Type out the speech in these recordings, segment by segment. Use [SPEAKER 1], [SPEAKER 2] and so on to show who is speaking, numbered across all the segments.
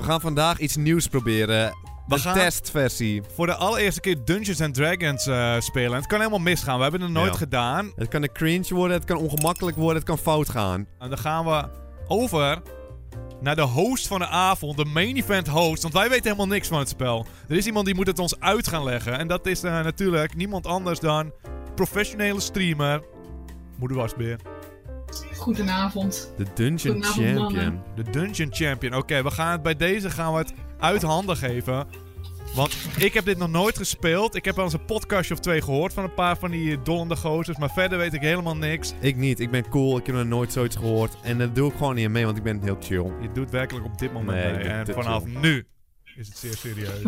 [SPEAKER 1] gaan vandaag iets nieuws proberen.
[SPEAKER 2] We
[SPEAKER 1] een
[SPEAKER 2] gaan-
[SPEAKER 1] testversie.
[SPEAKER 2] Voor de allereerste keer Dungeons and Dragons eh, spelen. En het kan helemaal misgaan. We hebben het nooit
[SPEAKER 1] Ja.
[SPEAKER 2] gedaan.
[SPEAKER 1] Het kan een cringe worden, het kan ongemakkelijk worden, het kan fout gaan.
[SPEAKER 2] En dan gaan we over naar de host van de avond, de main event host. Want wij weten helemaal niks van het spel. Er is iemand die moet het ons uit gaan leggen. En dat is eh, natuurlijk niemand anders dan professionele streamer. Moederwasbeer.
[SPEAKER 3] Goedenavond.
[SPEAKER 1] De Dungeon
[SPEAKER 3] Goedenavond,
[SPEAKER 1] Champion.
[SPEAKER 3] mannen.
[SPEAKER 2] De Dungeon Champion. Oké, we gaan het bij deze gaan we het uit handen geven. Want ik heb dit nog nooit gespeeld. Ik heb wel eens een podcastje of twee gehoord van een paar van die dollende gozers. Maar verder weet ik helemaal niks.
[SPEAKER 1] Ik niet, ik ben cool, ik heb nog nooit zoiets gehoord. En dat doe ik gewoon niet aan mee, want ik ben heel chill. What
[SPEAKER 2] Je doet werkelijk op dit moment
[SPEAKER 1] Nee,
[SPEAKER 2] mee.
[SPEAKER 1] dit-
[SPEAKER 2] En
[SPEAKER 1] dit
[SPEAKER 2] vanaf nu is het zeer serieus.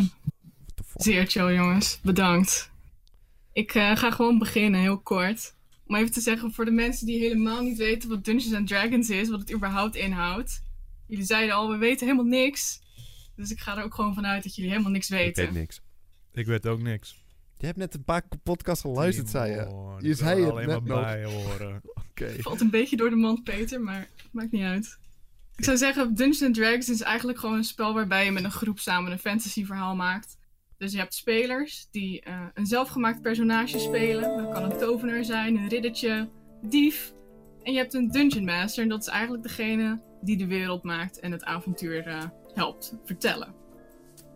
[SPEAKER 1] the fuck?
[SPEAKER 3] Zeer chill, jongens. Bedankt. Ik eh, ga gewoon beginnen, heel kort. Om even te zeggen voor de mensen die helemaal niet weten wat Dungeons and Dragons is, wat het überhaupt inhoudt. Jullie zeiden al, we weten helemaal niks. Dus ik ga er ook gewoon vanuit dat jullie helemaal niks
[SPEAKER 1] Ik weet
[SPEAKER 3] weten.
[SPEAKER 1] niks.
[SPEAKER 2] Ik weet ook niks.
[SPEAKER 1] Je hebt net een paar podcasts geluisterd, zei je. Oké.
[SPEAKER 2] Timon,
[SPEAKER 1] Je
[SPEAKER 2] ik
[SPEAKER 1] zei
[SPEAKER 2] wil
[SPEAKER 1] het
[SPEAKER 2] alleen
[SPEAKER 1] net
[SPEAKER 2] maar
[SPEAKER 1] nog.
[SPEAKER 2] bij horen.
[SPEAKER 3] Valt een beetje door de mand, Peter, maar maakt niet uit. Ik zou zeggen, Dungeons and Dragons is eigenlijk gewoon een spel waarbij je met een groep samen een fantasyverhaal maakt. Dus je hebt spelers die eh, een zelfgemaakt personage spelen. Dat kan een tovenaar zijn, een riddertje, dief. En je hebt een dungeon master en dat is eigenlijk degene die de wereld maakt en het avontuur eh, helpt vertellen.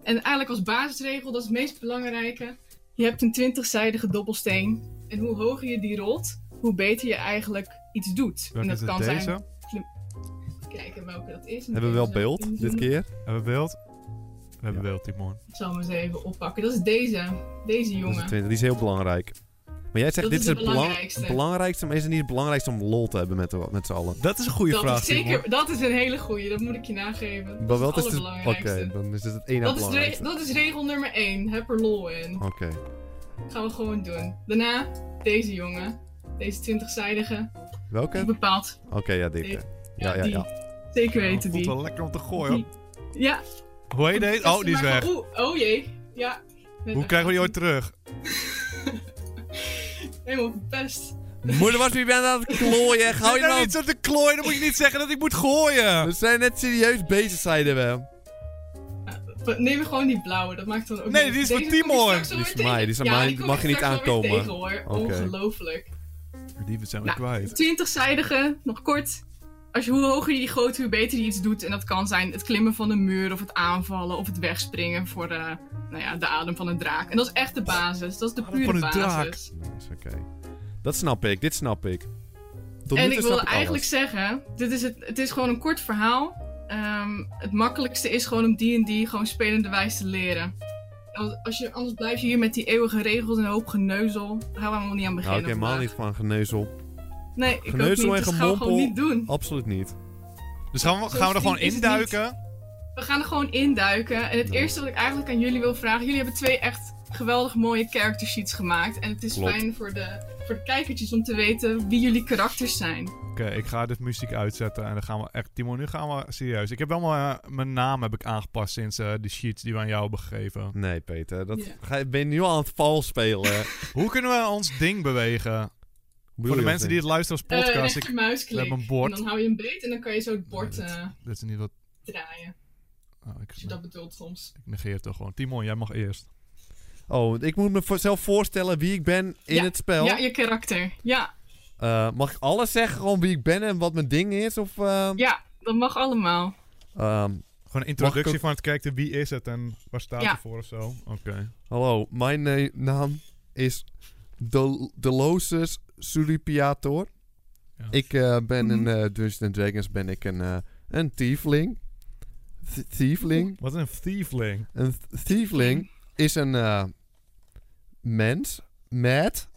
[SPEAKER 3] En eigenlijk als basisregel, dat is het meest belangrijke. Je hebt een 20-zijdige dobbelsteen. En hoe hoger je die rolt, hoe beter je eigenlijk iets doet. en
[SPEAKER 2] Welke
[SPEAKER 3] dat
[SPEAKER 2] is het
[SPEAKER 3] kan zijn
[SPEAKER 2] deze?
[SPEAKER 3] kijken welke dat is.
[SPEAKER 1] Hebben we wel beeld dit keer?
[SPEAKER 2] Hebben we beeld? We hebben beeld, Timon.
[SPEAKER 3] Ik zal hem eens even oppakken. Dat is deze. Deze
[SPEAKER 1] Dat is de
[SPEAKER 3] jongen.
[SPEAKER 1] 20, die is heel belangrijk. Maar jij zegt,
[SPEAKER 3] Dat
[SPEAKER 1] dit
[SPEAKER 3] is
[SPEAKER 1] is
[SPEAKER 3] de
[SPEAKER 1] het belang-
[SPEAKER 3] belangrijkste.
[SPEAKER 1] belangrijkste, maar is het niet het belangrijkste om lol te hebben met, de- met z'n allen?
[SPEAKER 2] Dat is een goede
[SPEAKER 3] Dat
[SPEAKER 2] vraag,
[SPEAKER 3] is zeker, dat is een hele goeie. Dat moet ik je nageven. Dat
[SPEAKER 1] Maar wel,
[SPEAKER 3] is
[SPEAKER 1] is
[SPEAKER 3] het
[SPEAKER 1] het... Oké,
[SPEAKER 3] allerbelangrijkste.
[SPEAKER 1] dan is het het ene
[SPEAKER 3] dat, is re-
[SPEAKER 1] belangrijkste.
[SPEAKER 3] dat is regel nummer 1. Heb er lol in.
[SPEAKER 1] Oké.
[SPEAKER 3] Gaan we gewoon doen. Daarna deze jongen. Deze 20-zijdige. Die
[SPEAKER 1] Welke?
[SPEAKER 3] bepaalt.
[SPEAKER 1] Oké, ja, dit. Ja, ja,
[SPEAKER 3] die.
[SPEAKER 1] ja.
[SPEAKER 3] Zeker
[SPEAKER 2] Het
[SPEAKER 3] weten
[SPEAKER 2] voelt
[SPEAKER 3] die.
[SPEAKER 2] wel lekker om te gooien. hoor.
[SPEAKER 3] Ja.
[SPEAKER 2] Hoe heet deze? Oh, die is
[SPEAKER 3] Maar
[SPEAKER 2] weg.
[SPEAKER 3] gewoon- Oeh, oh jee. Ja.
[SPEAKER 2] Hoe krijgen we die ooit terug?
[SPEAKER 3] Helemaal verpest.
[SPEAKER 1] Moeder was wie bent aan het klooien. Hou je
[SPEAKER 2] nou
[SPEAKER 1] nou...
[SPEAKER 2] niet zo te klooien, dan moet je niet zeggen dat ik moet gooien.
[SPEAKER 1] We zijn net serieus bezig, zeiden we.
[SPEAKER 3] Neem gewoon die blauwe, dat maakt dan ook
[SPEAKER 2] Nee,
[SPEAKER 3] niet-
[SPEAKER 2] die is voor
[SPEAKER 3] Deze kom je
[SPEAKER 2] Timon.
[SPEAKER 3] straks wel
[SPEAKER 1] Die is
[SPEAKER 3] weer
[SPEAKER 1] voor mij,
[SPEAKER 3] tegen.
[SPEAKER 1] die is aan
[SPEAKER 3] Ja,
[SPEAKER 1] mij,
[SPEAKER 3] kom
[SPEAKER 1] mag je niet
[SPEAKER 3] straks wel weer
[SPEAKER 1] aankomen.
[SPEAKER 3] Tegen, hoor.
[SPEAKER 1] Oké.
[SPEAKER 3] Ongelooflijk.
[SPEAKER 2] Die zijn we
[SPEAKER 3] Nou,
[SPEAKER 2] kwijt.
[SPEAKER 3] 20-zijdige, nog kort. Als je, hoe hoger je die gooit, hoe beter je iets doet. En dat kan zijn het klimmen van een muur, of het aanvallen, of het wegspringen voor eh, nou ja, de adem van een draak. En dat is echt de basis. Dat is de
[SPEAKER 2] Adem
[SPEAKER 3] pure
[SPEAKER 2] van een draak.
[SPEAKER 3] basis.
[SPEAKER 1] Nice, oké. Dat snap ik, dit snap ik. Tot nu
[SPEAKER 3] En
[SPEAKER 1] toe
[SPEAKER 3] ik
[SPEAKER 1] snap
[SPEAKER 3] wilde eigenlijk
[SPEAKER 1] alles.
[SPEAKER 3] zeggen, dit is het, het is gewoon een kort verhaal. Ehm, het makkelijkste is gewoon om D&D gewoon spelende wijs te leren. Want Als je, anders blijf je hier met die eeuwige regels en een hoop geneuzel. Daar gaan we helemaal niet
[SPEAKER 1] Nou,
[SPEAKER 3] aan beginnen.
[SPEAKER 1] ik helemaal
[SPEAKER 3] vandaag.
[SPEAKER 1] niet van geneuzel.
[SPEAKER 3] Nee, ik ook niet.
[SPEAKER 1] Geneuzel en
[SPEAKER 3] Dat gaan we gewoon
[SPEAKER 1] gemompel.
[SPEAKER 3] niet doen.
[SPEAKER 1] Absoluut niet.
[SPEAKER 2] Dus gaan we,
[SPEAKER 3] Zo
[SPEAKER 2] gaan we er gewoon
[SPEAKER 3] slim is het niet.
[SPEAKER 2] induiken?
[SPEAKER 3] We gaan er gewoon induiken. En het
[SPEAKER 1] Ja.
[SPEAKER 3] eerste wat ik eigenlijk aan jullie wil vragen. Jullie hebben twee echt geweldig mooie character sheets gemaakt. En het is
[SPEAKER 1] Klopt.
[SPEAKER 3] fijn voor de, voor de kijkertjes om te weten wie jullie karakters zijn.
[SPEAKER 2] Oké, ik ga dit muziek uitzetten en dan gaan we echt... Timon, nu gaan we serieus. Ik heb wel maar, eh, mijn naam heb ik aangepast sinds eh, de sheets die we aan jou hebben gegeven.
[SPEAKER 1] Nee, Peter. Dat
[SPEAKER 3] Ja.
[SPEAKER 1] ga, je- ben je nu al aan het vals spelen. Hoe
[SPEAKER 2] Hoe kunnen we ons ding bewegen?
[SPEAKER 1] bedoel
[SPEAKER 2] Voor
[SPEAKER 1] je
[SPEAKER 2] de mensen die
[SPEAKER 1] dat
[SPEAKER 2] het luisteren
[SPEAKER 3] Eh
[SPEAKER 2] als podcast,
[SPEAKER 3] rechter
[SPEAKER 2] ik,
[SPEAKER 3] muisklik.
[SPEAKER 2] we hebben een bord.
[SPEAKER 3] En dan hou je hem beet en dan kan je zo het bord
[SPEAKER 2] Nee, dat-
[SPEAKER 3] eh,
[SPEAKER 2] dat is niet wat...
[SPEAKER 3] draaien.
[SPEAKER 2] oh, ik,
[SPEAKER 3] Als je dat bedoelt soms.
[SPEAKER 2] ik negeer het toch gewoon. Timon, jij mag eerst.
[SPEAKER 1] niet? Oh, ik moet me voor- zelf voorstellen wie ik ben in
[SPEAKER 3] Ja.
[SPEAKER 1] het spel.
[SPEAKER 3] Ja, je karakter. Ja,
[SPEAKER 1] Eh, mag ik alles zeggen, gewoon wie ik ben en wat mijn ding is? Of, ehm,
[SPEAKER 3] ja, dat mag allemaal.
[SPEAKER 1] ehm,
[SPEAKER 2] Gewoon een
[SPEAKER 1] Mag ik
[SPEAKER 2] introductie
[SPEAKER 1] ook-
[SPEAKER 2] van het kijken, wie is het en waar staat
[SPEAKER 3] Ja.
[SPEAKER 2] hij voor of zo. Oké.
[SPEAKER 1] hallo, mijn eh, naam is Del Delosus Sulipiator.
[SPEAKER 2] Ja.
[SPEAKER 1] Ik eh, ben in
[SPEAKER 3] Mhm.
[SPEAKER 1] eh Dungeons and Dragons ben ik een, eh een tiefling. Th- tiefling.
[SPEAKER 2] Wat een thiefling.
[SPEAKER 1] Een th- tiefling is een eh, mens met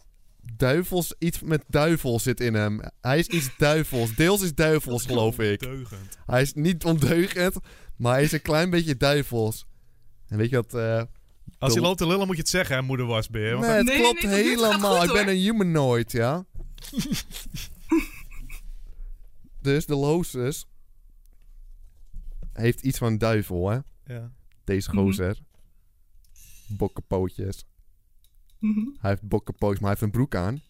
[SPEAKER 1] duivels. Iets met duivel zit in hem. Hij is iets duivels. Deels is duivels, geloof ik.
[SPEAKER 2] Deugend.
[SPEAKER 1] Hij is niet ondeugend, maar hij is een klein beetje duivels. En weet je wat? eh,
[SPEAKER 2] Als je
[SPEAKER 1] Dom.
[SPEAKER 2] loopt te lullen moet je het zeggen, hè, moeder wasbeer. Want
[SPEAKER 1] nee, het
[SPEAKER 3] Nee, nee,
[SPEAKER 1] klopt
[SPEAKER 3] nee, dit gaat
[SPEAKER 1] helemaal.
[SPEAKER 3] goed,
[SPEAKER 1] ik ben
[SPEAKER 3] hoor.
[SPEAKER 1] een humanoid, ja. dus de Losus heeft iets van duivel, hè?
[SPEAKER 2] Ja.
[SPEAKER 1] Deze
[SPEAKER 3] Mhm.
[SPEAKER 1] gozer. Bokkenpootjes.
[SPEAKER 3] Mhm.
[SPEAKER 1] Hij heeft bokkenpootjes, maar hij heeft een broek aan.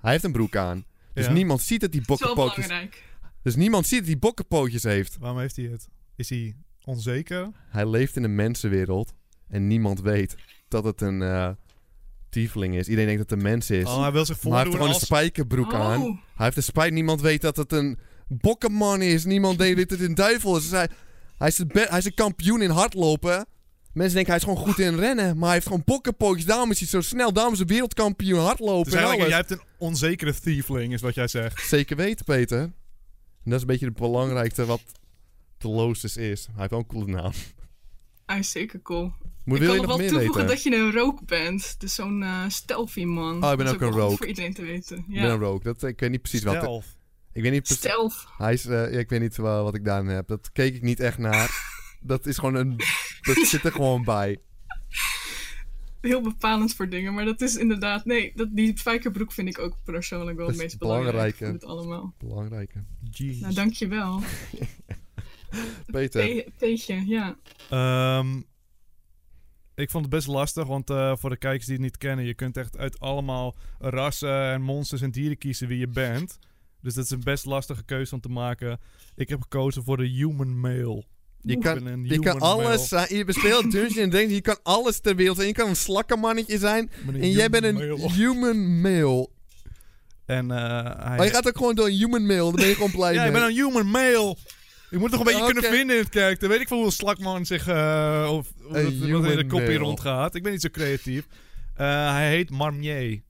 [SPEAKER 1] Hij heeft een broek aan. Dus
[SPEAKER 2] Ja.
[SPEAKER 1] niemand ziet dat hij
[SPEAKER 3] Dat is wel
[SPEAKER 1] bokkenpootjes...
[SPEAKER 3] belangrijk.
[SPEAKER 1] Dus niemand ziet dat hij bokkenpootjes heeft.
[SPEAKER 2] Waarom heeft hij het? Is hij onzeker.
[SPEAKER 1] Hij leeft in een mensenwereld en niemand weet dat het een eh tiefling is. Iedereen denkt dat het een mens is.
[SPEAKER 2] Oh, hij wil zich
[SPEAKER 1] maar hij heeft
[SPEAKER 2] voordoen
[SPEAKER 1] gewoon
[SPEAKER 2] als...
[SPEAKER 1] een spijkerbroek aan.
[SPEAKER 3] Oh,
[SPEAKER 1] Hij heeft een spijt. Niemand weet dat het een bokkenman is. Niemand weet dat het een duivel is. Dus hij, hij, is de be- hij is een kampioen in hardlopen. Mensen denken hij is gewoon goed in rennen. Maar hij heeft gewoon bokkenpootjes. Daarom is hij zo snel. Daarom is hij wereldkampioen hardlopen.
[SPEAKER 2] Dus
[SPEAKER 1] en
[SPEAKER 2] eigenlijk,
[SPEAKER 1] alles.
[SPEAKER 2] jij hebt een onzekere thiefling, is wat jij zegt.
[SPEAKER 1] Zeker weten, Peter. En dat is een beetje het belangrijkste wat de Loostes is. Hij heeft wel een coole naam.
[SPEAKER 3] hij is zeker cool.
[SPEAKER 1] Moet
[SPEAKER 3] ik
[SPEAKER 1] wil
[SPEAKER 3] kan
[SPEAKER 1] je
[SPEAKER 3] nog
[SPEAKER 1] nog
[SPEAKER 3] wel
[SPEAKER 1] meer
[SPEAKER 3] toevoegen
[SPEAKER 1] weten?
[SPEAKER 3] dat je een rook bent. Dus zo'n eh stealthy man.
[SPEAKER 1] Oh, ik ben
[SPEAKER 3] Dat is
[SPEAKER 1] ook een
[SPEAKER 3] wel goed
[SPEAKER 1] rogue.
[SPEAKER 3] voor iedereen te weten.
[SPEAKER 1] Ik ben
[SPEAKER 3] Ja.
[SPEAKER 1] een rogue. Dat, ik weet niet precies wat.
[SPEAKER 2] Stealth.
[SPEAKER 1] Ik weet niet precies.
[SPEAKER 3] Stealth.
[SPEAKER 1] Hij is, eh, ik weet niet wa- wat ik daarin heb. Dat keek ik niet echt naar. Dat is gewoon een. Dat zit er gewoon bij.
[SPEAKER 3] Heel bepalend voor dingen. Maar dat is inderdaad... Nee, dat, die spijkerbroek vind ik ook persoonlijk wel
[SPEAKER 1] Dat
[SPEAKER 3] het
[SPEAKER 1] is
[SPEAKER 3] meest
[SPEAKER 1] belangrijk,
[SPEAKER 3] belangrijk.
[SPEAKER 1] hè?
[SPEAKER 3] van dit allemaal.
[SPEAKER 1] Belangrijke.
[SPEAKER 3] Nou, dankjewel.
[SPEAKER 1] Peter.
[SPEAKER 3] Pe- Peetje, ja.
[SPEAKER 2] Ehm, ik vond het best lastig, want eh, voor de kijkers die het niet kennen, je kunt echt uit allemaal rassen en monsters en dieren kiezen wie je bent. Dus dat is een best lastige keuze om te maken. Ik heb gekozen voor de human male.
[SPEAKER 1] Je
[SPEAKER 2] Ik
[SPEAKER 1] kan,
[SPEAKER 2] ben een
[SPEAKER 1] je kan
[SPEAKER 2] human
[SPEAKER 1] alles
[SPEAKER 2] male.
[SPEAKER 1] zijn. Je bespeelt Dungeons Dragons. Je kan alles ter wereld zijn. Je kan een slakkenmannetje zijn.
[SPEAKER 2] Ik ben
[SPEAKER 1] En jij bent een
[SPEAKER 2] human male.
[SPEAKER 1] human male.
[SPEAKER 2] En eh, hij...
[SPEAKER 1] Maar Oh, je gaat ook gewoon door een human male. Daar ben je gewoon blij
[SPEAKER 2] ja, ik
[SPEAKER 1] mee.
[SPEAKER 2] ben een human male. Je moet toch een beetje
[SPEAKER 1] Oké.
[SPEAKER 2] kunnen vinden in het kijken. Weet ik veel hoe een slakman zich... eh, of of
[SPEAKER 1] Een
[SPEAKER 2] dat- wat in de
[SPEAKER 1] human
[SPEAKER 2] kopie
[SPEAKER 1] male.
[SPEAKER 2] rondgaat. Ik ben niet zo creatief. Eh, hij heet Marmier.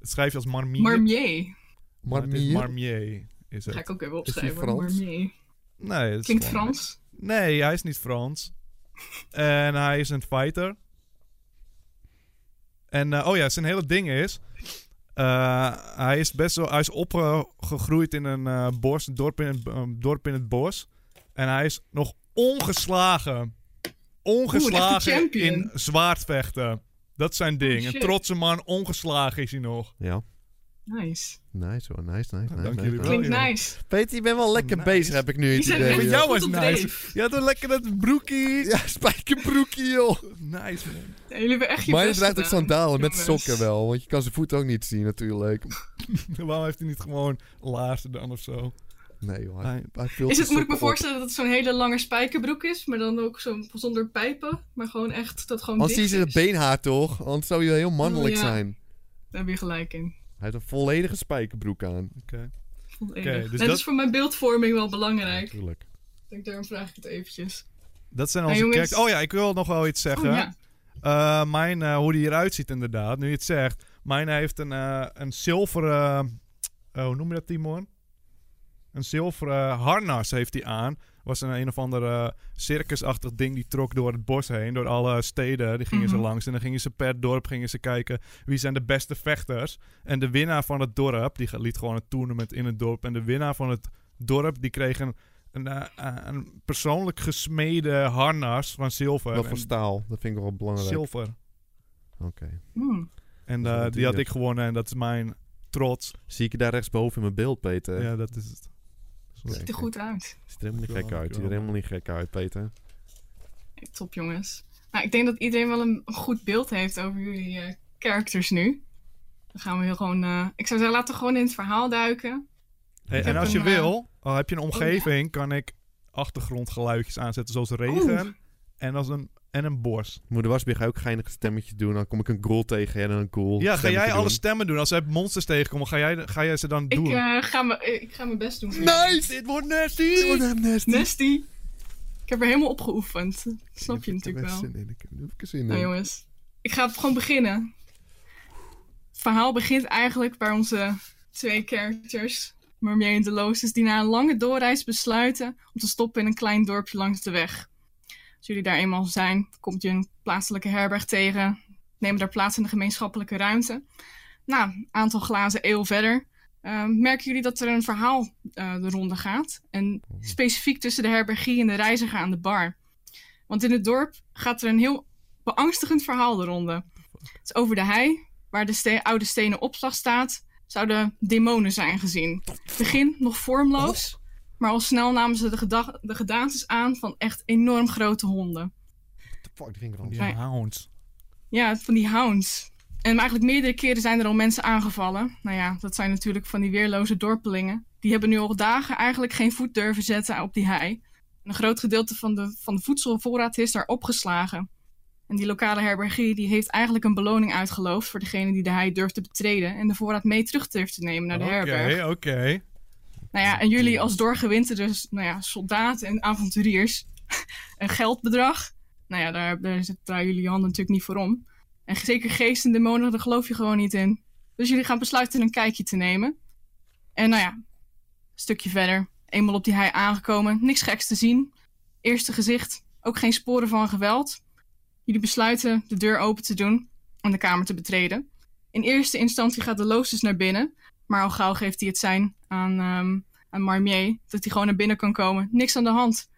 [SPEAKER 2] Het schrijf je als Marmier.
[SPEAKER 3] Marmier.
[SPEAKER 1] Maar
[SPEAKER 2] het is
[SPEAKER 1] meer-
[SPEAKER 2] Marmier is
[SPEAKER 3] Ga
[SPEAKER 2] het.
[SPEAKER 3] ik ook even
[SPEAKER 1] die
[SPEAKER 3] opschrijven.
[SPEAKER 1] Frans?
[SPEAKER 3] Marmier.
[SPEAKER 2] Nee, dat is
[SPEAKER 3] Klinkt
[SPEAKER 2] gewoon-
[SPEAKER 3] Frans.
[SPEAKER 2] Nee, hij is niet Frans. En hij is een fighter. En eh, oh ja, zijn hele ding is. eh, hij is best wel. Hij is opgegroeid in een eh, bos, een dorp in, het- een dorp in het bos. En hij is nog ongeslagen. Ongeslagen
[SPEAKER 3] champion.
[SPEAKER 2] in zwaardvechten. Dat is zijn ding.
[SPEAKER 3] Oh,
[SPEAKER 2] een
[SPEAKER 3] shit.
[SPEAKER 2] trotse man, ongeslagen is hij nog.
[SPEAKER 1] Ja.
[SPEAKER 3] Nice.
[SPEAKER 1] Nice hoor. Nice, nice, nice.
[SPEAKER 2] dank
[SPEAKER 1] nice,
[SPEAKER 2] jullie
[SPEAKER 1] nice.
[SPEAKER 2] wel.
[SPEAKER 3] Klinkt
[SPEAKER 2] joh.
[SPEAKER 3] nice.
[SPEAKER 1] Peter, je bent wel lekker
[SPEAKER 2] Nice.
[SPEAKER 1] bezig, heb ik nu
[SPEAKER 3] Die
[SPEAKER 1] het
[SPEAKER 3] zijn
[SPEAKER 1] idee.
[SPEAKER 2] Met
[SPEAKER 1] joh.
[SPEAKER 2] jou
[SPEAKER 3] goed
[SPEAKER 2] is
[SPEAKER 3] op
[SPEAKER 2] nice.
[SPEAKER 3] dreef.
[SPEAKER 2] Je had een lekker dat broekie.
[SPEAKER 1] Ja, spijkerbroekie, joh.
[SPEAKER 2] Nice man.
[SPEAKER 3] Ja, jullie hebben echt je
[SPEAKER 1] Maar je
[SPEAKER 3] best
[SPEAKER 1] draagt ook
[SPEAKER 3] gedaan,
[SPEAKER 1] sandalen met
[SPEAKER 3] jongens.
[SPEAKER 1] sokken wel. Want je kan zijn voeten ook niet zien, natuurlijk.
[SPEAKER 2] Waarom heeft hij niet gewoon laarzen dan of zo?
[SPEAKER 1] Nee, joh. Hij,
[SPEAKER 2] Hij-
[SPEAKER 1] hij vult
[SPEAKER 3] Is het,
[SPEAKER 1] zijn
[SPEAKER 3] moet ik
[SPEAKER 1] sokken
[SPEAKER 3] me
[SPEAKER 1] op.
[SPEAKER 3] voorstellen dat het zo'n hele lange spijkerbroek is, maar dan ook zo'n zonder pijpen, maar gewoon echt dat gewoon
[SPEAKER 1] Anders zie je
[SPEAKER 3] dicht
[SPEAKER 1] zijn
[SPEAKER 3] is?
[SPEAKER 1] beenhaar toch? Anders zou je heel mannelijk
[SPEAKER 3] Oh, ja.
[SPEAKER 1] zijn.
[SPEAKER 3] Daar heb je gelijk in.
[SPEAKER 1] Hij heeft een volledige spijkerbroek aan.
[SPEAKER 2] Oké.
[SPEAKER 3] Oké,
[SPEAKER 2] Oké, dus
[SPEAKER 3] dat...
[SPEAKER 2] dat-
[SPEAKER 3] is voor mijn beeldvorming wel belangrijk.
[SPEAKER 1] Natuurlijk.
[SPEAKER 3] Ik denk, daarom vraag ik het eventjes.
[SPEAKER 2] Dat zijn
[SPEAKER 3] Nou,
[SPEAKER 2] onze
[SPEAKER 3] jongens.
[SPEAKER 2] kerk. Oh ja, ik wil nog wel iets
[SPEAKER 3] Oh,
[SPEAKER 2] zeggen.
[SPEAKER 3] ja.
[SPEAKER 2] Eh, mijn, eh, hoe die eruit ziet inderdaad, nu je het zegt. Mijn heeft een, eh, een zilveren... eh, hoe noem je dat, Timon? Een zilveren harnas heeft hij aan. Was een een of ander eh, circusachtig ding die trok door het bos heen. Door alle steden, die gingen
[SPEAKER 3] Mhm.
[SPEAKER 2] ze langs. En dan gingen ze per dorp gingen ze kijken wie zijn de beste vechters. En de winnaar van het dorp, die ge- liet gewoon een tournament in het dorp. En de winnaar van het dorp, die kreeg een, een, eh, een persoonlijk gesmeden harnas van zilver.
[SPEAKER 1] Wat voor
[SPEAKER 2] En
[SPEAKER 1] staal? Dat vind ik wel belangrijk.
[SPEAKER 2] zilver.
[SPEAKER 1] Oké.
[SPEAKER 3] Hmm.
[SPEAKER 2] En
[SPEAKER 1] Dat is
[SPEAKER 2] eh,
[SPEAKER 1] wel
[SPEAKER 2] die had
[SPEAKER 1] duur.
[SPEAKER 2] ik gewonnen en dat is mijn trots.
[SPEAKER 1] Zie ik je daar rechtsboven in mijn beeld, Peter?
[SPEAKER 2] Ja, dat is het.
[SPEAKER 1] Oké,
[SPEAKER 3] Ziet
[SPEAKER 1] oké.
[SPEAKER 3] er goed uit.
[SPEAKER 1] Ziet er helemaal niet gek
[SPEAKER 2] Dankjewel,
[SPEAKER 1] uit. Ziet er
[SPEAKER 2] dankjewel.
[SPEAKER 1] helemaal niet gek uit, Peter.
[SPEAKER 3] Hey, top jongens. Nou, ik denk dat iedereen wel een, een goed beeld heeft over jullie eh, characters nu. Dan gaan we heel gewoon... eh, ik zou zeggen, laten we gewoon in het verhaal duiken.
[SPEAKER 2] Hey,
[SPEAKER 3] Ik
[SPEAKER 2] en
[SPEAKER 3] heb
[SPEAKER 2] als je
[SPEAKER 3] een,
[SPEAKER 2] wil, al heb je
[SPEAKER 3] Oh,
[SPEAKER 2] een omgeving, kan ik achtergrondgeluidjes aanzetten zoals regen en, als een, en een bos.
[SPEAKER 1] Moeder Wasbeer, ga je ook geinig stemmetje doen. Dan kom ik een goal tegen en een cool
[SPEAKER 2] Ja, ga
[SPEAKER 1] stemmetje
[SPEAKER 2] jij alle
[SPEAKER 1] doen.
[SPEAKER 2] stemmen doen? Als ze monsters tegenkomen, ga jij, ga jij ze dan
[SPEAKER 3] Ik,
[SPEAKER 2] doen?
[SPEAKER 3] eh, ga me, eh, ik ga mijn best doen.
[SPEAKER 1] Nice!
[SPEAKER 2] Dit wordt nasty!
[SPEAKER 1] Dit wordt hem nasty.
[SPEAKER 3] Nasty. Ik heb er helemaal op geoefend. Dat snap je
[SPEAKER 1] Ik heb eh, er
[SPEAKER 3] natuurlijk wel.
[SPEAKER 1] zin in. Ik heb er ook zin in.
[SPEAKER 3] Nou jongens, ik ga gewoon beginnen. Het verhaal begint eigenlijk bij onze twee characters, Marmier en Delosius, die na een lange doorreis besluiten om te stoppen in een klein dorpje langs de weg. Als jullie daar eenmaal zijn, komt je een plaatselijke herberg tegen, nemen daar plaats in de gemeenschappelijke ruimte. Na een aantal glazen eeuw verder eh, merken jullie dat er een verhaal eh, de ronde gaat. En specifiek tussen de herbergier en de reiziger aan de bar. Want in het dorp gaat er een heel beangstigend verhaal de ronde. Het is over de hei, waar de ste- oude stenen opslag staat, zouden demonen zijn gezien. Het begin nog vormloos, maar al snel namen ze de, gedag- de gedaantes aan van echt enorm grote honden.
[SPEAKER 1] What the fuck, die ging er al.
[SPEAKER 2] Die
[SPEAKER 3] Nee.
[SPEAKER 2] hound.
[SPEAKER 3] Ja, van die hounds. En eigenlijk meerdere keren zijn er al mensen aangevallen. Nou ja, dat zijn natuurlijk van die weerloze dorpelingen. Die hebben nu al dagen eigenlijk geen voet durven zetten op die hei. Een groot gedeelte van de, van de voedselvoorraad is daar opgeslagen. En die lokale herbergier die heeft eigenlijk een beloning uitgeloofd voor degene die de hei durft te betreden en de voorraad mee terug durft te nemen naar de herberg.
[SPEAKER 2] Oké, oké.
[SPEAKER 3] Nou ja, en jullie als doorgewinterde nou ja, soldaten en avonturiers een geldbedrag. Nou ja, daar, daar zet- draaien jullie je handen natuurlijk niet voor om. En zeker geesten en demonen, daar geloof je gewoon niet in. Dus jullie gaan besluiten een kijkje te nemen. En nou ja, een stukje verder. Eenmaal op die hei aangekomen, niks geks te zien. Eerste gezicht, ook geen sporen van geweld. Jullie besluiten de deur open te doen en de kamer te betreden. In eerste instantie gaat de loosjes naar binnen. Maar al gauw geeft hij het zijn aan, ehm aan Marmier. Dat hij gewoon naar binnen kan komen. Niks aan de hand.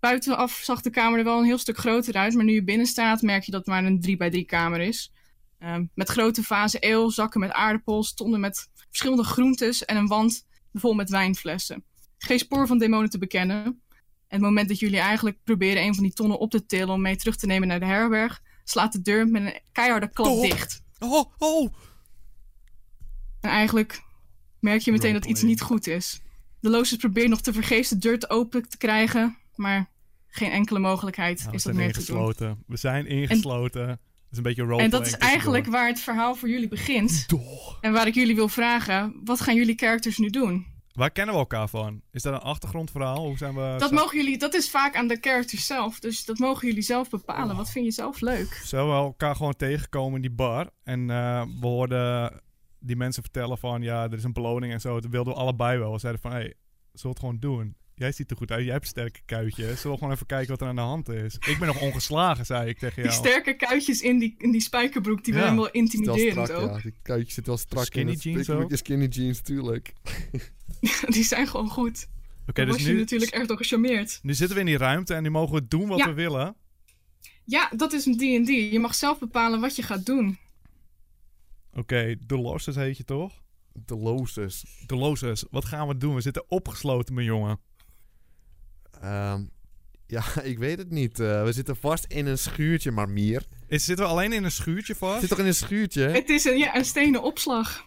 [SPEAKER 3] Buitenaf zag de kamer er wel een heel stuk groter uit. Maar nu je binnen staat, merk je dat het maar een 3 bij 3 kamer is. Ehm, met grote vazen eeuw, zakken met aardappels, tonnen met verschillende groentes en een wand vol met wijnflessen. Geen spoor van demonen te bekennen. En het moment dat jullie eigenlijk proberen een van die tonnen op te tillen om mee terug te nemen naar de herberg, slaat de deur met een keiharde klap
[SPEAKER 1] Toch?
[SPEAKER 3] dicht.
[SPEAKER 1] Oh, oh.
[SPEAKER 3] En eigenlijk merk je meteen dat iets
[SPEAKER 2] Roleplay.
[SPEAKER 3] niet goed is. De Loosjes probeert nog te vergeefs de deur te open te krijgen, maar geen enkele mogelijkheid
[SPEAKER 2] Nou, we
[SPEAKER 3] is dat
[SPEAKER 2] zijn
[SPEAKER 3] meer te doen.
[SPEAKER 2] ingesloten. We zijn ingesloten. Het is een beetje roleplay.
[SPEAKER 3] En dat is eigenlijk waar het verhaal voor jullie begint. En waar ik jullie wil vragen, wat gaan jullie characters nu doen?
[SPEAKER 2] Waar kennen we elkaar van? Is dat een achtergrondverhaal? Hoe zijn we
[SPEAKER 3] Dat,
[SPEAKER 2] zo-
[SPEAKER 3] mogen jullie, dat is vaak aan de characters zelf, dus dat mogen jullie zelf bepalen.
[SPEAKER 2] Oh.
[SPEAKER 3] Wat vind je zelf leuk?
[SPEAKER 2] zijn we elkaar gewoon tegengekomen in die bar? En eh, we hoorden die mensen vertellen van... Ja, er is een beloning en zo. Dat wilden we allebei wel. We zeiden van... Hé, hey, zullen we het gewoon doen? Jij ziet er goed uit. Jij hebt sterke kuitjes. Zullen we gewoon even kijken wat er aan de hand is? Ik ben nog ongeslagen, zei ik tegen
[SPEAKER 3] Die
[SPEAKER 2] jou.
[SPEAKER 3] sterke kuitjes in die, in die spijkerbroek, die
[SPEAKER 2] Ja.
[SPEAKER 3] waren wel
[SPEAKER 1] Wel
[SPEAKER 3] intimiderend
[SPEAKER 1] strak,
[SPEAKER 3] ook.
[SPEAKER 1] ja. Die kuitjes zit wel strak
[SPEAKER 2] Skinny
[SPEAKER 1] in. het
[SPEAKER 2] jeans
[SPEAKER 1] spikkelbroek
[SPEAKER 2] ook?
[SPEAKER 1] en Skinny jeans, tuurlijk.
[SPEAKER 3] Die zijn gewoon goed.
[SPEAKER 2] Oké,
[SPEAKER 3] Daar
[SPEAKER 2] dus
[SPEAKER 3] was je
[SPEAKER 2] nu,
[SPEAKER 3] natuurlijk echt door gecharmeerd.
[SPEAKER 2] nu zitten we in die ruimte en nu mogen we doen wat
[SPEAKER 3] Ja.
[SPEAKER 2] we willen.
[SPEAKER 3] Ja, dat is een D&D. Je mag zelf bepalen wat je gaat doen.
[SPEAKER 2] Oké, de losses heet je toch?
[SPEAKER 1] De losers.
[SPEAKER 2] De losses, wat gaan we doen? We zitten opgesloten, mijn jongen.
[SPEAKER 1] Ehm, ja, ik weet het niet. Eh, we zitten vast in een schuurtje, maar meer.
[SPEAKER 2] Is, zitten we alleen in een schuurtje vast?
[SPEAKER 1] Zit toch in een schuurtje? hè?
[SPEAKER 3] Het is een, ja, een stenen opslag.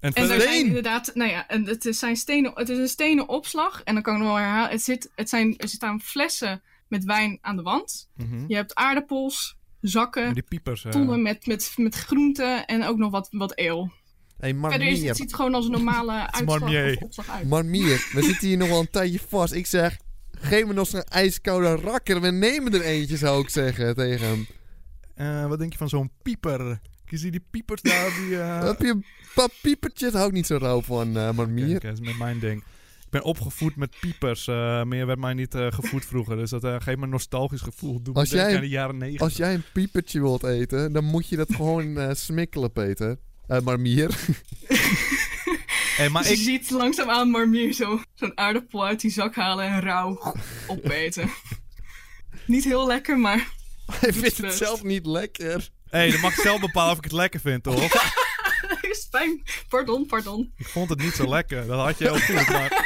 [SPEAKER 2] En
[SPEAKER 3] En
[SPEAKER 2] verder-
[SPEAKER 3] er zijn
[SPEAKER 1] Steen?
[SPEAKER 3] inderdaad... Nou ja, en het, is- zijn stenen, het is een stenen opslag. En dan kan ik nog wel herhalen. Het zit, het zijn, er staan flessen met wijn aan de wand.
[SPEAKER 2] Mhm.
[SPEAKER 3] Je hebt aardappels,
[SPEAKER 2] Met
[SPEAKER 3] zakken,
[SPEAKER 2] die piepers. eh.
[SPEAKER 3] tonnen met, met, met groenten en ook nog wat, wat eel.
[SPEAKER 1] Hey, maar
[SPEAKER 3] Verder is, het
[SPEAKER 1] meer.
[SPEAKER 3] ziet gewoon als een normale uitslag
[SPEAKER 2] marmier.
[SPEAKER 3] of opslag uit.
[SPEAKER 1] Maar meer. We zitten hier nog wel een tijdje vast. Ik zeg, geef me nog zo'n ijskoude rakker. We nemen er eentje, zou ik zeggen tegen hem.
[SPEAKER 2] Eh, wat denk je van zo'n pieper? Ik zie die piepers daar die... eh,
[SPEAKER 3] Ah.
[SPEAKER 1] Heb je een paar piepertjes? Hou ik niet zo rauw van, eh maar
[SPEAKER 2] Kijk,
[SPEAKER 1] meer.
[SPEAKER 2] dat is met mijn ding. Ik ben opgevoed met piepers. eh, meer werd mij niet eh, gevoed vroeger. Dus dat eh, geeft me een nostalgisch gevoel. Doe me
[SPEAKER 1] Als
[SPEAKER 2] denken
[SPEAKER 1] jij-
[SPEAKER 2] aan de jaren negentig.
[SPEAKER 1] Als jij een piepertje wilt eten, dan moet je dat gewoon eh smikkelen, Peter. Eh maar meer.
[SPEAKER 2] Hey, maar
[SPEAKER 3] Dus je
[SPEAKER 2] ik,
[SPEAKER 3] ziet langzaamaan Marmier zo, zo'n aardappel uit die zak halen en rauw opeten. Niet heel lekker, maar
[SPEAKER 1] Hij vindt het
[SPEAKER 3] best.
[SPEAKER 1] zelf niet lekker.
[SPEAKER 2] hey, dan mag ik zelf bepalen of ik het lekker vind, toch?
[SPEAKER 3] spijn. Pardon, pardon.
[SPEAKER 2] Ik vond het niet zo lekker. Dat had je heel goed, maar...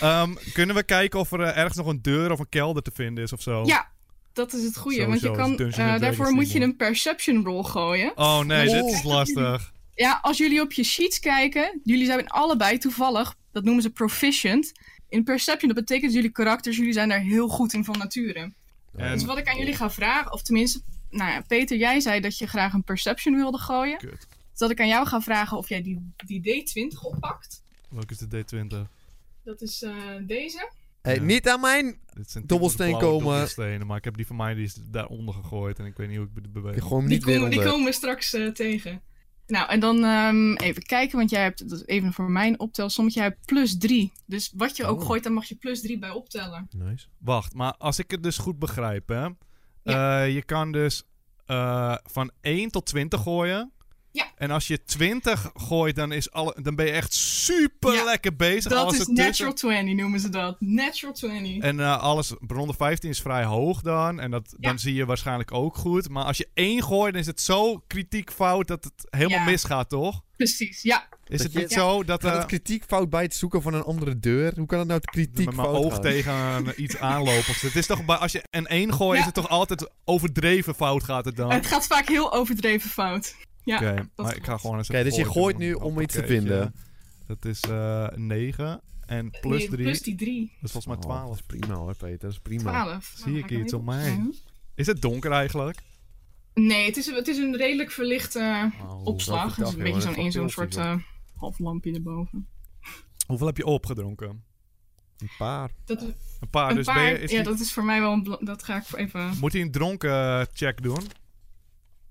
[SPEAKER 2] Ehm, kunnen we kijken of er eh, ergens nog een deur of een kelder te vinden is of zo?
[SPEAKER 3] Ja, dat is het goede. Want je
[SPEAKER 2] Oh. Sowieso, het
[SPEAKER 3] kan,
[SPEAKER 2] is Dungeons
[SPEAKER 3] eh,
[SPEAKER 2] and Dragons
[SPEAKER 3] daarvoor moet
[SPEAKER 2] niet
[SPEAKER 3] je
[SPEAKER 2] mooi.
[SPEAKER 3] een perception roll gooien.
[SPEAKER 2] Oh nee, dit
[SPEAKER 1] Oh.
[SPEAKER 2] is lastig.
[SPEAKER 3] Ja, als jullie op je sheets kijken, jullie zijn allebei toevallig, dat noemen ze proficient. In perception, dat betekent jullie karakters, jullie zijn daar heel goed in van nature. Dus
[SPEAKER 2] En, oh.
[SPEAKER 3] wat ik aan jullie ga vragen, of tenminste, nou ja, Peter, jij zei dat je graag een perception wilde gooien.
[SPEAKER 2] Kut.
[SPEAKER 3] Dus dat ik aan jou ga vragen of jij die, die D20 oppakt.
[SPEAKER 2] welke is de D20?
[SPEAKER 3] Dat is eh, deze.
[SPEAKER 1] Hey,
[SPEAKER 2] Ja.
[SPEAKER 1] Niet aan mijn...
[SPEAKER 2] Dit zijn
[SPEAKER 1] Dobbelsteen
[SPEAKER 2] typische blauwe
[SPEAKER 1] komen.
[SPEAKER 2] dobbelstenen, maar ik heb die van mij die is daaronder gegooid en ik weet niet hoe ik het beweeg.
[SPEAKER 1] Ik gooi hem
[SPEAKER 3] Die,
[SPEAKER 1] niet weer
[SPEAKER 3] komen die
[SPEAKER 1] onder.
[SPEAKER 3] komen we straks eh, tegen. Nou, en dan ehm, even kijken, want jij hebt, dat is even voor mijn optelsommetje, jij hebt plus 3. Dus wat je ook
[SPEAKER 1] Oh.
[SPEAKER 3] gooit, daar mag je plus 3 bij optellen.
[SPEAKER 1] Nice.
[SPEAKER 2] Wacht, maar als ik het dus goed begrijp, hè? eh, je kan dus eh, van 1 tot 20 gooien.
[SPEAKER 3] Ja.
[SPEAKER 2] En als je 20 gooit, dan, is alle, dan ben je echt super
[SPEAKER 3] Ja,
[SPEAKER 2] lekker bezig.
[SPEAKER 3] dat
[SPEAKER 2] alles
[SPEAKER 3] is
[SPEAKER 2] ertussen.
[SPEAKER 3] natural 20 noemen ze dat. Natural 20.
[SPEAKER 2] En eh, alles, ronde 15 is vrij hoog dan. En dat,
[SPEAKER 3] Ja.
[SPEAKER 2] dan zie je waarschijnlijk ook goed. Maar als je één gooit, dan is het zo kritiek fout dat het helemaal
[SPEAKER 3] Ja.
[SPEAKER 2] misgaat, toch? Is
[SPEAKER 3] Precies, ja.
[SPEAKER 2] het
[SPEAKER 1] je-
[SPEAKER 2] niet
[SPEAKER 1] Ja.
[SPEAKER 2] zo dat...
[SPEAKER 1] Gaat
[SPEAKER 2] eh,
[SPEAKER 1] het kritiekfout bij het zoeken van een andere deur? Hoe kan het nou het
[SPEAKER 2] met mijn
[SPEAKER 1] kritiekfout
[SPEAKER 2] oog
[SPEAKER 1] gaan?
[SPEAKER 2] tegen een- iets aanlopen. of zo. Het is toch, bij- als je een 1 gooit,
[SPEAKER 3] Ja.
[SPEAKER 2] is het toch altijd overdreven fout gaat het dan?
[SPEAKER 3] Het gaat vaak heel overdreven fout. Ja,
[SPEAKER 2] Oh. Oké,
[SPEAKER 3] dat
[SPEAKER 2] maar ik ga gewoon eens
[SPEAKER 1] Oké, dus je
[SPEAKER 2] gooien
[SPEAKER 1] gooit
[SPEAKER 2] doen.
[SPEAKER 1] nu om iets te
[SPEAKER 2] Hoppakee,
[SPEAKER 1] vinden.
[SPEAKER 2] ja. Dat is eh 9. En plus
[SPEAKER 3] Nee,
[SPEAKER 2] 3,
[SPEAKER 3] Plus die 3.
[SPEAKER 2] dat is volgens mij
[SPEAKER 1] Oh, dat
[SPEAKER 2] 12.
[SPEAKER 1] is prima hoor, Peter. Dat is prima.
[SPEAKER 3] 12.
[SPEAKER 2] Zie ik iets om mij. Is het donker eigenlijk?
[SPEAKER 3] Nee, het is, een- het is een redelijk verlichte
[SPEAKER 2] Oh,
[SPEAKER 3] opslag.
[SPEAKER 1] welke
[SPEAKER 3] Het is
[SPEAKER 1] dag,
[SPEAKER 3] een beetje
[SPEAKER 1] joh,
[SPEAKER 3] zo'n
[SPEAKER 1] dat
[SPEAKER 3] één zo'n soort
[SPEAKER 1] fantastisch,
[SPEAKER 3] eh, half lampje erboven.
[SPEAKER 2] Hoeveel heb je opgedronken?
[SPEAKER 3] eh,
[SPEAKER 1] Een paar.
[SPEAKER 3] Dat is,
[SPEAKER 2] Een paar,
[SPEAKER 3] een
[SPEAKER 2] dus
[SPEAKER 3] paar,
[SPEAKER 2] ben je, is
[SPEAKER 3] ja,
[SPEAKER 2] die-
[SPEAKER 3] dat is voor mij wel een... bla- Dat ga ik voor even...
[SPEAKER 2] moet hij een dronken eh, check doen?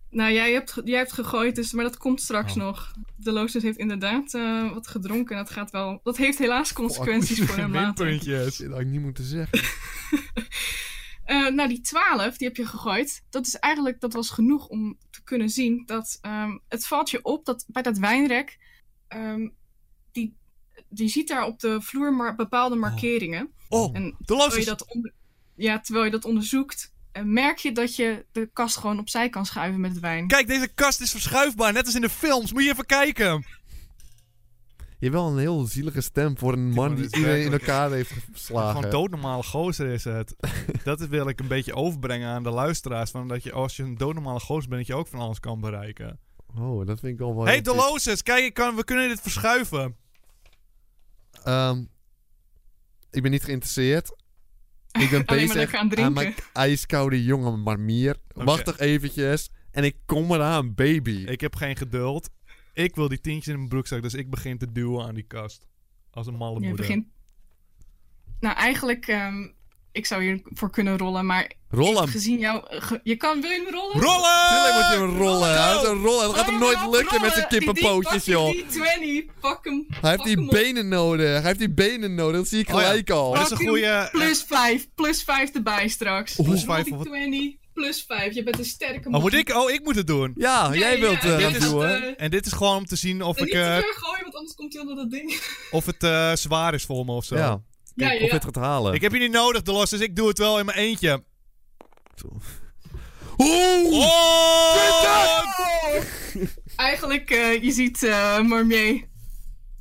[SPEAKER 3] Nou, jij hebt, ge- jij hebt gegooid, dus, maar dat komt straks
[SPEAKER 2] Oh.
[SPEAKER 3] nog. De Loosdus heeft inderdaad eh, wat gedronken. en Dat, gaat wel, dat heeft helaas consequenties voor hem later.
[SPEAKER 2] Minpuntjes.
[SPEAKER 1] Shit, dat had ik niet moeten zeggen.
[SPEAKER 3] Eh, nou, die 12, die heb je gegooid. Dat is eigenlijk, dat was genoeg om te kunnen zien dat ehm, het valt je op dat bij dat wijnrek, ehm, die, die ziet daar op de vloer maar bepaalde markeringen.
[SPEAKER 2] Oh,
[SPEAKER 3] En
[SPEAKER 2] de
[SPEAKER 3] Terwijl
[SPEAKER 2] last
[SPEAKER 3] je, dat onder- ja, terwijl je dat onderzoekt, eh, merk je dat je de kast gewoon opzij kan schuiven met wijn.
[SPEAKER 2] Kijk, deze kast is verschuifbaar, net als in de films. Moet je even kijken.
[SPEAKER 1] Je hebt wel een heel zielige stem voor een
[SPEAKER 2] man
[SPEAKER 1] man die
[SPEAKER 2] is
[SPEAKER 1] iedereen in
[SPEAKER 2] werkelijk-
[SPEAKER 1] elkaar heeft
[SPEAKER 2] Gewoon
[SPEAKER 1] geslagen.
[SPEAKER 2] doodnormale gozer is het. dat wil ik een beetje overbrengen aan de luisteraars. Van dat je, als je een doodnormale gozer bent, dat je ook van alles kan bereiken.
[SPEAKER 1] Oh, dat vind ik wel wel...
[SPEAKER 2] hey, Dolores, kijk, ik kan, we kunnen dit verschuiven.
[SPEAKER 1] Ehm, ik ben niet geïnteresseerd. Ik ben
[SPEAKER 3] Alleen maar
[SPEAKER 1] bezig
[SPEAKER 3] lekker aan
[SPEAKER 1] aan
[SPEAKER 3] drinken.
[SPEAKER 1] mijn ijskoude jonge marmier. Wacht toch eventjes. En ik kom eraan, baby.
[SPEAKER 2] Oh, Ik heb geen geduld. Ik wil die tientjes in mijn broekzak, dus ik begin te duwen aan die kast. Als een malle
[SPEAKER 3] Je
[SPEAKER 2] moeder.
[SPEAKER 3] begint... Nou, eigenlijk, ehm, ik zou hiervoor kunnen rollen, maar
[SPEAKER 1] Rol hem.
[SPEAKER 3] gezien jou... ge- je kan, wil je hem rollen?
[SPEAKER 2] Rollen!
[SPEAKER 1] Tuurlijk moet je hem rollen. Hij is een rollen. Dat gaat hem
[SPEAKER 3] Oh,
[SPEAKER 1] nooit
[SPEAKER 3] rollen!
[SPEAKER 1] lukken met zijn
[SPEAKER 3] Die- die
[SPEAKER 1] kippenpootjes,
[SPEAKER 3] pak-
[SPEAKER 1] joh.
[SPEAKER 3] Die 20, pak hem.
[SPEAKER 1] Hij heeft die benen nodig. Hij heeft die benen nodig. Dat zie ik
[SPEAKER 2] Oh ja.
[SPEAKER 1] gelijk al.
[SPEAKER 2] Maar dat is een goede.
[SPEAKER 3] Plus 5, plus 5 erbij straks.
[SPEAKER 2] Plus
[SPEAKER 3] Rol
[SPEAKER 2] vijf,
[SPEAKER 3] die
[SPEAKER 2] of wat?
[SPEAKER 3] 20, plus 5. Je bent een sterke
[SPEAKER 2] Oh, moet ik? Oh, ik moet het doen.
[SPEAKER 1] Ja,
[SPEAKER 3] Ja,
[SPEAKER 1] jij
[SPEAKER 3] ja,
[SPEAKER 1] wilt
[SPEAKER 3] ja,
[SPEAKER 1] eh
[SPEAKER 2] dit
[SPEAKER 1] dat
[SPEAKER 2] is,
[SPEAKER 1] doen, hè?
[SPEAKER 3] eh,
[SPEAKER 2] En dit is gewoon om te zien of,
[SPEAKER 3] En
[SPEAKER 2] ik,
[SPEAKER 3] niet te
[SPEAKER 2] eh,
[SPEAKER 3] ver gooien, want anders komt hij onder dat ding.
[SPEAKER 2] of het eh, zwaar is voor me of zo.
[SPEAKER 1] Ja.
[SPEAKER 3] Ja,
[SPEAKER 1] Kijk
[SPEAKER 3] ja,
[SPEAKER 1] of je
[SPEAKER 3] ja.
[SPEAKER 1] het gaat halen.
[SPEAKER 2] Ik heb je niet nodig, Delos, dus ik doe het wel in mijn eentje.
[SPEAKER 1] Oeh!
[SPEAKER 2] Oh!
[SPEAKER 3] Eigenlijk, eh, je ziet eh Marmier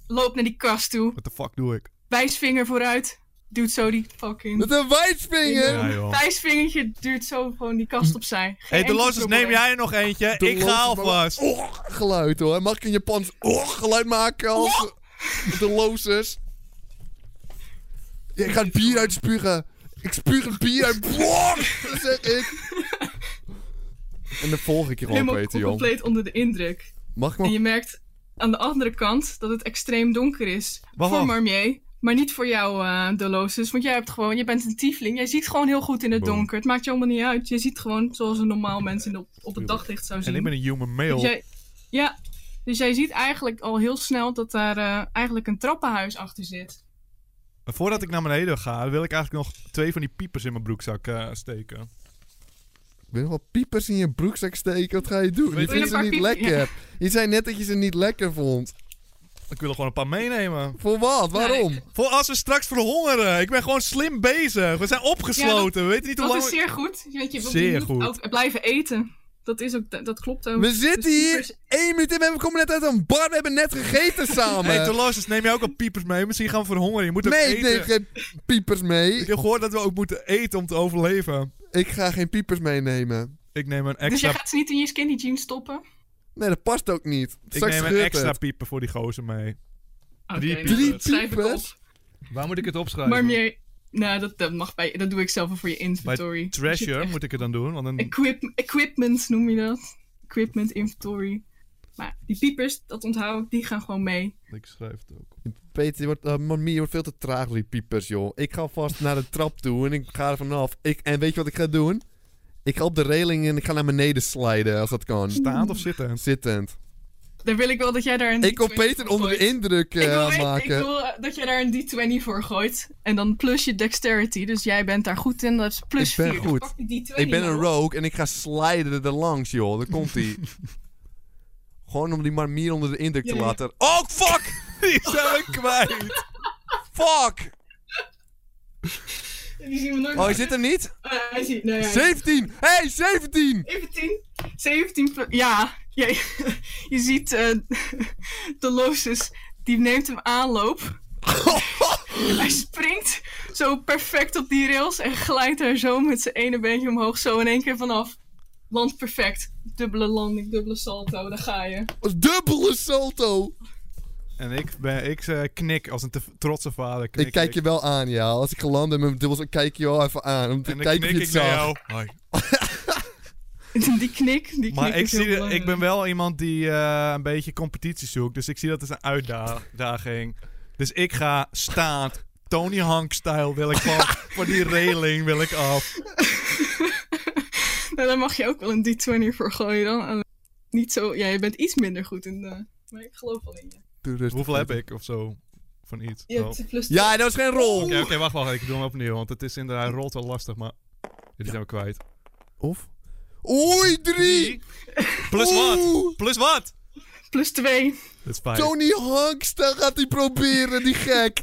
[SPEAKER 3] loopt naar die kast toe.
[SPEAKER 2] What the fuck doe ik?
[SPEAKER 3] Wijsvinger vooruit. Doet zo die fucking...
[SPEAKER 1] Met een wijsvinger!
[SPEAKER 2] Ja, joh.
[SPEAKER 3] Vijsvingertje duurt zo gewoon die kast opzij.
[SPEAKER 2] Hé, hey, Delos, neem jij er nog eentje?
[SPEAKER 1] De
[SPEAKER 2] ik
[SPEAKER 1] losse-
[SPEAKER 2] ga alvast.
[SPEAKER 1] Oh, geluid hoor. Mag ik een Japans oh, geluid maken als
[SPEAKER 3] Oh!
[SPEAKER 1] de losers? Ja, ik ga het bier uitspugen. Ik spuug het bier uit. Boah, dat zeg ik. En dan volg ik je gewoon,
[SPEAKER 3] Helemaal
[SPEAKER 1] Peter, joh.
[SPEAKER 3] compleet onder de indruk.
[SPEAKER 1] Mag ik
[SPEAKER 3] En
[SPEAKER 1] maar...
[SPEAKER 3] je merkt aan de andere kant dat het extreem donker is.
[SPEAKER 2] Wacht,
[SPEAKER 3] voor
[SPEAKER 2] wacht.
[SPEAKER 3] Marmier, maar niet voor jou, eh Dolores. Want jij hebt gewoon, je bent een tiefling. Jij ziet gewoon heel goed in het
[SPEAKER 1] Boom.
[SPEAKER 3] donker. Het maakt je allemaal niet uit. Je ziet gewoon zoals een normaal mens in de, op het daglicht zou zien.
[SPEAKER 2] En ik ben een human
[SPEAKER 3] Dus
[SPEAKER 2] male.
[SPEAKER 3] jij, ja, dus jij ziet eigenlijk al heel snel dat daar eh, eigenlijk een trappenhuis achter zit.
[SPEAKER 2] Voordat ik naar beneden ga, wil ik eigenlijk nog twee van die piepers in mijn broekzak eh, steken.
[SPEAKER 1] Wil je wel piepers in je broekzak steken? Wat ga je doen?
[SPEAKER 2] Wil je
[SPEAKER 1] Je vindt
[SPEAKER 3] een
[SPEAKER 1] ze
[SPEAKER 3] paar
[SPEAKER 1] niet
[SPEAKER 3] piep-
[SPEAKER 1] lekker. Je zei net dat je ze niet lekker vond.
[SPEAKER 2] Ik wil er gewoon een paar meenemen.
[SPEAKER 1] Voor wat? Waarom?
[SPEAKER 2] Voor als we straks verhongeren. Ik ben gewoon slim bezig. We zijn opgesloten.
[SPEAKER 3] Ja,
[SPEAKER 2] we weten niet hoe
[SPEAKER 3] Dat
[SPEAKER 2] lang...
[SPEAKER 3] is
[SPEAKER 2] we-
[SPEAKER 3] zeer goed. Want je wilt
[SPEAKER 2] Zeer
[SPEAKER 3] niet
[SPEAKER 2] goed.
[SPEAKER 3] ook blijven eten. Dat, is ook, dat klopt ook.
[SPEAKER 1] We zitten
[SPEAKER 3] Dus
[SPEAKER 1] hier
[SPEAKER 3] piepers-
[SPEAKER 1] één minuut in en we komen net uit een bar. We hebben net gegeten samen.
[SPEAKER 2] Hé, hey, Delos, neem jij ook al piepers mee? Misschien gaan we verhongeren. Je moet ook
[SPEAKER 1] nee, ik
[SPEAKER 2] eten.
[SPEAKER 1] neem geen piepers
[SPEAKER 2] Ik
[SPEAKER 1] mee.
[SPEAKER 2] heb gehoord dat we ook moeten eten om te overleven.
[SPEAKER 1] Ik ga geen piepers meenemen.
[SPEAKER 2] Ik neem een
[SPEAKER 3] Dus jij
[SPEAKER 2] extra,
[SPEAKER 3] gaat ze niet in je skinny jeans stoppen?
[SPEAKER 1] Nee, dat past ook niet.
[SPEAKER 2] ik neem een
[SPEAKER 1] scheurt
[SPEAKER 2] extra
[SPEAKER 1] het.
[SPEAKER 2] pieper voor die gozer mee.
[SPEAKER 3] Oké,
[SPEAKER 2] Drie
[SPEAKER 3] nou,
[SPEAKER 1] piepers.
[SPEAKER 3] dat schrijf ik
[SPEAKER 1] Drie
[SPEAKER 3] op.
[SPEAKER 2] Waar moet ik het opschrijven?
[SPEAKER 3] Maar meer... Nou, dat, dat mag bij... Dat doe ik zelf wel voor je inventory. Dus
[SPEAKER 2] Treasure moet ik het dan doen, want dan...
[SPEAKER 3] Equip, equipment noem je dat. Equipment inventory. Maar die piepers, dat onthoud ik, die gaan gewoon mee.
[SPEAKER 2] Ik schrijf het ook.
[SPEAKER 1] Peter, je wordt, eh, mamie, je wordt veel te traag door die piepers, joh. Ik ga vast naar de trap toe en ik ga er vanaf. Ik, en weet je wat ik ga doen? Ik ga op de reling en ik ga naar beneden sliden, als dat kan.
[SPEAKER 2] Staand of zittend?
[SPEAKER 1] Zittend.
[SPEAKER 3] Dan wil ik wel dat jij daar een
[SPEAKER 1] Ik wil
[SPEAKER 3] D20
[SPEAKER 1] Peter
[SPEAKER 3] voor
[SPEAKER 1] onder de
[SPEAKER 3] gooit.
[SPEAKER 1] indruk eh,
[SPEAKER 3] Ik wil, weten- ik
[SPEAKER 1] maken.
[SPEAKER 3] wil eh, dat jij daar een D20 voor gooit. En dan plus je dexterity. Dus jij bent daar goed in. Dat is plus
[SPEAKER 1] Ik ben
[SPEAKER 3] 4.
[SPEAKER 1] goed.
[SPEAKER 3] die D20
[SPEAKER 1] Ik ben een
[SPEAKER 3] maar.
[SPEAKER 1] rogue en ik ga sliden er langs, joh. Daar komt hij. Gewoon om die marmier onder de indruk te
[SPEAKER 3] Ja, ja.
[SPEAKER 1] laten. Oh, fuck!
[SPEAKER 2] Die zijn we kwijt!
[SPEAKER 1] Fuck!
[SPEAKER 3] Die zien we nooit
[SPEAKER 1] Oh, hij
[SPEAKER 3] meer.
[SPEAKER 1] zit er niet?
[SPEAKER 3] Eh, hij ziet- nee, hij-
[SPEAKER 1] 17! Hey, 17!
[SPEAKER 3] 17, 17, pla- ja. ja je ziet eh de Losis, die neemt hem aanloop. Hij springt zo perfect op die rails en glijdt daar zo met zijn ene beentje omhoog, zo in één keer vanaf. Land perfect. Dubbele landing, dubbele salto, daar ga je.
[SPEAKER 1] Dubbele salto!
[SPEAKER 2] En ik, ben, ik eh, knik als een te- trotse vader. Knik
[SPEAKER 1] Ik kijk je wel aan, ja. Als ik geland ben met mijn dubbels, dan kijk ik je wel even aan. Om te
[SPEAKER 2] En dan
[SPEAKER 1] kijken of
[SPEAKER 2] knik
[SPEAKER 1] je het
[SPEAKER 2] ik naar
[SPEAKER 1] zag.
[SPEAKER 2] jou. Hoi.
[SPEAKER 3] die knik, die knik
[SPEAKER 2] Maar ik,
[SPEAKER 3] is heel
[SPEAKER 2] zie, de- ik
[SPEAKER 3] belangrijk.
[SPEAKER 2] ben wel iemand die eh, een beetje competitie zoekt. Dus ik zie dat als een uitdaging. Dus ik ga staand. Tony Hank-style wil ik van, van die railing wil ik af.
[SPEAKER 3] Nou, daar mag je ook wel een D20 voor gooien dan. Alleen Niet zo... Ja, je bent iets minder goed in de... Maar ik geloof wel in je.
[SPEAKER 1] Doe rustig.
[SPEAKER 2] Hoeveel heb ik of zo? Van iets.
[SPEAKER 3] Je
[SPEAKER 2] Oh. Oké,
[SPEAKER 3] hebt plus
[SPEAKER 1] Ja, dat was geen rol.
[SPEAKER 2] oké, wacht, wacht. Ik doe hem opnieuw. Want het is inderdaad, hij rolt wel lastig, maar... Dit zijn we kwijt.
[SPEAKER 1] Of? Oei, drie!
[SPEAKER 2] Plus wat?
[SPEAKER 1] Oeh,
[SPEAKER 2] Plus wat?
[SPEAKER 3] plus 2.
[SPEAKER 2] Dat is vijf.
[SPEAKER 1] Tony Hanks, daar gaat hij proberen, die gek.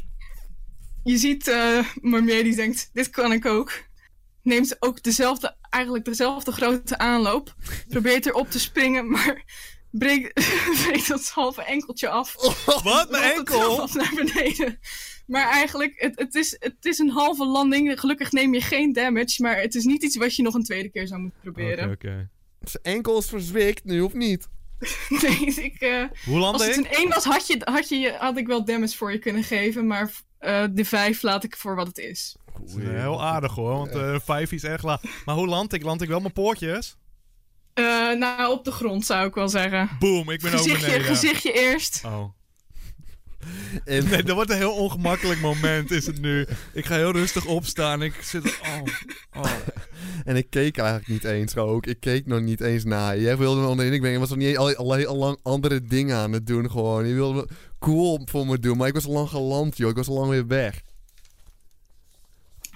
[SPEAKER 3] Je ziet eh Marmier die denkt, dit kan ik ook. Neemt ook dezelfde, eigenlijk dezelfde grote aanloop. Probeert erop te springen, maar breekt, breekt dat halve enkeltje af.
[SPEAKER 2] Wat?
[SPEAKER 3] Rolt
[SPEAKER 2] Mijn
[SPEAKER 3] het zelf
[SPEAKER 2] enkel?
[SPEAKER 3] af naar beneden. Maar eigenlijk, het, het, is, het is een halve landing. Gelukkig neem je geen damage, maar het is niet iets wat je nog een tweede keer zou moeten
[SPEAKER 2] Oké,
[SPEAKER 3] proberen.
[SPEAKER 2] oké.
[SPEAKER 1] Zijn enkel is verzwikt nu, of niet?
[SPEAKER 3] Nee, ik, eh,
[SPEAKER 2] Hoe
[SPEAKER 3] als
[SPEAKER 2] landde
[SPEAKER 3] het
[SPEAKER 2] ik?
[SPEAKER 3] een 1 was, had, je, had, je, had ik wel damage voor je kunnen geven, maar eh, de 5 laat ik voor wat het is.
[SPEAKER 2] Dat is, eh, Heel aardig hoor, want eh, een vijf is erg laag. Maar hoe land ik? Land ik wel mijn poortjes?
[SPEAKER 3] Eh, nou, op de grond zou ik wel zeggen.
[SPEAKER 2] Boom, ik ben ook
[SPEAKER 3] Gezichtje,
[SPEAKER 2] beneden.
[SPEAKER 3] gezichtje eerst.
[SPEAKER 2] Oh.
[SPEAKER 1] En-
[SPEAKER 2] Nee, dat wordt een heel ongemakkelijk moment is het nu. Ik ga heel rustig opstaan. Ik zit... Oh. oh.
[SPEAKER 1] En ik keek eigenlijk niet eens ook. Ik keek nog niet eens naar. Jij wilde me onderin. Ik ben, je was nog niet al, al, al lang andere dingen aan het doen gewoon. Je wilde me cool voor me doen. Maar ik was al lang geland, joh. Ik was al lang weer weg.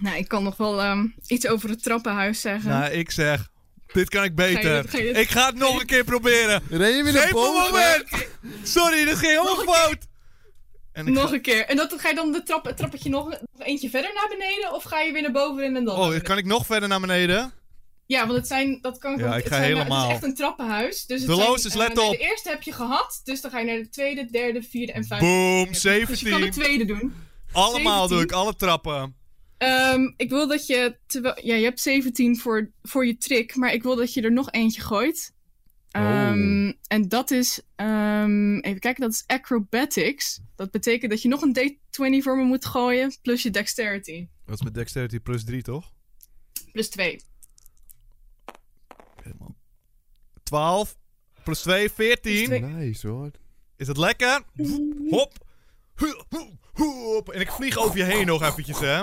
[SPEAKER 3] Nou, ik kan nog wel ehm, iets over het trappenhuis zeggen.
[SPEAKER 2] Nou, ik zeg... Dit kan ik beter.
[SPEAKER 3] Ga je dit- ga je dit-
[SPEAKER 2] Ik ga het nog een keer proberen.
[SPEAKER 1] Ren je weer naar
[SPEAKER 2] Geef me een
[SPEAKER 1] boven?
[SPEAKER 2] moment! Sorry, dit ging helemaal fout. En ik
[SPEAKER 3] nog
[SPEAKER 2] ga-
[SPEAKER 3] een keer. En dat, ga je dan de trap, het trappetje nog, nog eentje verder naar beneden? Of ga je weer naar boven en dan naar
[SPEAKER 2] Oh,
[SPEAKER 3] beneden?
[SPEAKER 2] kan ik nog verder naar beneden?
[SPEAKER 3] Ja, want het zijn... Dat kan ik
[SPEAKER 2] Ja,
[SPEAKER 3] ook-
[SPEAKER 2] ik
[SPEAKER 3] het
[SPEAKER 2] ga
[SPEAKER 3] zijn, nou,
[SPEAKER 2] helemaal.
[SPEAKER 3] Het is echt een trappenhuis. Dus het
[SPEAKER 2] De
[SPEAKER 3] zijn,
[SPEAKER 2] loosters,
[SPEAKER 3] eh,
[SPEAKER 2] let
[SPEAKER 3] nee,
[SPEAKER 2] op.
[SPEAKER 3] De eerste heb je gehad. Dus dan ga je naar de tweede, derde, vierde en vijfde.
[SPEAKER 2] Boom,
[SPEAKER 3] Dus je kan de
[SPEAKER 2] 17.
[SPEAKER 3] tweede doen.
[SPEAKER 2] Allemaal doe
[SPEAKER 3] 17.
[SPEAKER 2] ik, alle trappen.
[SPEAKER 3] Ehm, ik wil dat je... terwijl- ja, je hebt 17 voor, voor je trick, maar ik wil dat je er nog eentje gooit. Ehm, En dat is... ehm, even kijken, dat is acrobatics. Dat betekent dat je nog een d20 voor me moet gooien, plus je dexterity.
[SPEAKER 2] Dat is met dexterity plus 3, toch?
[SPEAKER 3] Plus 2.
[SPEAKER 2] 12 plus 2, 14.
[SPEAKER 3] twee.
[SPEAKER 1] Nice hoor.
[SPEAKER 2] Is het lekker? Hop. Hu- hu- Hop. En ik vlieg over je heen nog eventjes, hè.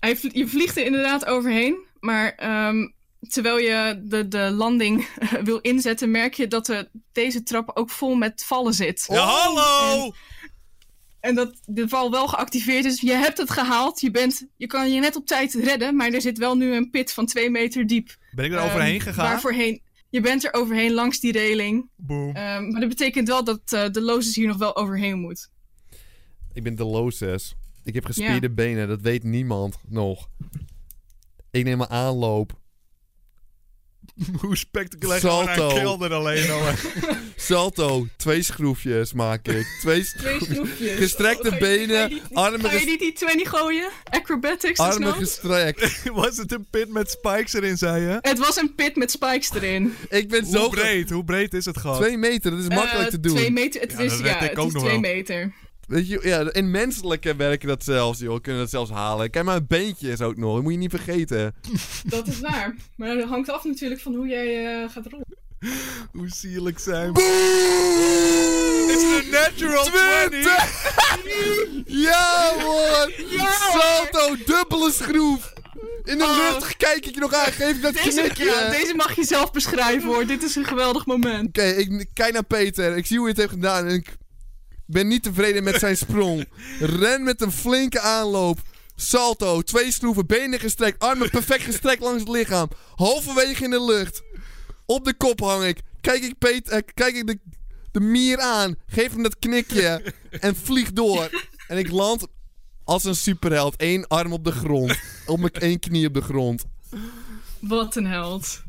[SPEAKER 3] Hij vl- je vliegt er inderdaad overheen, maar ehm, terwijl je de, de landing wil inzetten, merk je dat eh, deze trap ook vol met vallen zit.
[SPEAKER 2] Ja, hallo!
[SPEAKER 3] En dat de val wel geactiveerd is. Je hebt het gehaald. Je, bent, je kan je net op tijd redden. Maar er zit wel nu een pit van twee meter diep.
[SPEAKER 2] Ben ik er overheen
[SPEAKER 3] Ehm,
[SPEAKER 2] gegaan?
[SPEAKER 3] waar voorheen- je bent er overheen langs die reling.
[SPEAKER 2] Boom.
[SPEAKER 3] Ehm, maar dat betekent wel dat eh, de lozes hier nog wel overheen moet.
[SPEAKER 1] Ik ben de loses. Ik heb gespierde benen. Dat weet niemand nog. Ik neem een aanloop.
[SPEAKER 2] Hoe spectaculair nou?
[SPEAKER 1] Salto.
[SPEAKER 2] gewoon een kelder alleen al.
[SPEAKER 1] Salto. Twee schroefjes maak ik. Twee schro-
[SPEAKER 3] Twee snoepjes.
[SPEAKER 1] Gestrekte benen, armen
[SPEAKER 3] Ga je
[SPEAKER 1] ges-
[SPEAKER 3] niet die 20 gooien? Acrobatics? is
[SPEAKER 1] Armen
[SPEAKER 3] nou-
[SPEAKER 1] gestrekt.
[SPEAKER 2] Was het een pit met spikes erin, zei je?
[SPEAKER 3] Het was een pit met spikes erin.
[SPEAKER 1] Ik ben
[SPEAKER 2] Hoe
[SPEAKER 1] zo
[SPEAKER 2] breed? Hoe breed is het gat?
[SPEAKER 1] Twee meter, dat is makkelijk
[SPEAKER 3] Eh,
[SPEAKER 1] te doen.
[SPEAKER 3] Twee meter. Het
[SPEAKER 2] Ja,
[SPEAKER 3] is,
[SPEAKER 2] dat
[SPEAKER 3] ja,
[SPEAKER 2] weet ik
[SPEAKER 3] het
[SPEAKER 2] ook
[SPEAKER 3] is
[SPEAKER 2] nog
[SPEAKER 3] twee
[SPEAKER 2] wel.
[SPEAKER 3] meter.
[SPEAKER 1] Weet je, ja, in menselijke werken dat zelfs, joh. Kunnen dat zelfs halen. Kijk maar, een beentje is ook nog. Dat moet je niet vergeten.
[SPEAKER 3] Dat is waar. Maar dat hangt af natuurlijk van hoe jij eh, gaat rollen.
[SPEAKER 2] Hoe sierlijk zijn we?
[SPEAKER 1] Boom!
[SPEAKER 2] Is het een natural 20?
[SPEAKER 1] Ja, man!
[SPEAKER 3] hoor.
[SPEAKER 1] Salto, dubbele schroef! In de lucht kijk ik je nog aan, geef ik dat
[SPEAKER 3] Oh. Deze,
[SPEAKER 1] knikje.
[SPEAKER 3] ja,
[SPEAKER 1] Oké,
[SPEAKER 3] deze mag je zelf beschrijven hoor. Dit is een geweldig moment.
[SPEAKER 1] ik kijk naar Peter. Ik zie hoe hij het heeft gedaan en ik ben niet tevreden met zijn sprong. Ren met een flinke aanloop. Salto, twee schroeven, benen gestrekt, armen perfect gestrekt langs het lichaam. Halverwege in de lucht. Op de kop hang ik. Kijk ik, Peter, eh, kijk ik de, de mier aan. Geef hem dat knikje. En vlieg door. En ik land als een superheld. Eén arm op de grond. Op mijn één knie op de grond.
[SPEAKER 3] Wat een held.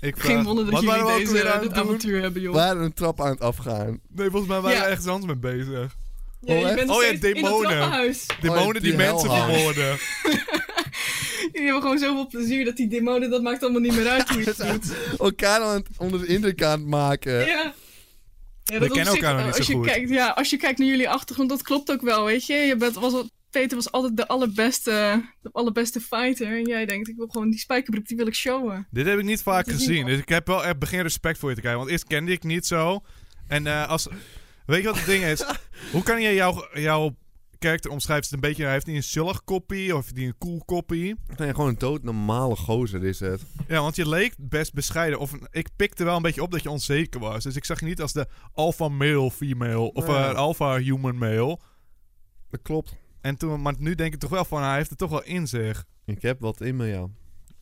[SPEAKER 2] Ik
[SPEAKER 3] Geen wonder dat
[SPEAKER 2] wat
[SPEAKER 3] jullie
[SPEAKER 2] waren we ook
[SPEAKER 3] deze,
[SPEAKER 2] weer aan
[SPEAKER 3] dit
[SPEAKER 2] het doen?
[SPEAKER 3] avontuur hebben, joh.
[SPEAKER 1] We waren een trap aan het afgaan.
[SPEAKER 2] Nee, volgens mij waren we
[SPEAKER 3] Ja.
[SPEAKER 2] ergens anders mee bezig.
[SPEAKER 3] Ja, je
[SPEAKER 1] Oh, echt?
[SPEAKER 3] bent nog
[SPEAKER 2] Oh ja,
[SPEAKER 3] steeds in dat
[SPEAKER 2] demonen.
[SPEAKER 3] trappenhuis.
[SPEAKER 2] Demonen
[SPEAKER 1] die
[SPEAKER 2] die, mensen
[SPEAKER 1] hellhounds.
[SPEAKER 2] vermoorden.
[SPEAKER 3] Jullie hebben gewoon zoveel plezier dat die demonen, dat maakt allemaal niet meer uit hoe je het doet.
[SPEAKER 1] Elkaar aan het onder de indruk aan het maken.
[SPEAKER 3] Ja. Ja,
[SPEAKER 2] We
[SPEAKER 3] op
[SPEAKER 2] kennen
[SPEAKER 3] zich,
[SPEAKER 2] elkaar nog
[SPEAKER 3] eh,
[SPEAKER 2] niet
[SPEAKER 3] als
[SPEAKER 2] zo
[SPEAKER 3] je
[SPEAKER 2] goed.
[SPEAKER 3] Kijkt, ja, als je kijkt naar jullie achtergrond, dat klopt ook wel, weet je. je bent, was, al- Peter was altijd de allerbeste, de allerbeste fighter. En jij denkt, ik wil gewoon die spijkerbroek, die wil ik showen.
[SPEAKER 2] Dit heb ik niet vaak
[SPEAKER 3] Dat is
[SPEAKER 2] gezien.
[SPEAKER 3] niet-
[SPEAKER 2] Dus ik heb wel echt begin respect voor je te krijgen. Want eerst kende ik niet zo. En eh, als. Weet je wat het ding is? Hoe kan je jouw, jouw character omschrijven? Is het een beetje. Hij heeft niet een zullig kopie of heeft hij een cool kopie?
[SPEAKER 1] Nee, gewoon een doodnormale gozer is het.
[SPEAKER 2] Ja, want je leek best bescheiden. Of een- ik pikte wel een beetje op dat je onzeker was. Dus ik zag je niet als de alpha male female. Of
[SPEAKER 1] Nee.
[SPEAKER 2] eh alpha human male.
[SPEAKER 1] Dat klopt.
[SPEAKER 2] En toen, maar nu denk ik toch wel van, hij heeft het toch wel in zich.
[SPEAKER 1] Ik heb wat in me, ja.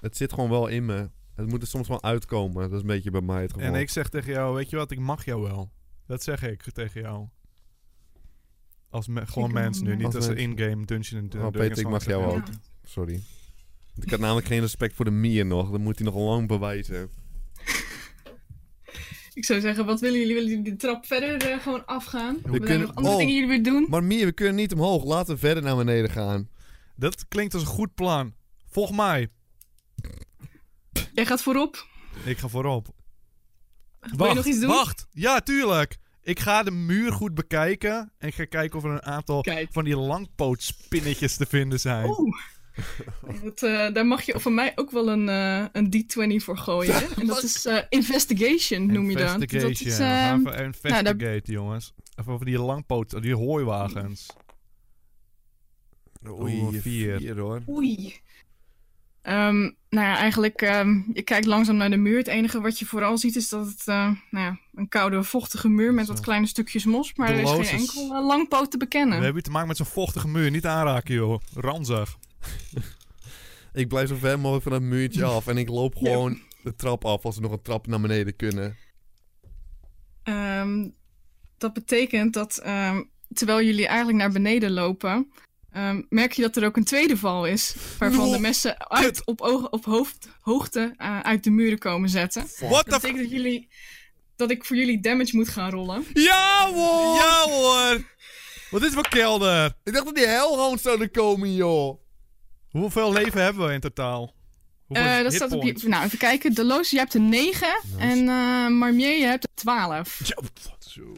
[SPEAKER 1] Het zit gewoon wel in me. Het moet er soms wel uitkomen. Dat is een beetje bij mij het geval.
[SPEAKER 2] En ik zeg tegen jou, weet je wat, ik mag jou wel. Dat zeg ik tegen jou. Als me- gewoon
[SPEAKER 3] Ik
[SPEAKER 2] mens nu,
[SPEAKER 3] mag-
[SPEAKER 2] niet
[SPEAKER 1] Als
[SPEAKER 2] als,
[SPEAKER 1] mens.
[SPEAKER 2] in-game dungeon en
[SPEAKER 1] Oh, Peter, ik mag jou
[SPEAKER 3] Ja.
[SPEAKER 1] wel. Sorry. Want Ik had namelijk geen respect voor de mier nog. Dat moet hij nog lang bewijzen.
[SPEAKER 3] Ik zou zeggen, wat willen jullie? Willen jullie de trap verder eh, gewoon afgaan? willen jullie
[SPEAKER 1] kunnen-
[SPEAKER 3] nog andere
[SPEAKER 1] oh.
[SPEAKER 3] dingen jullie weer doen?
[SPEAKER 1] Maar mier, we kunnen niet omhoog. Laten we verder naar beneden gaan.
[SPEAKER 2] Dat klinkt als een goed plan. Volg mij.
[SPEAKER 3] Jij gaat voorop.
[SPEAKER 2] Ik ga voorop.
[SPEAKER 3] Wil je nog iets doen?
[SPEAKER 2] wacht. Ja, tuurlijk. Ik ga de muur goed bekijken. En ik ga kijken of er een aantal
[SPEAKER 3] Kijk.
[SPEAKER 2] van die langpootspinnetjes te vinden zijn.
[SPEAKER 3] Oeh. Nee, Dat, eh, daar mag je van mij ook wel een, eh, een D20 voor gooien. En dat is eh, investigation, noem je dat. Dat is,
[SPEAKER 2] Investigation.
[SPEAKER 3] eh,
[SPEAKER 2] We gaan even investigate,
[SPEAKER 3] nou,
[SPEAKER 2] jongens. Even over die langpoot, die hooiwagens. Oeh, vier.
[SPEAKER 1] hoor.
[SPEAKER 3] Oei. Ehm, nou ja, eigenlijk, ehm, je kijkt langzaam naar de muur. Het enige wat je vooral ziet is dat het eh, nou ja, een koude, vochtige muur met
[SPEAKER 2] Zo.
[SPEAKER 3] wat kleine stukjes mos. Maar er is
[SPEAKER 2] Belozes.
[SPEAKER 3] geen enkel eh, langpoot te
[SPEAKER 2] We
[SPEAKER 3] bekennen.
[SPEAKER 2] hebben hier te maken met zo'n vochtige muur. Niet aanraken, joh. Ranzig.
[SPEAKER 1] Ik blijf zo ver mogelijk van dat muurtje af. En ik loop
[SPEAKER 3] Ja.
[SPEAKER 1] gewoon de trap af als we nog een trap naar beneden kunnen.
[SPEAKER 3] Ehm, dat betekent dat ehm, terwijl jullie eigenlijk naar beneden lopen, ehm, merk je dat er ook een tweede val is. Waarvan
[SPEAKER 2] Oh,
[SPEAKER 3] de messen uit, op, oog- op hoofd, hoogte eh, uit de muren komen zetten.
[SPEAKER 2] What the f-
[SPEAKER 3] Dat betekent dat, jullie, dat ik voor jullie damage moet gaan rollen.
[SPEAKER 2] Ja hoor! Ja hoor! Wat is dit voor kelder?
[SPEAKER 1] Ik dacht dat die hellhounds zouden komen, joh.
[SPEAKER 2] Hoeveel leven hebben we in totaal? Hoeveel
[SPEAKER 3] Eh dat staat op
[SPEAKER 2] hitpoints?
[SPEAKER 3] je, nou, even kijken. De Loos, je hebt een 9. En eh, Marmier, je hebt een 12.
[SPEAKER 2] Ja, wat zo.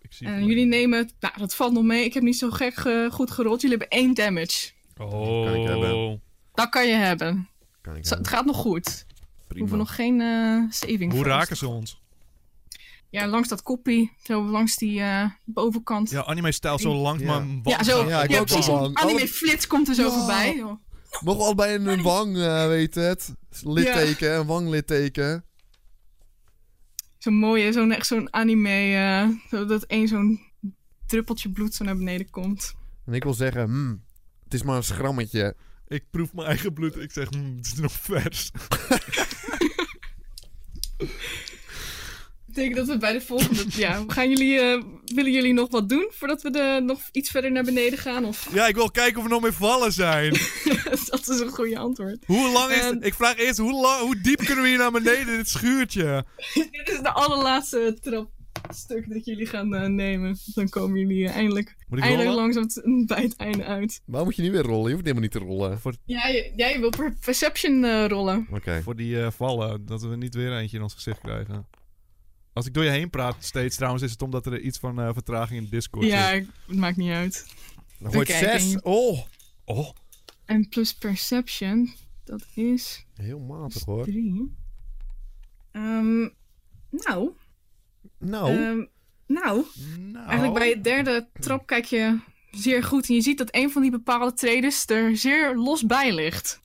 [SPEAKER 2] Ik zie
[SPEAKER 3] En
[SPEAKER 2] het.
[SPEAKER 3] Eh, jullie nemen... Nou, dat valt nog mee. Ik heb niet zo gek eh, goed gerold. Jullie hebben één damage.
[SPEAKER 1] Kan ik eh,
[SPEAKER 2] Oh.
[SPEAKER 1] hebben.
[SPEAKER 3] Dat kan je hebben.
[SPEAKER 1] Kan ik
[SPEAKER 3] Zo, het gaat nog goed. We
[SPEAKER 1] prima.
[SPEAKER 3] hoeven nog geen eh, saving
[SPEAKER 2] Hoe
[SPEAKER 3] throws.
[SPEAKER 2] raken ze ons?
[SPEAKER 3] Ja, langs dat koppie. Zo langs die eh, bovenkant.
[SPEAKER 2] Ja, anime-stijl zo lang,
[SPEAKER 1] Ja.
[SPEAKER 2] maar...
[SPEAKER 3] Ja, zo.
[SPEAKER 1] Ja,
[SPEAKER 3] Ja,
[SPEAKER 1] ik ook
[SPEAKER 3] precies.
[SPEAKER 1] wel.
[SPEAKER 3] Een anime
[SPEAKER 1] Alle-
[SPEAKER 3] flits komt er zo
[SPEAKER 1] Ja.
[SPEAKER 3] voorbij. Ja.
[SPEAKER 1] Nog wel bij een, een wang, eh, weet het. Litteken, een wanglitteken.
[SPEAKER 3] Zo'n mooie, zo'n echt zo'n anime. eh, zo dat één zo'n druppeltje bloed zo naar beneden komt.
[SPEAKER 1] En ik wil zeggen, hmm, het is maar een schrammetje.
[SPEAKER 2] Ik proef mijn eigen bloed. Ik zeg, "Mm, het is nog vers.
[SPEAKER 3] Ik denk dat we bij de volgende. ja, gaan jullie, eh, willen jullie nog wat doen voordat we de, nog iets verder naar beneden gaan? Of
[SPEAKER 2] Ja, ik wil kijken of er nog meer vallen zijn.
[SPEAKER 3] dat is een goede antwoord.
[SPEAKER 2] Hoe lang is het?
[SPEAKER 3] Ehm.
[SPEAKER 2] Ik vraag eerst, hoe, lang, hoe diep kunnen we hier naar beneden, dit schuurtje?
[SPEAKER 3] Dit is de allerlaatste trapstuk dat jullie gaan eh, nemen. Dan komen jullie eh, eindelijk,
[SPEAKER 2] Moet ik
[SPEAKER 3] eindelijk
[SPEAKER 2] rollen?
[SPEAKER 3] langzaam t- bij het einde uit.
[SPEAKER 1] Waarom moet je niet weer rollen? Je hoeft helemaal niet te rollen.
[SPEAKER 3] Jij, jij wil per- perception eh, rollen.
[SPEAKER 1] Oké.
[SPEAKER 2] Voor die eh, vallen, dat we niet weer eentje in ons gezicht krijgen. Als ik door je heen praat steeds trouwens, is het omdat er iets van eh, vertraging in Discord
[SPEAKER 3] ja,
[SPEAKER 2] is.
[SPEAKER 3] ik- het maakt niet uit.
[SPEAKER 1] Dan wordt
[SPEAKER 3] kijken.
[SPEAKER 1] zes. Oh,
[SPEAKER 2] Oh,
[SPEAKER 3] En plus perception, dat is
[SPEAKER 1] heel matig hoor.
[SPEAKER 3] drie. Ehm, nou,
[SPEAKER 1] Nou,
[SPEAKER 3] ehm, nou,
[SPEAKER 2] nou.
[SPEAKER 3] Eigenlijk bij het derde trap kijk je zeer goed. En je ziet dat een van die bepaalde tredes er zeer los bij ligt.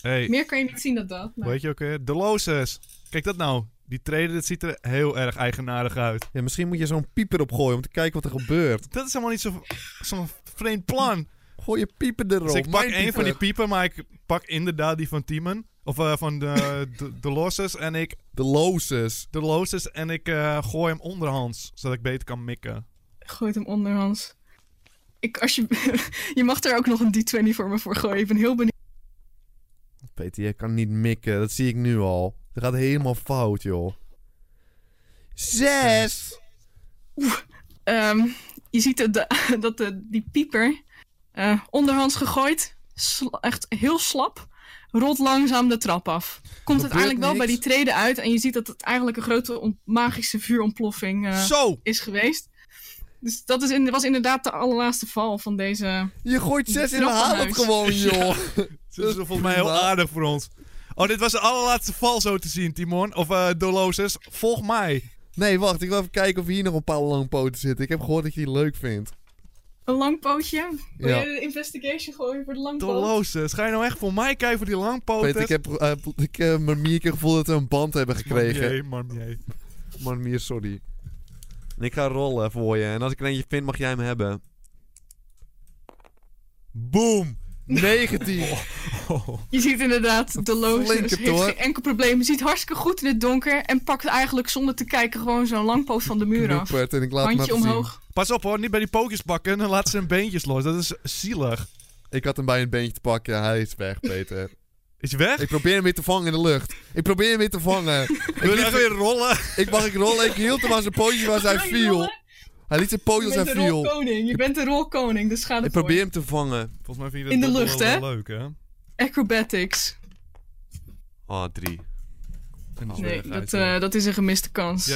[SPEAKER 2] Hey,
[SPEAKER 3] Meer kan je niet zien dan dat. maar-
[SPEAKER 2] weet je ook weer? De Loses. Kijk dat nou. Die treden, dat ziet er heel erg eigenaardig uit.
[SPEAKER 1] ja, misschien moet je zo'n pieper opgooien om te kijken wat er gebeurt.
[SPEAKER 2] Dat is helemaal niet zo- zo'n vreemd plan.
[SPEAKER 1] Gooi je pieper erop.
[SPEAKER 2] Dus ik pak
[SPEAKER 1] Mijn
[SPEAKER 2] één van die
[SPEAKER 1] pieper.
[SPEAKER 2] piepen, maar ik pak inderdaad die van Timen. Of eh, van de, de, de Loses. En ik
[SPEAKER 1] De loses.
[SPEAKER 2] de loosest en ik eh, gooi hem onderhands, zodat ik beter kan mikken.
[SPEAKER 3] Gooit hem onderhands. Ik, als je, je mag er ook nog een D20 voor me voor gooien. Ik ben heel benieuwd.
[SPEAKER 1] Peter, jij kan niet mikken. Dat zie ik nu al. Dat gaat helemaal fout, joh.
[SPEAKER 2] Eh.
[SPEAKER 1] Zes!
[SPEAKER 3] Ehm, je ziet dat de, dat de, die pieper eh, onderhands gegooid. sla- echt heel slap. rolt langzaam de trap af. Komt uiteindelijk wel
[SPEAKER 1] niks.
[SPEAKER 3] bij die treden uit en je ziet dat het eigenlijk een grote on- magische vuurontploffing eh,
[SPEAKER 2] Zo!
[SPEAKER 3] is geweest. Dus dat is in, was inderdaad de allerlaatste val van deze.
[SPEAKER 1] Je gooit zes in de
[SPEAKER 3] Knap
[SPEAKER 1] haal
[SPEAKER 3] huis.
[SPEAKER 1] gewoon, joh.
[SPEAKER 2] Dat is volgens mij heel
[SPEAKER 1] prima.
[SPEAKER 2] aardig voor ons. Oh, dit was de allerlaatste val zo te zien, Timon. Of eh Dolores, volg mij.
[SPEAKER 1] Nee, wacht. Ik wil even kijken of hier nog een paar langpoten zitten. Ik heb gehoord dat je die leuk vindt.
[SPEAKER 3] Een lang pootje. Wil
[SPEAKER 1] Ja.
[SPEAKER 3] je de investigation gooien voor de lang poot?
[SPEAKER 2] Dolores, ga je nou echt voor mij kijken voor die langpoten?
[SPEAKER 1] Peter, ik heb eh, ik, eh, mijn mier keer gevoel dat we een band hebben gekregen.
[SPEAKER 2] Marmier, marmier.
[SPEAKER 1] Man, mier, sorry. En ik ga rollen voor je. En als ik er eentje vind, mag jij hem hebben.
[SPEAKER 2] Boom!
[SPEAKER 1] 19.
[SPEAKER 2] Oh.
[SPEAKER 3] Je ziet inderdaad, de
[SPEAKER 1] flinke
[SPEAKER 3] loze heeft
[SPEAKER 1] toor.
[SPEAKER 3] geen enkel probleem. Je ziet hartstikke goed in het donker en pakt eigenlijk zonder te kijken gewoon zo'n lang poot van de muur af.
[SPEAKER 1] Knoepert. En ik laat hem
[SPEAKER 3] Handje
[SPEAKER 1] even zien.
[SPEAKER 3] omhoog.
[SPEAKER 2] Pas op hoor, niet bij die pookjes bakken en laat zijn beentjes los. Dat is zielig.
[SPEAKER 1] Ik had hem bij een beentje te pakken. Hij is weg, Peter.
[SPEAKER 2] Is hij weg?
[SPEAKER 1] ik probeer hem weer te vangen in de lucht. Ik probeer hem weer te vangen. ik,
[SPEAKER 2] Wil je
[SPEAKER 1] liet,
[SPEAKER 2] echt weer rollen?
[SPEAKER 1] ik mag ik rollen. Ik hield hem aan zijn pootje waar hij
[SPEAKER 3] Ga je
[SPEAKER 1] viel.
[SPEAKER 3] rollen?
[SPEAKER 1] Hij liet zijn pootje
[SPEAKER 3] Je
[SPEAKER 1] als
[SPEAKER 3] bent
[SPEAKER 1] hij
[SPEAKER 3] de
[SPEAKER 1] viel.
[SPEAKER 3] rolkoning. Je bent de rolkoning, dus ga
[SPEAKER 1] Ik
[SPEAKER 3] ervoor.
[SPEAKER 1] probeer hem te vangen.
[SPEAKER 2] Volgens mij vind je dat
[SPEAKER 3] In de
[SPEAKER 2] wel-
[SPEAKER 3] lucht,
[SPEAKER 2] wel
[SPEAKER 3] hè?
[SPEAKER 2] leuk, hè?
[SPEAKER 3] Acrobatics.
[SPEAKER 1] Oh, drie.
[SPEAKER 2] En
[SPEAKER 1] Oh,
[SPEAKER 2] dus
[SPEAKER 3] Nee,
[SPEAKER 2] weg, hij
[SPEAKER 3] dat,
[SPEAKER 2] is weg.
[SPEAKER 3] eh, dat is een gemiste kans.
[SPEAKER 2] Ja,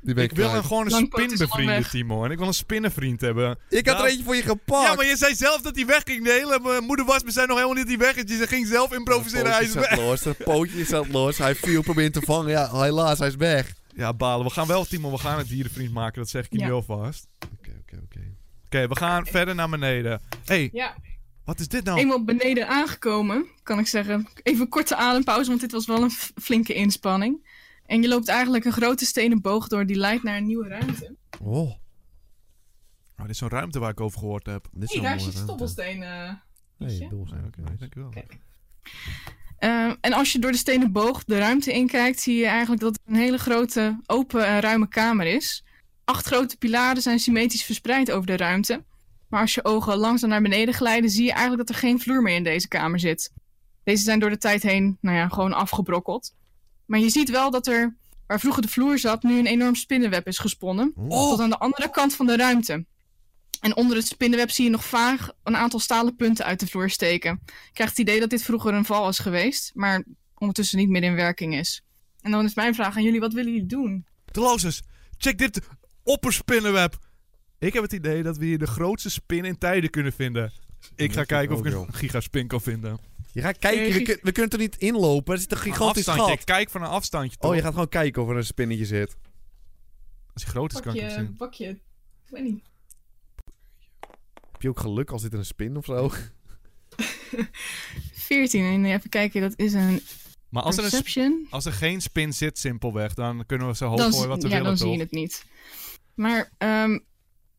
[SPEAKER 1] Die ben
[SPEAKER 2] ik
[SPEAKER 1] ik,
[SPEAKER 2] wil hem
[SPEAKER 1] kwijt.
[SPEAKER 2] gewoon een
[SPEAKER 3] Langpoot is
[SPEAKER 2] spin
[SPEAKER 3] lang
[SPEAKER 2] bevrienden,
[SPEAKER 3] weg.
[SPEAKER 2] Timo. En ik wil een spinnenvriend hebben.
[SPEAKER 1] Ik had er
[SPEAKER 2] Nou,
[SPEAKER 1] eentje voor je gepakt.
[SPEAKER 2] Ja, maar je zei zelf dat hij wegging. De hele mijn moeder was me zei nog helemaal niet dat hij weg is. Ze ging zelf improviseren. Hij is
[SPEAKER 1] Zijn pootje
[SPEAKER 2] weg.
[SPEAKER 1] zat los. Zijn pootje zat los. Hij viel, probeert hem te vangen. Ja, helaas, hij is weg.
[SPEAKER 2] Ja, balen. We gaan wel, Timo, we gaan het dierenvriend maken. Dat zeg ik je
[SPEAKER 3] Ja. Eh,
[SPEAKER 2] nu alvast.
[SPEAKER 1] Oké, oké, oké.
[SPEAKER 2] Oké, we gaan verder naar beneden. Hé, hey,
[SPEAKER 3] Ja,
[SPEAKER 2] wat is dit nou?
[SPEAKER 3] eenmaal beneden aangekomen, kan ik zeggen. Even een korte adempauze, want dit was wel een f- flinke inspanning. En je loopt eigenlijk een grote stenen boog door die leidt naar een nieuwe ruimte.
[SPEAKER 1] Oh,
[SPEAKER 2] Oh, dit is zo'n ruimte waar ik over gehoord heb.
[SPEAKER 1] dit is
[SPEAKER 3] Hé,
[SPEAKER 1] een
[SPEAKER 3] daar is je
[SPEAKER 1] mooie ruimte.
[SPEAKER 3] stoppelsteen. eh.
[SPEAKER 1] Nee, doel
[SPEAKER 2] Nee,
[SPEAKER 1] zijn.
[SPEAKER 2] Oké,
[SPEAKER 1] nice.
[SPEAKER 2] dankjewel.
[SPEAKER 3] Eh, en als je door de stenen boog de ruimte inkijkt, zie je eigenlijk dat het een hele grote, open en ruime kamer is. Acht grote pilaren zijn symmetrisch verspreid over de ruimte. Maar als je ogen langzaam naar beneden glijden, zie je eigenlijk dat er geen vloer meer in deze kamer zit. Deze zijn door de tijd heen, nou ja, gewoon afgebrokkeld. Maar je ziet wel dat er, waar vroeger de vloer zat, nu een enorm spinnenweb is gesponnen. Tot aan de andere kant van de ruimte. En onder het spinnenweb zie je nog vaag een aantal stalen punten uit de vloer steken krijgt het idee dat dit vroeger een val is geweest, maar ondertussen niet meer in werking is. En dan is mijn vraag aan jullie: wat willen jullie doen?
[SPEAKER 2] Delozes, check dit opperspinnenweb. Ik heb het idee dat we hier de grootste spin in tijden kunnen vinden. Ik ga
[SPEAKER 1] vind
[SPEAKER 2] kijken of
[SPEAKER 1] ik
[SPEAKER 2] ik
[SPEAKER 1] ook,
[SPEAKER 2] een gigaspin kan vinden.
[SPEAKER 1] Je gaat kijken.
[SPEAKER 3] Nee,
[SPEAKER 1] we,
[SPEAKER 3] giet-
[SPEAKER 1] kun- we kunnen er niet inlopen. Er zit een gigantisch
[SPEAKER 2] afstandje.
[SPEAKER 1] gat.
[SPEAKER 2] Ik kijk van een afstandje. Toch?
[SPEAKER 1] Oh, je gaat gewoon kijken of er een spinnetje zit.
[SPEAKER 2] Als hij groot is, kan ik hem zien.
[SPEAKER 3] pak je. Ik weet niet.
[SPEAKER 1] Heb je ook geluk als dit een spin of zo?
[SPEAKER 3] 14, en even kijken, dat is een
[SPEAKER 2] Maar als er, dus een, sp-
[SPEAKER 3] perception.
[SPEAKER 2] als er geen spin zit, simpelweg, dan kunnen we zo hoog
[SPEAKER 3] Dan,
[SPEAKER 2] gooien wat we
[SPEAKER 3] ja,
[SPEAKER 2] willen,
[SPEAKER 3] dan zie
[SPEAKER 2] toch?
[SPEAKER 3] je het niet. Maar ehm,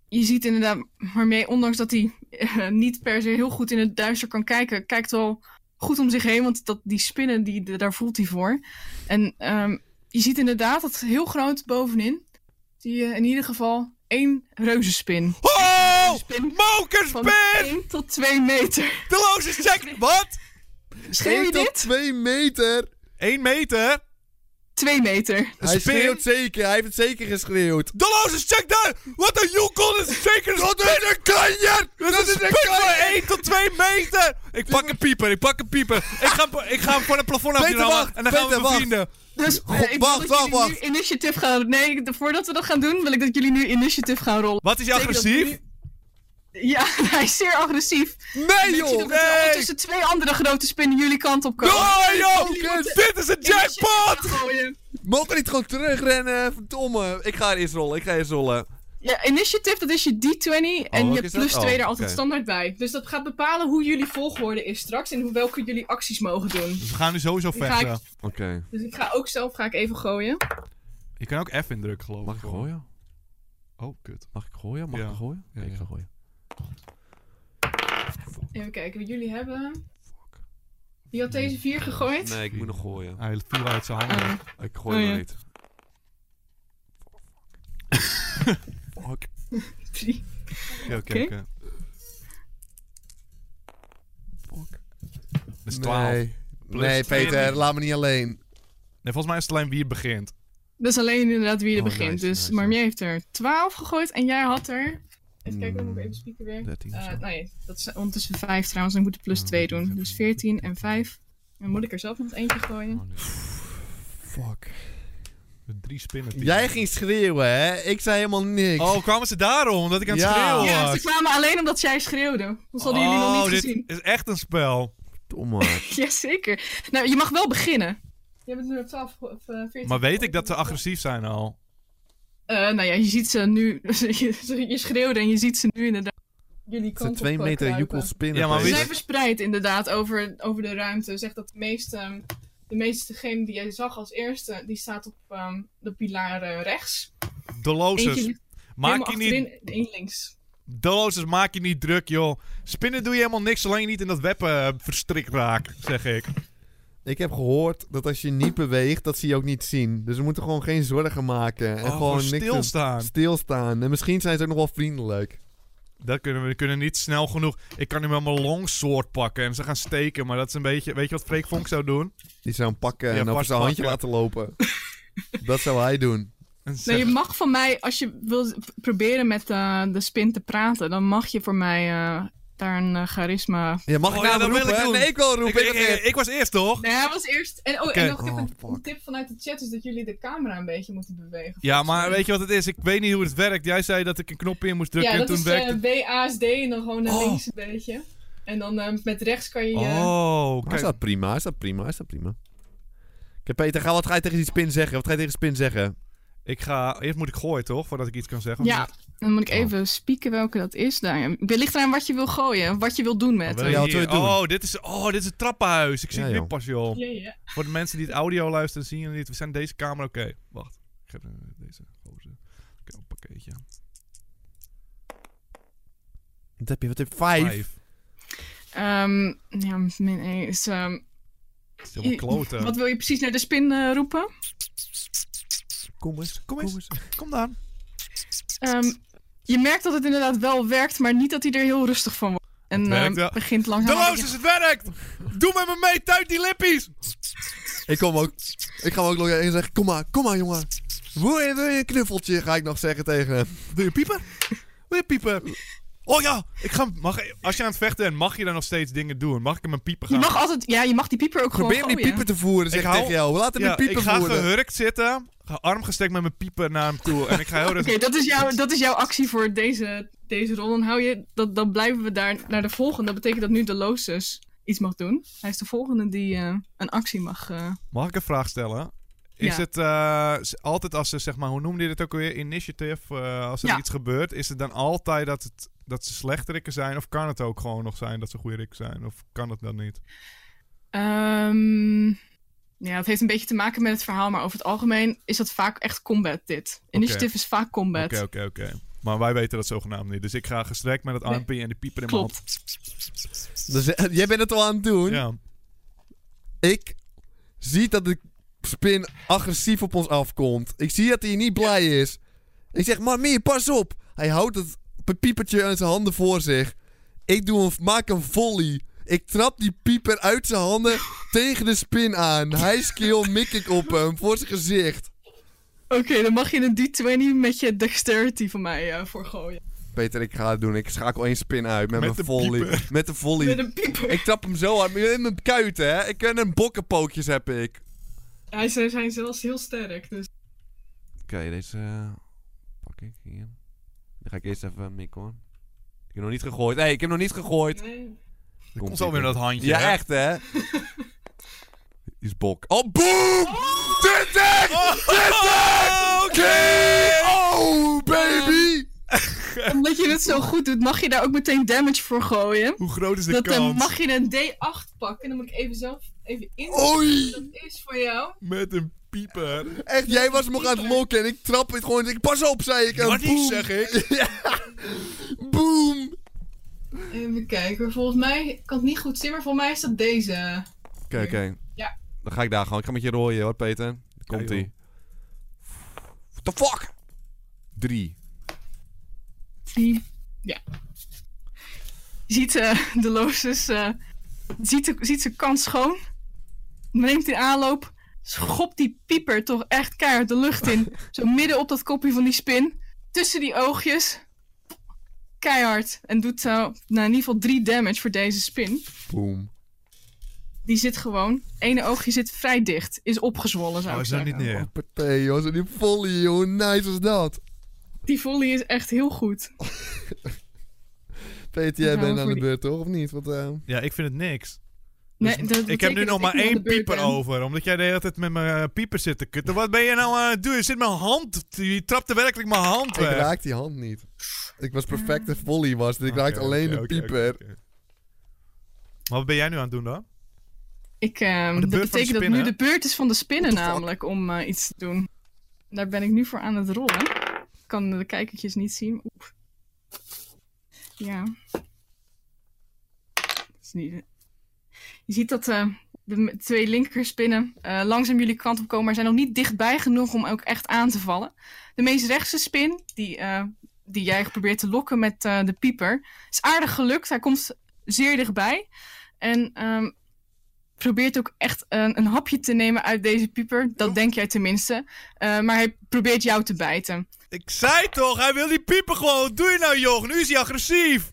[SPEAKER 3] je ziet inderdaad, waarmee, ondanks dat hij eh, niet per se heel goed in het duister kan kijken, kijkt wel goed om zich heen, want dat, die spinnen, die, de- daar voelt hij voor. En ehm, je ziet inderdaad dat heel groot bovenin, zie je in ieder geval één reuzenspin.
[SPEAKER 2] Oh!
[SPEAKER 3] Spin van
[SPEAKER 2] Mokerspin!
[SPEAKER 3] 1 tot 2 meter.
[SPEAKER 2] Delozes, check! Wat?
[SPEAKER 3] Schreeuw je
[SPEAKER 1] Eén tot
[SPEAKER 3] dit?
[SPEAKER 1] twee meter.
[SPEAKER 2] 1 meter?
[SPEAKER 3] 2 meter.
[SPEAKER 1] Hij
[SPEAKER 2] spin?
[SPEAKER 1] schreeuwt zeker. Hij heeft het zeker geschreeuwd.
[SPEAKER 2] Delozes, check daar! Wat een joekon! Dat is zeker een
[SPEAKER 1] Dat is een kanjer!
[SPEAKER 2] Dat is een spin van 1 tot 2 meter! Ik pak een pieper, ik pak een pieper. Ik ga, hem- ik ga hem van het plafond af
[SPEAKER 1] Peter, wacht,
[SPEAKER 2] en dan gaan
[SPEAKER 1] Peter,
[SPEAKER 2] we
[SPEAKER 1] wacht.
[SPEAKER 2] vrienden.
[SPEAKER 3] Dus eh,
[SPEAKER 1] God,
[SPEAKER 3] ik wil
[SPEAKER 1] wacht,
[SPEAKER 3] dat
[SPEAKER 1] wacht,
[SPEAKER 3] jullie nu initiatief gaan... Nee, de- voordat we dat gaan doen, wil ik dat jullie nu initiatief gaan rollen.
[SPEAKER 2] Wat is hij
[SPEAKER 3] Betekent dat
[SPEAKER 2] agressief?
[SPEAKER 3] nu- Ja, hij is zeer agressief.
[SPEAKER 1] Nee,
[SPEAKER 3] Ik zie
[SPEAKER 1] joh!
[SPEAKER 3] dat er ondertussen twee andere grote spinnen jullie kant op komen.
[SPEAKER 2] Oh, joh!
[SPEAKER 1] Jullie moeten-
[SPEAKER 2] Dit is een jackpot!
[SPEAKER 3] Initiatief gaan gooien.
[SPEAKER 1] Mogen we niet gewoon terugrennen? Verdomme. Ik ga eerst rollen. Ik ga eerst rollen.
[SPEAKER 3] Ja, initiatief, dat is je D20
[SPEAKER 1] Oh,
[SPEAKER 3] en
[SPEAKER 1] wat
[SPEAKER 3] je
[SPEAKER 1] is
[SPEAKER 3] hebt plus
[SPEAKER 1] dat?
[SPEAKER 3] 2
[SPEAKER 1] Oh,
[SPEAKER 3] er altijd
[SPEAKER 1] oké.
[SPEAKER 3] standaard bij. Dus dat gaat bepalen hoe jullie volgorde is straks en hoe welke jullie acties mogen doen.
[SPEAKER 2] Dus we gaan nu sowieso
[SPEAKER 3] Nu ga ik-
[SPEAKER 2] vechten.
[SPEAKER 1] Oké.
[SPEAKER 3] Dus ik ga ook zelf ga ik even gooien.
[SPEAKER 2] Je kan ook F indrukken, geloof ik.
[SPEAKER 1] Mag ik gooien?
[SPEAKER 2] Oh, kut.
[SPEAKER 1] Mag ik gooien? Mag
[SPEAKER 2] Ja.
[SPEAKER 1] ik gooien?
[SPEAKER 2] Ja,
[SPEAKER 1] ik
[SPEAKER 2] ja.
[SPEAKER 1] ga gooien.
[SPEAKER 3] Even kijken, jullie hebben... Wie had deze vier gegooid?
[SPEAKER 1] Nee, ik moet nog gooien.
[SPEAKER 2] Hij viel uit zijn handen.
[SPEAKER 3] Eh,
[SPEAKER 1] Ik gooi
[SPEAKER 3] Oh,
[SPEAKER 1] nog
[SPEAKER 3] ja.
[SPEAKER 1] niet. Fuck.
[SPEAKER 3] drie.
[SPEAKER 2] Oké, oké,
[SPEAKER 3] Oké.
[SPEAKER 2] oké.
[SPEAKER 1] Fuck.
[SPEAKER 2] Dat is 12. Nee.
[SPEAKER 1] Nee. Nee,
[SPEAKER 2] twee.
[SPEAKER 1] Peter, laat me niet alleen.
[SPEAKER 2] volgens mij is het alleen wie het begint.
[SPEAKER 3] Dat is alleen inderdaad wie er
[SPEAKER 1] Oh,
[SPEAKER 3] begint.
[SPEAKER 1] nice,
[SPEAKER 3] dus
[SPEAKER 1] nice,
[SPEAKER 3] Marmier heeft er 12 gegooid en jij had er... Even kijken, dan moet
[SPEAKER 1] Mm,
[SPEAKER 3] ik even spieken weer.
[SPEAKER 1] 13 of
[SPEAKER 3] Eh,
[SPEAKER 1] zo.
[SPEAKER 3] nee, dat is ondertussen 5 trouwens. Dan moet ik plus
[SPEAKER 1] Oh,
[SPEAKER 3] 2
[SPEAKER 1] dat is
[SPEAKER 3] doen.
[SPEAKER 1] ook
[SPEAKER 3] Dus
[SPEAKER 1] niet.
[SPEAKER 3] 14 en 5. Dan moet ik er zelf nog eentje gooien.
[SPEAKER 2] Oh, nee.
[SPEAKER 1] Fuck.
[SPEAKER 2] Met Drie spinnen.
[SPEAKER 1] Jij ging schreeuwen, hè? Ik zei helemaal niks.
[SPEAKER 2] Oh, kwamen ze daarom? Omdat ik aan Oh, het
[SPEAKER 1] Ja.
[SPEAKER 2] schreeuwen
[SPEAKER 3] Ja,
[SPEAKER 2] was?
[SPEAKER 3] ze kwamen alleen omdat jij schreeuwde. Dat hadden jullie nog
[SPEAKER 2] Oh,
[SPEAKER 3] niet
[SPEAKER 2] dit
[SPEAKER 3] gezien.
[SPEAKER 2] is echt een spel.
[SPEAKER 1] Domme.
[SPEAKER 3] Jazeker. Nou, je mag wel beginnen. Je bent nu op 12 of eh, 14.
[SPEAKER 2] Maar weet ik dat ze agressief zijn al?
[SPEAKER 3] Eh, nou ja, je ziet ze nu. je, je schreeuwde en je ziet ze nu inderdaad. Jullie
[SPEAKER 1] Het zijn
[SPEAKER 3] kant
[SPEAKER 1] twee
[SPEAKER 3] op eh,
[SPEAKER 1] meter
[SPEAKER 3] kruipen.
[SPEAKER 1] joekel spinnen.
[SPEAKER 2] Ja, maar
[SPEAKER 3] Ze
[SPEAKER 2] wie-
[SPEAKER 1] Peter.
[SPEAKER 3] zijn verspreid inderdaad over, over de ruimte. Zegt dat de meeste, ehm, de meeste, degene die jij zag als eerste, die staat op ehm, de pilaar eh, rechts.
[SPEAKER 2] Oh,
[SPEAKER 3] Eentje
[SPEAKER 2] Dolozes,
[SPEAKER 3] ligt
[SPEAKER 2] maak je
[SPEAKER 3] helemaal
[SPEAKER 2] niet...
[SPEAKER 3] achterin, één links.
[SPEAKER 2] Dolozes, maak je niet druk, joh. Spinnen doe je helemaal niks, zolang je niet in dat web eh, verstrikt raakt, zeg ik.
[SPEAKER 1] Ik heb gehoord dat als je niet beweegt, dat ze je ook niet zien. Dus we moeten gewoon geen zorgen maken. En
[SPEAKER 2] Oh,
[SPEAKER 1] gewoon
[SPEAKER 2] gewoon
[SPEAKER 1] niks doen.
[SPEAKER 2] stilstaan.
[SPEAKER 1] Stilstaan. En misschien zijn ze ook nog wel vriendelijk.
[SPEAKER 2] Dat kunnen we, we kunnen niet snel genoeg. Ik kan nu met mijn longsword pakken en ze gaan steken, maar dat is een beetje... Weet je wat Freek Vonk zou doen?
[SPEAKER 1] Die zou hem pakken
[SPEAKER 2] Ja,
[SPEAKER 1] en over zijn
[SPEAKER 2] vastpakken.
[SPEAKER 1] handje laten lopen. dat zou hij doen.
[SPEAKER 2] En
[SPEAKER 3] Nee, je
[SPEAKER 2] zeggen-
[SPEAKER 3] mag van mij, als je wil proberen met eh, de spin te praten, dan mag je voor mij eh, daar een eh, charisma.
[SPEAKER 1] Ja, mag
[SPEAKER 2] Oh,
[SPEAKER 1] ik
[SPEAKER 2] ja,
[SPEAKER 1] nou
[SPEAKER 2] dat wil
[SPEAKER 1] roepen?
[SPEAKER 2] ik doen.
[SPEAKER 1] Nee, ik wil
[SPEAKER 2] ik,
[SPEAKER 1] roepen.
[SPEAKER 2] ik, ik- ik was eerst, toch?
[SPEAKER 3] Nee, hij was eerst. En, oh,
[SPEAKER 2] Oké.
[SPEAKER 3] en nog even
[SPEAKER 1] Oh,
[SPEAKER 3] een
[SPEAKER 1] fuck.
[SPEAKER 3] tip vanuit de chat is dat jullie de camera een beetje moeten bewegen.
[SPEAKER 2] Ja, maar weet je wat het is? Ik weet niet hoe het werkt. Jij zei dat ik een knopje in moest drukken
[SPEAKER 3] Ja,
[SPEAKER 2] en
[SPEAKER 3] dat
[SPEAKER 2] toen
[SPEAKER 3] is
[SPEAKER 2] werkte
[SPEAKER 3] eh, WASD en dan gewoon naar
[SPEAKER 2] Oh.
[SPEAKER 3] links een beetje. En dan eh, met rechts kan je. eh,
[SPEAKER 2] Oh,
[SPEAKER 1] Maar is
[SPEAKER 2] kijk.
[SPEAKER 1] dat prima? Is dat prima? Is dat prima? Kijk, Peter, ga, wat ga je tegen die spin zeggen? Wat ga je tegen spin zeggen?
[SPEAKER 2] Ik ga... Eerst moet ik gooien, toch? Voordat ik iets kan zeggen.
[SPEAKER 3] Ja, dan moet ik
[SPEAKER 1] Oh.
[SPEAKER 3] even spieken welke dat is. Nou, Daar. Het ligt eraan wat je wil gooien, wat je wil doen met.
[SPEAKER 1] wil
[SPEAKER 3] hem.
[SPEAKER 1] je-
[SPEAKER 2] Ja,
[SPEAKER 1] wat wil je doen?
[SPEAKER 2] Oh, dit is, oh, dit is het trappenhuis. Ik zie
[SPEAKER 1] Ja,
[SPEAKER 2] het nu
[SPEAKER 1] joh.
[SPEAKER 2] pas, joh.
[SPEAKER 3] Ja, ja.
[SPEAKER 2] Voor de mensen die het audio luisteren, zien jullie het. We zijn deze camera. Oké, wacht. Ik heb eh, deze gozer. Oké, een pakketje.
[SPEAKER 1] Wat heb je? Wat heb je? Vijf.
[SPEAKER 2] Vijf.
[SPEAKER 3] Ehm, ja, min één is. ehm,
[SPEAKER 2] Oh. Het is helemaal kloten.
[SPEAKER 3] wat wil je precies naar de spin eh, roepen?
[SPEAKER 1] Kom eens.
[SPEAKER 2] Kom eens. Kom dan.
[SPEAKER 3] Ehm, je merkt dat het inderdaad wel werkt, maar niet dat hij er heel rustig van wordt. En
[SPEAKER 2] Het
[SPEAKER 3] ehm,
[SPEAKER 2] werkt wel.
[SPEAKER 3] begint langzaam.
[SPEAKER 2] De is het werkt! Doe met me mee, tuit die lippies!
[SPEAKER 1] Ik kom ook. Ik ga hem ook nog even zeggen. Kom maar, kom maar, jongen. Wil je, wil je een knuffeltje? Ga ik nog zeggen tegen hem.
[SPEAKER 2] Wil je piepen? Wil je piepen? Oh ja, ik ga, mag, als je aan het vechten bent, mag je dan nog steeds dingen doen? Mag ik hem een piepen
[SPEAKER 3] Je
[SPEAKER 2] gaan?
[SPEAKER 3] mag altijd, ja, je mag die pieper ook
[SPEAKER 1] Probeer
[SPEAKER 3] gewoon oh,
[SPEAKER 1] hem die
[SPEAKER 3] gooien.
[SPEAKER 1] piepen te voeren, zeg
[SPEAKER 2] Ik
[SPEAKER 1] ik
[SPEAKER 2] hou-
[SPEAKER 1] tegen jou. Laat hem
[SPEAKER 2] ja,
[SPEAKER 1] die
[SPEAKER 2] ik
[SPEAKER 1] piepen
[SPEAKER 2] ga
[SPEAKER 1] voeren.
[SPEAKER 2] gehurkt zitten, ga arm gestekt met mijn piepen naar hem toe. En ik ga heel
[SPEAKER 3] Oké,
[SPEAKER 2] rustig...
[SPEAKER 3] dat, is jouw- dat is jouw actie voor deze, deze rol. Dan, hou je, dat, dan blijven we daar naar de volgende. Dat betekent dat nu de Losus iets mag doen. Hij is de volgende die eh, een actie mag. eh,
[SPEAKER 2] Mag ik een vraag stellen? Is
[SPEAKER 3] Ja.
[SPEAKER 2] het eh, s- altijd als ze, zeg maar, hoe noemde je dit ook weer? Initiative, eh, als er
[SPEAKER 3] Ja.
[SPEAKER 2] iets gebeurt, is het dan altijd dat, het, dat ze slechterikken zijn? Of kan het ook gewoon nog zijn dat ze goede rikken zijn? Of kan het dan niet?
[SPEAKER 3] Ehm, ja, het heeft een beetje te maken met het verhaal, maar over het algemeen is dat vaak echt combat dit. Initiative is vaak combat.
[SPEAKER 2] Oké, oké, oké. Maar wij weten dat zogenaamd niet. Dus ik ga gestrekt met het
[SPEAKER 3] Nee.
[SPEAKER 2] armpje en de pieper in mijn hand.
[SPEAKER 3] Klopt.
[SPEAKER 1] Dus, eh, jij bent het al aan het doen.
[SPEAKER 2] Ja.
[SPEAKER 1] Ik zie dat de spin agressief op ons afkomt. Ik zie dat hij niet blij is. Ik zeg, Mami, pas op. Hij houdt het piepertje in zijn handen voor zich. Ik doe een, maak een volley. Ik trap die pieper uit zijn handen tegen de spin aan. Hij skill mik ik op hem voor zijn gezicht.
[SPEAKER 3] Oké, dan mag je een D20 met je dexterity van mij eh, voor gooien.
[SPEAKER 1] Peter, ik ga het doen. Ik schakel één spin uit met,
[SPEAKER 2] Met
[SPEAKER 1] mijn
[SPEAKER 2] de
[SPEAKER 1] volley.
[SPEAKER 2] pieper.
[SPEAKER 1] Met de volley.
[SPEAKER 3] Met een pieper.
[SPEAKER 1] Ik trap hem zo hard in mijn kuiten, hè. Ik ken een bokkenpookjes heb ik.
[SPEAKER 3] Hij zijn, zijn zelfs heel sterk, dus...
[SPEAKER 1] Oké, deze eh, pak ik hier. Dan ga ik eerst even mikken hoor. Ik heb nog niet gegooid. Nee, ik heb nog niet gegooid.
[SPEAKER 3] Nee.
[SPEAKER 2] Er komt alweer dat handje.
[SPEAKER 1] Ja,
[SPEAKER 2] hè?
[SPEAKER 1] echt hè? Is bok. Oh, boom! Dit echt!
[SPEAKER 2] Oh,
[SPEAKER 1] Oké! Oh, baby!
[SPEAKER 3] Omdat je het zo goed doet, mag je daar ook meteen damage voor gooien.
[SPEAKER 2] Hoe groot is de
[SPEAKER 3] Dat, eh,
[SPEAKER 2] kans?
[SPEAKER 3] mag je een D8 pakken, dan moet ik even zelf even in.
[SPEAKER 2] Oh.
[SPEAKER 1] Oei!
[SPEAKER 3] Dat is voor jou.
[SPEAKER 2] Met een pieper.
[SPEAKER 1] Echt, jij was me aan het lokken en ik trap het gewoon. Ik pas op, zei ik. En
[SPEAKER 2] Wat is,
[SPEAKER 1] boom.
[SPEAKER 2] zeg
[SPEAKER 1] ik. ja. Boom!
[SPEAKER 3] Even kijken, volgens mij... Ik kan het niet goed zien, maar volgens mij is dat deze.
[SPEAKER 1] Oké, oké.
[SPEAKER 3] Ja.
[SPEAKER 1] Dan ga ik daar gewoon. Ik ga met je rooien hoor, Peter. Daar Komt
[SPEAKER 2] Ja,
[SPEAKER 1] ie.
[SPEAKER 2] joh.
[SPEAKER 1] What the fuck? Drie.
[SPEAKER 3] Die- Ja. Je ziet eh, de Loosjes, eh, ziet, de- ziet zijn kans schoon. Neemt die aanloop. Schopt die pieper toch echt keihard de lucht in. Zo midden op dat kopje van die spin. Tussen die oogjes. eh, Keihard. En doet zo nou, in ieder geval 3 damage voor deze spin.
[SPEAKER 1] Boom.
[SPEAKER 3] die zit gewoon, ene oogje zit vrij dicht, is opgezwollen zou
[SPEAKER 2] Oh,
[SPEAKER 3] ik
[SPEAKER 2] is dat
[SPEAKER 3] zeggen.
[SPEAKER 2] niet neer?
[SPEAKER 1] Partij, joh. Zo die volley, joh. Hoe nice was dat?
[SPEAKER 3] Die volley is echt heel goed.
[SPEAKER 1] Peter,
[SPEAKER 3] Ja,
[SPEAKER 1] jij bent
[SPEAKER 3] voor
[SPEAKER 1] aan de
[SPEAKER 3] die-
[SPEAKER 1] beurt, toch? Of niet? Want, eh,
[SPEAKER 2] Ja, ik vind het niks.
[SPEAKER 3] Nee,
[SPEAKER 2] Dus ik
[SPEAKER 3] dat
[SPEAKER 2] heb
[SPEAKER 3] betekent
[SPEAKER 2] nu
[SPEAKER 3] dat
[SPEAKER 2] nog maar
[SPEAKER 3] ik aan de
[SPEAKER 2] één
[SPEAKER 3] beurt
[SPEAKER 2] pieper
[SPEAKER 3] ben.
[SPEAKER 2] over. Omdat jij de hele tijd met mijn eh, pieper zit te kutten. Wat ben je nou aan het doen? Je zit mijn hand. Je trapte werkelijk mijn hand
[SPEAKER 1] ik
[SPEAKER 2] weg.
[SPEAKER 1] raakte die hand niet. Ik was perfecte volley, was het. Ik
[SPEAKER 2] Oké,
[SPEAKER 1] raakte alleen
[SPEAKER 2] oké,
[SPEAKER 1] de
[SPEAKER 2] oké, oké,
[SPEAKER 1] pieper.
[SPEAKER 2] oké. Maar wat ben jij nu aan het doen dan?
[SPEAKER 3] Ik, ehm,
[SPEAKER 2] Oh, de beurt van
[SPEAKER 3] dat
[SPEAKER 2] de
[SPEAKER 3] betekent dat
[SPEAKER 2] spinnen,
[SPEAKER 3] nu
[SPEAKER 2] hè?
[SPEAKER 3] de beurt is van de spinnen
[SPEAKER 1] What the fuck?
[SPEAKER 3] namelijk om eh, iets te doen. Daar ben ik nu voor aan het rollen. Ik kan de kijkertjes niet zien. Oep. Ja. Dat is niet... Je ziet dat eh, de m- twee linkerspinnen eh, langzaam jullie kant op komen, maar zijn nog niet dichtbij genoeg om ook echt aan te vallen. De meest rechtse spin, die, eh, die jij probeert te lokken met eh, de pieper, is aardig gelukt. Hij komt zeer dichtbij. En ehm, probeert ook echt een, een hapje te nemen uit deze pieper. Dat denk jij tenminste. Eh, maar hij probeert jou te bijten.
[SPEAKER 2] Ik zei toch, hij wil die pieper gewoon. Wat doe je nou, joh? Nu is hij agressief.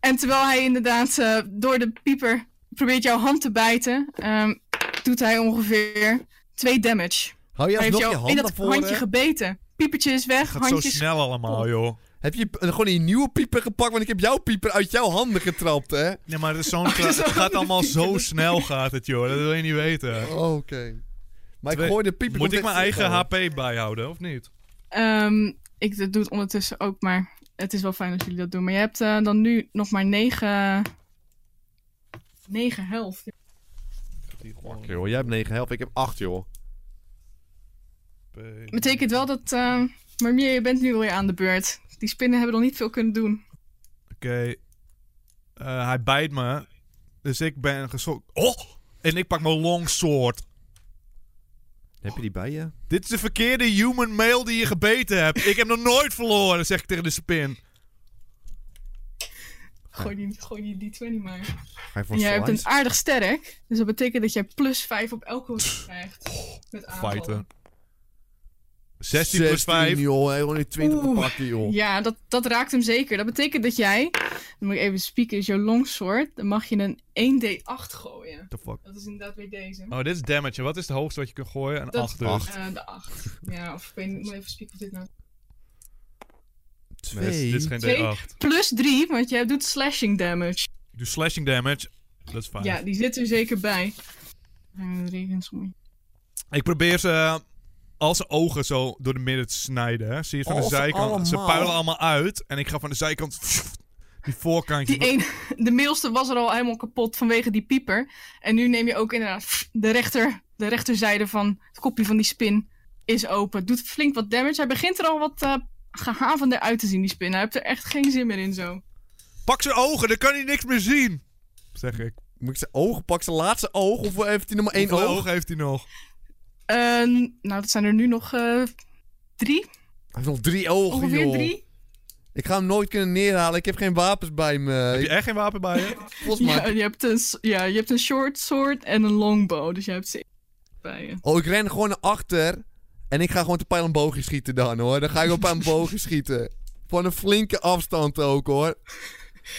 [SPEAKER 3] En terwijl hij inderdaad eh, door de pieper probeert jouw hand te bijten, ehm, doet hij ongeveer twee damage.
[SPEAKER 1] Hou je
[SPEAKER 3] hij heeft
[SPEAKER 1] alsnog je
[SPEAKER 3] jou
[SPEAKER 1] hand
[SPEAKER 3] in
[SPEAKER 1] naar
[SPEAKER 3] dat
[SPEAKER 1] voren?
[SPEAKER 3] handje gebeten. Piepertje is weg,
[SPEAKER 2] Het gaat zo
[SPEAKER 3] handjes.
[SPEAKER 2] snel allemaal, joh.
[SPEAKER 1] Heb je eh, gewoon die nieuwe pieper gepakt? Want ik heb jouw pieper uit jouw handen getrapt, hè?
[SPEAKER 2] Nee, maar het, is zo'n
[SPEAKER 3] dat is
[SPEAKER 2] het
[SPEAKER 3] wel
[SPEAKER 2] gaat
[SPEAKER 3] de
[SPEAKER 2] allemaal
[SPEAKER 3] pieper.
[SPEAKER 2] zo snel, gaat het, joh. Dat wil je niet weten.
[SPEAKER 1] Oh, Oké. Maar Eh. ik
[SPEAKER 2] Twee-
[SPEAKER 1] gooi de pieper... Oh.
[SPEAKER 2] Moet
[SPEAKER 1] komt
[SPEAKER 2] ik
[SPEAKER 1] echt
[SPEAKER 2] mijn eigen
[SPEAKER 1] terug,
[SPEAKER 2] HP bijhouden, of niet?
[SPEAKER 3] Ehm, ik d- doe het ondertussen ook, maar het is wel fijn dat jullie dat doen. Maar je hebt eh, dan nu nog maar negen. Negen helft.
[SPEAKER 1] hoor. Fuck, joh. Jij hebt 9 helft, ik heb 8, joh.
[SPEAKER 3] Betekent wel dat. eh Marmier, je bent nu alweer aan de beurt. Die spinnen hebben nog niet veel kunnen doen.
[SPEAKER 2] Oké. Eh, hij bijt me. Dus ik ben geschokt. Oh! En ik pak mijn longsword.
[SPEAKER 1] Heb je die bij je?
[SPEAKER 2] Dit is de verkeerde human male die je gebeten hebt. Ik heb nog nooit verloren, zeg ik tegen de spin.
[SPEAKER 3] Gooi die, gooi die D20 maar.
[SPEAKER 1] Ga je voor
[SPEAKER 3] En jij hebt een
[SPEAKER 1] slice?
[SPEAKER 3] aardig sterk. Dus dat betekent dat jij plus 5 op elke hoek krijgt. Met aanvallen.
[SPEAKER 2] Fighter. 16 plus 5.
[SPEAKER 1] joh. Hij heeft gewoon nu 20
[SPEAKER 3] Oeh.
[SPEAKER 1] pakken, joh.
[SPEAKER 3] Ja, dat, dat raakt hem zeker. Dat betekent dat jij. Dan moet ik even spieken, is jouw longsword. Dan mag je een 1d8 gooien.
[SPEAKER 2] The fuck?
[SPEAKER 3] Dat is inderdaad weer deze.
[SPEAKER 2] Oh, dit is damage. Wat is het hoogste wat je kunt gooien? Een
[SPEAKER 3] Dat-
[SPEAKER 2] 8 dus.
[SPEAKER 1] Acht.
[SPEAKER 3] Eh, de 8. Ja, of ik weet niet, ik moet even spieken of dit nou.
[SPEAKER 2] Nee, dit, is-
[SPEAKER 1] Twee.
[SPEAKER 2] dit is geen
[SPEAKER 3] Twee.
[SPEAKER 2] D8.
[SPEAKER 3] Plus 3, want jij doet slashing damage.
[SPEAKER 2] Ik doe slashing damage. Dat is fijn.
[SPEAKER 3] Ja, die zit er zeker bij. Eh, regensommetje.
[SPEAKER 2] Ik probeer ze eh, als zijn ogen zo door de midden te snijden. Hè. Zie je het van
[SPEAKER 1] Oh,
[SPEAKER 2] de
[SPEAKER 1] ze
[SPEAKER 2] zijkant. Ze
[SPEAKER 1] allemaal.
[SPEAKER 2] puilen allemaal uit. En ik ga van de zijkant. Die voorkantje.
[SPEAKER 3] Die ene, de middelste was er al helemaal kapot vanwege die pieper. En nu neem je ook inderdaad de, rechter, de rechterzijde van het kopje van die spin is open. Doet flink wat damage. Hij begint er al wat eh gehavender uit te zien, die spin. Hij heeft er echt geen zin meer in zo.
[SPEAKER 2] Pak zijn ogen, dan kan hij niks meer zien. Zeg ik.
[SPEAKER 1] Moet ik zijn oog pakken? Zijn laatste oog? Of heeft hij nog maar één
[SPEAKER 2] Hoeveel
[SPEAKER 1] oog?
[SPEAKER 2] heeft hij nog?
[SPEAKER 3] Eh, nou, dat zijn er nu nog eh, drie,
[SPEAKER 1] Hij heeft nog drie ogen,
[SPEAKER 3] ongeveer
[SPEAKER 1] joh.
[SPEAKER 3] drie.
[SPEAKER 1] Ik ga hem nooit kunnen neerhalen. Ik heb geen wapens bij me.
[SPEAKER 2] Heb je
[SPEAKER 1] Ik,
[SPEAKER 2] echt geen wapen bij je?
[SPEAKER 1] volgens mij...
[SPEAKER 3] Ja je, hebt een, s- ja, je hebt een short sword en een longbow. Dus je hebt ze bij je.
[SPEAKER 1] Oh, ik ren gewoon naar achter. En ik ga gewoon te pijl een boogje schieten dan, hoor. Dan ga ik op een boogje schieten. Van een flinke afstand ook, hoor.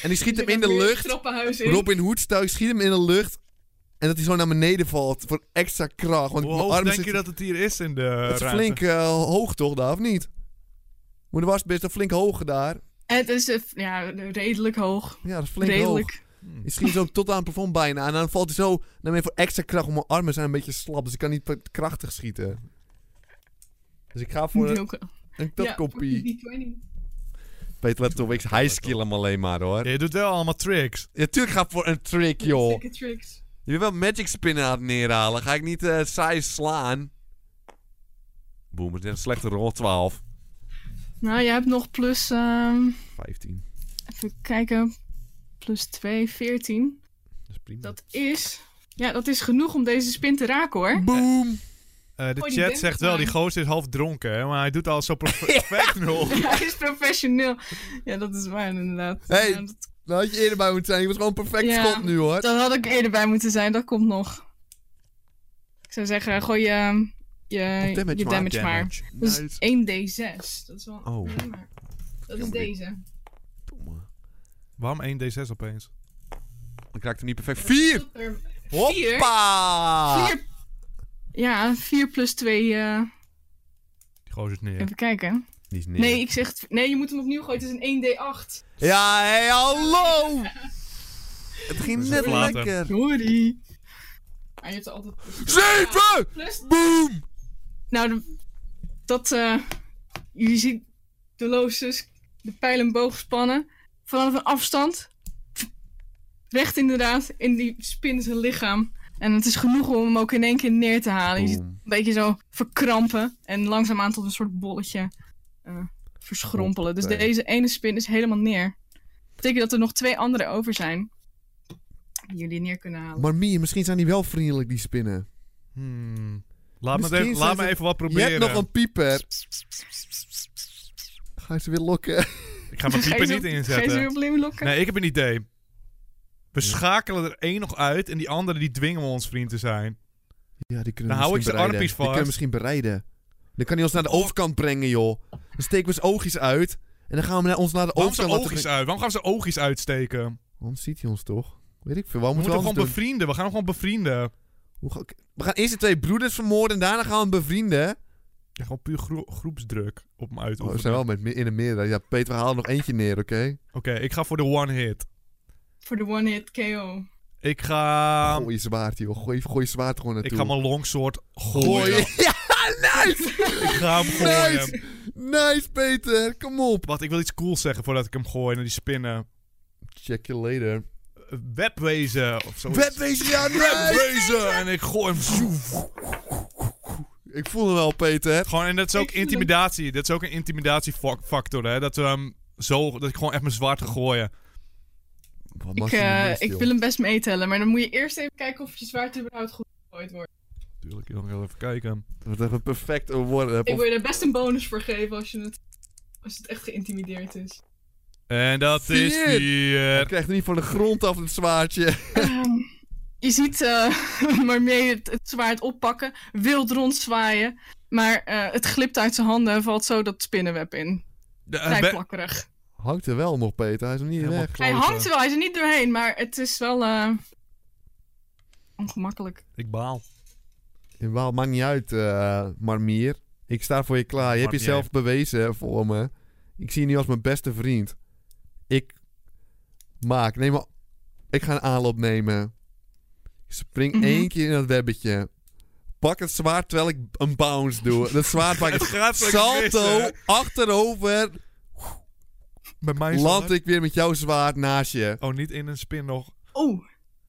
[SPEAKER 1] En ik schiet hem in de
[SPEAKER 3] Weer
[SPEAKER 1] lucht.
[SPEAKER 3] Trappenhuis in.
[SPEAKER 1] Robin Hood stijl. Ik schiet hem in de lucht. En dat hij zo naar beneden valt. Voor extra kracht. Want
[SPEAKER 2] Hoe
[SPEAKER 1] mijn
[SPEAKER 2] hoog
[SPEAKER 1] arm
[SPEAKER 2] denk
[SPEAKER 1] zit...
[SPEAKER 2] je dat het hier is in de
[SPEAKER 1] Het is
[SPEAKER 2] ruimte?
[SPEAKER 1] flink eh, hoog toch, daar, of niet? Moet er was best een flink hoog daar.
[SPEAKER 3] Het is eh, ja, redelijk hoog.
[SPEAKER 1] Ja, dat is flink hoog.
[SPEAKER 3] redelijk.
[SPEAKER 1] Ik schiet zo tot aan het plafond bijna. En dan valt hij zo naar beneden voor extra kracht. Want mijn armen zijn een beetje slap. Dus ik kan niet p- krachtig schieten. Dus ik ga voor
[SPEAKER 3] Moet
[SPEAKER 1] een,
[SPEAKER 3] je ook-
[SPEAKER 1] een
[SPEAKER 3] Ja,
[SPEAKER 1] kopie.
[SPEAKER 3] voor die D20.
[SPEAKER 1] Peter, let op, ik highskill hem alleen maar hoor.
[SPEAKER 2] Je doet wel allemaal tricks.
[SPEAKER 1] Ja, tuurlijk ga ik voor een trick, joh.
[SPEAKER 3] Dikke tricks.
[SPEAKER 1] Je wil wel magic spinnen aan het neerhalen. Ga ik niet eh saai slaan. Boem, het is net een slechte rol. 12.
[SPEAKER 3] Nou, je hebt nog plus. ehm,
[SPEAKER 1] 15.
[SPEAKER 3] even kijken. Plus 2, 14.
[SPEAKER 1] Dat is prima.
[SPEAKER 3] Dat is. Ja, dat is genoeg om deze spin te raken hoor.
[SPEAKER 1] Boom!
[SPEAKER 2] Eh, de
[SPEAKER 3] Oh, die
[SPEAKER 2] chat
[SPEAKER 3] bent
[SPEAKER 2] zegt wel,
[SPEAKER 3] maar.
[SPEAKER 2] die gozer is half dronken, hè, maar hij doet al zo perfect nog.
[SPEAKER 3] Hij is professioneel. Ja, dat is waar inderdaad.
[SPEAKER 1] Hey.
[SPEAKER 3] Ja, dat,
[SPEAKER 1] Daar had je eerder bij moeten zijn. Ik was gewoon een perfect
[SPEAKER 3] Ja.
[SPEAKER 1] schot nu hoor.
[SPEAKER 3] dat had ik eerder bij moeten zijn, dat komt nog. Ik zou zeggen, gooi je, je,
[SPEAKER 1] Of
[SPEAKER 3] je damage maar. Dus
[SPEAKER 1] Nice.
[SPEAKER 3] 1d6. Dat is wel.
[SPEAKER 1] Oh.
[SPEAKER 3] alleen maar- Dat is
[SPEAKER 1] Jammer.
[SPEAKER 3] deze.
[SPEAKER 1] Domme.
[SPEAKER 2] Waarom 1d6 opeens?
[SPEAKER 1] Ik raakte niet perfect. 4!
[SPEAKER 3] Dat er Vier.
[SPEAKER 1] Hoppa!
[SPEAKER 3] Vier- Ja, 4 plus 2.
[SPEAKER 2] Die gozer is neer.
[SPEAKER 3] Even kijken.
[SPEAKER 1] Die is neer.
[SPEAKER 3] Nee, ik zeg. t- Nee, je moet hem opnieuw gooien. Het is een 1d8.
[SPEAKER 1] Ja, hé, hallo! Het ging
[SPEAKER 2] is
[SPEAKER 1] net
[SPEAKER 2] wel later.
[SPEAKER 1] lekker.
[SPEAKER 3] Sorry. Maar je hebt er altijd.
[SPEAKER 1] Zeven!
[SPEAKER 3] Plus.
[SPEAKER 1] Boom!
[SPEAKER 3] Nou, de- dat. eh, jullie zien de loosjes, de pijl en boog spannen. Vanaf een afstand. Recht inderdaad. En die spint zijn lichaam. En het is genoeg om hem ook in één keer neer te halen. Je ziet
[SPEAKER 1] Boom.
[SPEAKER 3] een beetje zo verkrampen en langzaamaan tot een soort bolletje eh, verschrompelen. Dus
[SPEAKER 1] Oké.
[SPEAKER 3] deze ene spin is helemaal neer. Dat betekent dat er nog twee andere over zijn die jullie neer kunnen halen.
[SPEAKER 1] Maar Mie, misschien zijn die wel vriendelijk, die spinnen.
[SPEAKER 2] Hmm. Laat, me,
[SPEAKER 1] Misschien
[SPEAKER 2] even,
[SPEAKER 1] zijn
[SPEAKER 2] laat me
[SPEAKER 1] ze-
[SPEAKER 2] even wat
[SPEAKER 1] Je
[SPEAKER 2] proberen.
[SPEAKER 1] hebt nog een pieper. Ga je ze weer lokken?
[SPEAKER 2] Ik ga mijn
[SPEAKER 3] Ga je
[SPEAKER 2] pieper
[SPEAKER 3] ze-
[SPEAKER 2] niet
[SPEAKER 3] Ga je ze
[SPEAKER 2] inzetten.
[SPEAKER 3] weer opnieuw lokken?
[SPEAKER 2] Nee, ik heb een idee. We schakelen er één nog uit en die andere die dwingen we ons vriend te zijn.
[SPEAKER 1] Ja, die kunnen
[SPEAKER 2] Dan
[SPEAKER 1] we
[SPEAKER 2] hou ik
[SPEAKER 1] misschien
[SPEAKER 2] zijn
[SPEAKER 1] bereiden.
[SPEAKER 2] armpjes
[SPEAKER 1] Die kunnen we
[SPEAKER 2] vast.
[SPEAKER 1] misschien bereiden. Dan kan hij ons naar de overkant brengen, joh. Dan steken we zijn oogjes uit. En dan gaan we naar ons naar de
[SPEAKER 2] Waarom ze
[SPEAKER 1] overkant laten
[SPEAKER 2] oogjes uit? Waarom gaan ze oogjes uitsteken?
[SPEAKER 1] brengen. Waarom ziet hij ons toch? Weet ik veel. Waarom moeten
[SPEAKER 2] We moeten hem
[SPEAKER 1] we
[SPEAKER 2] gewoon
[SPEAKER 1] anders doen?
[SPEAKER 2] bevrienden. We gaan hem gewoon bevrienden.
[SPEAKER 1] Hoe ga ik- We gaan eerst de twee broeders vermoorden. En daarna gaan we hem bevrienden.
[SPEAKER 2] Ja, gewoon puur gro- groepsdruk op hem uit.
[SPEAKER 1] Oh, we
[SPEAKER 2] Oké,
[SPEAKER 1] zijn wel met, me- in de meerderheid. Ja, Peter, we halen nog eentje neer, oké?
[SPEAKER 2] ik ga voor de one hit.
[SPEAKER 3] Voor de one-hit KO.
[SPEAKER 2] Ik ga...
[SPEAKER 1] gooi je zwaard, joh. Gooi, gooi je zwaard gewoon
[SPEAKER 2] Ehm, ik
[SPEAKER 1] naartoe.
[SPEAKER 2] ga mijn longsword gooien.
[SPEAKER 1] Ja, nice!
[SPEAKER 2] ik ga hem gooien.
[SPEAKER 1] Nice! Nice, Peter. Kom op.
[SPEAKER 2] Wacht, ik wil iets cools zeggen voordat ik hem gooi naar die spinnen.
[SPEAKER 1] Check you later.
[SPEAKER 2] Eh, Webwezen of zo.
[SPEAKER 1] Webwezen, ja, nice!
[SPEAKER 2] Webwezen! En ik gooi hem. zoef.
[SPEAKER 1] Ik voel hem wel, Peter.
[SPEAKER 2] Gewoon, en dat is ook
[SPEAKER 3] Ik voel hem.
[SPEAKER 2] intimidatie. Dat is ook een intimidatiefactor, hè. Dat, we hem zo, dat ik gewoon echt mijn zwaard ga gooien.
[SPEAKER 1] Wat
[SPEAKER 3] Ik,
[SPEAKER 1] mag je niet
[SPEAKER 3] eh,
[SPEAKER 1] mis,
[SPEAKER 3] ik
[SPEAKER 1] joh.
[SPEAKER 3] wil hem best meetellen, maar dan moet je eerst even kijken of je zwaard überhaupt goed gegooid wordt.
[SPEAKER 2] Tuurlijk, ik wil nog even kijken.
[SPEAKER 1] Wat even perfect een woord heb.
[SPEAKER 3] Ik wil je daar best een bonus voor geven als, je het, als het echt geïntimideerd is.
[SPEAKER 2] En dat is
[SPEAKER 1] Vier.
[SPEAKER 2] vier.
[SPEAKER 1] Hij krijgt er niet van de grond af het zwaardje.
[SPEAKER 3] Ehm, je ziet eh Marmee het, het zwaard oppakken, wild rondzwaaien. Maar eh, het glipt uit zijn handen en valt zo dat spinnenweb in.
[SPEAKER 2] De- eh,
[SPEAKER 3] Vrij
[SPEAKER 2] we-
[SPEAKER 3] plakkerig.
[SPEAKER 1] Hangt er wel nog, Peter. Hij is nog niet
[SPEAKER 2] Helemaal
[SPEAKER 1] weg.
[SPEAKER 3] Hij
[SPEAKER 2] kloten.
[SPEAKER 3] hangt er wel, hij is er niet doorheen, maar het is wel eh, ongemakkelijk.
[SPEAKER 2] Ik baal.
[SPEAKER 1] In Waal, maakt niet uit, eh, Marmier. Ik sta voor je klaar. Je hebt
[SPEAKER 2] Marmier.
[SPEAKER 1] jezelf bewezen voor me. Ik zie je nu als mijn beste vriend. Ik maak, neem maar. Ik ga een aanloop nemen. Ik spring
[SPEAKER 3] Mhm.
[SPEAKER 1] één keer in dat webbetje. Pak het zwaard terwijl ik een bounce doe. Dat zwaard pak
[SPEAKER 2] Het
[SPEAKER 1] ik.
[SPEAKER 2] gaat zo
[SPEAKER 1] Salto, achterover.
[SPEAKER 2] Bij mij
[SPEAKER 1] Land ik weer met jouw zwaard naast je.
[SPEAKER 2] Oh, niet in een spin nog.
[SPEAKER 3] Oh,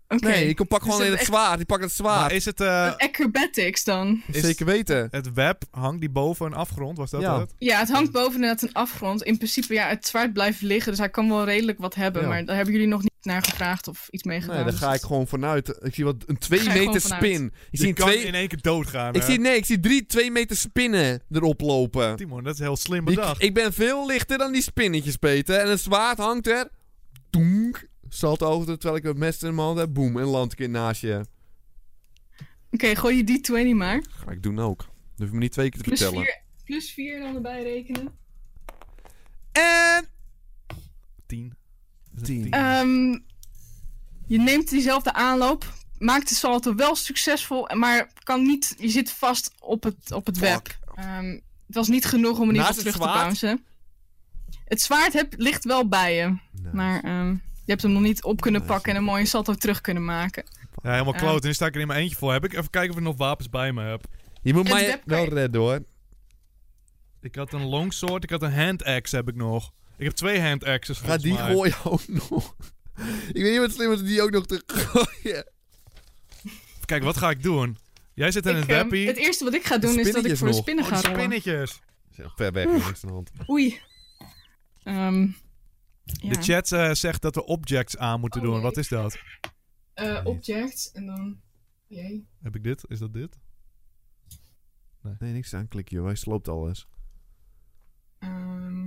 [SPEAKER 3] oké.
[SPEAKER 1] Nee, ik pak gewoon
[SPEAKER 3] Dus
[SPEAKER 1] in
[SPEAKER 3] het
[SPEAKER 1] het zwaard. Ik pak het zwaard.
[SPEAKER 2] Maar is het... eh,
[SPEAKER 3] Acrobatics dan.
[SPEAKER 2] is-
[SPEAKER 1] Zeker weten.
[SPEAKER 2] het web, hangt die boven een afgrond? Was dat
[SPEAKER 1] Ja.
[SPEAKER 2] het?
[SPEAKER 3] Ja, het hangt boven inderdaad een afgrond. In principe, ja, het zwaard blijft liggen, dus hij kan wel redelijk wat hebben.
[SPEAKER 1] Ja.
[SPEAKER 3] Maar daar hebben jullie nog niet naar gevraagd of iets mee gedaan.
[SPEAKER 1] Nee, daar
[SPEAKER 3] dus
[SPEAKER 1] ga
[SPEAKER 3] dat-
[SPEAKER 1] ik gewoon vanuit. Ik zie wat een
[SPEAKER 3] Ga
[SPEAKER 1] 2
[SPEAKER 3] je gewoon
[SPEAKER 1] meter
[SPEAKER 3] vanuit.
[SPEAKER 1] spin. Ik zie
[SPEAKER 2] Je
[SPEAKER 1] een
[SPEAKER 2] kan
[SPEAKER 1] twee,
[SPEAKER 2] in één keer doodgaan.
[SPEAKER 1] ik
[SPEAKER 2] hè?
[SPEAKER 1] zie, nee, ik zie drie 2 meter spinnen erop lopen.
[SPEAKER 2] Timon, dat is heel slim
[SPEAKER 1] Ik,
[SPEAKER 2] bedacht.
[SPEAKER 1] ik ben veel lichter dan die spinnetjes, Peter. En het zwaard hangt er. Doenk. Salto over terwijl ik het mes in mijn hand heb. Boem. En land ik in naast je.
[SPEAKER 3] Oké, gooi je die 20 maar.
[SPEAKER 1] Ga ik doen ook. Dat hoef je me niet twee keer te
[SPEAKER 3] Plus
[SPEAKER 1] vertellen.
[SPEAKER 3] 4 plus vier dan erbij rekenen.
[SPEAKER 1] En.
[SPEAKER 2] Tien. Is het
[SPEAKER 1] Tien. Eh,
[SPEAKER 3] Ehm, je neemt diezelfde aanloop. Maakt de salto wel succesvol, maar kan niet, je zit vast op het, op het
[SPEAKER 1] Fuck.
[SPEAKER 3] web. Ehm, het was niet genoeg om in ieder
[SPEAKER 1] Naast
[SPEAKER 3] geval
[SPEAKER 1] het
[SPEAKER 3] terug te
[SPEAKER 1] zwaard?
[SPEAKER 3] bouncen. Het zwaard heb, ligt wel bij je,
[SPEAKER 1] Nee,
[SPEAKER 3] maar ehm, je hebt hem nog niet op kunnen
[SPEAKER 1] Nee,
[SPEAKER 3] pakken en een mooie salto terug kunnen maken.
[SPEAKER 2] Ja, helemaal
[SPEAKER 1] eh.
[SPEAKER 3] Ja.
[SPEAKER 2] kloot. En nu sta ik er in mijn eentje voor. Heb ik even kijken of ik nog wapens bij me heb.
[SPEAKER 1] Je moet
[SPEAKER 3] Het
[SPEAKER 1] mij
[SPEAKER 3] web kan
[SPEAKER 1] wel
[SPEAKER 3] je-
[SPEAKER 1] redden hoor.
[SPEAKER 2] Ik had een longsword, ik had een hand axe heb ik nog. Ik heb twee hand axes
[SPEAKER 1] Ga
[SPEAKER 2] volgens
[SPEAKER 1] die
[SPEAKER 2] mij.
[SPEAKER 1] gooien ook nog. ik weet niet wat slim is om die ook nog te gooien.
[SPEAKER 2] Kijk, wat ga ik doen? Jij zit in
[SPEAKER 3] Ik,
[SPEAKER 2] het
[SPEAKER 3] ehm,
[SPEAKER 2] weppie.
[SPEAKER 3] het eerste wat ik ga doen is dat ik
[SPEAKER 1] spinnetjes
[SPEAKER 3] voor de
[SPEAKER 1] nog.
[SPEAKER 3] spinnen
[SPEAKER 2] Oh,
[SPEAKER 3] ga
[SPEAKER 2] die
[SPEAKER 3] rollen.
[SPEAKER 2] spinnetjes.
[SPEAKER 1] Ver weg, niks aan de hand.
[SPEAKER 3] Oei. Ehm, ja.
[SPEAKER 2] De chat eh, zegt dat we objects aan moeten
[SPEAKER 3] Oh,
[SPEAKER 2] doen.
[SPEAKER 3] nee.
[SPEAKER 2] Wat is dat?
[SPEAKER 3] Eh, object en dan. Jee.
[SPEAKER 2] Heb ik dit? Is dat dit?
[SPEAKER 1] Nee, niks aanklikken joh. Hij sloopt alles.
[SPEAKER 3] Ehm,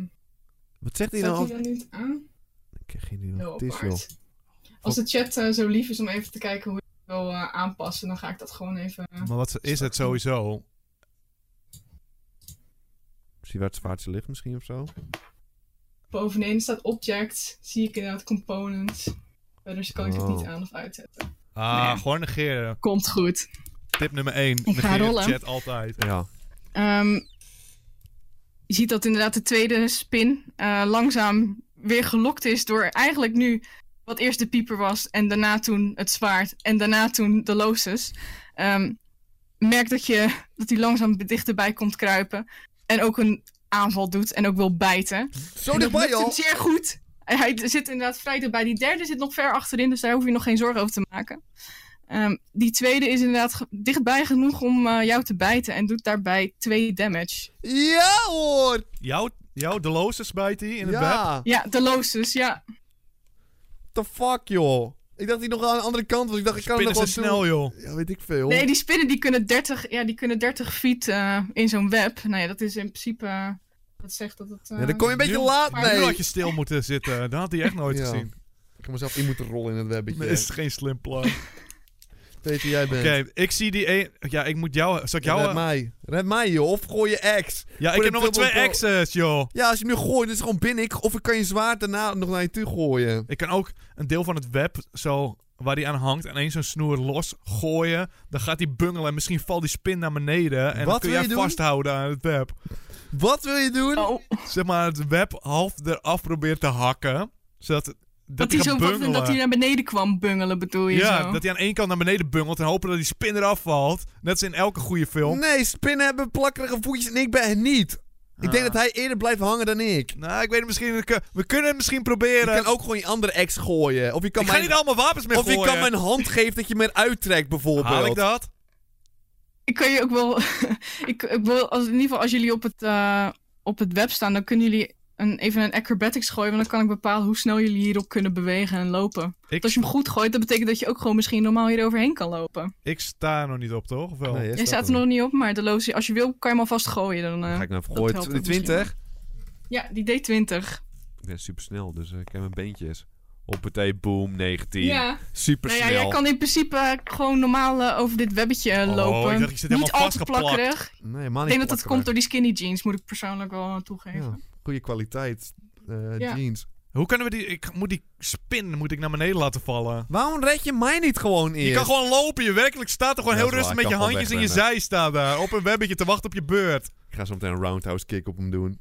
[SPEAKER 1] Wat zegt hij
[SPEAKER 3] staat
[SPEAKER 1] nou?
[SPEAKER 3] hij dan niet aan?
[SPEAKER 1] Ik heb geen idee
[SPEAKER 3] Heel
[SPEAKER 1] wat het is, joh.
[SPEAKER 3] nou apart. Als de chat eh, zo lief is om even te kijken hoe je het wil eh, aanpassen, dan ga ik dat gewoon even. eh,
[SPEAKER 1] Mhm.
[SPEAKER 2] Maar wat is het sowieso?
[SPEAKER 1] Zie waar het zwaardje ligt misschien of zo.
[SPEAKER 3] Bovenin staat object. Zie ik inderdaad components. Verder kan ik het
[SPEAKER 1] Oh.
[SPEAKER 3] niet aan of uitzetten.
[SPEAKER 2] Ah,
[SPEAKER 3] Nee.
[SPEAKER 2] gewoon negeren.
[SPEAKER 3] Komt goed.
[SPEAKER 2] Tip nummer 1.
[SPEAKER 3] ga rollen.
[SPEAKER 2] chat altijd.
[SPEAKER 1] Ja.
[SPEAKER 3] Ehm, je ziet dat inderdaad de tweede spin eh, langzaam weer gelokt is door eigenlijk nu wat eerst de pieper was en daarna toen het zwaard en daarna toen de looses. Ehm, merk dat je dat hij langzaam dichterbij komt kruipen en ook een aanval doet en ook wil bijten.
[SPEAKER 1] Zo
[SPEAKER 3] En dat
[SPEAKER 1] dichtbij
[SPEAKER 3] lukt hem
[SPEAKER 1] al.
[SPEAKER 3] Zeer goed. En Hij zit inderdaad vrij dichtbij. Die derde zit nog ver achterin, dus daar hoef je nog geen zorgen over te maken. Ehm, die tweede is inderdaad ge- dichtbij genoeg om eh, jou te bijten en doet daarbij 2 damage.
[SPEAKER 1] Ja hoor.
[SPEAKER 2] Jouw, jouw de lozers bijt hij in het bed.
[SPEAKER 1] Ja.
[SPEAKER 3] Ja, de looses, ja.
[SPEAKER 1] The fuck joh. Ik dacht die nog aan de andere kant was. Ik dacht ik kan hem
[SPEAKER 2] Spinnen
[SPEAKER 1] nog
[SPEAKER 2] ze
[SPEAKER 1] wel
[SPEAKER 2] snel,
[SPEAKER 1] doen.
[SPEAKER 2] joh.
[SPEAKER 1] Ja, weet ik veel.
[SPEAKER 3] Nee, die spinnen die kunnen 30, ja, die kunnen 30 feet eh, in zo'n web. Nou ja, dat is in principe. eh, dat zegt dat het. eh,
[SPEAKER 1] Ja, dan kom je een beetje laat
[SPEAKER 3] maar
[SPEAKER 1] mee.
[SPEAKER 2] Nu had je stil moeten zitten. Dat had hij echt nooit
[SPEAKER 1] Ja.
[SPEAKER 2] gezien.
[SPEAKER 1] Ik heb mezelf in moeten rollen in het webbetje.
[SPEAKER 2] Dat is geen slim plan. Oké,
[SPEAKER 1] Peter, jij bent.
[SPEAKER 2] ik zie die één... Ja, ik moet jou... Zal ik jou...
[SPEAKER 1] Red mij. Red mij, joh. Of gooi je ex.
[SPEAKER 2] ja, ik
[SPEAKER 1] voor
[SPEAKER 2] heb
[SPEAKER 1] de
[SPEAKER 2] nog maar
[SPEAKER 1] dubbel
[SPEAKER 2] twee
[SPEAKER 1] pro-
[SPEAKER 2] exes, joh.
[SPEAKER 1] Ja, als je hem nu gooit, dan is het gewoon binnen. Ik, of ik kan je zwaard daarna nog naar je toe gooien.
[SPEAKER 2] Ik kan ook een deel van het web zo... Waar hij aan hangt en eens zo'n snoer los gooien. Dan gaat hij bungelen en misschien valt die spin naar beneden. En dan
[SPEAKER 1] Wat
[SPEAKER 2] kun
[SPEAKER 1] wil
[SPEAKER 2] jij
[SPEAKER 1] je doen?
[SPEAKER 2] vasthouden aan het web.
[SPEAKER 1] Wat wil je doen?
[SPEAKER 3] Oh,
[SPEAKER 2] Zeg maar, het web half eraf probeert te hakken. Zodat dat
[SPEAKER 3] dat
[SPEAKER 2] hij
[SPEAKER 3] hij
[SPEAKER 2] gaat
[SPEAKER 3] zo
[SPEAKER 2] bungelen.
[SPEAKER 3] wat, dat
[SPEAKER 1] nou
[SPEAKER 3] hij naar beneden kwam bungelen, bedoel je?
[SPEAKER 2] Ja,
[SPEAKER 3] zo?
[SPEAKER 2] dat hij aan één kant naar beneden bungelt en hopen dat die spin eraf valt. Net als in elke goede film.
[SPEAKER 1] Nee, spinnen hebben plakkerige voetjes en ik ben het niet. Ik denk dat
[SPEAKER 2] Ah.
[SPEAKER 1] hij eerder blijft hangen dan ik.
[SPEAKER 2] Nou, ik weet het misschien. we kun- We kunnen het misschien
[SPEAKER 1] Je
[SPEAKER 2] proberen.
[SPEAKER 1] kan ook gewoon je andere ex gooien. Of je kan,
[SPEAKER 2] ik ga
[SPEAKER 1] mijn,
[SPEAKER 2] niet allemaal wapens meer
[SPEAKER 1] of je
[SPEAKER 2] gooien.
[SPEAKER 1] kan mijn hand geven dat je me uittrekt, bijvoorbeeld.
[SPEAKER 2] Haal ik dat?
[SPEAKER 3] Ik kan je ook wel. ik, ik wil, als, in ieder geval, als jullie op het, eh, op het web staan, dan kunnen jullie een, even een acrobatics gooien. Want dan kan ik bepalen hoe snel jullie hierop kunnen bewegen en lopen. Want als
[SPEAKER 2] Ik,
[SPEAKER 3] je hem goed gooit, dat betekent dat je ook gewoon misschien normaal hieroverheen kan lopen.
[SPEAKER 2] ik sta er nog niet op, toch? Of wel?
[SPEAKER 1] Nee, jij
[SPEAKER 3] Jij staat er
[SPEAKER 1] niet.
[SPEAKER 3] nog niet op, maar de loze, als je wil, kan je hem alvast gooien. Dan, eh,
[SPEAKER 1] Ga ik nou even
[SPEAKER 3] dat
[SPEAKER 1] gooien.
[SPEAKER 3] helpt
[SPEAKER 1] Die
[SPEAKER 3] ook misschien
[SPEAKER 1] 20?
[SPEAKER 3] Ja, die D20.
[SPEAKER 1] Ik ben supersnel, dus eh, ik heb mijn beentjes. Hoppatee, boom, 19.
[SPEAKER 3] Ja. Nou ja,
[SPEAKER 1] Supersnel.
[SPEAKER 3] jij kan in principe eh, gewoon normaal eh, over dit webbetje eh,
[SPEAKER 2] Oh,
[SPEAKER 3] lopen.
[SPEAKER 2] ik dacht, je zit
[SPEAKER 3] Niet
[SPEAKER 2] helemaal
[SPEAKER 3] al te
[SPEAKER 2] vastgeplakt.
[SPEAKER 3] plakkerig.
[SPEAKER 1] Nee, man,
[SPEAKER 3] Ik denk dat dat komt door die skinny jeans, moet ik persoonlijk wel eh, toegeven.
[SPEAKER 1] Ja, goede kwaliteit eh,
[SPEAKER 3] Ja.
[SPEAKER 1] jeans.
[SPEAKER 2] Hoe kunnen we die... Ik moet die spin moet ik naar beneden laten vallen.
[SPEAKER 1] Waarom red je mij niet gewoon eerst?
[SPEAKER 2] Je kan gewoon lopen. Je werkelijk staat er gewoon
[SPEAKER 1] Ja,
[SPEAKER 2] heel
[SPEAKER 1] dat is
[SPEAKER 2] rustig
[SPEAKER 1] waar,
[SPEAKER 2] met je
[SPEAKER 1] ik kan
[SPEAKER 2] handjes in
[SPEAKER 1] gewoon
[SPEAKER 2] je zij staan daar. Op een webbetje te wachten op je beurt.
[SPEAKER 1] Ik ga zo meteen een roundhouse kick op hem doen.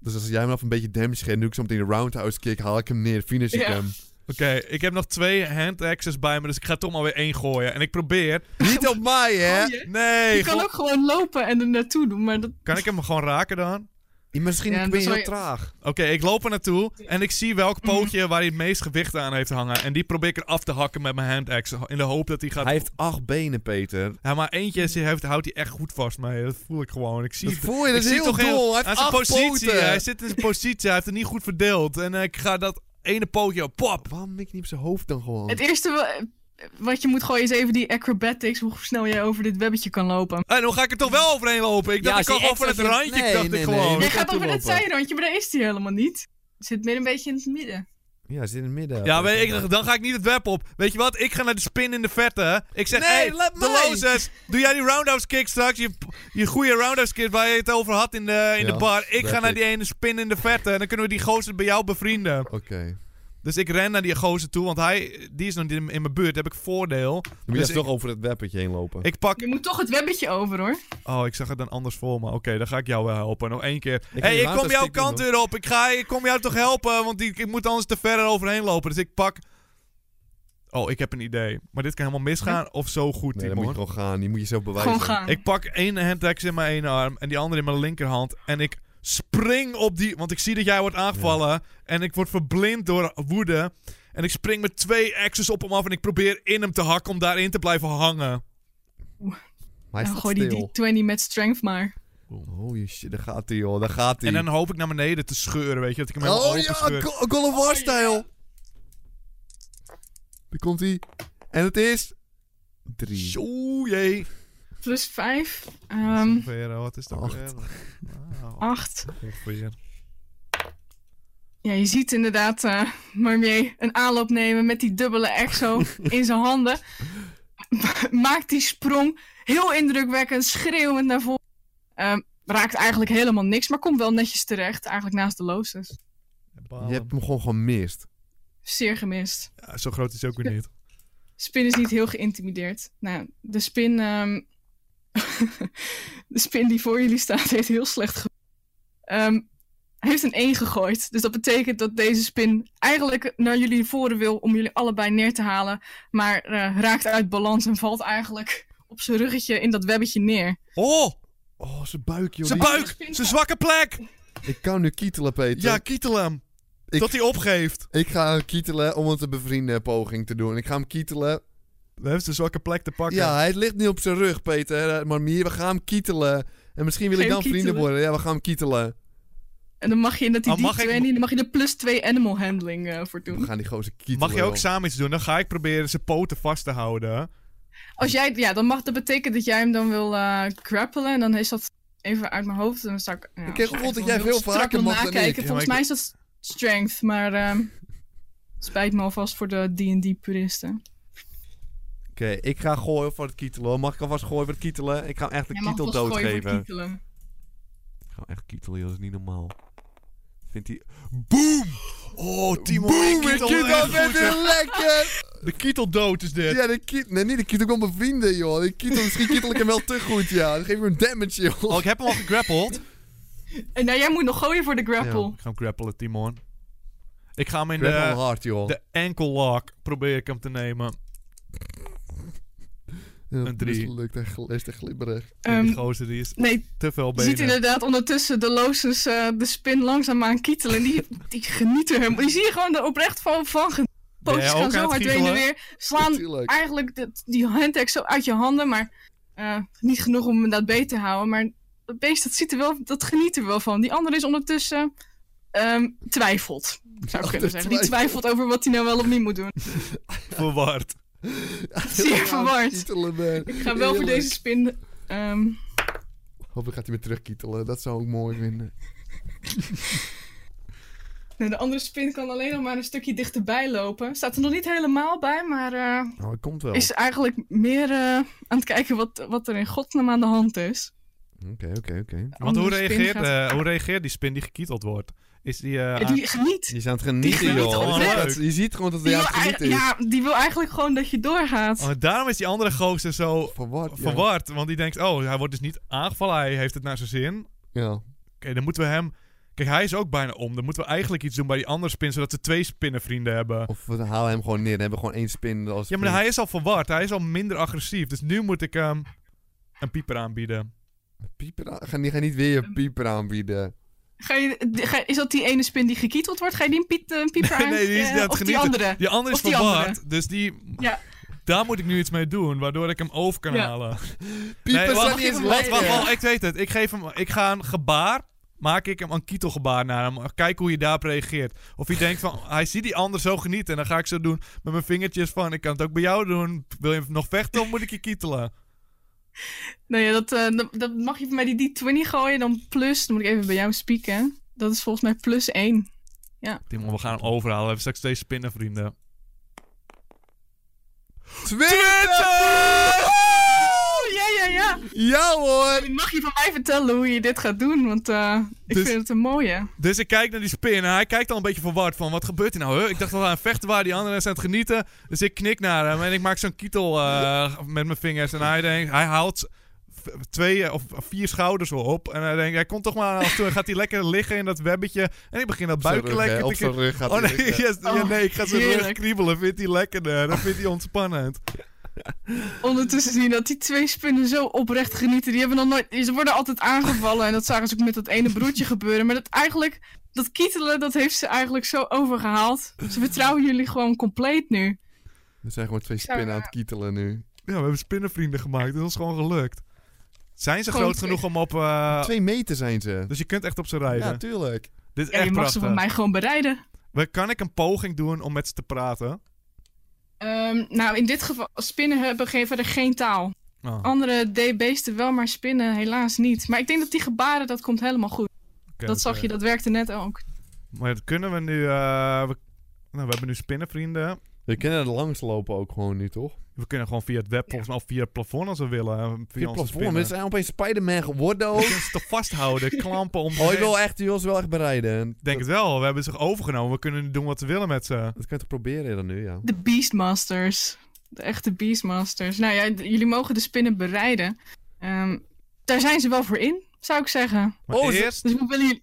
[SPEAKER 1] Dus als jij me af een beetje damage geeft, doe ik zo meteen een roundhouse kick, haal ik hem neer, finish ik
[SPEAKER 3] Ja.
[SPEAKER 1] hem.
[SPEAKER 2] Oké, ik heb nog twee hand axes bij me, dus ik ga toch maar weer één gooien. En ik probeer...
[SPEAKER 1] Niet op mij, hè?
[SPEAKER 3] Gooi je?
[SPEAKER 2] Nee,
[SPEAKER 3] je kan
[SPEAKER 2] goh-
[SPEAKER 3] ook gewoon lopen en er naartoe doen, maar dat...
[SPEAKER 2] kan ik hem gewoon raken dan?
[SPEAKER 1] Ja, Misschien
[SPEAKER 3] Ja,
[SPEAKER 1] ben
[SPEAKER 3] dat
[SPEAKER 1] je
[SPEAKER 3] zou
[SPEAKER 1] heel
[SPEAKER 3] je-
[SPEAKER 1] traag.
[SPEAKER 2] Oké, ik loop er naartoe en ik zie welk pootje waar hij het meest gewicht aan heeft hangen. En die probeer ik eraf te hakken met mijn hand axe. In de hoop dat hij gaat...
[SPEAKER 1] Hij heeft acht benen, Peter.
[SPEAKER 2] Ja, maar eentje is- heeft, houdt hij echt goed vast mee. Dat voel ik gewoon. Ik zie
[SPEAKER 1] Dat voel je, dat is
[SPEAKER 2] ik zie
[SPEAKER 1] heel
[SPEAKER 2] toch
[SPEAKER 1] dol. Hij
[SPEAKER 2] aan
[SPEAKER 1] heeft
[SPEAKER 2] zijn
[SPEAKER 1] acht
[SPEAKER 2] positie.
[SPEAKER 1] poten.
[SPEAKER 2] Hij zit in zijn positie. Hij heeft het niet goed verdeeld. En eh, ik ga dat ene pootje op. Pop!
[SPEAKER 1] Waarom mik ik niet op zijn hoofd dan gewoon?
[SPEAKER 3] Het eerste wa- wat je moet gooien is even die acrobatics, hoe snel jij over dit webbetje kan
[SPEAKER 1] Oh,
[SPEAKER 3] lopen.
[SPEAKER 2] En hoe ga ik er toch wel overheen lopen?
[SPEAKER 1] Ja,
[SPEAKER 2] Ik dacht,
[SPEAKER 1] als
[SPEAKER 2] ik kan
[SPEAKER 1] je
[SPEAKER 2] gewoon van
[SPEAKER 1] echt
[SPEAKER 2] het
[SPEAKER 1] als je-
[SPEAKER 2] randje.
[SPEAKER 1] Nee,
[SPEAKER 2] dacht
[SPEAKER 1] nee,
[SPEAKER 2] ik
[SPEAKER 1] nee.
[SPEAKER 2] gewoon.
[SPEAKER 3] Jij
[SPEAKER 1] kan
[SPEAKER 3] gaat
[SPEAKER 1] toe
[SPEAKER 3] over het
[SPEAKER 1] lopen.
[SPEAKER 3] zijrandje, maar daar is hij helemaal niet. Het Zit meer een beetje in het midden.
[SPEAKER 1] Ja, hij zit in het midden.
[SPEAKER 2] Ja, weet ik, dan ga ik niet het web op. Weet je wat? Ik ga naar de spin in de vette. Ik zeg,
[SPEAKER 1] Nee,
[SPEAKER 2] hey,
[SPEAKER 1] laat
[SPEAKER 2] de
[SPEAKER 1] mij.
[SPEAKER 2] losers, doe jij die roundhouse kick straks? Je, je goede roundhouse kick waar je het over had in de, in
[SPEAKER 1] Ja,
[SPEAKER 2] de bar. Ik
[SPEAKER 1] dat
[SPEAKER 2] ga naar
[SPEAKER 1] ik.
[SPEAKER 2] die ene spin in de vette. En dan kunnen we die gozer bij jou bevrienden.
[SPEAKER 1] Oké.
[SPEAKER 2] Dus ik ren naar die gozer toe, want hij, die is nog niet in, in mijn buurt. Daar heb ik voordeel.
[SPEAKER 1] Dan moet
[SPEAKER 2] Dus
[SPEAKER 1] je
[SPEAKER 2] ik-
[SPEAKER 1] toch over het webbetje heen lopen.
[SPEAKER 2] Ik pak...
[SPEAKER 3] Je moet toch het webbetje over hoor.
[SPEAKER 2] Oh, ik zag het dan anders voor me. Oké, dan ga ik jou wel helpen. Nog één keer.
[SPEAKER 1] heb
[SPEAKER 2] hey,
[SPEAKER 1] die
[SPEAKER 2] ik kom jouw
[SPEAKER 1] roundhouse kick
[SPEAKER 2] kant
[SPEAKER 1] niet,
[SPEAKER 2] weer op. Ik, ga, ik kom jou toch helpen, want die, ik moet anders te ver overheen lopen. Dus ik pak... Oh, ik heb een idee. Maar dit kan helemaal misgaan of zo goed,
[SPEAKER 1] Nee, dan moet je
[SPEAKER 2] Timon.
[SPEAKER 1] gewoon gaan. Die moet je zelf bewijzen.
[SPEAKER 3] Gewoon gaan.
[SPEAKER 2] Ik pak één handaxe in mijn ene arm en die andere in mijn linkerhand. En ik spring op die... Want ik zie dat jij wordt aangevallen. En ik word verblind door woede. En ik spring met twee axes op hem af. En ik probeer in hem te hakken om daarin te blijven hangen.
[SPEAKER 1] Maar hij
[SPEAKER 3] Nou,
[SPEAKER 1] staat
[SPEAKER 3] gooi
[SPEAKER 1] stil.
[SPEAKER 3] die D20 met strength maar.
[SPEAKER 1] Holy shit, daar gaat hij, joh. Daar gaat hij.
[SPEAKER 2] En dan hoop ik naar beneden te scheuren, weet je. Dat ik hem helemaal
[SPEAKER 1] Oh ja,
[SPEAKER 2] openscheur.
[SPEAKER 1] Go- God of
[SPEAKER 2] Oh,
[SPEAKER 1] War stijl. Daar komt hij. En het is... Drie.
[SPEAKER 2] Zo, jee.
[SPEAKER 3] Plus 5, Ehm,
[SPEAKER 2] Ongeveer, oh, wat is dat?
[SPEAKER 1] Acht.
[SPEAKER 2] weer? Nou,
[SPEAKER 3] 8.
[SPEAKER 2] ongeveer.
[SPEAKER 3] Ja, je ziet inderdaad eh Marmier een aanloop nemen met die dubbele exo in zijn handen. Maakt die sprong heel indrukwekkend, schreeuwend naar voren. Ehm, raakt eigenlijk helemaal niks, maar komt wel netjes terecht. Eigenlijk naast de looses.
[SPEAKER 2] Balen.
[SPEAKER 1] Je hebt hem gewoon gemist.
[SPEAKER 3] Zeer gemist.
[SPEAKER 2] Ja, zo groot is hij ook weer niet.
[SPEAKER 3] Spin is niet heel geïntimideerd. Nou, de spin, ehm, de spin die voor jullie staat heeft heel slecht ge- Ehm, Hij heeft een 1 gegooid. Dus dat betekent dat deze spin eigenlijk naar jullie voren wil om jullie allebei neer te halen. Maar eh, raakt uit balans en valt eigenlijk op zijn ruggetje in dat webbetje neer.
[SPEAKER 2] Oh,
[SPEAKER 1] Oh, zijn buik, joh.
[SPEAKER 2] zijn
[SPEAKER 1] Die-
[SPEAKER 2] buik! Zijn zwakke plek!
[SPEAKER 1] Ik kan nu kietelen, Peter.
[SPEAKER 2] Ja, kietel hem.
[SPEAKER 1] Ik-
[SPEAKER 2] Dat hij opgeeft.
[SPEAKER 1] Ik ga hem kietelen om het een bevriende poging te doen. Ik ga hem kietelen.
[SPEAKER 2] We hebben zijn zwakke plek te pakken.
[SPEAKER 1] Ja, hij ligt niet op zijn rug, Peter. eh, Maar Mier, we gaan hem kietelen. En misschien wil ik
[SPEAKER 3] Geen
[SPEAKER 1] dan vrienden
[SPEAKER 3] kietelen.
[SPEAKER 1] worden. Ja, we gaan hem kietelen.
[SPEAKER 3] En dan mag je in dat die
[SPEAKER 2] Oh,
[SPEAKER 3] die
[SPEAKER 2] mag ik-
[SPEAKER 3] training, dan mag je er plus 2 animal handling eh, voor
[SPEAKER 1] We
[SPEAKER 3] doen.
[SPEAKER 1] gaan die gozer kietelen.
[SPEAKER 2] Mag je ook
[SPEAKER 1] joh.
[SPEAKER 2] samen iets doen? Dan ga ik proberen zijn poten vast te houden.
[SPEAKER 3] Als jij, ja, dan mag dat betekent dat jij hem dan wil eh grappelen. En dan is dat even uit mijn hoofd. En dan zou ik. ja,
[SPEAKER 1] heb
[SPEAKER 3] als je
[SPEAKER 1] gevoeld dat jij
[SPEAKER 3] even heel
[SPEAKER 1] veel
[SPEAKER 3] strak
[SPEAKER 1] vaker
[SPEAKER 3] wil
[SPEAKER 1] mag dan ik.
[SPEAKER 3] nakijken.
[SPEAKER 2] Ja, maar
[SPEAKER 3] Volgens
[SPEAKER 2] ik-
[SPEAKER 3] mij is dat strength, maar ehm, spijt me alvast voor de D&D-puristen.
[SPEAKER 1] Oké, ik ga gooien voor het kietelen. hoor. Mag ik alvast gooien voor het kietelen? Ik ga hem echt een kietel doodgeven. Ik ga hem echt kietelen, joh. dat is niet normaal. Vindt hij... Boom!
[SPEAKER 2] Oh, Timo.
[SPEAKER 1] Boom!
[SPEAKER 2] ik
[SPEAKER 1] Ik
[SPEAKER 2] kietel
[SPEAKER 1] kietel
[SPEAKER 2] erg
[SPEAKER 1] met
[SPEAKER 2] goed, hè.
[SPEAKER 1] weer lekker!
[SPEAKER 2] De kietel dood is dit.
[SPEAKER 1] Ja, de kiet... Nee, niet de kiet. Ik wil mijn vrienden, joh. De kiet... Misschien kietel ik hem wel te goed, ja. Dan geef ik hem een damage, joh.
[SPEAKER 2] Oh, ik heb hem al gegrappeld.
[SPEAKER 3] En nou, jij moet nog gooien voor de grapple.
[SPEAKER 2] Ik ga hem grappelen, Timon. Ik ga hem in
[SPEAKER 1] Ik ben wel
[SPEAKER 2] de,
[SPEAKER 1] hard, joh.
[SPEAKER 2] de ankle lock probeer ik hem te nemen.
[SPEAKER 1] Ja,
[SPEAKER 2] een drie.
[SPEAKER 1] Dat lukt echt, is echt glibberig.
[SPEAKER 3] Ehm,
[SPEAKER 2] die gozer die is
[SPEAKER 3] nee,
[SPEAKER 2] te veel
[SPEAKER 3] Je ziet
[SPEAKER 2] bezig.
[SPEAKER 3] inderdaad ondertussen de Lozens eh, de spin langzaamaan kietelen. En Die, die genieten hem. Die zie je gewoon er oprecht van van genieten.
[SPEAKER 2] Ben jij
[SPEAKER 3] Pootjes
[SPEAKER 2] ook
[SPEAKER 3] gaan
[SPEAKER 2] aan
[SPEAKER 3] zo
[SPEAKER 2] het
[SPEAKER 3] hard heen
[SPEAKER 2] giechelen?
[SPEAKER 3] en weer. Slaan
[SPEAKER 1] Natuurlijk.
[SPEAKER 3] eigenlijk de- die handtag zo uit je handen. Maar eh, niet genoeg om hem dat beet te houden. Maar dat beest, dat, ziet er wel, dat geniet er wel van. Die andere is ondertussen... ehm, twijfelt, zou ik kunnen zeggen. Die twijfelt over wat hij nou wel of niet moet doen.
[SPEAKER 2] Verward.
[SPEAKER 3] Zeer verward.
[SPEAKER 1] Kietelen, man.
[SPEAKER 3] Ik ga wel voor deze spin... ehm,
[SPEAKER 1] Hopelijk gaat hij me terugkietelen. Dat zou ik mooi vinden.
[SPEAKER 3] nee, de andere spin kan alleen nog maar een stukje dichterbij lopen. Staat er nog niet helemaal bij, maar eh,
[SPEAKER 1] Nou, het komt wel.
[SPEAKER 3] is eigenlijk meer eh, aan het kijken wat, wat er in godsnaam aan de hand is.
[SPEAKER 1] Oké, oké, oké.
[SPEAKER 2] Want hoe
[SPEAKER 3] Andere spin
[SPEAKER 2] reageert,
[SPEAKER 3] gaat-
[SPEAKER 2] eh, hoe reageert die spin die gekieteld wordt? Is die... eh,
[SPEAKER 3] Ja,
[SPEAKER 2] aan-
[SPEAKER 3] die geniet.
[SPEAKER 1] Je is aan het
[SPEAKER 3] Die
[SPEAKER 1] genieten,
[SPEAKER 3] vindt het
[SPEAKER 1] joh.
[SPEAKER 3] gewoon
[SPEAKER 1] Je ziet
[SPEAKER 2] leuk.
[SPEAKER 1] dat- Je ziet gewoon dat
[SPEAKER 3] Die
[SPEAKER 1] hij
[SPEAKER 3] wil,
[SPEAKER 1] aan het
[SPEAKER 3] eigenlijk-
[SPEAKER 1] genieten is.
[SPEAKER 3] ja, die wil eigenlijk gewoon dat je doorgaat.
[SPEAKER 2] Oh, daarom is die andere gozer zo
[SPEAKER 1] Verward. ja.
[SPEAKER 2] verward. Want die denkt, oh, hij wordt dus niet aangevallen. Hij heeft het naar zijn zin. Oké,
[SPEAKER 1] Ja.
[SPEAKER 2] dan moeten we hem... Kijk, hij is ook bijna om. Dan moeten we eigenlijk iets doen bij die andere spin, zodat ze twee spinnenvrienden hebben.
[SPEAKER 1] Of we halen hem gewoon neer. Dan hebben we gewoon één spin. Als
[SPEAKER 2] Ja, maar hij is al verward. Hij is al minder agressief. Dus nu moet ik hem een pieper aanbieden.
[SPEAKER 1] Pieper aan... Ga, ga niet weer je pieper aanbieden.
[SPEAKER 3] Ga je, ga- is dat die ene spin die gekieteld wordt? Ga je die een, piet, een pieper aan?
[SPEAKER 2] nee, die is
[SPEAKER 3] eh,
[SPEAKER 2] net
[SPEAKER 3] of die
[SPEAKER 2] genieten.
[SPEAKER 3] andere?
[SPEAKER 2] Die andere is
[SPEAKER 3] Of die
[SPEAKER 2] verward.
[SPEAKER 3] andere.
[SPEAKER 2] Dus die,
[SPEAKER 3] Ja.
[SPEAKER 2] daar moet ik nu iets mee doen, waardoor ik hem over kan
[SPEAKER 3] Ja.
[SPEAKER 2] halen.
[SPEAKER 1] Pieper
[SPEAKER 2] Nee,
[SPEAKER 1] staat
[SPEAKER 2] wacht,
[SPEAKER 1] niet eens
[SPEAKER 3] wacht,
[SPEAKER 2] Wacht,
[SPEAKER 1] lekker.
[SPEAKER 2] wacht, wacht, ik weet het. Ik, geef hem, ik ga een gebaar, maak ik hem een kietelgebaar naar hem. Kijk hoe je daarop reageert. Of hij denkt van, hij ziet die ander zo genieten. En dan ga ik zo doen met mijn vingertjes van, ik kan het ook bij jou doen. Wil je nog vechten of moet ik je kietelen?
[SPEAKER 3] Nou ja, dat, eh, dat, dat mag je bij die D20 gooien. Dan plus, dan moet ik even bij jou spieken. Dat is volgens mij plus 1.
[SPEAKER 2] Timon, we gaan hem overhalen. We hebben straks twee spinnenvrienden.
[SPEAKER 1] Twintig!
[SPEAKER 3] Oh, ja, ja, ja.
[SPEAKER 1] Ja hoor!
[SPEAKER 3] Mag je van mij vertellen hoe je dit gaat doen? Want eh, ik
[SPEAKER 2] Dus-
[SPEAKER 3] vind het een mooie.
[SPEAKER 2] Dus ik kijk naar die spin en hij kijkt al een beetje verward van wat gebeurt hier nou? Huh? Ik dacht dat we aan het vechten waren, die anderen zijn aan het genieten. Dus ik knik naar hem en ik maak zo'n kietel eh, met mijn vingers. En hij denkt, hij haalt v- twee eh, of vier schouders op. En hij denkt, hij komt toch maar aan ons toe. En gaat hij lekker liggen in dat webbetje. En ik begin dat
[SPEAKER 1] Op zijn
[SPEAKER 2] buikje
[SPEAKER 1] rug, hè,
[SPEAKER 2] lekker
[SPEAKER 1] Op
[SPEAKER 2] te
[SPEAKER 1] zijn
[SPEAKER 2] kri-
[SPEAKER 1] rug gaat
[SPEAKER 2] Oh
[SPEAKER 1] hij
[SPEAKER 2] nee,
[SPEAKER 1] liggen.
[SPEAKER 2] yes, ja, nee, ik ga zijn rug
[SPEAKER 3] heerlijk.
[SPEAKER 2] kriebelen. Vindt hij lekkerder. Dat vindt hij ontspannend.
[SPEAKER 3] Ondertussen zien dat die twee spinnen zo oprecht genieten. Die hebben nog nooit. Ze worden altijd aangevallen. En dat zagen ze ook met dat ene broertje gebeuren. Maar dat eigenlijk. Dat kietelen, dat heeft ze eigenlijk zo overgehaald. Ze vertrouwen jullie gewoon compleet nu.
[SPEAKER 1] We zijn gewoon twee
[SPEAKER 3] zou,
[SPEAKER 1] spinnen aan
[SPEAKER 3] eh,
[SPEAKER 1] het kietelen nu.
[SPEAKER 2] Ja, we hebben spinnenvrienden gemaakt. Dat is gewoon gelukt. Zijn ze
[SPEAKER 3] Gewoon
[SPEAKER 2] groot
[SPEAKER 3] twee-
[SPEAKER 2] genoeg om op... eh,
[SPEAKER 1] Twee meter zijn ze.
[SPEAKER 2] dus je kunt echt op ze rijden.
[SPEAKER 1] Ja, tuurlijk.
[SPEAKER 2] Dit is
[SPEAKER 3] Ja, je
[SPEAKER 2] echt
[SPEAKER 3] mag ze
[SPEAKER 2] prachtig.
[SPEAKER 3] van mij gewoon bereiden.
[SPEAKER 2] Maar Kan ik een poging doen om met ze te praten?
[SPEAKER 3] Ehm, nou, in dit geval, spinnen hebben geen- verder geen taal.
[SPEAKER 2] Oh, oké.
[SPEAKER 3] Andere D-beesten wel, maar spinnen helaas niet. Maar ik denk dat die gebaren, dat komt helemaal goed. dat zag
[SPEAKER 2] oké.
[SPEAKER 1] eh,
[SPEAKER 3] je, dat werkte net ook.
[SPEAKER 2] Maar dat kunnen we nu... eh, we... Nou, we hebben nu spinnenvrienden.
[SPEAKER 1] We kunnen er langs lopen ook gewoon nu, toch?
[SPEAKER 2] We kunnen gewoon via het web, volgens mij, of via het plafond als we willen. eh, Via,
[SPEAKER 1] Via
[SPEAKER 2] onze
[SPEAKER 1] plafond.
[SPEAKER 2] spinnen.
[SPEAKER 1] We zijn opeens Spider-Man geworden
[SPEAKER 2] We
[SPEAKER 1] ook.
[SPEAKER 2] kunnen ze toch vasthouden, klampen om...
[SPEAKER 1] Oh, je wil echt, je wil ze wel echt bereiden.
[SPEAKER 2] Ik denk het wel. We hebben ze overgenomen. We kunnen nu doen wat we willen met ze.
[SPEAKER 1] Dat kan je toch proberen dan nu, ja.
[SPEAKER 3] De Beastmasters. De echte Beastmasters. Nou ja, d- jullie mogen de spinnen bereiden. Ehm, daar zijn ze wel voor in, zou ik zeggen.
[SPEAKER 2] Maar
[SPEAKER 1] Oh, is
[SPEAKER 2] eerst,
[SPEAKER 3] Dus we willen jullie...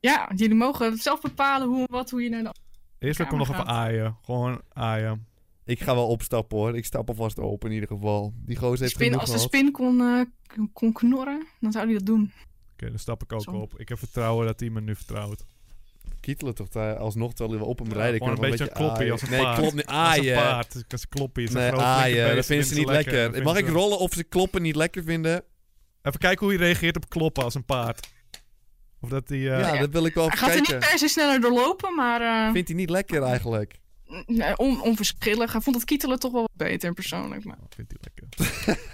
[SPEAKER 3] Ja, jullie mogen zelf bepalen hoe en wat, hoe je naar de...
[SPEAKER 2] eerst wil ik hem nog even aaien. Gewoon aaien.
[SPEAKER 1] Ik ga wel opstappen hoor. Ik stap alvast open in ieder geval. Die gozer heeft
[SPEAKER 3] Spin,
[SPEAKER 1] genoeg
[SPEAKER 3] als de
[SPEAKER 1] gehad.
[SPEAKER 3] spin kon, eh, kon knorren, dan zou hij dat doen.
[SPEAKER 2] Oké, dan stap ik ook
[SPEAKER 3] Zo.
[SPEAKER 2] op. Ik heb vertrouwen dat hij me nu vertrouwt.
[SPEAKER 1] Kietelen toch daar alsnog terwijl hij wel op hem
[SPEAKER 2] Ja,
[SPEAKER 1] rijden. Ik
[SPEAKER 2] gewoon
[SPEAKER 1] kan
[SPEAKER 2] een
[SPEAKER 1] nog
[SPEAKER 2] beetje kloppie
[SPEAKER 1] aaien.
[SPEAKER 2] als een
[SPEAKER 1] Nee,
[SPEAKER 2] paard.
[SPEAKER 1] klopt niet.
[SPEAKER 2] Dat is een
[SPEAKER 1] Aaien.
[SPEAKER 2] paard. Dat is een kloppie. Dat is een
[SPEAKER 1] Nee,
[SPEAKER 2] grote
[SPEAKER 1] aaien.
[SPEAKER 2] linkerbeen,
[SPEAKER 1] Dat vinden ze niet lekker.
[SPEAKER 2] Dat
[SPEAKER 1] Mag ik
[SPEAKER 2] vinden ze-
[SPEAKER 1] rollen of ze kloppen niet lekker vinden?
[SPEAKER 2] Even kijken hoe hij reageert op kloppen als een paard. Of dat hij... eh,
[SPEAKER 1] Ja,
[SPEAKER 3] Ja.
[SPEAKER 1] dat wil ik wel
[SPEAKER 3] Hij
[SPEAKER 1] even
[SPEAKER 3] gaat er niet
[SPEAKER 1] kijken.
[SPEAKER 3] per se sneller doorlopen, maar eh,
[SPEAKER 1] Vindt hij niet lekker eigenlijk?
[SPEAKER 3] nee, on- onverschillig. Hij vond het kietelen toch wel wat beter persoonlijk. Maar
[SPEAKER 2] oh, vindt hij lekker.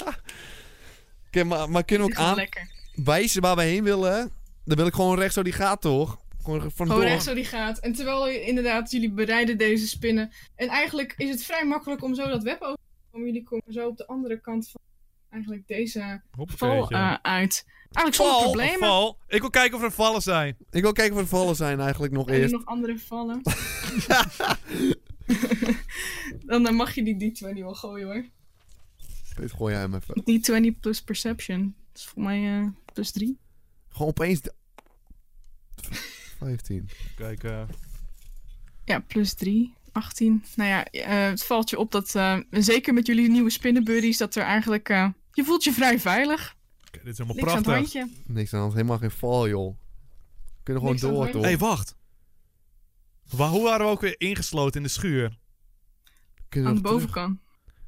[SPEAKER 1] Oké, maar, maar kunnen we
[SPEAKER 3] ik
[SPEAKER 1] ook
[SPEAKER 3] vind het
[SPEAKER 1] aan,
[SPEAKER 3] lekker.
[SPEAKER 1] wijzen waar we heen willen. Dan wil ik gewoon recht zo die gaat, toch? Gewoon
[SPEAKER 3] Gewoon
[SPEAKER 1] vandoor.
[SPEAKER 3] recht zo die gaat. En terwijl je- inderdaad, jullie bereiden deze spinnen. En eigenlijk is het vrij makkelijk om zo dat web over te komen. Jullie komen zo op de andere kant van eigenlijk deze val
[SPEAKER 2] Hoppakeetje.
[SPEAKER 3] eh, uit. Eigenlijk zonder
[SPEAKER 1] Val?
[SPEAKER 2] Een
[SPEAKER 3] problemen.
[SPEAKER 2] val. Ik wil kijken of er vallen zijn.
[SPEAKER 1] Ik wil kijken of er vallen zijn eigenlijk nog
[SPEAKER 3] En er
[SPEAKER 1] eerst.
[SPEAKER 3] nog andere vallen. dan, eh, mag je die D20 wel gooien hoor.
[SPEAKER 1] Dit gooi jij hem even.
[SPEAKER 3] D20 plus perception. Dat is voor mij eh, plus 3.
[SPEAKER 1] Gewoon opeens... de- 15.
[SPEAKER 2] Kijk, eh,
[SPEAKER 3] Ja, plus 3. 18. Nou ja, eh, het valt je op dat, eh, zeker met jullie nieuwe spinnenbuddies, dat er eigenlijk... eh, je voelt je vrij veilig.
[SPEAKER 2] oké, dit is helemaal
[SPEAKER 3] Niks aan het
[SPEAKER 2] Oh, prachtig.
[SPEAKER 3] handje.
[SPEAKER 1] Niks aan de hand. Helemaal geen val, joh. We kunnen gewoon
[SPEAKER 3] Niks aan
[SPEAKER 1] door,
[SPEAKER 3] het
[SPEAKER 1] toch?
[SPEAKER 2] Hé, hey, wacht. Waar, hoe waren we ook weer ingesloten in de schuur?
[SPEAKER 1] Kunnen
[SPEAKER 3] Aan
[SPEAKER 1] we
[SPEAKER 3] de
[SPEAKER 2] eh,
[SPEAKER 1] nog terug?
[SPEAKER 3] bovenkant.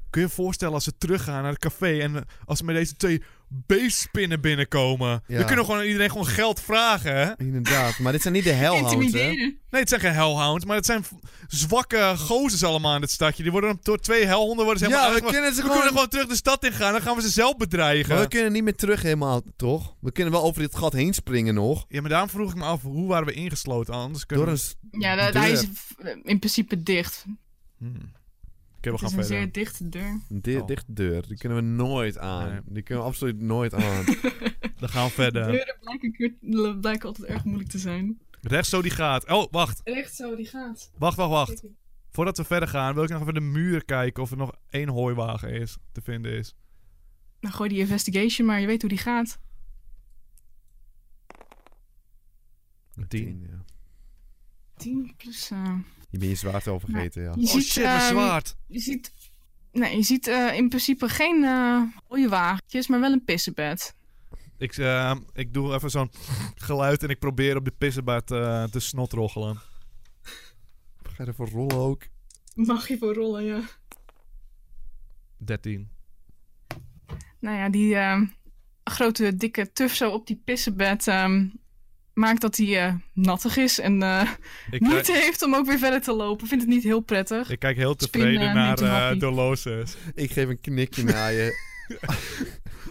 [SPEAKER 2] Kun je je voorstellen als ze teruggaan naar het café en eh, als ze met deze twee beestspinnen binnenkomen?
[SPEAKER 1] Ja.
[SPEAKER 2] Dan kunnen we gewoon aan iedereen gewoon geld vragen, hè?
[SPEAKER 1] Inderdaad, maar dit zijn niet de hellhounds, hè?
[SPEAKER 3] Intimideren.
[SPEAKER 2] Nee, het zijn geen hellhounds, maar het zijn v- zwakke gozers allemaal in het stadje. Die worden door twee hellhonden worden ze helemaal
[SPEAKER 1] Ja, we
[SPEAKER 2] uitgema-
[SPEAKER 1] kunnen ze
[SPEAKER 2] We kunnen
[SPEAKER 1] gewoon...
[SPEAKER 2] gewoon terug de stad in gaan, dan gaan we ze zelf bedreigen.
[SPEAKER 1] Maar we kunnen niet meer terug helemaal, toch? We kunnen wel over dit gat heen springen nog.
[SPEAKER 2] Ja, maar daarom vroeg ik me af, hoe waren we ingesloten? Anders kunnen
[SPEAKER 1] Door een...
[SPEAKER 2] we...
[SPEAKER 1] s-
[SPEAKER 3] Ja, dat,
[SPEAKER 1] deur.
[SPEAKER 3] hij is v- in principe dicht.
[SPEAKER 2] Hmm. Oké, we
[SPEAKER 3] Het
[SPEAKER 2] gaan
[SPEAKER 3] is een
[SPEAKER 2] verder.
[SPEAKER 3] zeer dichte deur.
[SPEAKER 1] Een di-
[SPEAKER 2] Oh.
[SPEAKER 1] dichte deur. Die kunnen we nooit aan.
[SPEAKER 2] Nee.
[SPEAKER 1] Die kunnen we absoluut nooit aan.
[SPEAKER 2] Dan gaan we verder.
[SPEAKER 3] Deuren blijken, keer- blijken altijd erg moeilijk te zijn.
[SPEAKER 2] Rechts zo die gaat. Oh, wacht.
[SPEAKER 3] Echt zo, die gaat.
[SPEAKER 2] Wacht, wacht, wacht. Voordat we verder gaan, wil ik nog even de muur kijken of er nog één hooiwagen is te vinden is.
[SPEAKER 3] Nou, gooi die investigation maar, je weet hoe die gaat.
[SPEAKER 2] Tien.
[SPEAKER 1] ja.
[SPEAKER 3] 10 plus... eh,
[SPEAKER 1] Je bent je zwaard al vergeten, ja.
[SPEAKER 3] je
[SPEAKER 2] Oh shit, mijn
[SPEAKER 3] ehm,
[SPEAKER 2] zwaard.
[SPEAKER 3] Je ziet, nee, je ziet eh, in principe geen eh mooie wagentjes, maar wel een pissebed.
[SPEAKER 2] Ik, eh, ik doe even zo'n geluid en ik probeer op de pissenbaard eh, te snotroggelen.
[SPEAKER 1] Ga je ervoor rollen ook?
[SPEAKER 3] Mag je voor rollen, ja.
[SPEAKER 2] 13.
[SPEAKER 3] Nou ja, die eh, grote dikke tuf zo op die pissebed ehm, maakt dat hij eh, nattig is en eh,
[SPEAKER 2] Ik, eh,
[SPEAKER 3] moeite heeft om ook weer verder te lopen. Vindt het niet heel prettig.
[SPEAKER 2] ik kijk heel
[SPEAKER 3] Spin,
[SPEAKER 2] tevreden
[SPEAKER 3] eh,
[SPEAKER 2] naar
[SPEAKER 3] neemt een
[SPEAKER 2] eh
[SPEAKER 3] hapje.
[SPEAKER 2] Dolores.
[SPEAKER 1] Ik geef een knikje naar je.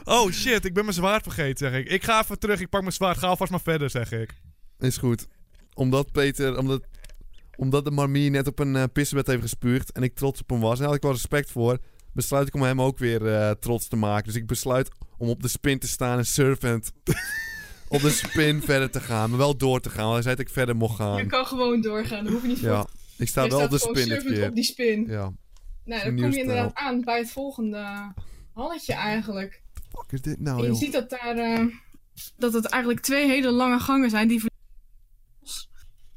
[SPEAKER 2] Oh shit, ik ben mijn zwaard vergeten, zeg ik. Ik ga even terug, ik pak mijn zwaard, ga alvast maar verder, zeg ik.
[SPEAKER 1] Is goed. Omdat Peter, omdat, omdat de marmier net op een eh, pissebed heeft gespuugd en ik trots op hem was en daar had ik wel respect voor, besluit ik om hem ook weer eh, trots te maken. Dus ik besluit om op de spin te staan en servant op de spin verder te gaan, maar wel door te gaan. Want hij zei dat ik verder mocht gaan.
[SPEAKER 3] kan gewoon doorgaan, daar hoef je niet
[SPEAKER 1] Ja, ik sta wel op de spin dit keer.
[SPEAKER 3] die spin.
[SPEAKER 1] Ja,
[SPEAKER 3] nou,
[SPEAKER 1] dan nieuw kom je stijl. inderdaad
[SPEAKER 3] aan bij het volgende halletje eigenlijk.
[SPEAKER 1] fuck is dit nou,
[SPEAKER 3] En je
[SPEAKER 1] joh?
[SPEAKER 3] ziet dat daar eh, dat het eigenlijk twee hele lange gangen zijn die ver-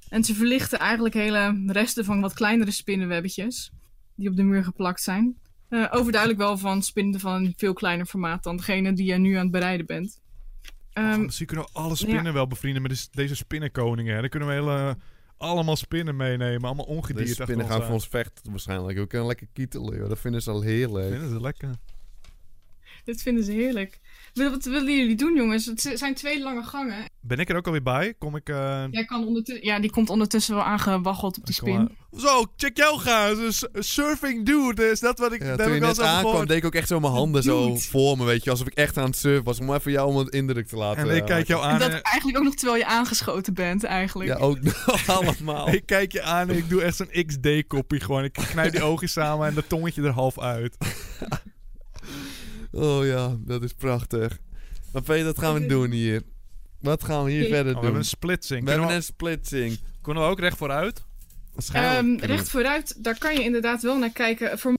[SPEAKER 3] en ze verlichten eigenlijk hele resten van wat kleinere spinnenwebbetjes die op de muur geplakt zijn. Eh, overduidelijk wel van spinnen van een veel kleiner formaat dan degene die je nu aan het bereiden bent.
[SPEAKER 2] Oh,
[SPEAKER 3] Ehm,
[SPEAKER 2] misschien kunnen we alle spinnen wel bevrienden met des- deze spinnenkoningen. hè. Dan kunnen we hele, allemaal spinnen meenemen, allemaal ongedierte.
[SPEAKER 1] De spinnen gaan voor ons vechten waarschijnlijk. We kunnen lekker kietelen, joh. Dat vinden ze al heerlijk.
[SPEAKER 2] Vinden ze lekker.
[SPEAKER 3] dit vinden ze heerlijk. Wil- Wat willen jullie doen, jongens? Het z- zijn twee lange gangen.
[SPEAKER 2] Ben ik er ook alweer bij? Kom ik... eh,
[SPEAKER 3] Jij kan ondertussen, ja, die komt ondertussen wel aangewaggeld op die
[SPEAKER 2] kom maar-
[SPEAKER 3] spin.
[SPEAKER 2] Zo, check jou gaan. Een s- een surfing dude. Is dat wat ik...
[SPEAKER 1] Ja,
[SPEAKER 2] daar
[SPEAKER 1] toen je
[SPEAKER 2] heb ik
[SPEAKER 1] net
[SPEAKER 2] wel eens over
[SPEAKER 1] aankwam,
[SPEAKER 2] gehoord.
[SPEAKER 1] deed ik ook echt zo mijn handen zo
[SPEAKER 3] Dude.
[SPEAKER 1] voor me, weet je. Alsof ik echt aan het surfen was. Om even jou om het indruk te laten.
[SPEAKER 2] En ik
[SPEAKER 1] eh,
[SPEAKER 2] kijk jou
[SPEAKER 3] En
[SPEAKER 2] aan
[SPEAKER 3] dat
[SPEAKER 2] en-
[SPEAKER 3] eigenlijk ook nog terwijl je aangeschoten bent, eigenlijk.
[SPEAKER 1] Ja, ook nog allemaal.
[SPEAKER 2] Ik kijk je aan en ik doe echt zo'n XD-koppie gewoon. Ik knijp die ogen samen en dat tongetje er half uit.
[SPEAKER 1] Oh ja, dat is prachtig. Maar Peter, dat gaan we doen hier. Wat gaan we hier
[SPEAKER 3] Oké.
[SPEAKER 1] verder
[SPEAKER 2] Oh, we
[SPEAKER 1] doen?
[SPEAKER 2] hebben een splitsing.
[SPEAKER 1] we
[SPEAKER 2] Kunnen
[SPEAKER 1] hebben
[SPEAKER 2] we,
[SPEAKER 1] een splitsing.
[SPEAKER 2] kunnen we ook recht vooruit?
[SPEAKER 1] Waarschijnlijk
[SPEAKER 3] Ehm,
[SPEAKER 1] kunnen we-
[SPEAKER 3] recht vooruit, daar kan je inderdaad wel naar kijken. Voor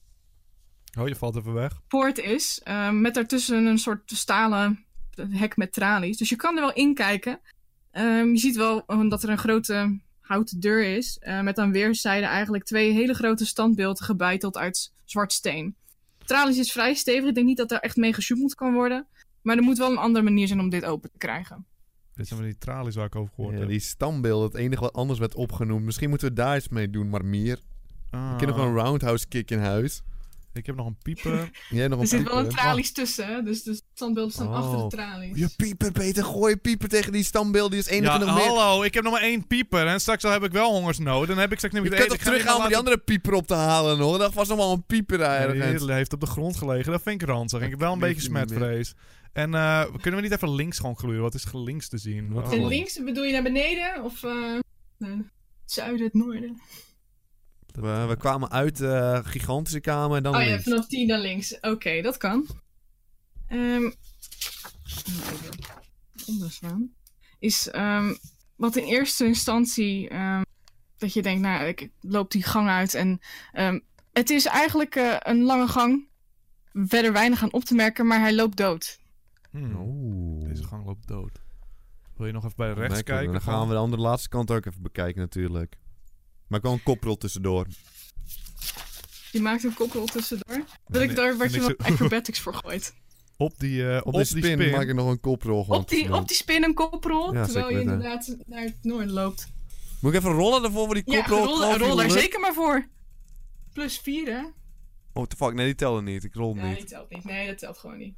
[SPEAKER 2] Oh, je valt even weg.
[SPEAKER 3] poort is. eh, met daartussen een soort stalen hek met tralies. Dus je kan er wel in kijken. Ehm, je ziet wel eh, dat er een grote houten deur is. eh, met aan weerszijden eigenlijk twee hele grote standbeelden gebeiteld uit zwart steen. Tralies is vrij stevig. Ik denk niet dat daar echt mee gesjoemeld kan worden. Maar er moet wel een andere manier zijn om dit open te krijgen.
[SPEAKER 2] Dit zijn wel die tralies waar ik over gehoord
[SPEAKER 1] Ja,
[SPEAKER 2] heb.
[SPEAKER 1] die standbeelden, het enige wat anders werd opgenoemd. Misschien moeten we daar iets mee doen, maar meer.
[SPEAKER 2] Ah,
[SPEAKER 1] Ik heb nog een roundhouse kick in huis.
[SPEAKER 2] ik heb nog een pieper.
[SPEAKER 1] Jij nog
[SPEAKER 3] Er zit wel een
[SPEAKER 1] pieper?
[SPEAKER 3] tralies tussen. hè, Dus de standbeelden staan achter
[SPEAKER 1] Oh.
[SPEAKER 3] de tralies.
[SPEAKER 1] Je pieper, Peter. Gooi je pieper tegen die standbeelden. Die is
[SPEAKER 2] ja, oh,
[SPEAKER 1] 21 meer.
[SPEAKER 2] hallo, ik heb nog maar één pieper. En straks al heb ik wel hongersnood. Dan heb ik straks
[SPEAKER 1] Je
[SPEAKER 2] niet
[SPEAKER 1] kunt toch teruggaan om die andere pieper op te halen, hoor. Dat was nog wel een pieper ergens.
[SPEAKER 2] Die heeft op de grond gelegen. Dat vind ik ranzig. Ik heb wel een
[SPEAKER 1] weet
[SPEAKER 2] beetje
[SPEAKER 1] het niet meer.
[SPEAKER 2] smetvrees. En eh, kunnen we niet even links gewoon gluren? Wat is links te zien?
[SPEAKER 1] Wat
[SPEAKER 2] Oh.
[SPEAKER 3] En links bedoel je naar beneden? Of eh, nee, het zuiden, het noorden?
[SPEAKER 1] We, we kwamen uit de gigantische kamer en dan
[SPEAKER 3] Oh ja,
[SPEAKER 1] links.
[SPEAKER 3] vanaf 10 naar links. Oké, dat kan. Ehm onderslaan. Is ehm, wat in eerste instantie. ehm, dat je denkt, nou, ik loop die gang uit. En ehm, het is eigenlijk eh, een lange gang. Verder weinig aan op te merken, maar hij loopt dood.
[SPEAKER 2] Hmm.
[SPEAKER 1] Oh. Oeh.
[SPEAKER 2] Deze gang loopt dood. Wil je nog even bij rechts
[SPEAKER 1] Lekker.
[SPEAKER 2] kijken?
[SPEAKER 1] Dan gaan we de andere laatste kant ook even bekijken natuurlijk. Maar ik wel een koprol tussendoor.
[SPEAKER 3] Je maakt een kokkel tussendoor. Dat ik
[SPEAKER 2] nee,
[SPEAKER 3] daar werd
[SPEAKER 2] en
[SPEAKER 3] je
[SPEAKER 2] ik
[SPEAKER 3] wat acrobatics voor gooit.
[SPEAKER 2] Op die, eh, op
[SPEAKER 1] Op,
[SPEAKER 2] die
[SPEAKER 1] de spin, maak ik nog een koprol gewoon
[SPEAKER 3] Op die,
[SPEAKER 1] tussendoor.
[SPEAKER 3] op die spin een koprol,
[SPEAKER 1] Ja,
[SPEAKER 3] terwijl
[SPEAKER 1] zeker
[SPEAKER 3] je
[SPEAKER 1] weten.
[SPEAKER 3] inderdaad naar het noorden loopt.
[SPEAKER 1] Moet ik even rollen daarvoor voor die
[SPEAKER 3] Ja,
[SPEAKER 1] koprol?
[SPEAKER 3] rol, rol daar zeker maar voor. Plus 4, hè?
[SPEAKER 1] Oh, the fuck. Nee, die tellen niet. Ik rol
[SPEAKER 3] Nee,
[SPEAKER 1] niet.
[SPEAKER 3] die telt niet. Nee, dat telt gewoon niet.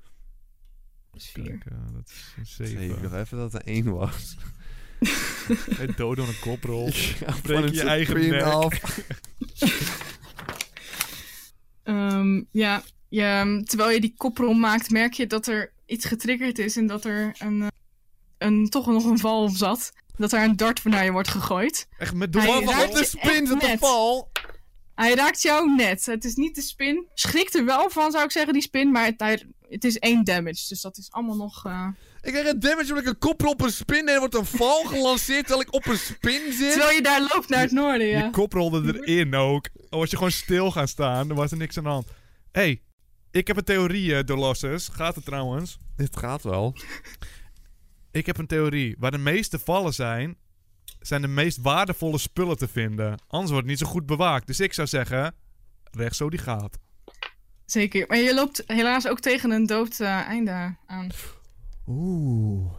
[SPEAKER 3] Plus 4.
[SPEAKER 2] Kijk, eh, dat is een
[SPEAKER 1] Even. Ik
[SPEAKER 2] 7.
[SPEAKER 1] dacht even dat er één was.
[SPEAKER 2] Hey, dood door een koprol.
[SPEAKER 1] Ja,
[SPEAKER 2] breek
[SPEAKER 1] van
[SPEAKER 2] je
[SPEAKER 1] een
[SPEAKER 2] eigen
[SPEAKER 1] pin
[SPEAKER 2] nek.
[SPEAKER 1] af.
[SPEAKER 3] Ehm, ja, je, ehm, terwijl je die koprol maakt, merk je dat er iets getriggerd is en dat er een, eh, een, toch nog een val op zat. Dat er een dart naar je wordt gegooid.
[SPEAKER 2] Echt met
[SPEAKER 3] Hij
[SPEAKER 2] door.
[SPEAKER 3] raakt
[SPEAKER 1] Wat de
[SPEAKER 3] je
[SPEAKER 1] spin
[SPEAKER 3] echt
[SPEAKER 1] zat te
[SPEAKER 3] net.
[SPEAKER 1] val.
[SPEAKER 3] Hij raakt jou net. Het is niet de spin. Schrikt er wel van, zou ik zeggen, die spin. Maar het, hij- het is één damage. Dus dat is allemaal nog. eh,
[SPEAKER 1] Ik krijg een damage omdat ik een koprol op een spin en er wordt een val gelanceerd terwijl ik op een spin zit.
[SPEAKER 3] Terwijl je daar loopt naar het noorden, ja.
[SPEAKER 2] Je kop rolde erin ook. Al was je gewoon stil gaan staan, dan was er niks aan de hand. Hé, hey, ik heb een theorie, eh Dolossus. Gaat het trouwens?
[SPEAKER 1] Dit gaat wel.
[SPEAKER 2] Ik heb een theorie. Waar de meeste vallen zijn, zijn de meest waardevolle spullen te vinden. Anders wordt het niet zo goed bewaakt. Dus ik zou zeggen, recht zo die gaat.
[SPEAKER 3] Zeker. Maar je loopt helaas ook tegen een dood eh, einde aan.
[SPEAKER 1] Oeh.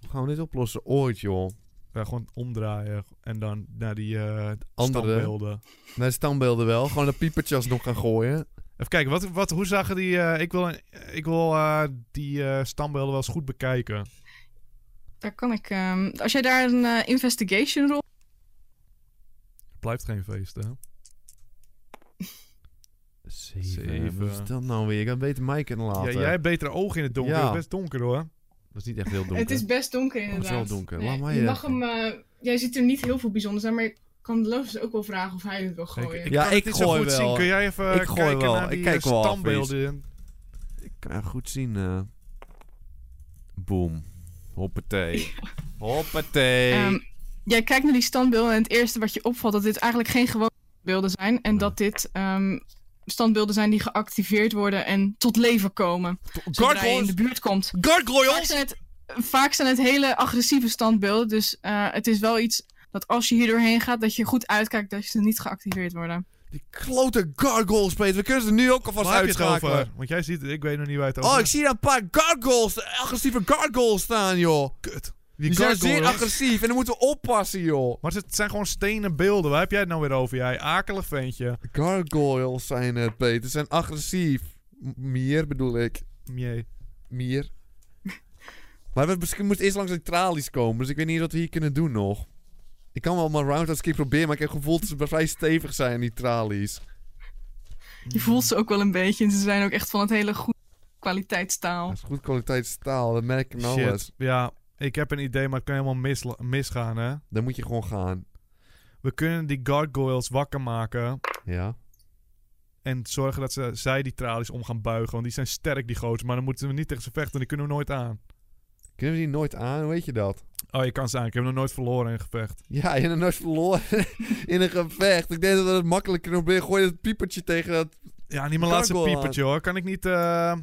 [SPEAKER 1] Hoe gaan we dit oplossen ooit, joh?
[SPEAKER 2] Ja, gewoon omdraaien en dan naar die eh
[SPEAKER 1] Andere.
[SPEAKER 2] standbeelden.
[SPEAKER 1] Naar de standbeelden wel. Gewoon dat piepertje alsnog gaan gooien.
[SPEAKER 2] Even kijken, wat, wat, hoe zagen die... eh, ik wil, ik wil eh, die eh standbeelden wel eens goed bekijken.
[SPEAKER 3] Daar kan ik. ehm, als jij daar een eh, investigation rol.
[SPEAKER 2] Blijft geen feest, hè? Zeven.
[SPEAKER 1] Zeven. Wat is dat nou weer? Ik had beter mij kunnen
[SPEAKER 2] Ja,
[SPEAKER 1] laten.
[SPEAKER 2] jij hebt betere ogen in het donker.
[SPEAKER 1] Ja.
[SPEAKER 2] Het is best donker, hoor.
[SPEAKER 1] Dat is niet echt heel donker.
[SPEAKER 3] Het is best donker
[SPEAKER 1] het is
[SPEAKER 3] inderdaad.
[SPEAKER 1] wel donker. Laat mij
[SPEAKER 3] je
[SPEAKER 1] even.
[SPEAKER 3] mag hem. eh, jij ziet er niet heel veel bijzonders aan, maar ik kan de Lovers ook wel vragen of hij het wil gooien.
[SPEAKER 1] Ja,
[SPEAKER 2] kan het
[SPEAKER 1] ik
[SPEAKER 2] niet zo
[SPEAKER 1] gooi
[SPEAKER 2] goed
[SPEAKER 1] wel.
[SPEAKER 2] Zien. Kun jij even
[SPEAKER 1] Ik gooi
[SPEAKER 2] kijken
[SPEAKER 1] wel.
[SPEAKER 2] naar
[SPEAKER 1] Ik
[SPEAKER 2] die
[SPEAKER 1] kijk
[SPEAKER 2] eh,
[SPEAKER 1] wel
[SPEAKER 2] standbeelden?
[SPEAKER 1] Ik kan echt goed zien. eh. Boom. Hoppatee. Hoppatee.
[SPEAKER 3] Ehm, jij kijkt naar die standbeelden en het eerste wat je opvalt dat dit eigenlijk geen gewone beelden zijn en
[SPEAKER 1] Nee.
[SPEAKER 3] dat dit ehm, standbeelden zijn die geactiveerd worden en tot leven komen. Zodra je in de buurt komt. Vaak
[SPEAKER 1] Gargoyles!
[SPEAKER 3] zijn het, vaak zijn het hele agressieve standbeelden, dus eh, het is wel iets dat als je hier doorheen gaat, dat je goed uitkijkt dat ze niet geactiveerd worden.
[SPEAKER 1] Die klote gargoyles, Peter. We kunnen ze nu ook alvast
[SPEAKER 2] Waar heb je het
[SPEAKER 1] uitschakelen.
[SPEAKER 2] over? Want jij ziet het, ik weet nog niet waar je het over
[SPEAKER 1] Oh, ik zie daar een paar gargoyles, agressieve gargoyles staan, joh.
[SPEAKER 2] Kut.
[SPEAKER 1] Die,
[SPEAKER 2] Die
[SPEAKER 1] zijn zeer
[SPEAKER 2] gargoyles.
[SPEAKER 1] agressief en dan moeten we oppassen, joh.
[SPEAKER 2] Maar het zijn gewoon stenen beelden. Waar heb jij het nou weer over, jij? Akelig ventje.
[SPEAKER 1] Gargoyles zijn het, Peter. Ze zijn agressief. M- Mier bedoel ik.
[SPEAKER 2] Jee.
[SPEAKER 1] Mier. maar we misschien moeten eerst langs de tralies komen, dus ik weet niet wat we hier kunnen doen nog. Ik kan wel mijn roundhouse kick proberen, maar ik heb het gevoel dat ze vrij stevig zijn, die tralies.
[SPEAKER 2] Mm.
[SPEAKER 3] Je voelt ze ook wel een beetje. En ze zijn ook echt van het hele goede kwaliteitstaal.
[SPEAKER 1] Dat is goed kwaliteit staal, dat merk ik nou
[SPEAKER 2] Shit.
[SPEAKER 1] eens.
[SPEAKER 2] Ja, ik heb een idee, maar het kan helemaal misla- misgaan, hè?
[SPEAKER 1] Dan moet je gewoon gaan.
[SPEAKER 2] We kunnen die gargoyles wakker maken.
[SPEAKER 1] Ja.
[SPEAKER 2] En zorgen dat ze, zij die tralies om gaan buigen. Want die zijn sterk, die gozer. Maar dan moeten we niet tegen ze vechten. Die kunnen we nooit aan.
[SPEAKER 1] Kunnen we die nooit aan? Hoe weet je dat?
[SPEAKER 2] Oh, je kan ze aan. Ik heb nog nooit verloren in een gevecht.
[SPEAKER 1] Ja, je hebt nooit verloren in een gevecht. Ik denk dat we het makkelijker kunnen proberen. Gooi dat piepertje tegen dat
[SPEAKER 2] Ja, niet mijn laatste
[SPEAKER 1] Gargoyle.
[SPEAKER 2] piepertje hoor. Kan ik niet... eh,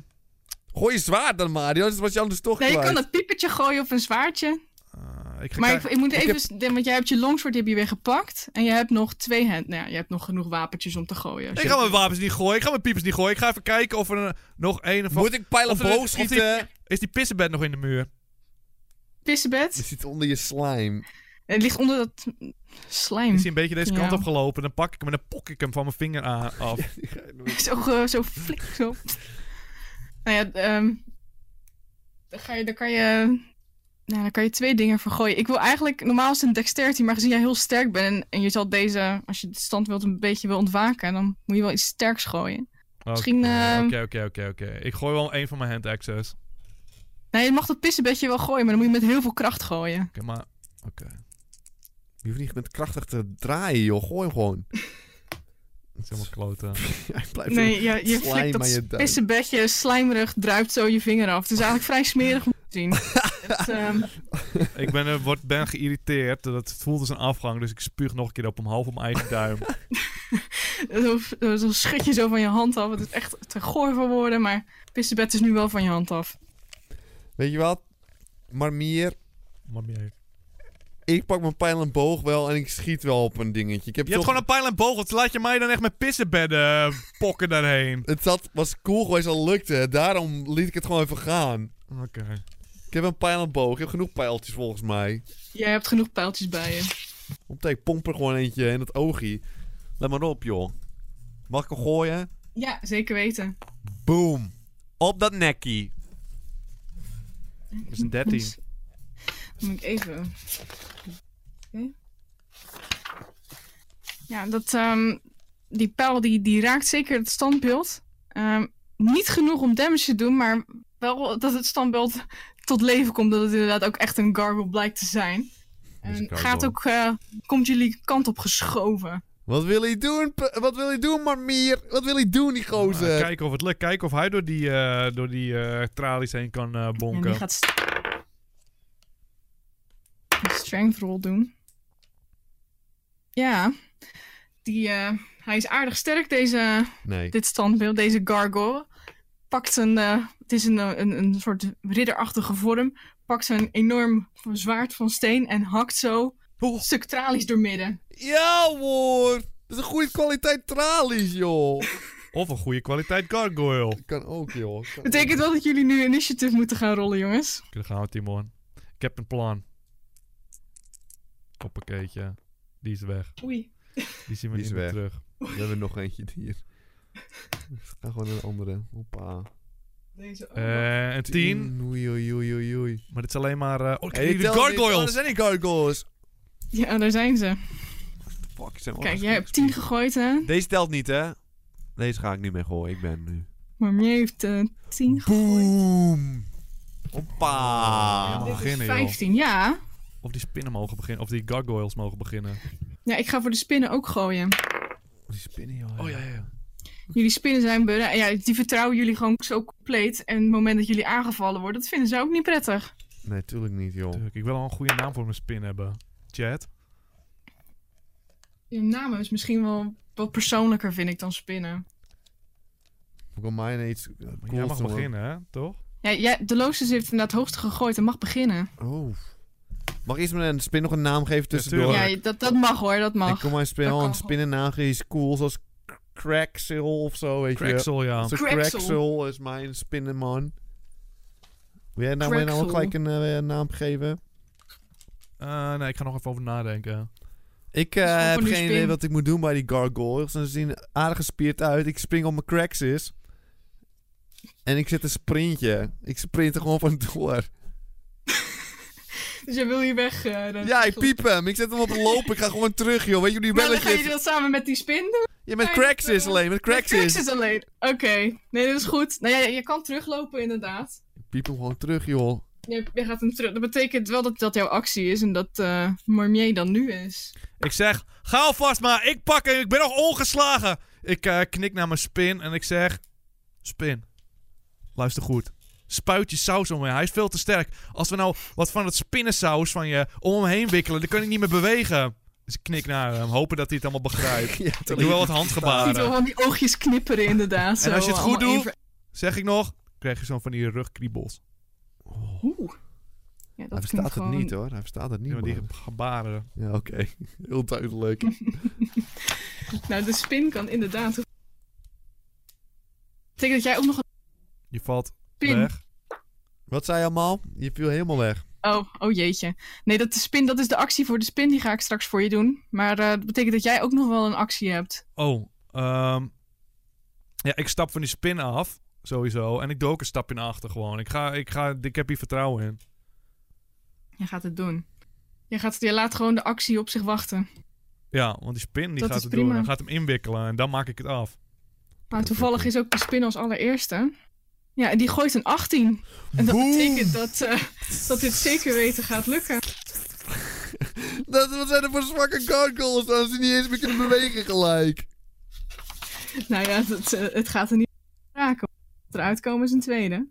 [SPEAKER 1] Gooi je zwaard dan maar, anders was je anders toch
[SPEAKER 3] Nee, je
[SPEAKER 1] kwijt.
[SPEAKER 3] kan dat piepertje gooien of een zwaardje.
[SPEAKER 2] eh, ik ga
[SPEAKER 3] Maar
[SPEAKER 2] krijg-
[SPEAKER 3] ik, ik moet
[SPEAKER 1] Ik
[SPEAKER 3] even... s- de- Want jij hebt je longsword die heb je weer gepakt. En je hebt nog twee hand... Nou ja, je hebt nog genoeg wapentjes om te gooien. als
[SPEAKER 2] Ik
[SPEAKER 3] je-
[SPEAKER 2] ga mijn wapens niet gooien. Ik ga mijn piepers niet gooien. Ik ga even kijken of er eh, nog een of
[SPEAKER 1] Moet ik pijl
[SPEAKER 2] Of
[SPEAKER 1] en
[SPEAKER 2] er- of
[SPEAKER 1] boog
[SPEAKER 2] die-
[SPEAKER 1] schieten?
[SPEAKER 2] Is die pissenbed nog in de muur?
[SPEAKER 1] Je
[SPEAKER 3] Pissebed.
[SPEAKER 1] zit onder je slime.
[SPEAKER 3] Het ligt onder dat
[SPEAKER 2] Is
[SPEAKER 3] slijm.
[SPEAKER 2] hij een beetje deze
[SPEAKER 3] Ja.
[SPEAKER 2] kant op gelopen? Dan pak ik hem en dan pok ik hem van mijn vinger aan, af.
[SPEAKER 3] Zo, eh, zo flik, zo. Nou ja, ehm, dan, ga je, dan kan je... Nou, dan kan je twee dingen vergooien. Ik wil eigenlijk... Normaal is het een dexterity, maar gezien jij heel sterk bent... En, en je zal deze, als je de stand wilt, een beetje wil ontwaken... Dan moet je wel iets sterks gooien.
[SPEAKER 2] Oké,
[SPEAKER 3] Misschien, eh,
[SPEAKER 2] Oké, oké, oké, oké. Ik gooi wel een van mijn hand access. Oké,
[SPEAKER 3] Nou, je mag dat pissenbedje wel gooien, maar dan moet je met heel veel kracht gooien.
[SPEAKER 2] maar... Oké.
[SPEAKER 1] Je hoeft niet met krachtig te draaien, joh. Gooi hem gewoon.
[SPEAKER 2] Dat is helemaal kloten.
[SPEAKER 1] Hij blijft
[SPEAKER 3] Nee, ja, je
[SPEAKER 1] slime
[SPEAKER 3] flikt
[SPEAKER 1] aan je
[SPEAKER 3] dat
[SPEAKER 1] duim.
[SPEAKER 3] pissenbedje slijmerig, druipt zo je vinger af. Het is eigenlijk vrij smerig om te zien. Het, ehm,
[SPEAKER 2] ik ben, eh, word, ben geïrriteerd. Dat voelt als een afgang. Dus ik spuug nog een keer op hem half op mijn eigen duim.
[SPEAKER 3] Zo, zo schud je zo van je hand af. Het is echt te goor voor woorden, maar pissebed is nu wel van je hand af.
[SPEAKER 1] Weet je wat? Marmier,
[SPEAKER 2] maar meer.
[SPEAKER 1] ik pak mijn pijl en boog wel en ik schiet wel op een dingetje. Ik heb
[SPEAKER 2] Je hebt
[SPEAKER 1] toch-
[SPEAKER 2] gewoon een pijl en boog. wat laat je mij dan echt met pissenbedden eh, pokken daarheen.
[SPEAKER 1] Het zat, was cool geweest al lukte. Daarom liet ik het gewoon even gaan.
[SPEAKER 2] Oké.
[SPEAKER 1] Ik heb een pijl en boog. Ik heb genoeg pijltjes volgens mij.
[SPEAKER 3] Jij hebt genoeg pijltjes bij je.
[SPEAKER 1] Optek, ik pomp er gewoon eentje in het oogie. Let maar op, joh. Mag ik hem gooien?
[SPEAKER 3] Ja, zeker weten.
[SPEAKER 1] Boom. Op dat nekkie.
[SPEAKER 2] Dat is een 13.
[SPEAKER 3] Dus- Dan moet ik even... Oké. Ja, dat, ehm, die pijl die, die raakt zeker het standbeeld. Ehm, niet genoeg om damage te doen, maar wel dat het standbeeld tot leven komt. Dat het inderdaad ook echt een gargoyle blijkt te zijn.
[SPEAKER 1] is een
[SPEAKER 3] En gaat
[SPEAKER 1] gargoyle.
[SPEAKER 3] ook, eh, komt jullie kant op geschoven.
[SPEAKER 1] Wat wil hij doen? P- Wat wil hij doen, Marmier? Wat wil hij doen, die gozer?
[SPEAKER 2] Nou, kijken of het lukt. Kijken of hij door die, eh, door die eh, tralies heen kan eh,
[SPEAKER 3] En
[SPEAKER 2] bonken.
[SPEAKER 3] die gaat st- een strength roll doen. Ja. Die, eh, hij is aardig sterk, deze,
[SPEAKER 1] Nee.
[SPEAKER 3] dit standbeeld, deze gargoyle. Pakt een, eh, het is een, eh, een, een soort ridderachtige vorm. Pakt een enorm zwaard van steen en hakt zo
[SPEAKER 1] Oh.
[SPEAKER 3] een stuk tralies doormidden.
[SPEAKER 1] Ja, hoor. Dat is een goede kwaliteit tralies, joh.
[SPEAKER 2] Of een goede kwaliteit gargoyle.
[SPEAKER 1] kan ook, joh. Kan
[SPEAKER 3] Betekent wel dat jullie nu initiative moeten gaan rollen, jongens.
[SPEAKER 2] Oké, Daar gaan we, Timon. Ik heb een plan. Hoppakeetje. Die is weg.
[SPEAKER 3] Oei.
[SPEAKER 2] Die zien we
[SPEAKER 1] Die
[SPEAKER 2] niet
[SPEAKER 1] is
[SPEAKER 2] meer
[SPEAKER 1] weg.
[SPEAKER 2] terug.
[SPEAKER 1] ook. We hebben nog eentje hier. Ga gewoon naar de andere. Hoppa.
[SPEAKER 3] Deze ook.
[SPEAKER 2] Eh een 10.
[SPEAKER 1] Oei, oei, oei, oei, oei.
[SPEAKER 2] Maar dit is alleen maar... eh oh,
[SPEAKER 1] Hey,
[SPEAKER 2] kijk, die
[SPEAKER 1] tel dit. Oh, dat
[SPEAKER 2] gargoyles!
[SPEAKER 1] zijn niet gargoyles.
[SPEAKER 3] Ja, daar zijn ze.
[SPEAKER 1] Fuck, zijn wel
[SPEAKER 3] Kijk,
[SPEAKER 1] echt
[SPEAKER 3] jij hebt 10
[SPEAKER 1] goed.
[SPEAKER 3] gegooid, hè?
[SPEAKER 1] Deze telt niet, hè? Deze ga ik niet meer gooien. Ik ben nu.
[SPEAKER 3] Maar meer heeft eh, 10
[SPEAKER 1] Boom.
[SPEAKER 2] Ja,
[SPEAKER 1] Hoppa.
[SPEAKER 2] maar-
[SPEAKER 3] Dit is
[SPEAKER 2] beginnen, joh.
[SPEAKER 3] 15, ja.
[SPEAKER 2] Of die spinnen mogen beginnen. Of die gargoyles mogen beginnen.
[SPEAKER 3] Ja, ik ga voor de spinnen ook gooien.
[SPEAKER 1] Die spinnen, joh.
[SPEAKER 2] Oh ja, ja, ja.
[SPEAKER 3] Jullie spinnen zijn bere- Ja, die vertrouwen jullie gewoon zo compleet. En het moment dat jullie aangevallen worden, dat vinden ze ook niet prettig.
[SPEAKER 1] Nee, tuurlijk niet, joh.
[SPEAKER 2] Tuurlijk, ik wil al een goede naam voor mijn spin hebben. Chat.
[SPEAKER 3] Je naam is misschien wel wat persoonlijker, vind ik, dan spinnen.
[SPEAKER 1] Ik wil mij iets eh,
[SPEAKER 2] Maar jij
[SPEAKER 1] cools
[SPEAKER 2] mag
[SPEAKER 1] doen, hoor.
[SPEAKER 2] beginnen, hè? Toch?
[SPEAKER 3] Ja, ja, de Loosjes heeft inderdaad het hoogste gegooid en mag beginnen.
[SPEAKER 1] Oh. Mag ik eerst mijn spin nog een naam geven tussendoor?
[SPEAKER 2] tuurlijk.
[SPEAKER 3] Ja, je- dat, dat mag hoor, dat
[SPEAKER 1] ik
[SPEAKER 3] mag.
[SPEAKER 1] kom mijn spin
[SPEAKER 3] Dat
[SPEAKER 1] al
[SPEAKER 3] kan
[SPEAKER 1] een spin en naam geven, is cool, zoals k- Craxel of zo, weet je.
[SPEAKER 2] Craxel, ja.
[SPEAKER 1] Zo
[SPEAKER 3] Craxel.
[SPEAKER 1] Craxel is mijn spinnenman. Wil jij nou, mij nou ook
[SPEAKER 3] Craxel.
[SPEAKER 1] gelijk een eh, naam geven?
[SPEAKER 2] Eh, nee, ik ga nog even over nadenken.
[SPEAKER 1] Ik
[SPEAKER 3] is
[SPEAKER 1] eh,
[SPEAKER 3] gewoon
[SPEAKER 1] heb
[SPEAKER 3] van die
[SPEAKER 1] geen
[SPEAKER 3] spin.
[SPEAKER 1] idee wat ik moet doen bij die gargoyles. Ze zien aardig gespierd uit. Ik spring op mijn Craxis. En ik zet een sprintje. Ik sprint er gewoon van door.
[SPEAKER 3] Dus jij wil hier weg. eh, dat-
[SPEAKER 1] Ja, ik piep hem. Ik zet hem op een lopen. Ik ga gewoon terug, joh. Weet je hoe die
[SPEAKER 3] Maar dan gaan
[SPEAKER 1] belletje
[SPEAKER 3] jullie
[SPEAKER 1] is?
[SPEAKER 3] dat samen met die spin doen?
[SPEAKER 1] Ja, met
[SPEAKER 3] Ja,
[SPEAKER 1] Craxis
[SPEAKER 3] eh,
[SPEAKER 1] alleen. Met
[SPEAKER 3] Cracks
[SPEAKER 1] Craxis.
[SPEAKER 3] is alleen. Oké, nee, dat is goed. Nou ja, je kan teruglopen inderdaad.
[SPEAKER 1] Ik piep hem gewoon terug, joh.
[SPEAKER 3] Je, je gaat hem terug. Dat betekent wel dat dat jouw actie is en dat eh Marmier dan nu is.
[SPEAKER 2] Ik zeg, ga alvast maar, ik pak hem, ik ben nog ongeslagen. Ik eh, knik naar mijn spin en ik zeg, spin, luister goed. Spuit je saus om me heen. Hij is veel te sterk. Als we nou wat van dat spinnensaus van je om hem heen wikkelen, dan kan ik niet meer bewegen. Dus ik knik naar hem, hopen dat hij het allemaal begrijpt.
[SPEAKER 1] Ja,
[SPEAKER 2] Ik doe wel wat
[SPEAKER 3] Je ziet wel
[SPEAKER 2] handgebaren.
[SPEAKER 3] van die oogjes knipperen inderdaad.
[SPEAKER 2] Ah, En
[SPEAKER 3] zo,
[SPEAKER 2] als je het goed
[SPEAKER 3] allemaal één
[SPEAKER 2] doet-
[SPEAKER 3] voor-
[SPEAKER 2] Zeg ik nog, krijg je zo'n van die rugkriebels.
[SPEAKER 3] Oeh. Ja,
[SPEAKER 1] Hij
[SPEAKER 3] dat
[SPEAKER 1] verstaat
[SPEAKER 3] klinkt
[SPEAKER 1] het
[SPEAKER 3] gewoon...
[SPEAKER 1] niet hoor, hij verstaat het niet.
[SPEAKER 2] Ja, maar die
[SPEAKER 1] man.
[SPEAKER 2] gebaren.
[SPEAKER 1] Ja, oké. Heel duidelijk.
[SPEAKER 3] Nou, de spin kan inderdaad... Betekent dat jij ook nog een
[SPEAKER 2] Je valt
[SPEAKER 3] spin...
[SPEAKER 2] weg.
[SPEAKER 1] Wat zei je allemaal? Je viel helemaal weg.
[SPEAKER 3] Oh, oh jeetje. Nee, dat, de spin, dat is de actie voor de spin. Die ga ik straks voor je doen. Maar eh, dat betekent dat jij ook nog wel een actie hebt.
[SPEAKER 2] Oh, ehm, ja, ik stap van die spin af, sowieso. En ik doe ook een stapje naar achter gewoon. Ik, ga, ik, ga, ik heb hier vertrouwen in.
[SPEAKER 3] Je gaat het doen. Je, gaat, je laat gewoon de actie op zich wachten.
[SPEAKER 2] Ja, want die spin die
[SPEAKER 3] Dat
[SPEAKER 2] gaat
[SPEAKER 3] is
[SPEAKER 2] het
[SPEAKER 3] prima.
[SPEAKER 2] doen en gaat hem inwikkelen. En dan maak ik het af.
[SPEAKER 3] Maar Nou, toevallig is ook de spin als allereerste. Ja, en die gooit een 18. En dat
[SPEAKER 1] Boem!
[SPEAKER 3] betekent dat, eh, dat dit zeker weten gaat lukken.
[SPEAKER 1] Dat, wat zijn er voor zwakke gargoyles dat ze niet eens meer kunnen bewegen gelijk?
[SPEAKER 3] Nou ja, dat, eh, het gaat er niet om raken. Wat eruit komen is een tweede.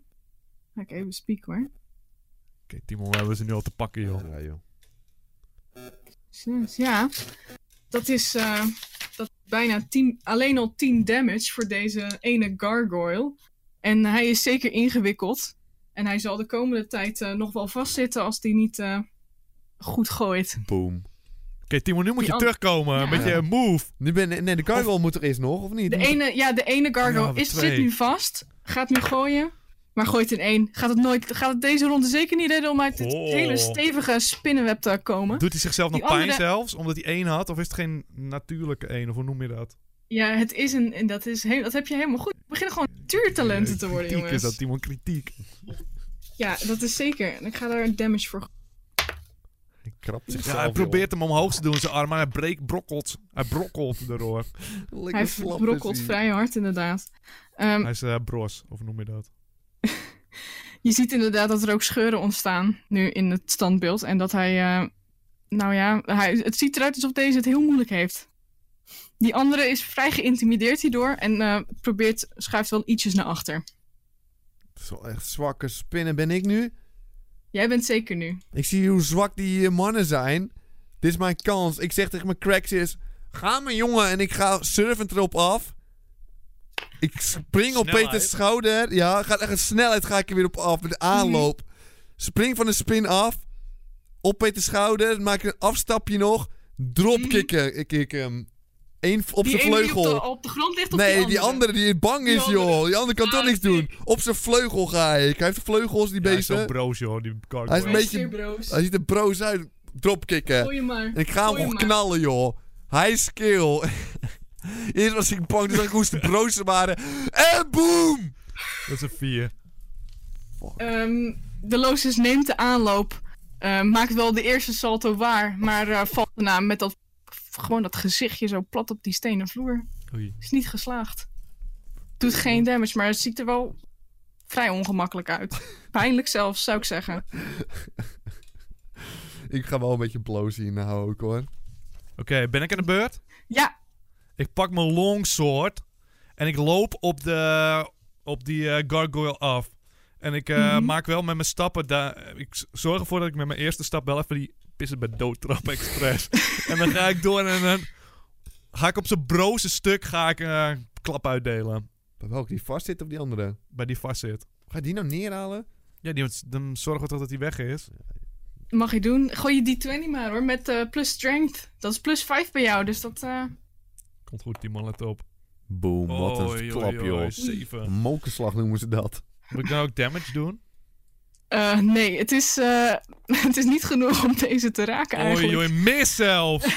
[SPEAKER 3] Ga ik even spieken hoor.
[SPEAKER 2] Oké, Timon, we hebben ze nu al te pakken, joh.
[SPEAKER 1] Ja, joh.
[SPEAKER 3] Zes, ja. Dat is, eh, dat is bijna 10, alleen al 10 damage voor deze ene gargoyle. En hij is zeker ingewikkeld. En hij zal de komende tijd eh, nog wel vastzitten als die niet eh, goed gooit.
[SPEAKER 1] Boom.
[SPEAKER 2] Oké, Timon, nu moet
[SPEAKER 3] Die
[SPEAKER 2] je
[SPEAKER 3] an-
[SPEAKER 2] terugkomen
[SPEAKER 3] Ja.
[SPEAKER 2] met je move.
[SPEAKER 1] Nu ben, nee, de gargoyle moet er eerst nog, of niet?
[SPEAKER 3] De
[SPEAKER 1] Moet-
[SPEAKER 3] ene, ja, de ene
[SPEAKER 2] Ja,
[SPEAKER 3] gargoyle
[SPEAKER 2] Nou, we
[SPEAKER 3] is,
[SPEAKER 2] twee.
[SPEAKER 3] zit nu vast. Gaat nu gooien. Maar gooit in één. Gaat het, nooit, gaat het deze ronde zeker niet redden om uit dit
[SPEAKER 2] Oh.
[SPEAKER 3] hele stevige spinnenweb te komen.
[SPEAKER 2] Doet hij zichzelf nog
[SPEAKER 3] Die
[SPEAKER 2] pijn
[SPEAKER 3] andere-
[SPEAKER 2] zelfs, omdat hij één had? Of is het geen natuurlijke één, of hoe noem je dat?
[SPEAKER 3] Ja, het is een, en dat, is heel, dat heb je helemaal goed. We beginnen gewoon natuurtalenten te worden,
[SPEAKER 2] kritiek
[SPEAKER 3] jongens.
[SPEAKER 2] is dat, Timon, kritiek.
[SPEAKER 3] Ja, dat is zeker. En ik ga daar damage voor.
[SPEAKER 1] Hij krabt zichzelf,
[SPEAKER 2] Ja, hij
[SPEAKER 1] joh.
[SPEAKER 2] probeert hem omhoog te doen, zijn arm, maar hij breekt, brokkelt. Hij brokkelt erdoor.
[SPEAKER 1] Lekker
[SPEAKER 3] Hij
[SPEAKER 1] slap is
[SPEAKER 3] brokkelt
[SPEAKER 1] hij.
[SPEAKER 3] vrij hard, inderdaad. Ehm,
[SPEAKER 2] Hij is eh, bros, of noem je dat?
[SPEAKER 3] je ziet inderdaad dat er ook scheuren ontstaan nu in het standbeeld. En dat hij, eh, nou ja, hij, het ziet eruit alsof deze het heel moeilijk heeft. Die andere is vrij geïntimideerd hierdoor en eh, probeert, schuift wel ietsjes naar achter.
[SPEAKER 1] Zo echt zwakke spinnen ben ik nu.
[SPEAKER 3] Jij bent zeker nu.
[SPEAKER 1] Ik zie hoe zwak die eh, mannen zijn. Dit is mijn kans. Ik zeg tegen mijn cracks Ga maar jongen en ik ga surfend erop af. Ik spring op
[SPEAKER 2] Snelheid.
[SPEAKER 1] Peters schouder. Ja, gaat echt een snelheid ga ik er weer op af. Met de aanloop. Spring van de spin af. Op Peters schouder. Maak een afstapje nog. Dropkicken. Ik ik hem. Eén v- op
[SPEAKER 3] Mhm. die
[SPEAKER 1] zijn
[SPEAKER 3] ene die op
[SPEAKER 1] vleugel.
[SPEAKER 3] de, op de grond ligt of
[SPEAKER 1] nee,
[SPEAKER 3] die andere?
[SPEAKER 1] die bang
[SPEAKER 3] Die
[SPEAKER 1] is,
[SPEAKER 3] andere-
[SPEAKER 1] joh. Die andere kan toch
[SPEAKER 3] Ah,
[SPEAKER 1] niks doen. Op zijn vleugel ga ik. Hij heeft vleugels, die
[SPEAKER 2] Ja, hij is
[SPEAKER 1] beesten.
[SPEAKER 2] zo'n bros, joh, die
[SPEAKER 1] Hij is
[SPEAKER 2] gargoyle.
[SPEAKER 1] een beetje- Oh Hij ziet er broos uit. Dropkicken.
[SPEAKER 3] Gooi hem maar.
[SPEAKER 1] En ik ga hem
[SPEAKER 3] Gooi
[SPEAKER 1] gewoon
[SPEAKER 3] hem maar.
[SPEAKER 1] knallen, joh. Hij is skill. Eerst was ik bang, toen zag ik hoe ze broos waren. En boom!
[SPEAKER 2] Dat is een vier.
[SPEAKER 3] Ehm, de Losis neemt de aanloop. eh, maakt wel de eerste salto waar. Maar eh, valt daarna met dat, gewoon dat gezichtje zo plat op die stenen vloer.
[SPEAKER 2] Oei.
[SPEAKER 3] Is niet geslaagd. Doet geen damage, maar het ziet er wel vrij ongemakkelijk uit. Pijnlijk zelfs, zou ik zeggen.
[SPEAKER 1] Ik ga wel een beetje bloos hier nou ook, hoor.
[SPEAKER 2] Oké, ben ik aan de beurt?
[SPEAKER 3] Ja,
[SPEAKER 2] Ik pak mijn longsword en ik loop op, de, op die eh, gargoyle af. En ik eh,
[SPEAKER 1] Mhm.
[SPEAKER 2] maak wel met mijn stappen... Da- ik z- zorg ervoor dat ik met mijn eerste stap wel even die pissen bij doodtrap express. en dan ga ik door en dan ga ik op zijn broze stuk ga ik, eh, een klap uitdelen.
[SPEAKER 1] Bij welke die vast zit of die andere?
[SPEAKER 2] Bij die vastzit.
[SPEAKER 1] Ga je die nou neerhalen?
[SPEAKER 2] Ja, die, dan zorgen we toch dat hij weg is.
[SPEAKER 3] mag je doen. Gooi je D20 maar hoor, met eh, plus strength. Dat is plus 5 bij jou, dus dat... eh,
[SPEAKER 2] Komt goed, Timon, let op.
[SPEAKER 1] Boom, wat een
[SPEAKER 2] Oei, oei,
[SPEAKER 1] klap,
[SPEAKER 2] oei,
[SPEAKER 1] joh.
[SPEAKER 2] Zeven.
[SPEAKER 1] Een Mokerslag noemen ze dat.
[SPEAKER 2] Moet ik nou ook damage doen?
[SPEAKER 3] eh, nee, het is, eh, het is niet genoeg om deze te raken eigenlijk.
[SPEAKER 2] Oei, oei, mis zelf!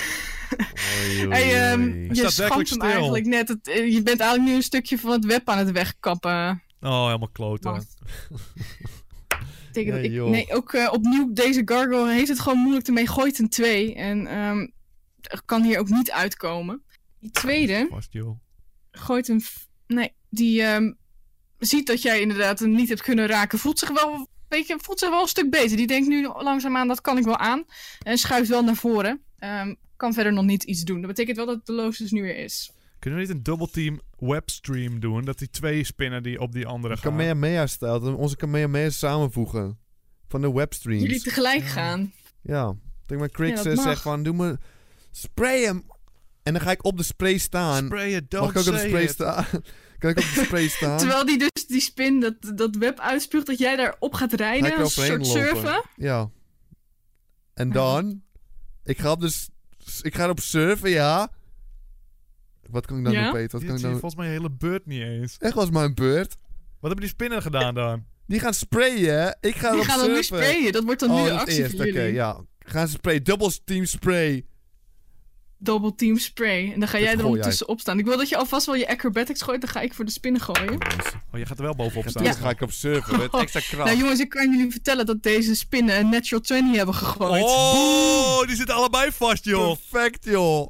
[SPEAKER 1] Oei, oei,
[SPEAKER 3] Hey, ehm,
[SPEAKER 1] oei.
[SPEAKER 2] staat
[SPEAKER 3] je schampt
[SPEAKER 2] werkelijk
[SPEAKER 3] hem
[SPEAKER 2] stil.
[SPEAKER 3] eigenlijk net. Het- eh, je bent eigenlijk nu een stukje van het web aan het wegkappen.
[SPEAKER 2] Oh, helemaal kloten.
[SPEAKER 3] Wacht. Betekent dat
[SPEAKER 1] Ja,
[SPEAKER 3] ik-
[SPEAKER 1] joh.
[SPEAKER 3] nee, ook eh, opnieuw, deze gargoyle heeft het gewoon moeilijk ermee. Gooit een 2 en ehm, kan hier ook niet uitkomen. Die tweede
[SPEAKER 2] Vast, joh.
[SPEAKER 3] gooit een... f- Nee, die ehm, ziet dat jij inderdaad hem niet hebt kunnen raken. Voelt zich wel, weet je, voelt zich wel een stuk beter. Die denkt nu langzaamaan, dat kan ik wel aan. En schuift wel naar voren. Ehm, kan verder nog niet iets doen. Dat betekent wel dat de loos dus nu weer is.
[SPEAKER 2] Kunnen we niet een dubbelteam webstream doen? Dat die twee spinnen die op die andere gaan.
[SPEAKER 1] Kamehameha stelt. Onze Kamehameha samenvoegen. Van de webstreams.
[SPEAKER 3] jullie tegelijk
[SPEAKER 2] Ja.
[SPEAKER 3] gaan.
[SPEAKER 1] Ja. Tegen mijn Crix
[SPEAKER 3] Ja, dat
[SPEAKER 1] eh, zegt
[SPEAKER 3] mag.
[SPEAKER 1] van, doe me... Spray hem. En dan ga ik op de spray staan.
[SPEAKER 2] Sprayen, don't
[SPEAKER 1] Mag ik ook op de
[SPEAKER 2] say
[SPEAKER 1] spray
[SPEAKER 2] it.
[SPEAKER 1] staan? kan ik op de spray staan?
[SPEAKER 3] Terwijl die dus die spin, dat, dat web uitspuugt, dat jij daarop gaat
[SPEAKER 1] Ga ik
[SPEAKER 3] rijden,
[SPEAKER 1] er
[SPEAKER 3] als een
[SPEAKER 1] overheen
[SPEAKER 3] soort
[SPEAKER 1] lopen? Oh,
[SPEAKER 3] surfen.
[SPEAKER 1] Ja. En dan? Ik ga op de... s- s- Ik ga erop surfen, ja. Wat kan ik dan
[SPEAKER 3] Ja?
[SPEAKER 1] doen, Peter? Wat kan
[SPEAKER 2] Die had
[SPEAKER 1] ik
[SPEAKER 2] je
[SPEAKER 1] dan...
[SPEAKER 2] volgens mij je hele beurt niet eens.
[SPEAKER 1] Echt was mijn beurt.
[SPEAKER 2] Wat hebben die spinnen gedaan dan?
[SPEAKER 1] Die gaan sprayen. Ik ga
[SPEAKER 3] Die
[SPEAKER 1] erop
[SPEAKER 3] gaan dan nu
[SPEAKER 1] surfen.
[SPEAKER 3] sprayen, dat wordt dan nu
[SPEAKER 1] oh,
[SPEAKER 3] de
[SPEAKER 1] dat
[SPEAKER 3] actie
[SPEAKER 1] eerst.
[SPEAKER 3] voor
[SPEAKER 1] Oké,
[SPEAKER 3] jullie.
[SPEAKER 1] ja. Gaan ze sprayen. Double team spray.
[SPEAKER 3] Double team spray. En dan ga
[SPEAKER 1] Dit
[SPEAKER 3] jij
[SPEAKER 1] gooi
[SPEAKER 3] er
[SPEAKER 1] jij.
[SPEAKER 3] ondertussen staan. Ik wil dat je alvast wel je acrobatics gooit, dan ga ik voor de spinnen gooien.
[SPEAKER 2] Oh, je gaat er wel bovenop staan.
[SPEAKER 1] Dan ga ik op surfen met extra kracht.
[SPEAKER 3] Nou jongens, ik kan jullie vertellen dat deze spinnen een natural 20 hebben gegooid.
[SPEAKER 2] Oh, die zitten allebei vast, joh.
[SPEAKER 1] Perfect, joh.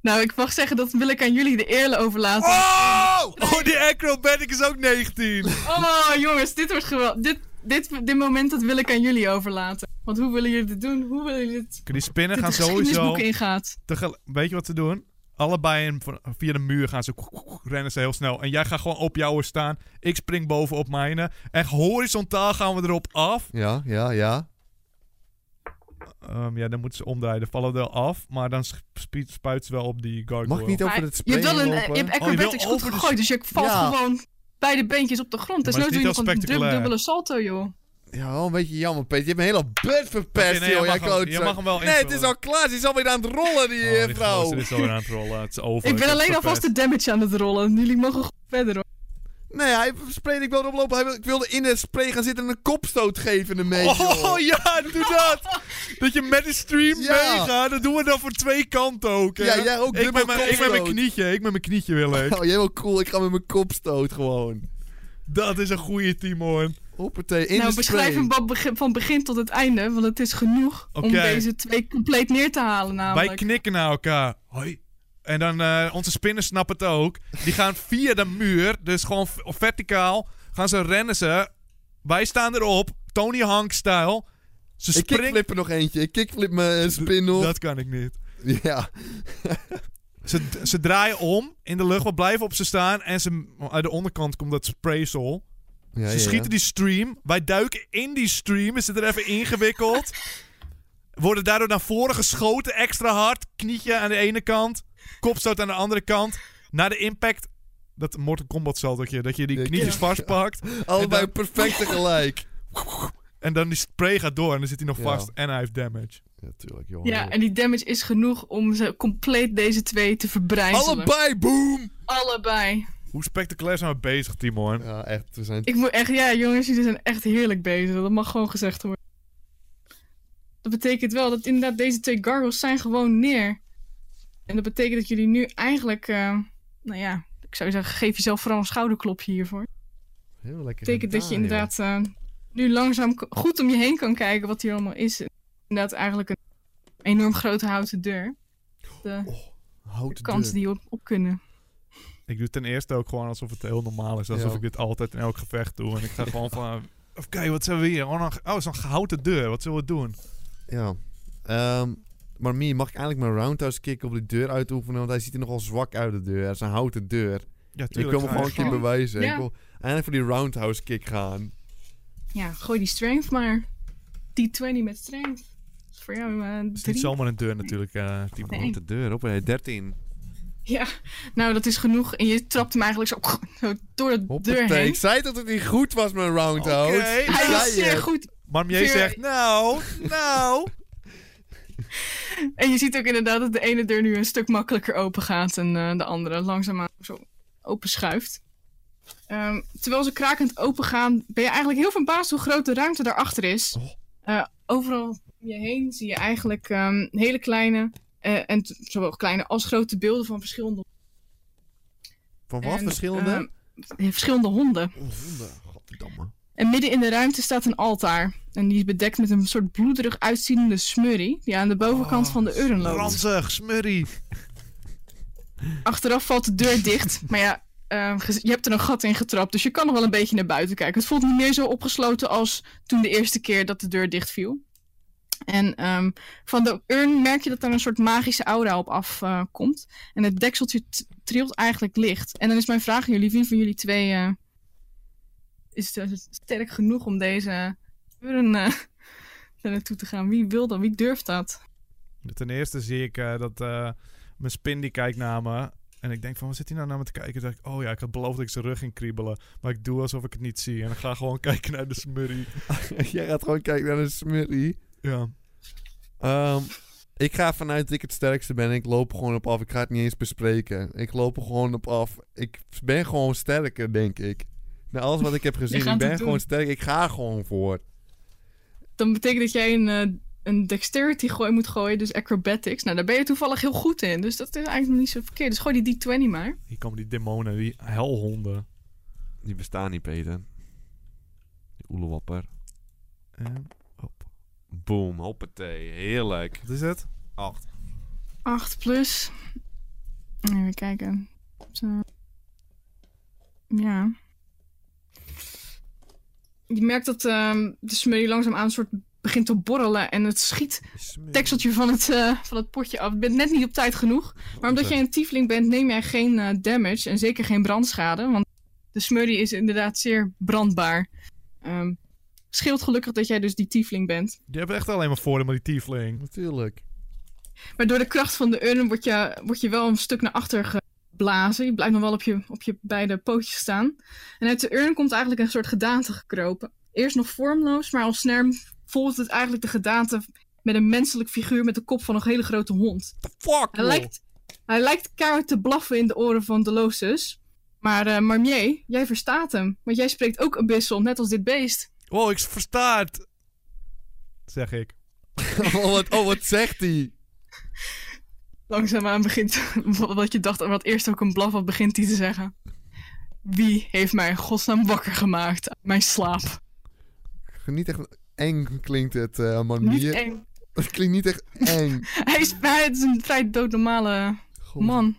[SPEAKER 3] Nou, ik mag zeggen, dat wil ik aan jullie de eerlijk overlaten.
[SPEAKER 2] Oh! Oh, die acrobatic is ook 19.
[SPEAKER 3] Oh, jongens, dit wordt geweldig. Dit, dit, dit moment dat wil ik aan jullie overlaten. Want hoe willen jullie dit doen? Hoe willen jullie dit,
[SPEAKER 2] Die spinnen
[SPEAKER 3] dit
[SPEAKER 2] gaan
[SPEAKER 3] het
[SPEAKER 2] sowieso...
[SPEAKER 3] geschiedenisboek ingaat?
[SPEAKER 2] tegel- Weet je wat ze doen? Allebei in- van- via de muur gaan ze... Rennen ze heel snel. En jij gaat gewoon op jouw staan. Ik spring boven op mijne. Echt horizontaal gaan we erop af.
[SPEAKER 1] Ja, ja, ja.
[SPEAKER 2] Ehm, ja, dan moeten ze omdraaien. Dan vallen we wel af. Maar dan sp- sp- spuit ze wel op die gargoyle.
[SPEAKER 1] Mag ik niet
[SPEAKER 3] Maar
[SPEAKER 1] over het
[SPEAKER 3] Je hebt
[SPEAKER 1] sprayen
[SPEAKER 3] wel een, eh,
[SPEAKER 1] lopen?
[SPEAKER 3] je hebt
[SPEAKER 2] Oh, wil
[SPEAKER 3] acrobatics goed
[SPEAKER 2] over de-
[SPEAKER 3] gegooid, dus je valt
[SPEAKER 1] Ja.
[SPEAKER 3] gewoon beide beentjes op de grond.
[SPEAKER 2] Maar
[SPEAKER 3] Dus
[SPEAKER 2] het
[SPEAKER 3] nu
[SPEAKER 2] is
[SPEAKER 3] doe je
[SPEAKER 2] niet
[SPEAKER 3] nog
[SPEAKER 2] heel
[SPEAKER 3] een dub-
[SPEAKER 2] spectaculair. Oh,
[SPEAKER 3] dubbele salto, joh.
[SPEAKER 1] Ja, wel een beetje jammer, Peter. Je hebt een hele beurt verpest,
[SPEAKER 2] Oké, nee,
[SPEAKER 1] joh.
[SPEAKER 2] jij
[SPEAKER 1] Jij
[SPEAKER 2] mag hem-
[SPEAKER 1] klootzak.
[SPEAKER 2] jij mag hem wel
[SPEAKER 1] Nee, het is
[SPEAKER 2] invullen.
[SPEAKER 1] al klaar. Ze is alweer aan het rollen, die
[SPEAKER 2] Oh,
[SPEAKER 1] eh,
[SPEAKER 2] die
[SPEAKER 1] vrouw.
[SPEAKER 2] gozer is zo aan het rollen. Het is over.
[SPEAKER 3] Ik ben
[SPEAKER 2] heb
[SPEAKER 3] alleen alvast
[SPEAKER 2] verpest.
[SPEAKER 3] de damage aan het rollen. Jullie mogen gewoon verder, hoor.
[SPEAKER 1] Nee, hij sprayde. Ik wilde oplopen. Hij wil- ik wilde in de spray gaan zitten en een kopstoot geven ermee, joh.
[SPEAKER 2] Oh ja, doe dat! Dat je met de stream
[SPEAKER 1] Ja.
[SPEAKER 2] meegaat, dat doen we dan voor twee kanten ook. hè?
[SPEAKER 1] Ja, jij ook
[SPEAKER 2] Ik
[SPEAKER 1] dubbel
[SPEAKER 2] met, mijn, ik met mijn
[SPEAKER 1] kopstoot.
[SPEAKER 2] knietje, ik met mijn knietje wil ik.
[SPEAKER 1] Oh, jij wel cool. Ik ga met mijn kopstoot gewoon.
[SPEAKER 2] Dat is een goede team hoor.
[SPEAKER 1] Hoppatee, in
[SPEAKER 3] nou,
[SPEAKER 1] de
[SPEAKER 3] beschrijf
[SPEAKER 1] spray.
[SPEAKER 3] hem van begin, van begin tot het einde, want het is genoeg om
[SPEAKER 2] Oké.
[SPEAKER 3] deze twee compleet neer te halen namelijk.
[SPEAKER 2] Wij knikken naar elkaar. Hoi. En dan, eh, onze spinnen snappen het ook. Die gaan via de muur, dus gewoon v- verticaal, gaan ze rennen ze. Wij staan erop, Tony Hank-stijl. Ze
[SPEAKER 1] Ik
[SPEAKER 2] springen...
[SPEAKER 1] kickflip er nog eentje. Ik kickflip mijn eh, spin nog.
[SPEAKER 2] Dat kan ik niet.
[SPEAKER 1] Ja.
[SPEAKER 2] Ze, ze draaien om in de lucht, we blijven op ze staan. En ze, uit de onderkant komt dat spraysol.
[SPEAKER 1] Ja,
[SPEAKER 2] Ze
[SPEAKER 1] ja, ja.
[SPEAKER 2] schieten die stream. Wij duiken in die stream. We zitten er even ingewikkeld. Worden daardoor naar voren geschoten. Extra hard. Knietje aan de ene kant. Kopstoot aan de andere kant. Na de impact. Dat Mortal Kombat saltotje. Dat je die
[SPEAKER 1] Ja,
[SPEAKER 2] knietjes
[SPEAKER 1] ja.
[SPEAKER 2] vastpakt.
[SPEAKER 1] Allebei
[SPEAKER 2] En
[SPEAKER 1] perfect tegelijk.
[SPEAKER 2] En dan die spray gaat door. En dan zit hij nog
[SPEAKER 1] Ja.
[SPEAKER 2] vast. En hij heeft damage.
[SPEAKER 1] Ja, tuurlijk, joh.
[SPEAKER 3] Ja, en die damage is genoeg om ze compleet deze twee te verbrijzelen.
[SPEAKER 1] Allebei, boom!
[SPEAKER 3] Allebei.
[SPEAKER 2] Hoe spectaculair zijn we bezig, Timon?
[SPEAKER 1] Ja, echt. We zijn...
[SPEAKER 3] Ik moet echt, ja jongens, jullie zijn echt heerlijk bezig. Dat mag gewoon gezegd worden. Dat betekent wel dat inderdaad deze twee gargoyles zijn gewoon neer. En dat betekent dat jullie nu eigenlijk, eh, nou ja, ik zou zeggen, geef jezelf vooral een schouderklopje hiervoor.
[SPEAKER 1] Heel lekker.
[SPEAKER 3] Dat betekent dat je
[SPEAKER 1] gedaan, joh.
[SPEAKER 3] inderdaad eh, nu langzaam k- goed om je heen kan kijken wat hier allemaal is. Inderdaad eigenlijk een enorm grote houten deur. De
[SPEAKER 1] Houten
[SPEAKER 3] kansen
[SPEAKER 1] deur.
[SPEAKER 3] die op, op kunnen.
[SPEAKER 2] Ik doe ten eerste ook gewoon alsof het heel normaal is. Alsof
[SPEAKER 1] Ja.
[SPEAKER 2] ik dit altijd in elk gevecht doe. En ik ga gewoon van... Oké, wat zijn we hier? Oh, nog- oh, zo'n houten deur. Wat zullen we doen?
[SPEAKER 1] Ja. Ehm, maar Mie, mag ik eigenlijk mijn roundhouse kick op die deur uitoefenen? Want hij ziet er nogal zwak uit de deur. Het is een houten deur.
[SPEAKER 2] Ja,
[SPEAKER 1] Ik
[SPEAKER 2] tuurlijk.
[SPEAKER 1] wil me
[SPEAKER 2] ga je
[SPEAKER 1] gewoon een keer
[SPEAKER 3] gewoon-
[SPEAKER 1] bewijzen.
[SPEAKER 3] Ja.
[SPEAKER 1] Ik wil eigenlijk voor die roundhouse kick gaan.
[SPEAKER 3] Ja, gooi die strength maar. D20 met strength. Dat is voor jou eh
[SPEAKER 2] Het is niet
[SPEAKER 3] drie.
[SPEAKER 2] zomaar een deur natuurlijk, eh Timo.
[SPEAKER 3] Nee.
[SPEAKER 1] Houten deur, op hè, 13.
[SPEAKER 3] Ja, nou dat is genoeg. En je trapt hem eigenlijk zo, zo door de deur
[SPEAKER 1] Hoppatee,
[SPEAKER 3] heen.
[SPEAKER 1] ik zei dat het niet goed was, mijn roundhouse.
[SPEAKER 2] Oké.
[SPEAKER 1] Ik
[SPEAKER 3] Hij
[SPEAKER 1] zei
[SPEAKER 3] is zeer
[SPEAKER 1] het.
[SPEAKER 3] goed.
[SPEAKER 2] Marmier
[SPEAKER 3] Veer-
[SPEAKER 2] zegt, nou, nou.
[SPEAKER 3] En je ziet ook inderdaad dat de ene deur nu een stuk makkelijker open gaat. En eh, de andere langzaamaan zo open schuift. Ehm, terwijl ze krakend open gaan, ben je eigenlijk heel verbaasd hoe groot de ruimte daarachter is.
[SPEAKER 1] Oh.
[SPEAKER 3] Eh, overal om je heen zie je eigenlijk ehm, hele kleine, eh, en t- zowel kleine als grote beelden van verschillende
[SPEAKER 1] Van wat?
[SPEAKER 3] En,
[SPEAKER 1] Verschillende?
[SPEAKER 3] ehm, verschillende honden.
[SPEAKER 1] Oh, honden. Godverdamme.
[SPEAKER 3] En midden in de ruimte staat een altaar. En die is bedekt met een soort bloederig uitziende smurrie. Die aan de bovenkant van de urn loopt.
[SPEAKER 2] Ranzig, smurrie.
[SPEAKER 3] Achteraf valt de deur dicht. maar ja, ehm, gez- je hebt er een gat in getrapt. Dus je kan nog wel een beetje naar buiten kijken. Het voelt niet meer zo opgesloten als toen de eerste keer dat de deur dicht viel. En ehm, van de urn merk je dat daar een soort magische aura op afkomt. en het dekseltje t- trilt eigenlijk licht. En dan is mijn vraag aan jullie: wie van jullie twee eh, is er sterk genoeg om deze urn eh, daar naartoe te gaan? Wie wil dat? Wie durft dat?
[SPEAKER 2] Ten eerste zie ik eh, dat eh, mijn spin die kijkt naar me. En ik denk van, wat zit hij nou naar me te kijken? Dan zeg ik, oh ja, ik had beloofd dat ik zijn rug ging kriebelen. Maar ik doe alsof ik het niet zie. En ik ga gewoon kijken naar de smurrie.
[SPEAKER 3] ehm,
[SPEAKER 1] Jij gaat gewoon kijken naar een smurrie.
[SPEAKER 2] Ja.
[SPEAKER 1] Ehm, ik ga vanuit dat ik het sterkste ben. Ik loop er gewoon op af. Ik ga het niet eens bespreken. Ik loop er gewoon op af. Ik ben gewoon sterker, denk ik. Na alles wat ik heb gezien,
[SPEAKER 3] gaat
[SPEAKER 1] ik ben
[SPEAKER 3] het doen.
[SPEAKER 1] gewoon sterk. Ik ga er gewoon voor.
[SPEAKER 3] Dan betekent dat jij een, eh, een dexterity gooi moet gooien, dus acrobatics. Nou, daar ben je toevallig heel goed in, dus dat is eigenlijk nog niet zo verkeerd. Dus gooi die D20 maar.
[SPEAKER 2] Hier komen die demonen, die helhonden.
[SPEAKER 1] Die bestaan niet, Peter. Die oelewapper.
[SPEAKER 2] En, hop.
[SPEAKER 1] Boom, hoppatee. Heerlijk.
[SPEAKER 2] Wat is het?
[SPEAKER 1] 8.
[SPEAKER 3] 8 plus. Even kijken. Zo. Ja. Je merkt dat ehm, de smurrie langzaamaan een soort begint te borrelen en het schiet tekseltje van het, eh, van het potje af. Je bent net niet op tijd genoeg. Maar omdat jij een tiefling bent, neem jij geen eh, damage en zeker geen brandschade. Want de smurrie is inderdaad zeer brandbaar. Ehm scheelt gelukkig dat jij dus die tiefling bent.
[SPEAKER 2] Je hebt echt alleen maar voordeel met die tiefling.
[SPEAKER 1] Natuurlijk.
[SPEAKER 3] Maar door de kracht van de urn word je, word je wel een stuk naar achter geblazen. Je blijft nog wel op je, op je beide pootjes staan. En uit de urn komt eigenlijk een soort gedaante gekropen. Eerst nog vormloos, maar al snel volgt het eigenlijk de gedaante met een menselijk figuur met de kop van een hele grote hond.
[SPEAKER 1] The fuck,
[SPEAKER 3] Hij lijkt, hij lijkt keihard te blaffen in de oren van Delosius. Maar eh Marmier, jij verstaat hem. Want jij spreekt ook abyssal, net als dit beest.
[SPEAKER 2] Wow, ik versta het. Zeg ik.
[SPEAKER 1] oh, wat, oh, wat zegt hij?
[SPEAKER 3] Langzaamaan begint wat wat je dacht, wat eerst ook een blaf had, begint hij te zeggen. Wie heeft mij in godsnaam wakker gemaakt uit mijn slaap?
[SPEAKER 1] Niet echt eng klinkt het, eh
[SPEAKER 3] Niet
[SPEAKER 1] manier.
[SPEAKER 3] eng.
[SPEAKER 1] Het klinkt niet echt eng.
[SPEAKER 3] Hij is, hij is een vrij doodnormale
[SPEAKER 1] God.
[SPEAKER 3] man.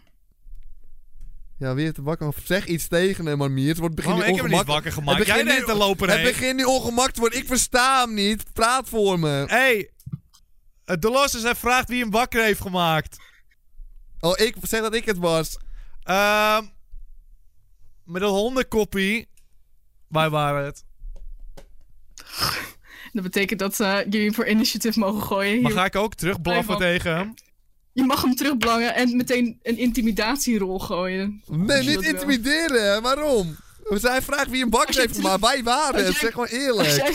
[SPEAKER 1] Ja, wie heeft hem wakker? gemaakt? Zeg iets tegen hem, manier. Het wordt begin
[SPEAKER 2] Waarom,
[SPEAKER 1] nu
[SPEAKER 2] ik heb hem niet
[SPEAKER 1] ongemakkelijk.
[SPEAKER 2] wakker gemaakt.
[SPEAKER 1] Het
[SPEAKER 2] Jij
[SPEAKER 1] begint
[SPEAKER 2] deed
[SPEAKER 1] nu-
[SPEAKER 2] er lopen
[SPEAKER 1] Het
[SPEAKER 2] heen.
[SPEAKER 1] begint nu ongemakkelijk te worden. Ik versta hem niet. Praat voor me.
[SPEAKER 2] Hé, hey, Delossus, eh, hij vraagt wie hem wakker heeft gemaakt.
[SPEAKER 1] Oh, ik zeg dat ik het was.
[SPEAKER 2] Ehm met een hondenkoppie. Wij waren het.
[SPEAKER 3] Dat betekent dat eh, jullie voor initiatief mogen gooien.
[SPEAKER 2] Maar
[SPEAKER 3] Je-
[SPEAKER 2] ga ik ook terug blaffen
[SPEAKER 3] Blijf
[SPEAKER 2] tegen hem?
[SPEAKER 3] Je mag hem terugblangen en meteen een intimidatierol gooien.
[SPEAKER 1] Nee,
[SPEAKER 3] Als je
[SPEAKER 1] niet
[SPEAKER 3] dat wil.
[SPEAKER 1] intimideren. Waarom? Zij vraagt wie een bak
[SPEAKER 3] Als je
[SPEAKER 1] heeft
[SPEAKER 3] terug-
[SPEAKER 1] gemaakt. Wij waren
[SPEAKER 3] Als
[SPEAKER 1] het.
[SPEAKER 3] jij-
[SPEAKER 1] Zeg gewoon
[SPEAKER 3] Als
[SPEAKER 1] eerlijk.
[SPEAKER 3] jij,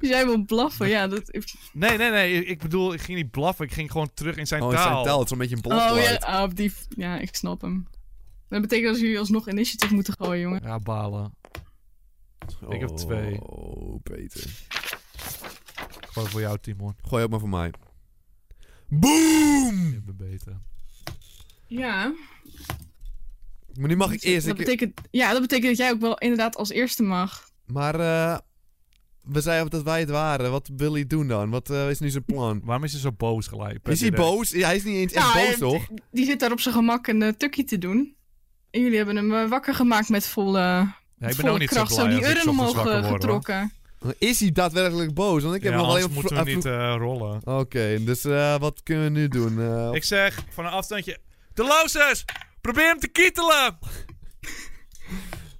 [SPEAKER 3] als jij wil blaffen, ja, dat...
[SPEAKER 2] Nee, nee, nee. Ik bedoel, ik ging niet blaffen. Ik ging gewoon terug in zijn
[SPEAKER 1] Oh, in
[SPEAKER 2] taal.
[SPEAKER 1] zijn taal. Het is een beetje een
[SPEAKER 3] Oh ja,
[SPEAKER 1] blokgeluid.
[SPEAKER 3] ah, op die... ja, ik snap hem. Dat betekent dat jullie alsnog initiatief moeten gooien, jongen.
[SPEAKER 2] Ja, balen. Ik heb twee.
[SPEAKER 1] Oh, Peter.
[SPEAKER 2] Gewoon voor jou, Timon.
[SPEAKER 1] Gooi ook maar voor mij. Boom!
[SPEAKER 3] Hmm.
[SPEAKER 2] Je bent beter.
[SPEAKER 3] Ja,
[SPEAKER 1] Maar nu mag ik eerst.
[SPEAKER 3] dat
[SPEAKER 1] Ik-
[SPEAKER 3] betekent, ja, dat betekent dat jij ook wel inderdaad als eerste mag.
[SPEAKER 1] Maar eh, we zeiden dat wij het waren. Wat wil hij doen dan? Wat eh, is nu zijn plan?
[SPEAKER 2] Waarom is hij zo boos gelijk?
[SPEAKER 1] Is hij boos? Ja, hij is niet eens echt
[SPEAKER 3] Nou,
[SPEAKER 1] boos,
[SPEAKER 3] eh,
[SPEAKER 1] toch?
[SPEAKER 3] Die zit daar op zijn gemak een eh, tukkie te doen. En jullie hebben hem eh, wakker gemaakt met volle,
[SPEAKER 2] Ja, ik ben
[SPEAKER 3] volle
[SPEAKER 2] ook niet
[SPEAKER 3] kracht.
[SPEAKER 2] zo blij
[SPEAKER 3] die
[SPEAKER 2] als ik
[SPEAKER 3] urn
[SPEAKER 2] ochtends
[SPEAKER 3] omhoog
[SPEAKER 2] wakker
[SPEAKER 3] eh,
[SPEAKER 2] word, hoor.
[SPEAKER 3] getrokken.
[SPEAKER 1] Is hij daadwerkelijk boos? Want ik heb
[SPEAKER 2] ja,
[SPEAKER 1] nog
[SPEAKER 2] anders
[SPEAKER 1] alleen
[SPEAKER 2] moeten
[SPEAKER 1] vro-
[SPEAKER 2] we
[SPEAKER 1] eh,
[SPEAKER 2] niet
[SPEAKER 1] vro-
[SPEAKER 2] eh, rollen.
[SPEAKER 1] Oké, dus eh, wat kunnen we nu doen? Eh,
[SPEAKER 2] Ik zeg van een afstandje... De Lozers! Probeer hem te kietelen!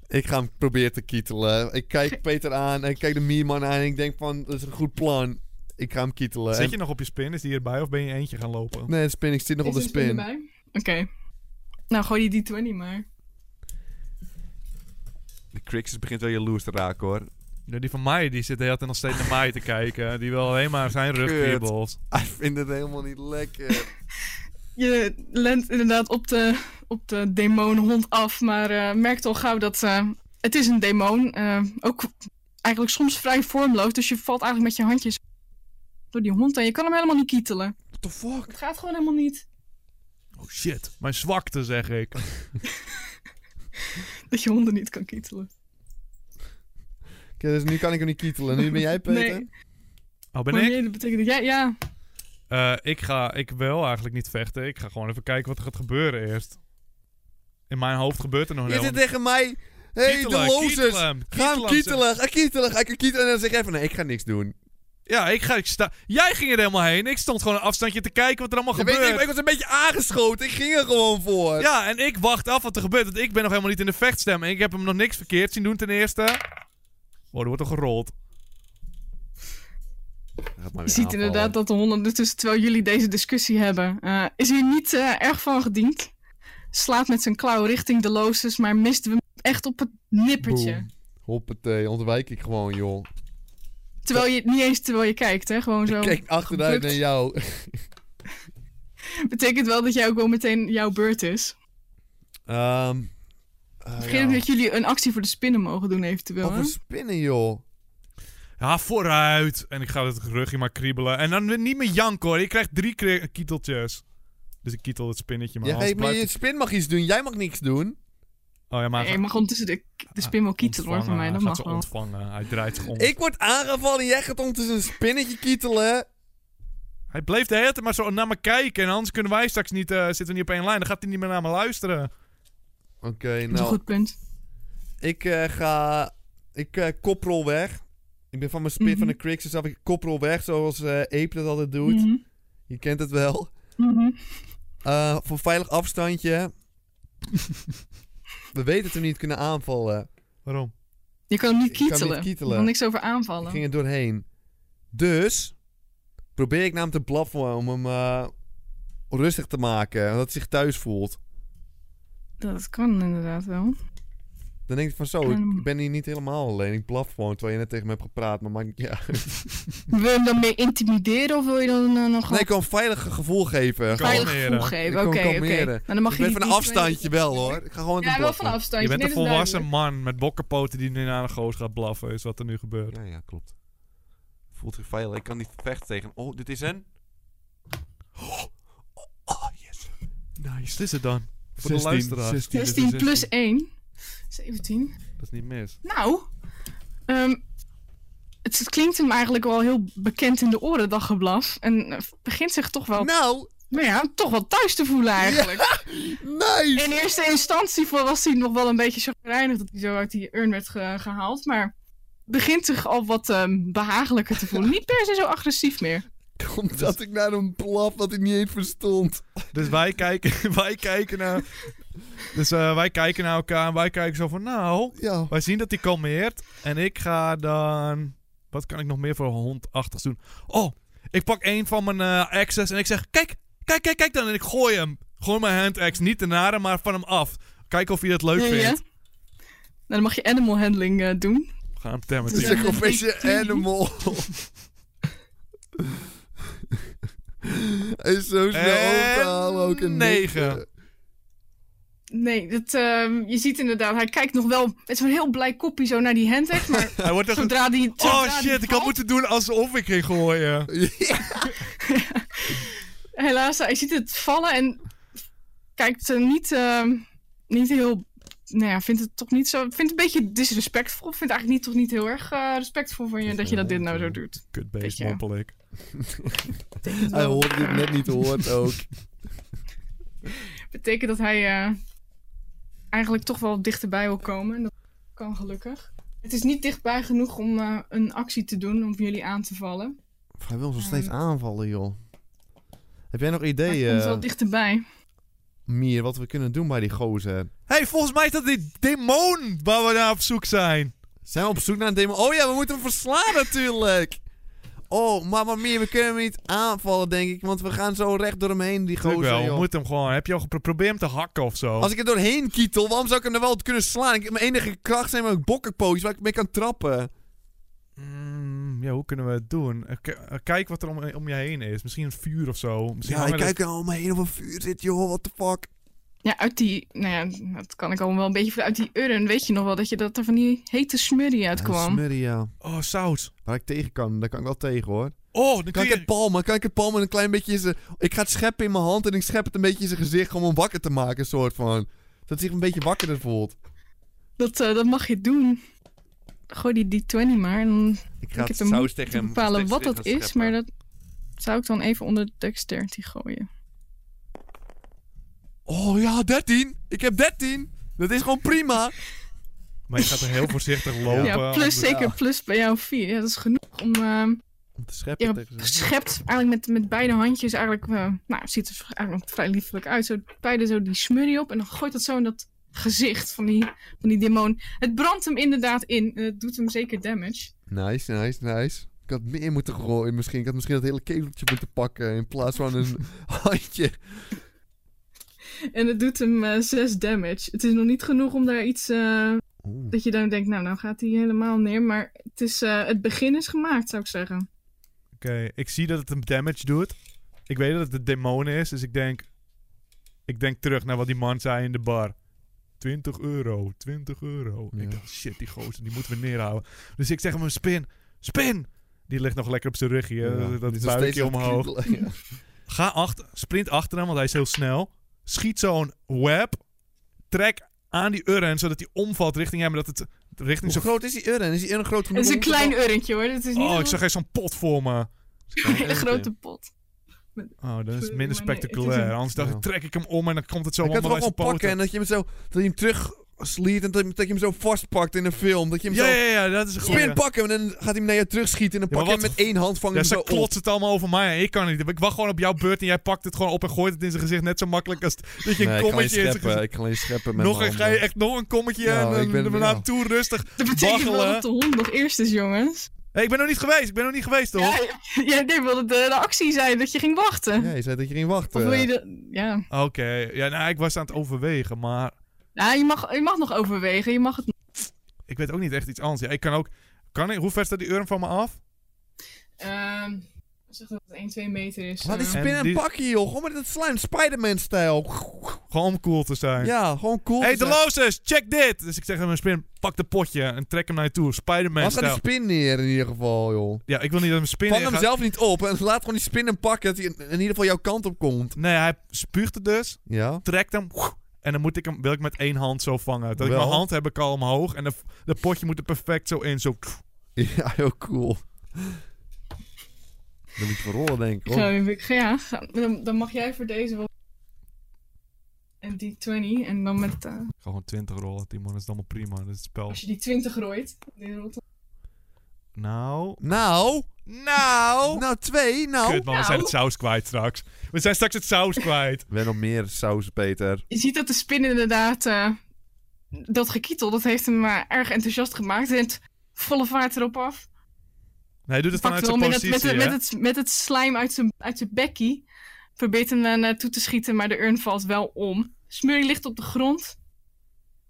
[SPEAKER 1] Ik ga hem proberen te kietelen. Ik kijk Peter aan en ik kijk de Mierman aan en ik denk van, dat is een goed plan. Ik ga hem kietelen.
[SPEAKER 2] Zit
[SPEAKER 1] En-
[SPEAKER 2] je nog op je spin? Is die erbij of ben je eentje gaan lopen?
[SPEAKER 1] Nee, de spin. Ik zit nog op de
[SPEAKER 3] Is er een
[SPEAKER 1] spin.
[SPEAKER 3] erbij? Oké. Nou, gooi die D20 maar.
[SPEAKER 1] De Crixus begint wel jaloers te raken, hoor.
[SPEAKER 2] Ja, die van mij die zit de hele tijd nog steeds naar mij te kijken. Die wil alleen maar zijn rug
[SPEAKER 1] Kut.
[SPEAKER 2] kriebelt.
[SPEAKER 1] Hij vindt het helemaal niet lekker.
[SPEAKER 3] Je lent inderdaad op de, op de demonenhond af, maar eh, merkt al gauw dat eh, het is een demon. eh ook eigenlijk soms vrij vormloos, dus je valt eigenlijk met je handjes door die hond en je kan hem helemaal niet kietelen.
[SPEAKER 1] What the fuck?
[SPEAKER 3] Het gaat gewoon helemaal niet.
[SPEAKER 2] Oh shit, mijn zwakte zeg ik.
[SPEAKER 3] Dat je honden niet kan kietelen.
[SPEAKER 1] Oké, dus nu kan ik hem niet kietelen. Nu ben jij, Peter?
[SPEAKER 3] Nee.
[SPEAKER 2] Oh, ben
[SPEAKER 3] maar
[SPEAKER 2] ik?
[SPEAKER 3] nee, dat betekent dat jij, ja,
[SPEAKER 2] Eh, ik ga, ik wil eigenlijk niet vechten. Ik ga gewoon even kijken wat er gaat gebeuren eerst. In mijn hoofd gebeurt er nog een
[SPEAKER 1] Je
[SPEAKER 2] heel...
[SPEAKER 1] zit tegen mij. Hé, hey, de
[SPEAKER 2] Kietelen,
[SPEAKER 1] losers.
[SPEAKER 2] kietelen hem,
[SPEAKER 1] Ga hem
[SPEAKER 2] hem,
[SPEAKER 1] kietelen. Ga kietelen. Ga ik hem kietelen. En dan zeg je even, nee, ik ga niks doen.
[SPEAKER 2] zeg. Ja, ik ga... Ik sta... Jij ging er helemaal heen. Ik stond gewoon een afstandje te kijken wat er allemaal
[SPEAKER 1] Ja, weet
[SPEAKER 2] gebeurt.
[SPEAKER 1] ik, niet, maar ik was een beetje aangeschoten. Ik ging er gewoon voor.
[SPEAKER 2] Ja, en ik wacht af wat er gebeurt. Want ik ben nog helemaal niet in de vechtstem. En ik heb hem nog niks verkeerd zien doen ten eerste. Oh, er wordt al gerold. Gaat maar
[SPEAKER 3] Je
[SPEAKER 2] weer
[SPEAKER 3] ziet
[SPEAKER 2] aanvallen.
[SPEAKER 3] inderdaad dat de honden ondertussen, terwijl jullie deze discussie hebben, eh, is hier niet eh, erg van gediend. Slaat met zijn klauw richting de looses, maar mist hem echt op het nippertje.
[SPEAKER 1] Boom. Hoppatee, ontwijk ik gewoon, joh.
[SPEAKER 3] Terwijl je niet eens terwijl je kijkt, hè? Gewoon zo.
[SPEAKER 1] Ik kijk achteruit naar
[SPEAKER 3] gebukt.
[SPEAKER 1] jou.
[SPEAKER 3] Betekent wel dat jij ook wel meteen jouw beurt is.
[SPEAKER 1] Ehm
[SPEAKER 3] Ik
[SPEAKER 1] eh,
[SPEAKER 3] Vergeet
[SPEAKER 1] Oh, ja.
[SPEAKER 3] ook dat jullie een actie voor de spinnen mogen doen, eventueel. hè?
[SPEAKER 1] Over spinnen, joh.
[SPEAKER 2] Ja, vooruit. En ik ga het rugje maar kriebelen. En dan weer niet meer janken hoor. Je krijgt drie kri- kieteltjes. Dus ik kietel het spinnetje, maar
[SPEAKER 1] Jij
[SPEAKER 2] Hans
[SPEAKER 1] geeft me,
[SPEAKER 2] blijft-
[SPEAKER 1] je spin mag iets doen, jij mag niks doen.
[SPEAKER 2] Oh ja, maar...
[SPEAKER 3] Nee, je mag ondertussen de, de spin wel kietelen hoor, van mij. Dat
[SPEAKER 2] Hij gaat
[SPEAKER 3] mag
[SPEAKER 2] ze
[SPEAKER 3] wel.
[SPEAKER 2] ontvangen. Hij draait zich om.
[SPEAKER 1] Ik word aangevallen en jij gaat ondertussen een spinnetje kietelen.
[SPEAKER 2] Hij bleef de hele tijd maar zo naar me kijken. En anders kunnen wij straks niet... eh, zitten we niet op één lijn. Dan gaat hij niet meer naar me luisteren.
[SPEAKER 1] Oké,
[SPEAKER 3] Dat is een
[SPEAKER 1] nou.
[SPEAKER 3] goed punt.
[SPEAKER 1] Ik eh, ga. Ik eh, koprol weg. Ik ben van mijn spin
[SPEAKER 3] Mhm.
[SPEAKER 1] van de Crix, dus af ik koprol weg, zoals eh Ape dat altijd doet.
[SPEAKER 3] Mhm.
[SPEAKER 1] Je kent het wel.
[SPEAKER 3] Mhm.
[SPEAKER 1] Eh, voor veilig afstandje. We weten dat we niet kunnen aanvallen.
[SPEAKER 2] Waarom?
[SPEAKER 3] Je kan hem niet
[SPEAKER 1] Ik kan niet
[SPEAKER 3] kietelen.
[SPEAKER 1] kietelen.
[SPEAKER 3] Je kan niks over
[SPEAKER 1] Ik
[SPEAKER 3] aanvallen.
[SPEAKER 1] ging er doorheen. Dus probeer ik naar hem te blaffen om hem eh, rustig te maken. Dat hij zich thuis voelt.
[SPEAKER 3] Dat kan inderdaad wel.
[SPEAKER 1] Dan denk ik van zo,
[SPEAKER 3] Kan-
[SPEAKER 1] ik ben hier niet helemaal alleen. Ik blaf gewoon, terwijl je net tegen me hebt gepraat. Maar maakt niet uit.
[SPEAKER 3] Wil je hem dan meer intimideren of wil je dan eh, nog
[SPEAKER 1] Nee,
[SPEAKER 3] een
[SPEAKER 1] ik kan een veilig gevoel geven.
[SPEAKER 3] veilig
[SPEAKER 2] kalmeren.
[SPEAKER 3] gevoel
[SPEAKER 1] Ik
[SPEAKER 3] geven?
[SPEAKER 1] kan
[SPEAKER 3] Oké, oké.
[SPEAKER 1] kalmeren.
[SPEAKER 3] Nou, dan mag
[SPEAKER 1] ik
[SPEAKER 3] je
[SPEAKER 1] ben
[SPEAKER 3] die-
[SPEAKER 1] van een
[SPEAKER 3] die-
[SPEAKER 1] afstandje wel hoor. Ik ga gewoon
[SPEAKER 3] Ja,
[SPEAKER 1] te
[SPEAKER 3] wel van een
[SPEAKER 1] blaffen.
[SPEAKER 2] Je
[SPEAKER 3] afstandje.
[SPEAKER 2] bent
[SPEAKER 3] nee,
[SPEAKER 2] een
[SPEAKER 3] dat is
[SPEAKER 2] volwassen
[SPEAKER 3] duidelijk.
[SPEAKER 2] man met bokkenpoten die nu naar een goos gaat blaffen. Is wat er nu gebeurt.
[SPEAKER 1] Ja, ja, klopt. Voelt zich veilig. Ik kan niet vechten tegen. Oh, dit is een. Oh, yes.
[SPEAKER 2] Nice. Wat is het dan? Voor de
[SPEAKER 1] 16,
[SPEAKER 2] luisteraar.
[SPEAKER 1] 16.
[SPEAKER 3] 16 plus 1. 17.
[SPEAKER 2] Dat is niet mis.
[SPEAKER 3] Nou, ehm, het, het klinkt hem eigenlijk wel heel bekend in de oren, dat geblaf. En eh, begint zich toch wel,
[SPEAKER 1] Nou,
[SPEAKER 3] nou ja, toch wel thuis te voelen eigenlijk.
[SPEAKER 1] nice.
[SPEAKER 3] In eerste instantie voor- was hij nog wel een beetje chagrijnig dat hij zo uit die urn werd ge- gehaald. Maar begint zich al wat ehm, behagelijker te voelen. Niet per se zo agressief meer.
[SPEAKER 1] Omdat ik naar een blaf wat ik niet eens verstond.
[SPEAKER 2] Dus wij kijken, wij kijken naar... Dus eh, wij kijken naar elkaar en wij kijken zo van... Nou,
[SPEAKER 1] Ja.
[SPEAKER 2] Wij zien dat hij kalmeert. En ik ga dan. Wat kan ik nog meer voor hondachtigs doen? Oh, ik pak een van mijn eh, axes en ik zeg: Kijk, kijk, kijk, kijk dan. En ik gooi hem. Gooi mijn hand axe. Niet de nare, maar van hem af. Kijk of hij dat leuk
[SPEAKER 3] Ja, ja.
[SPEAKER 2] vindt.
[SPEAKER 3] Nou, dan mag je animal handling eh, doen.
[SPEAKER 2] We gaan hem temmen.
[SPEAKER 1] Het is
[SPEAKER 3] Ja.
[SPEAKER 1] een confession animal. Hij is zo snel
[SPEAKER 2] En
[SPEAKER 1] overhalen ook een
[SPEAKER 2] negen.
[SPEAKER 3] Nee, dat, ehm, je ziet inderdaad, hij kijkt nog wel met zo'n heel blij kopje zo naar die handhack. Maar
[SPEAKER 2] Hij wordt echt.
[SPEAKER 3] zodra die. zodra
[SPEAKER 2] Oh
[SPEAKER 3] die
[SPEAKER 2] shit, ik had
[SPEAKER 3] valt-
[SPEAKER 2] moeten doen alsof ik ging gooien.
[SPEAKER 3] Helaas, hij ziet het vallen en kijkt er niet, ehm, niet heel. Nou ja, vindt het toch niet zo. Vindt het een beetje disrespectvol. Vindt eigenlijk niet, toch niet heel erg eh, respectvol van je dat je dat dit nou zo doet.
[SPEAKER 2] Kutbeest,
[SPEAKER 3] Beetje.
[SPEAKER 2] mompel ik.
[SPEAKER 1] eh. Hij hoort
[SPEAKER 3] eh,
[SPEAKER 1] dit net niet hoort ook.
[SPEAKER 3] Betekent dat hij eh, eigenlijk toch wel dichterbij wil komen. En dat kan gelukkig. Het is niet dichtbij genoeg om eh, een actie te doen om jullie aan te vallen.
[SPEAKER 1] Hij wil ons nog steeds aanvallen, joh. Heb jij nog
[SPEAKER 3] Maar
[SPEAKER 1] ideeën, eh,
[SPEAKER 3] hij komt wel dichterbij.
[SPEAKER 1] Mier, wat we kunnen doen bij die gozer?
[SPEAKER 2] hey, volgens mij is dat die demon waar we naar op zoek zijn.
[SPEAKER 1] Zijn we op zoek naar een demon? Oh ja, we moeten hem verslaan natuurlijk! Oh, maar, maar Mier, we kunnen hem niet aanvallen, denk ik. Want we gaan zo recht door hem heen, die
[SPEAKER 2] Tuurlijk
[SPEAKER 1] gozer,
[SPEAKER 2] wel, we
[SPEAKER 1] joh.
[SPEAKER 2] moeten hem gewoon. Heb je al geprobeerd hem te hakken of zo?
[SPEAKER 1] Als ik er doorheen kietel, waarom zou ik hem dan wel kunnen slaan? Ik, mijn enige kracht zijn mijn bokkenpootjes waar ik mee kan trappen.
[SPEAKER 2] Mm, ja, hoe kunnen we het doen? Eh, k- eh, Kijk wat er om, om je heen is. Misschien een vuur of zo. Misschien
[SPEAKER 1] Ja, ik
[SPEAKER 2] hangen er-
[SPEAKER 1] kijk er om me heen of een vuur zit, joh. What the fuck?
[SPEAKER 3] Ja, uit die. Nou ja, dat kan ik allemaal wel een beetje. voor- Uit die urn weet je nog wel dat je dat er van die hete smurrie uitkwam.
[SPEAKER 1] Smurrie, ja.
[SPEAKER 2] Oh, zout.
[SPEAKER 1] Waar ik tegen kan, daar kan ik wel tegen, hoor.
[SPEAKER 2] Oh, dan
[SPEAKER 1] Kan
[SPEAKER 2] kun
[SPEAKER 1] ik
[SPEAKER 2] je...
[SPEAKER 1] het palmen? Kan ik het palmen een klein beetje in zijn... Ik ga het scheppen in mijn hand en ik schep het een beetje in zijn gezicht om hem wakker te maken, soort van. Dat hij zich een beetje wakkerder voelt.
[SPEAKER 3] Dat, eh, dat mag je doen. Gooi die D20 maar. Dan
[SPEAKER 1] Ik
[SPEAKER 3] heb hem
[SPEAKER 1] tegen
[SPEAKER 3] te bepalen wat dat is. Maar dat zou ik dan even onder de dexterity gooien.
[SPEAKER 1] Oh ja, 13! Ik heb 13! Dat is gewoon prima!
[SPEAKER 2] Maar je gaat er heel voorzichtig lopen.
[SPEAKER 3] ja, plus
[SPEAKER 2] anders-
[SPEAKER 3] zeker plus bij jou 4. Ja, dat is genoeg om... ehm
[SPEAKER 1] Om te scheppen
[SPEAKER 3] ja,
[SPEAKER 1] tegen zijn...
[SPEAKER 3] schept eigenlijk met, met beide handjes eigenlijk... eh, nou, het ziet er eigenlijk nog vrij liefelijk uit. Zo, beide zo die smurrie op. En dan gooit dat zo in dat gezicht van die, van die demon. Het brandt hem inderdaad in. En het doet hem zeker damage.
[SPEAKER 1] Nice, nice, nice. Ik had meer moeten gooien misschien. Ik had misschien dat hele keteltje moeten pakken in plaats van een handje.
[SPEAKER 3] En het doet hem eh, 6 damage. Het is nog niet genoeg om daar iets. eh,
[SPEAKER 1] Oeh.
[SPEAKER 3] dat je dan denkt, nou, nou gaat hij helemaal neer. Maar het, is, eh, het begin is gemaakt, zou ik zeggen.
[SPEAKER 2] Oké, ik zie dat het hem damage doet. Ik weet dat het de demon is, dus ik denk... Ik denk terug naar wat die man zei in de bar. 20 euro, 20 euro.
[SPEAKER 1] Ja.
[SPEAKER 2] Ik dacht, shit, die gozer, die moeten we neerhouden. Dus ik zeg hem, spin, spin! Die ligt nog lekker op zijn rugje,
[SPEAKER 1] Ja,
[SPEAKER 2] hè,
[SPEAKER 1] dit
[SPEAKER 2] dat
[SPEAKER 1] is nog steeds
[SPEAKER 2] buikje
[SPEAKER 1] aan het
[SPEAKER 2] omhoog.
[SPEAKER 1] kriebelen, ja.
[SPEAKER 2] Ga achter, sprint achter hem, want hij is heel snel. Schiet zo'n web. Trek aan die urn, zodat hij omvalt richting hem. en Dat het
[SPEAKER 1] Hoe
[SPEAKER 2] richting zo'n...
[SPEAKER 1] groot is die urn? Is die urn groot genoeg?
[SPEAKER 3] Het is een
[SPEAKER 1] om te
[SPEAKER 3] klein
[SPEAKER 1] vallen?
[SPEAKER 3] urntje hoor. Het is niet
[SPEAKER 2] Oh,
[SPEAKER 3] een-
[SPEAKER 2] ik zag eens zo'n pot voor me.
[SPEAKER 3] een hele grote pot.
[SPEAKER 2] Oh, dat is minder
[SPEAKER 3] Sorry, maar nee, het is
[SPEAKER 2] spectaculair.
[SPEAKER 3] een-
[SPEAKER 2] Anders dacht
[SPEAKER 1] Ja.
[SPEAKER 2] ik, trek ik hem om en dan komt het zo
[SPEAKER 1] Je kan het
[SPEAKER 2] allemaal
[SPEAKER 1] wel
[SPEAKER 2] uit zijn
[SPEAKER 1] gewoon pakken en
[SPEAKER 2] poten.
[SPEAKER 1] dat je hem zo... Dat je hem terug sliet en dat dat je hem zo vastpakt in een film. Dat je hem
[SPEAKER 2] Ja,
[SPEAKER 1] zo...
[SPEAKER 2] ja, ja, dat is een goeie.
[SPEAKER 1] Spin pakken en dan gaat hij hem naar je terugschieten en dan
[SPEAKER 2] Ja, maar
[SPEAKER 1] pak je hem
[SPEAKER 2] wat-
[SPEAKER 1] met één hand vangen
[SPEAKER 2] Ja,
[SPEAKER 1] hem zo
[SPEAKER 2] ze
[SPEAKER 1] op.
[SPEAKER 2] klotst het allemaal over mij. Ik kan het niet. Ik wacht gewoon op jouw beurt en jij pakt het gewoon op en gooit het in zijn gezicht. Net zo makkelijk als dat je een
[SPEAKER 1] Nee, ik kan alleen
[SPEAKER 2] kommetje in zijn
[SPEAKER 1] scheppen.
[SPEAKER 2] gezicht...
[SPEAKER 1] Ik kan alleen scheppen met
[SPEAKER 2] Nog
[SPEAKER 1] mijn
[SPEAKER 2] een, ga je
[SPEAKER 1] handen.
[SPEAKER 2] echt nog een kommetje
[SPEAKER 1] Ja,
[SPEAKER 2] en
[SPEAKER 1] ik
[SPEAKER 2] dan
[SPEAKER 1] ben-
[SPEAKER 2] ben, daarna
[SPEAKER 1] ja.
[SPEAKER 2] toe rustig.
[SPEAKER 3] Dat betekent wel
[SPEAKER 2] Waggelen.
[SPEAKER 3] dat de hond nog eerst is, jongens.
[SPEAKER 2] Hé, ik ben nog niet geweest. Ik ben nog niet geweest, toch?
[SPEAKER 3] Ja, jij nee, wilde de, de actie zijn dat je ging wachten.
[SPEAKER 1] Ja, je zei dat je ging wachten.
[SPEAKER 3] Of wil je
[SPEAKER 2] eh,
[SPEAKER 3] de, ja.
[SPEAKER 2] Oké. Ja, nou, ik was aan het overwegen, maar
[SPEAKER 3] ja je, mag, je mag nog overwegen. Je mag het,
[SPEAKER 2] ik weet ook niet echt iets anders. Ja, ik kan ook... Kan ik, hoe ver staat die urn van me af?
[SPEAKER 3] ehm zeg dat het 1, 2 meter is.
[SPEAKER 1] Laat die
[SPEAKER 3] eh.
[SPEAKER 1] spin en
[SPEAKER 2] die-
[SPEAKER 1] pakken, joh. Gewoon met het slime Spider-Man-stijl.
[SPEAKER 2] Gewoon om cool te zijn.
[SPEAKER 1] Ja, gewoon cool.
[SPEAKER 2] Hey,
[SPEAKER 1] te zijn.
[SPEAKER 2] Deloses, check dit! Dus ik zeg aan mijn spin, pak de potje en trek hem naar je toe. Spider-Man
[SPEAKER 1] Laat dan die
[SPEAKER 2] stijl.
[SPEAKER 1] spin neer in ieder geval, joh.
[SPEAKER 2] Ja, ik wil niet dat mijn spin
[SPEAKER 1] Vang
[SPEAKER 2] in
[SPEAKER 1] hem
[SPEAKER 2] gaat-
[SPEAKER 1] zelf niet op en laat gewoon die spin en pakken. Dat hij in in ieder geval jouw kant op komt.
[SPEAKER 2] Nee, hij spuugt het dus,
[SPEAKER 1] Ja.
[SPEAKER 2] trekt hem en dan moet ik hem, wil ik met één hand zo vangen. Dat ik
[SPEAKER 1] Wel.
[SPEAKER 2] mijn hand heb ik al omhoog en de, de potje moet er perfect zo in. Zo.
[SPEAKER 1] Ja, heel cool. Dan moet je voor rollen, denk ik,
[SPEAKER 3] Zo,
[SPEAKER 1] hoor.
[SPEAKER 3] heb ik- ja, ga- dan, dan mag jij voor deze wel. En die 20. En dan met. eh,
[SPEAKER 2] Ik ga gewoon 20 rollen, Timon. Dat is allemaal prima. Dat is het spel.
[SPEAKER 3] als je die 20 rooit. Die rolt dan-
[SPEAKER 2] Nou.
[SPEAKER 1] Nou,
[SPEAKER 2] Nou.
[SPEAKER 1] nou twee, nou.
[SPEAKER 2] Kut man, we zijn het saus kwijt straks. We zijn straks het saus kwijt.
[SPEAKER 1] We nog meer saus, Peter.
[SPEAKER 3] Je ziet dat de spin inderdaad. eh, dat gekietel, dat heeft hem eh, erg enthousiast gemaakt. En het volle vaart erop af.
[SPEAKER 2] Nee, hij doet het vanuit
[SPEAKER 3] pakt
[SPEAKER 2] zijn
[SPEAKER 3] hem met,
[SPEAKER 2] positie.
[SPEAKER 3] het, met, het,
[SPEAKER 2] hè?
[SPEAKER 3] met, het, met het slijm uit zijn, uit zijn bekkie. Probeert hem naar naartoe te schieten, maar de urn valt wel om. Smurrie ligt op de grond.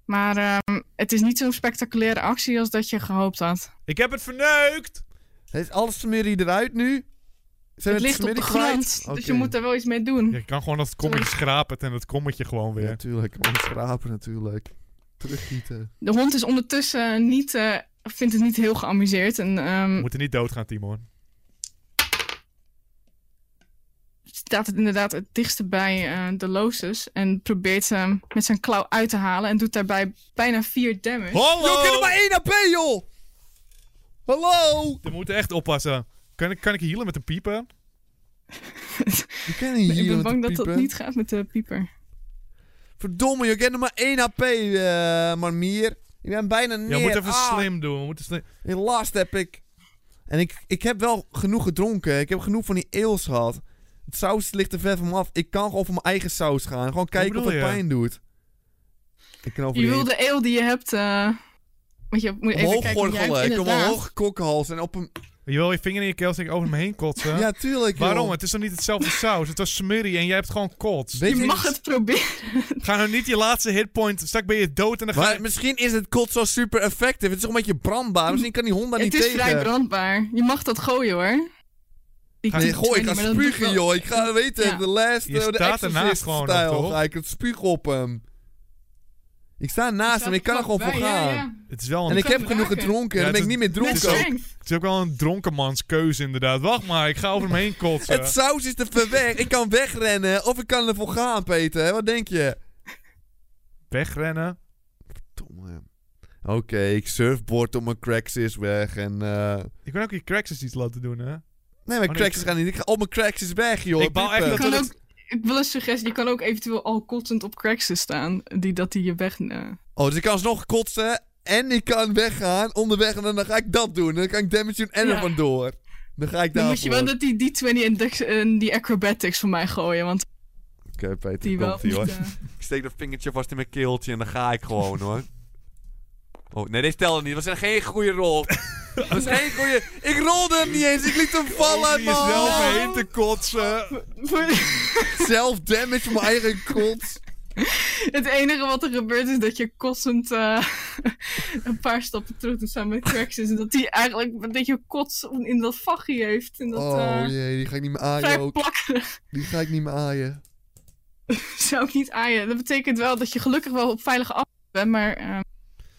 [SPEAKER 3] Maar ehm, het is niet zo'n spectaculaire actie als dat je gehoopt had.
[SPEAKER 2] Ik heb het verneukt!
[SPEAKER 1] Heeft alles smurrie eruit nu? Zijn
[SPEAKER 3] Het
[SPEAKER 1] we
[SPEAKER 3] ligt op de
[SPEAKER 1] smurrie
[SPEAKER 3] grond,
[SPEAKER 1] kwijt?
[SPEAKER 3] dus
[SPEAKER 1] Oké.
[SPEAKER 3] je moet daar wel iets mee doen.
[SPEAKER 2] Ja, je kan gewoon dat kommetje schrapen en dat kommetje gewoon
[SPEAKER 1] Ja,
[SPEAKER 2] weer.
[SPEAKER 1] natuurlijk. Ontschrapen natuurlijk. Teruggieten.
[SPEAKER 3] De hond is ondertussen niet, eh, vindt het niet heel geamuseerd. En
[SPEAKER 2] We
[SPEAKER 3] ehm,
[SPEAKER 2] moeten niet doodgaan, Timon.
[SPEAKER 3] staat het inderdaad het dichtste bij eh, de losus. En probeert hem met zijn klauw uit te halen. En doet daarbij bijna 4 damage.
[SPEAKER 1] Yo, ik heb
[SPEAKER 2] Hallo!
[SPEAKER 1] er maar één AP, joh! Hallo!
[SPEAKER 2] We moeten echt oppassen. Kan ik, kan ik healen met een piepen?
[SPEAKER 1] Je kan niet
[SPEAKER 3] ik
[SPEAKER 1] hier
[SPEAKER 3] ben
[SPEAKER 1] met
[SPEAKER 3] bang
[SPEAKER 1] de
[SPEAKER 3] dat dat
[SPEAKER 1] piepen.
[SPEAKER 3] niet gaat met de pieper.
[SPEAKER 1] Verdomme, je kent nog maar één AP, eh Marmier. Ik ben bijna neer.
[SPEAKER 2] Ja, we moeten even
[SPEAKER 1] Ah,
[SPEAKER 2] slim doen. We moeten slim...
[SPEAKER 1] Helaas heb ik... En ik, ik heb wel genoeg gedronken. Ik heb genoeg van die eels gehad. Het saus ligt er ver van me af. Ik kan gewoon voor mijn eigen saus gaan. Gewoon kijken of
[SPEAKER 2] bedoel
[SPEAKER 1] het
[SPEAKER 2] je?
[SPEAKER 1] pijn doet. Ik kan over
[SPEAKER 3] Je
[SPEAKER 1] die
[SPEAKER 3] wil de eeuw die je hebt. eh want je moet even
[SPEAKER 1] omhoog
[SPEAKER 3] kijken of jij hebt
[SPEAKER 1] gorgelen. Ik kom
[SPEAKER 3] inderdaad-
[SPEAKER 1] omhoog kokkenhals en op een...
[SPEAKER 2] Je wil je vinger in je keel steken over me heen kotsen.
[SPEAKER 1] Ja, tuurlijk, joh.
[SPEAKER 2] Waarom? Het is toch niet hetzelfde saus? Het was smurrie en jij hebt gewoon kots.
[SPEAKER 1] Weet
[SPEAKER 3] Je
[SPEAKER 1] je-
[SPEAKER 3] mag het proberen.
[SPEAKER 2] Ga nou niet je laatste hitpoint. Straks ben je dood en dan ga
[SPEAKER 1] Maar
[SPEAKER 2] je...
[SPEAKER 1] misschien is het kot zo super effectief. Het is toch een beetje brandbaar. Misschien kan die Honda niet
[SPEAKER 3] Het is
[SPEAKER 1] tegen.
[SPEAKER 3] vrij brandbaar. Je mag dat gooien hoor. Die
[SPEAKER 1] Nee, gooi, ik ga
[SPEAKER 3] maar dat doet
[SPEAKER 1] spugen,
[SPEAKER 3] wel-
[SPEAKER 1] joh. Ik ga weten,
[SPEAKER 3] Ja.
[SPEAKER 1] de last,
[SPEAKER 2] Je
[SPEAKER 1] eh, de
[SPEAKER 2] staat ernaast
[SPEAKER 1] Exorcist
[SPEAKER 2] gewoon nog,
[SPEAKER 1] stijl.
[SPEAKER 2] toch?
[SPEAKER 1] Ga ik het spugen op hem. Ik sta
[SPEAKER 3] Je
[SPEAKER 1] naast
[SPEAKER 3] staat
[SPEAKER 1] hem, ik kan er gewoon voor
[SPEAKER 3] vlakbij, ja,
[SPEAKER 1] gaan.
[SPEAKER 3] ja.
[SPEAKER 2] Het is wel
[SPEAKER 1] En
[SPEAKER 2] een...
[SPEAKER 1] ik
[SPEAKER 3] kan
[SPEAKER 1] heb
[SPEAKER 3] hem
[SPEAKER 1] genoeg
[SPEAKER 3] raken.
[SPEAKER 1] gedronken,
[SPEAKER 2] Ja,
[SPEAKER 1] dan ben ik
[SPEAKER 2] het
[SPEAKER 1] niet
[SPEAKER 2] is-
[SPEAKER 1] meer
[SPEAKER 3] Met
[SPEAKER 1] dronken. ook.
[SPEAKER 3] strength.
[SPEAKER 2] Het is ook wel een dronkenmans keuze inderdaad. Wacht maar, ik ga over hem heen kotsen.
[SPEAKER 1] Het saus is te ver weg. Ik kan wegrennen of ik kan ervoor gaan, Peter. Wat denk je?
[SPEAKER 2] Wegrennen.
[SPEAKER 1] Domme. Oké, ik surfboard op mijn cracks is weg en... eh,
[SPEAKER 2] Je kan ook je cracks iets laten doen, hè?
[SPEAKER 1] Nee, mijn
[SPEAKER 2] Oh, nee,
[SPEAKER 1] cracks
[SPEAKER 2] ik-
[SPEAKER 1] gaan niet. Ik ga op mijn cracks is weg, joh.
[SPEAKER 2] Ik wou echt
[SPEAKER 1] Piepen.
[SPEAKER 3] Je
[SPEAKER 2] dat- wil
[SPEAKER 3] kan ook, ik wil een suggestie. Je kan ook eventueel al kotsend op Craxus staan. Die dat die je weg... eh,
[SPEAKER 1] Oh, dus ik kan alsnog kotsen en ik kan weggaan onderweg en dan ga ik dat doen. Dan kan ik damage doen en
[SPEAKER 3] Ja.
[SPEAKER 1] er vandoor. Dan ga ik
[SPEAKER 3] Dan
[SPEAKER 1] daar.
[SPEAKER 3] moet je wel dat die D20 en, dex- en die acrobatics voor mij gooien. Want
[SPEAKER 1] Oké, Peter,
[SPEAKER 3] die wel...
[SPEAKER 1] komt-ie,
[SPEAKER 3] niet,
[SPEAKER 1] hoor.
[SPEAKER 3] eh,
[SPEAKER 1] Ik steek dat vingertje vast in mijn keeltje en dan ga ik gewoon hoor.
[SPEAKER 4] Oh, nee, deze telde niet. Was er geen goede rol. was geen goede... Ik rolde hem niet eens. Ik liet
[SPEAKER 1] Oh,
[SPEAKER 4] hem vallen,
[SPEAKER 2] Die
[SPEAKER 4] man.
[SPEAKER 2] is wel heen te kotsen.
[SPEAKER 3] eh,
[SPEAKER 1] Self damage op mijn eigen kont.
[SPEAKER 3] Het enige wat er gebeurt is dat je kotsend eh, een paar stappen terug doet samen met Traxxas. En dat hij eigenlijk een beetje kots in dat vachje heeft. En dat
[SPEAKER 1] Oh
[SPEAKER 3] eh,
[SPEAKER 1] jee, die ga ik niet meer
[SPEAKER 3] vrij
[SPEAKER 1] aaien ook.
[SPEAKER 3] plakkerig
[SPEAKER 1] Die ga ik niet meer aaien.
[SPEAKER 3] zou ik niet aaien. Dat betekent wel dat je gelukkig wel op veilige afstand bent. Maar eh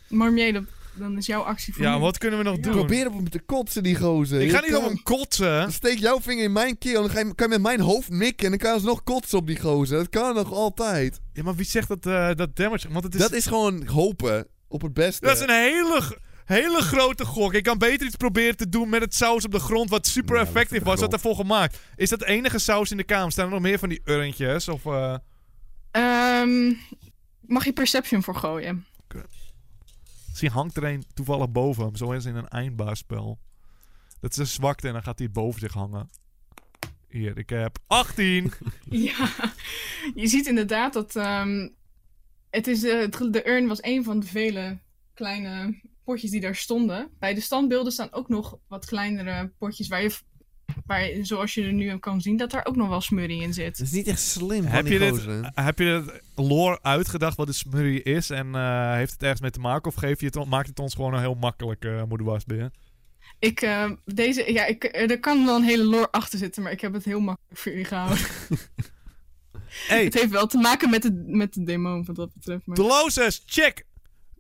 [SPEAKER 3] Marmier, dat- dan is jouw actie voor
[SPEAKER 2] Ja,
[SPEAKER 3] nu.
[SPEAKER 2] wat kunnen we nog doen?
[SPEAKER 1] Probeer op hem te kotsen, die gozer.
[SPEAKER 2] Ik ga
[SPEAKER 1] Je
[SPEAKER 2] niet
[SPEAKER 1] kan-
[SPEAKER 2] op hem kotsen.
[SPEAKER 1] Dan steek jouw vinger in mijn keel en dan ga je, kan je met mijn hoofd mikken en dan kan je alsnog kotsen op die gozer. Dat kan nog altijd.
[SPEAKER 2] Ja, maar wie zegt dat, eh, dat damage... Want het is,
[SPEAKER 1] Dat is gewoon hopen op het beste.
[SPEAKER 2] dat is een hele, g- hele grote gok. Ik kan beter iets proberen te doen met het saus op de grond... wat super
[SPEAKER 4] Ja,
[SPEAKER 2] effectief
[SPEAKER 4] op de
[SPEAKER 2] was. Wat
[SPEAKER 4] grond.
[SPEAKER 2] daarvoor gemaakt. Is dat de enige saus in de kamer? Staan er nog meer van die urntjes? Of, eh,
[SPEAKER 3] Ehm, mag je Perception voor gooien?
[SPEAKER 2] misschien hangt er een toevallig boven hem. Zo is in een eindbaarspel. Dat is een zwakte en dan gaat hij boven zich hangen. Hier, ik heb 18.
[SPEAKER 3] Ja, je ziet inderdaad dat ehm, het is, eh, het- de urn was een van de vele kleine potjes die daar stonden. Bij de standbeelden staan ook nog wat kleinere potjes waar je, waar je- zoals je er nu aan kan zien, dat daar ook nog wel smurrie in zit.
[SPEAKER 1] is niet echt slim
[SPEAKER 2] Heb je, dit, heb je dit lore uitgedacht wat de smurrie is? En eh, heeft het ergens mee te maken? Of geef je het, on- maakt het ons gewoon een heel makkelijk eh moederwasbeer?
[SPEAKER 3] Ik, ehm, deze, ja, ik, eh, er kan wel een hele lore achter zitten, maar ik heb het heel makkelijk voor jullie gehouden.
[SPEAKER 2] Hey,
[SPEAKER 3] Het heeft wel te maken met de, met de demon wat dat betreft. Maar...
[SPEAKER 2] Dolores, check!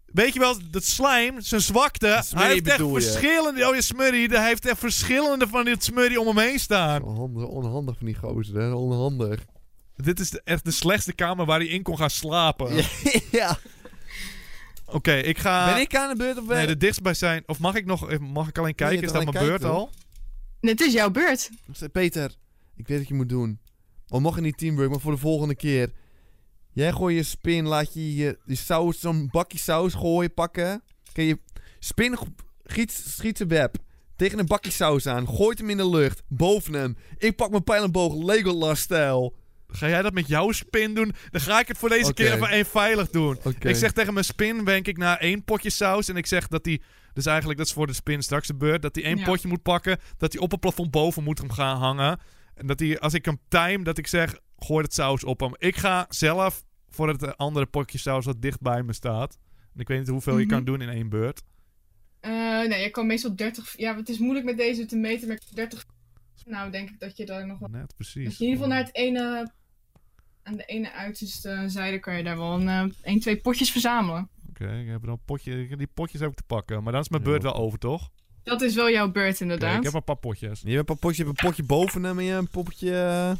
[SPEAKER 2] Weet je wel, dat slijm, zijn zwakte.
[SPEAKER 4] Smurrie
[SPEAKER 2] Hij heeft echt
[SPEAKER 4] bedoel je?
[SPEAKER 2] verschillende. Oh, je smurrie. Hij heeft echt verschillende van dit smurrie om hem heen staan.
[SPEAKER 1] Onhandig, onhandig van die gozer, hè? Onhandig.
[SPEAKER 2] Dit is de- echt de slechtste kamer waar hij in kon gaan slapen.
[SPEAKER 1] ja.
[SPEAKER 2] Oké, ik ga.
[SPEAKER 1] ben ik aan de beurt of
[SPEAKER 2] Ah. Nee, de dichtstbij zijn. Of mag ik nog. eh, Mag ik alleen kijken?
[SPEAKER 1] je
[SPEAKER 2] Is
[SPEAKER 1] toch
[SPEAKER 2] dat mijn
[SPEAKER 1] alleen
[SPEAKER 2] beurt
[SPEAKER 1] kijken,
[SPEAKER 2] al?
[SPEAKER 3] Het is jouw beurt.
[SPEAKER 1] Zeg, Peter, ik weet wat je moet doen. Al mag het niet teamwork, maar voor de volgende keer. Jij gooi je spin, laat je je, je saus, zo'n bakje saus gooien, pakken. Kun je spin, go- giet, schiet zijn web tegen een bakje saus aan. Gooit hem in de lucht, boven hem. Ik pak mijn pijl en boog, Legolas-stijl.
[SPEAKER 2] Ga jij dat met jouw spin doen? Dan ga ik het voor deze
[SPEAKER 1] Oké.
[SPEAKER 2] keer even eenveilig doen.
[SPEAKER 1] Oké.
[SPEAKER 2] Ik zeg tegen mijn spin, wenk ik naar één potje saus. En ik zeg dat hij, dus eigenlijk dat is voor de spin straks de beurt, dat hij één
[SPEAKER 3] Ja.
[SPEAKER 2] potje moet pakken. Dat hij op het plafond boven moet hem gaan hangen. En dat hij, als ik hem time, dat ik zeg, gooi het saus op hem. Ik ga zelf voor het eh, andere potje saus wat dicht bij me staat. En ik weet niet hoeveel
[SPEAKER 3] Mhm.
[SPEAKER 2] je kan doen in één beurt.
[SPEAKER 3] Eh, nee, je kan meestal 30. Ja, het is moeilijk met deze te meten, maar 30. Nou, denk ik dat je daar nog wel.
[SPEAKER 2] Net
[SPEAKER 3] Dat
[SPEAKER 2] precies.
[SPEAKER 3] je in ieder geval naar het ene. Aan de ene uiterste zijde kan je daar wel een, eh, één, twee potjes verzamelen.
[SPEAKER 2] Oké, ik heb dan potje, ik- die potjes heb ik te pakken. Maar dan is mijn
[SPEAKER 1] Ja.
[SPEAKER 2] beurt wel over, toch? Oké,
[SPEAKER 3] Dat is wel jouw beurt, inderdaad.
[SPEAKER 2] ik heb een paar potjes.
[SPEAKER 1] Je hebt een potje, je hebt een potje boven hem en je hebt een poppetje... eh,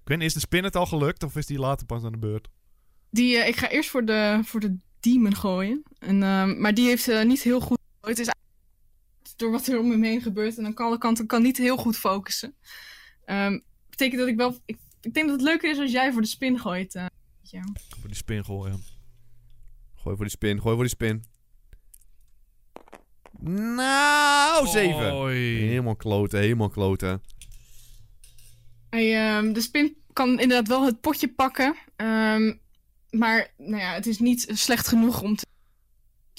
[SPEAKER 2] Ik weet niet, is de spin het al gelukt of is die later pas aan de beurt?
[SPEAKER 3] Die, eh, ik ga eerst voor de, voor de demon gooien. En, ehm, maar die heeft eh, niet heel goed. Het is eigenlijk door wat er om hem heen gebeurt. En aan alle kanten kan niet heel goed focussen. Ehm, betekent dat ik wel. Ik, ik denk dat het leuker is als jij voor de spin gooit. eh, ja.
[SPEAKER 2] Voor die spin gooien.
[SPEAKER 1] Gooi voor die spin, gooi voor die spin. Nou, zeven.
[SPEAKER 2] Oei.
[SPEAKER 1] Helemaal kloten, helemaal kloten.
[SPEAKER 3] Hij, ehm, de spin kan inderdaad wel het potje pakken. ehm, maar nou ja, het is niet slecht genoeg om te.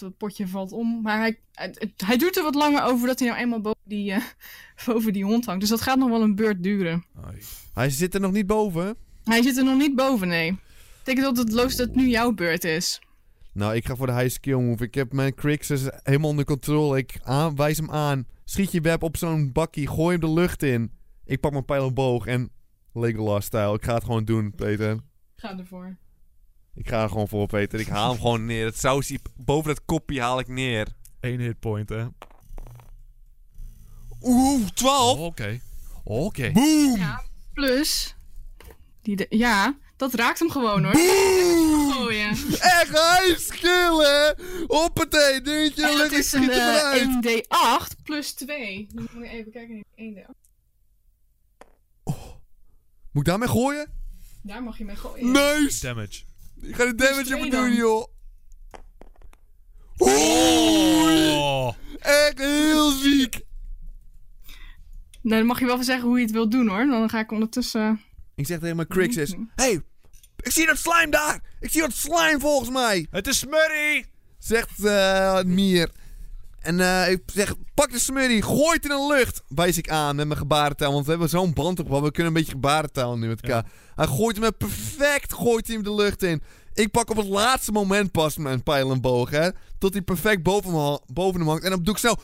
[SPEAKER 3] Het potje valt om. Maar hij, het- het- hij duurt er wat langer over dat hij nou eenmaal boven die, eh, boven die hond hangt. Dus dat gaat nog wel een beurt duren.
[SPEAKER 2] Oei.
[SPEAKER 1] Hij zit er nog niet boven.
[SPEAKER 3] Hij zit er nog niet boven, nee. Betekent dat het loos dat het nu jouw beurt is.
[SPEAKER 1] Nou, ik ga voor de high skill move. Ik heb mijn Crixus helemaal onder controle. Ik aan, wijs hem aan. Schiet je web op zo'n bakkie. Gooi hem de lucht in. Ik pak mijn pijl en boog en Legolas-stijl. Ik ga het gewoon doen, Peter.
[SPEAKER 3] Ga ervoor.
[SPEAKER 1] Ik ga er gewoon voor, Peter. Ik
[SPEAKER 4] Ik haal hem gewoon neer. Het sausje boven dat kopje haal ik neer.
[SPEAKER 2] Eén hitpoint, hè?
[SPEAKER 4] Oeh, 12.
[SPEAKER 2] Oké. Oh, Oké.
[SPEAKER 4] Boom.
[SPEAKER 3] Plus. Die de, ja, dat raakt hem gewoon hoor. Oh ja.
[SPEAKER 1] Echt high skill, hè? Hoppatee, dingetje.
[SPEAKER 3] En dat
[SPEAKER 1] Lukt, ik
[SPEAKER 3] is een
[SPEAKER 1] schiet hem
[SPEAKER 3] eh,
[SPEAKER 1] eruit.
[SPEAKER 3] 1d8 plus 2. Moet ik even kijken. 1d8.
[SPEAKER 1] Moet ik daarmee gooien?
[SPEAKER 3] Daar mag je mee gooien.
[SPEAKER 1] Neus!
[SPEAKER 2] Damage.
[SPEAKER 1] Ik ga de damage op
[SPEAKER 3] twee
[SPEAKER 1] me
[SPEAKER 3] dan.
[SPEAKER 1] doen, joh. Oei!
[SPEAKER 2] Oh.
[SPEAKER 1] Echt heel ziek.
[SPEAKER 3] Nou, dan mag je wel even zeggen hoe je het wilt doen hoor. Dan ga ik ondertussen. eh,
[SPEAKER 1] Ik zeg tegen mijn Crixus: Hé, hey, ik zie dat slime daar! Ik zie dat slime volgens mij!
[SPEAKER 2] Het is Smurrie!
[SPEAKER 1] Zegt eh, Mier. En eh, ik zeg, pak de smurrie, gooi het in de lucht. Wijs ik aan met mijn gebarentaal, want we hebben zo'n band op. want We kunnen een beetje gebarentaal nu met elkaar. Hij gooit hem er perfect, gooit hij hem de lucht in. Ik pak op het laatste moment pas mijn pijl en boog, hè. Tot hij perfect boven hem, ha- boven hem hangt. En dan doe ik snel...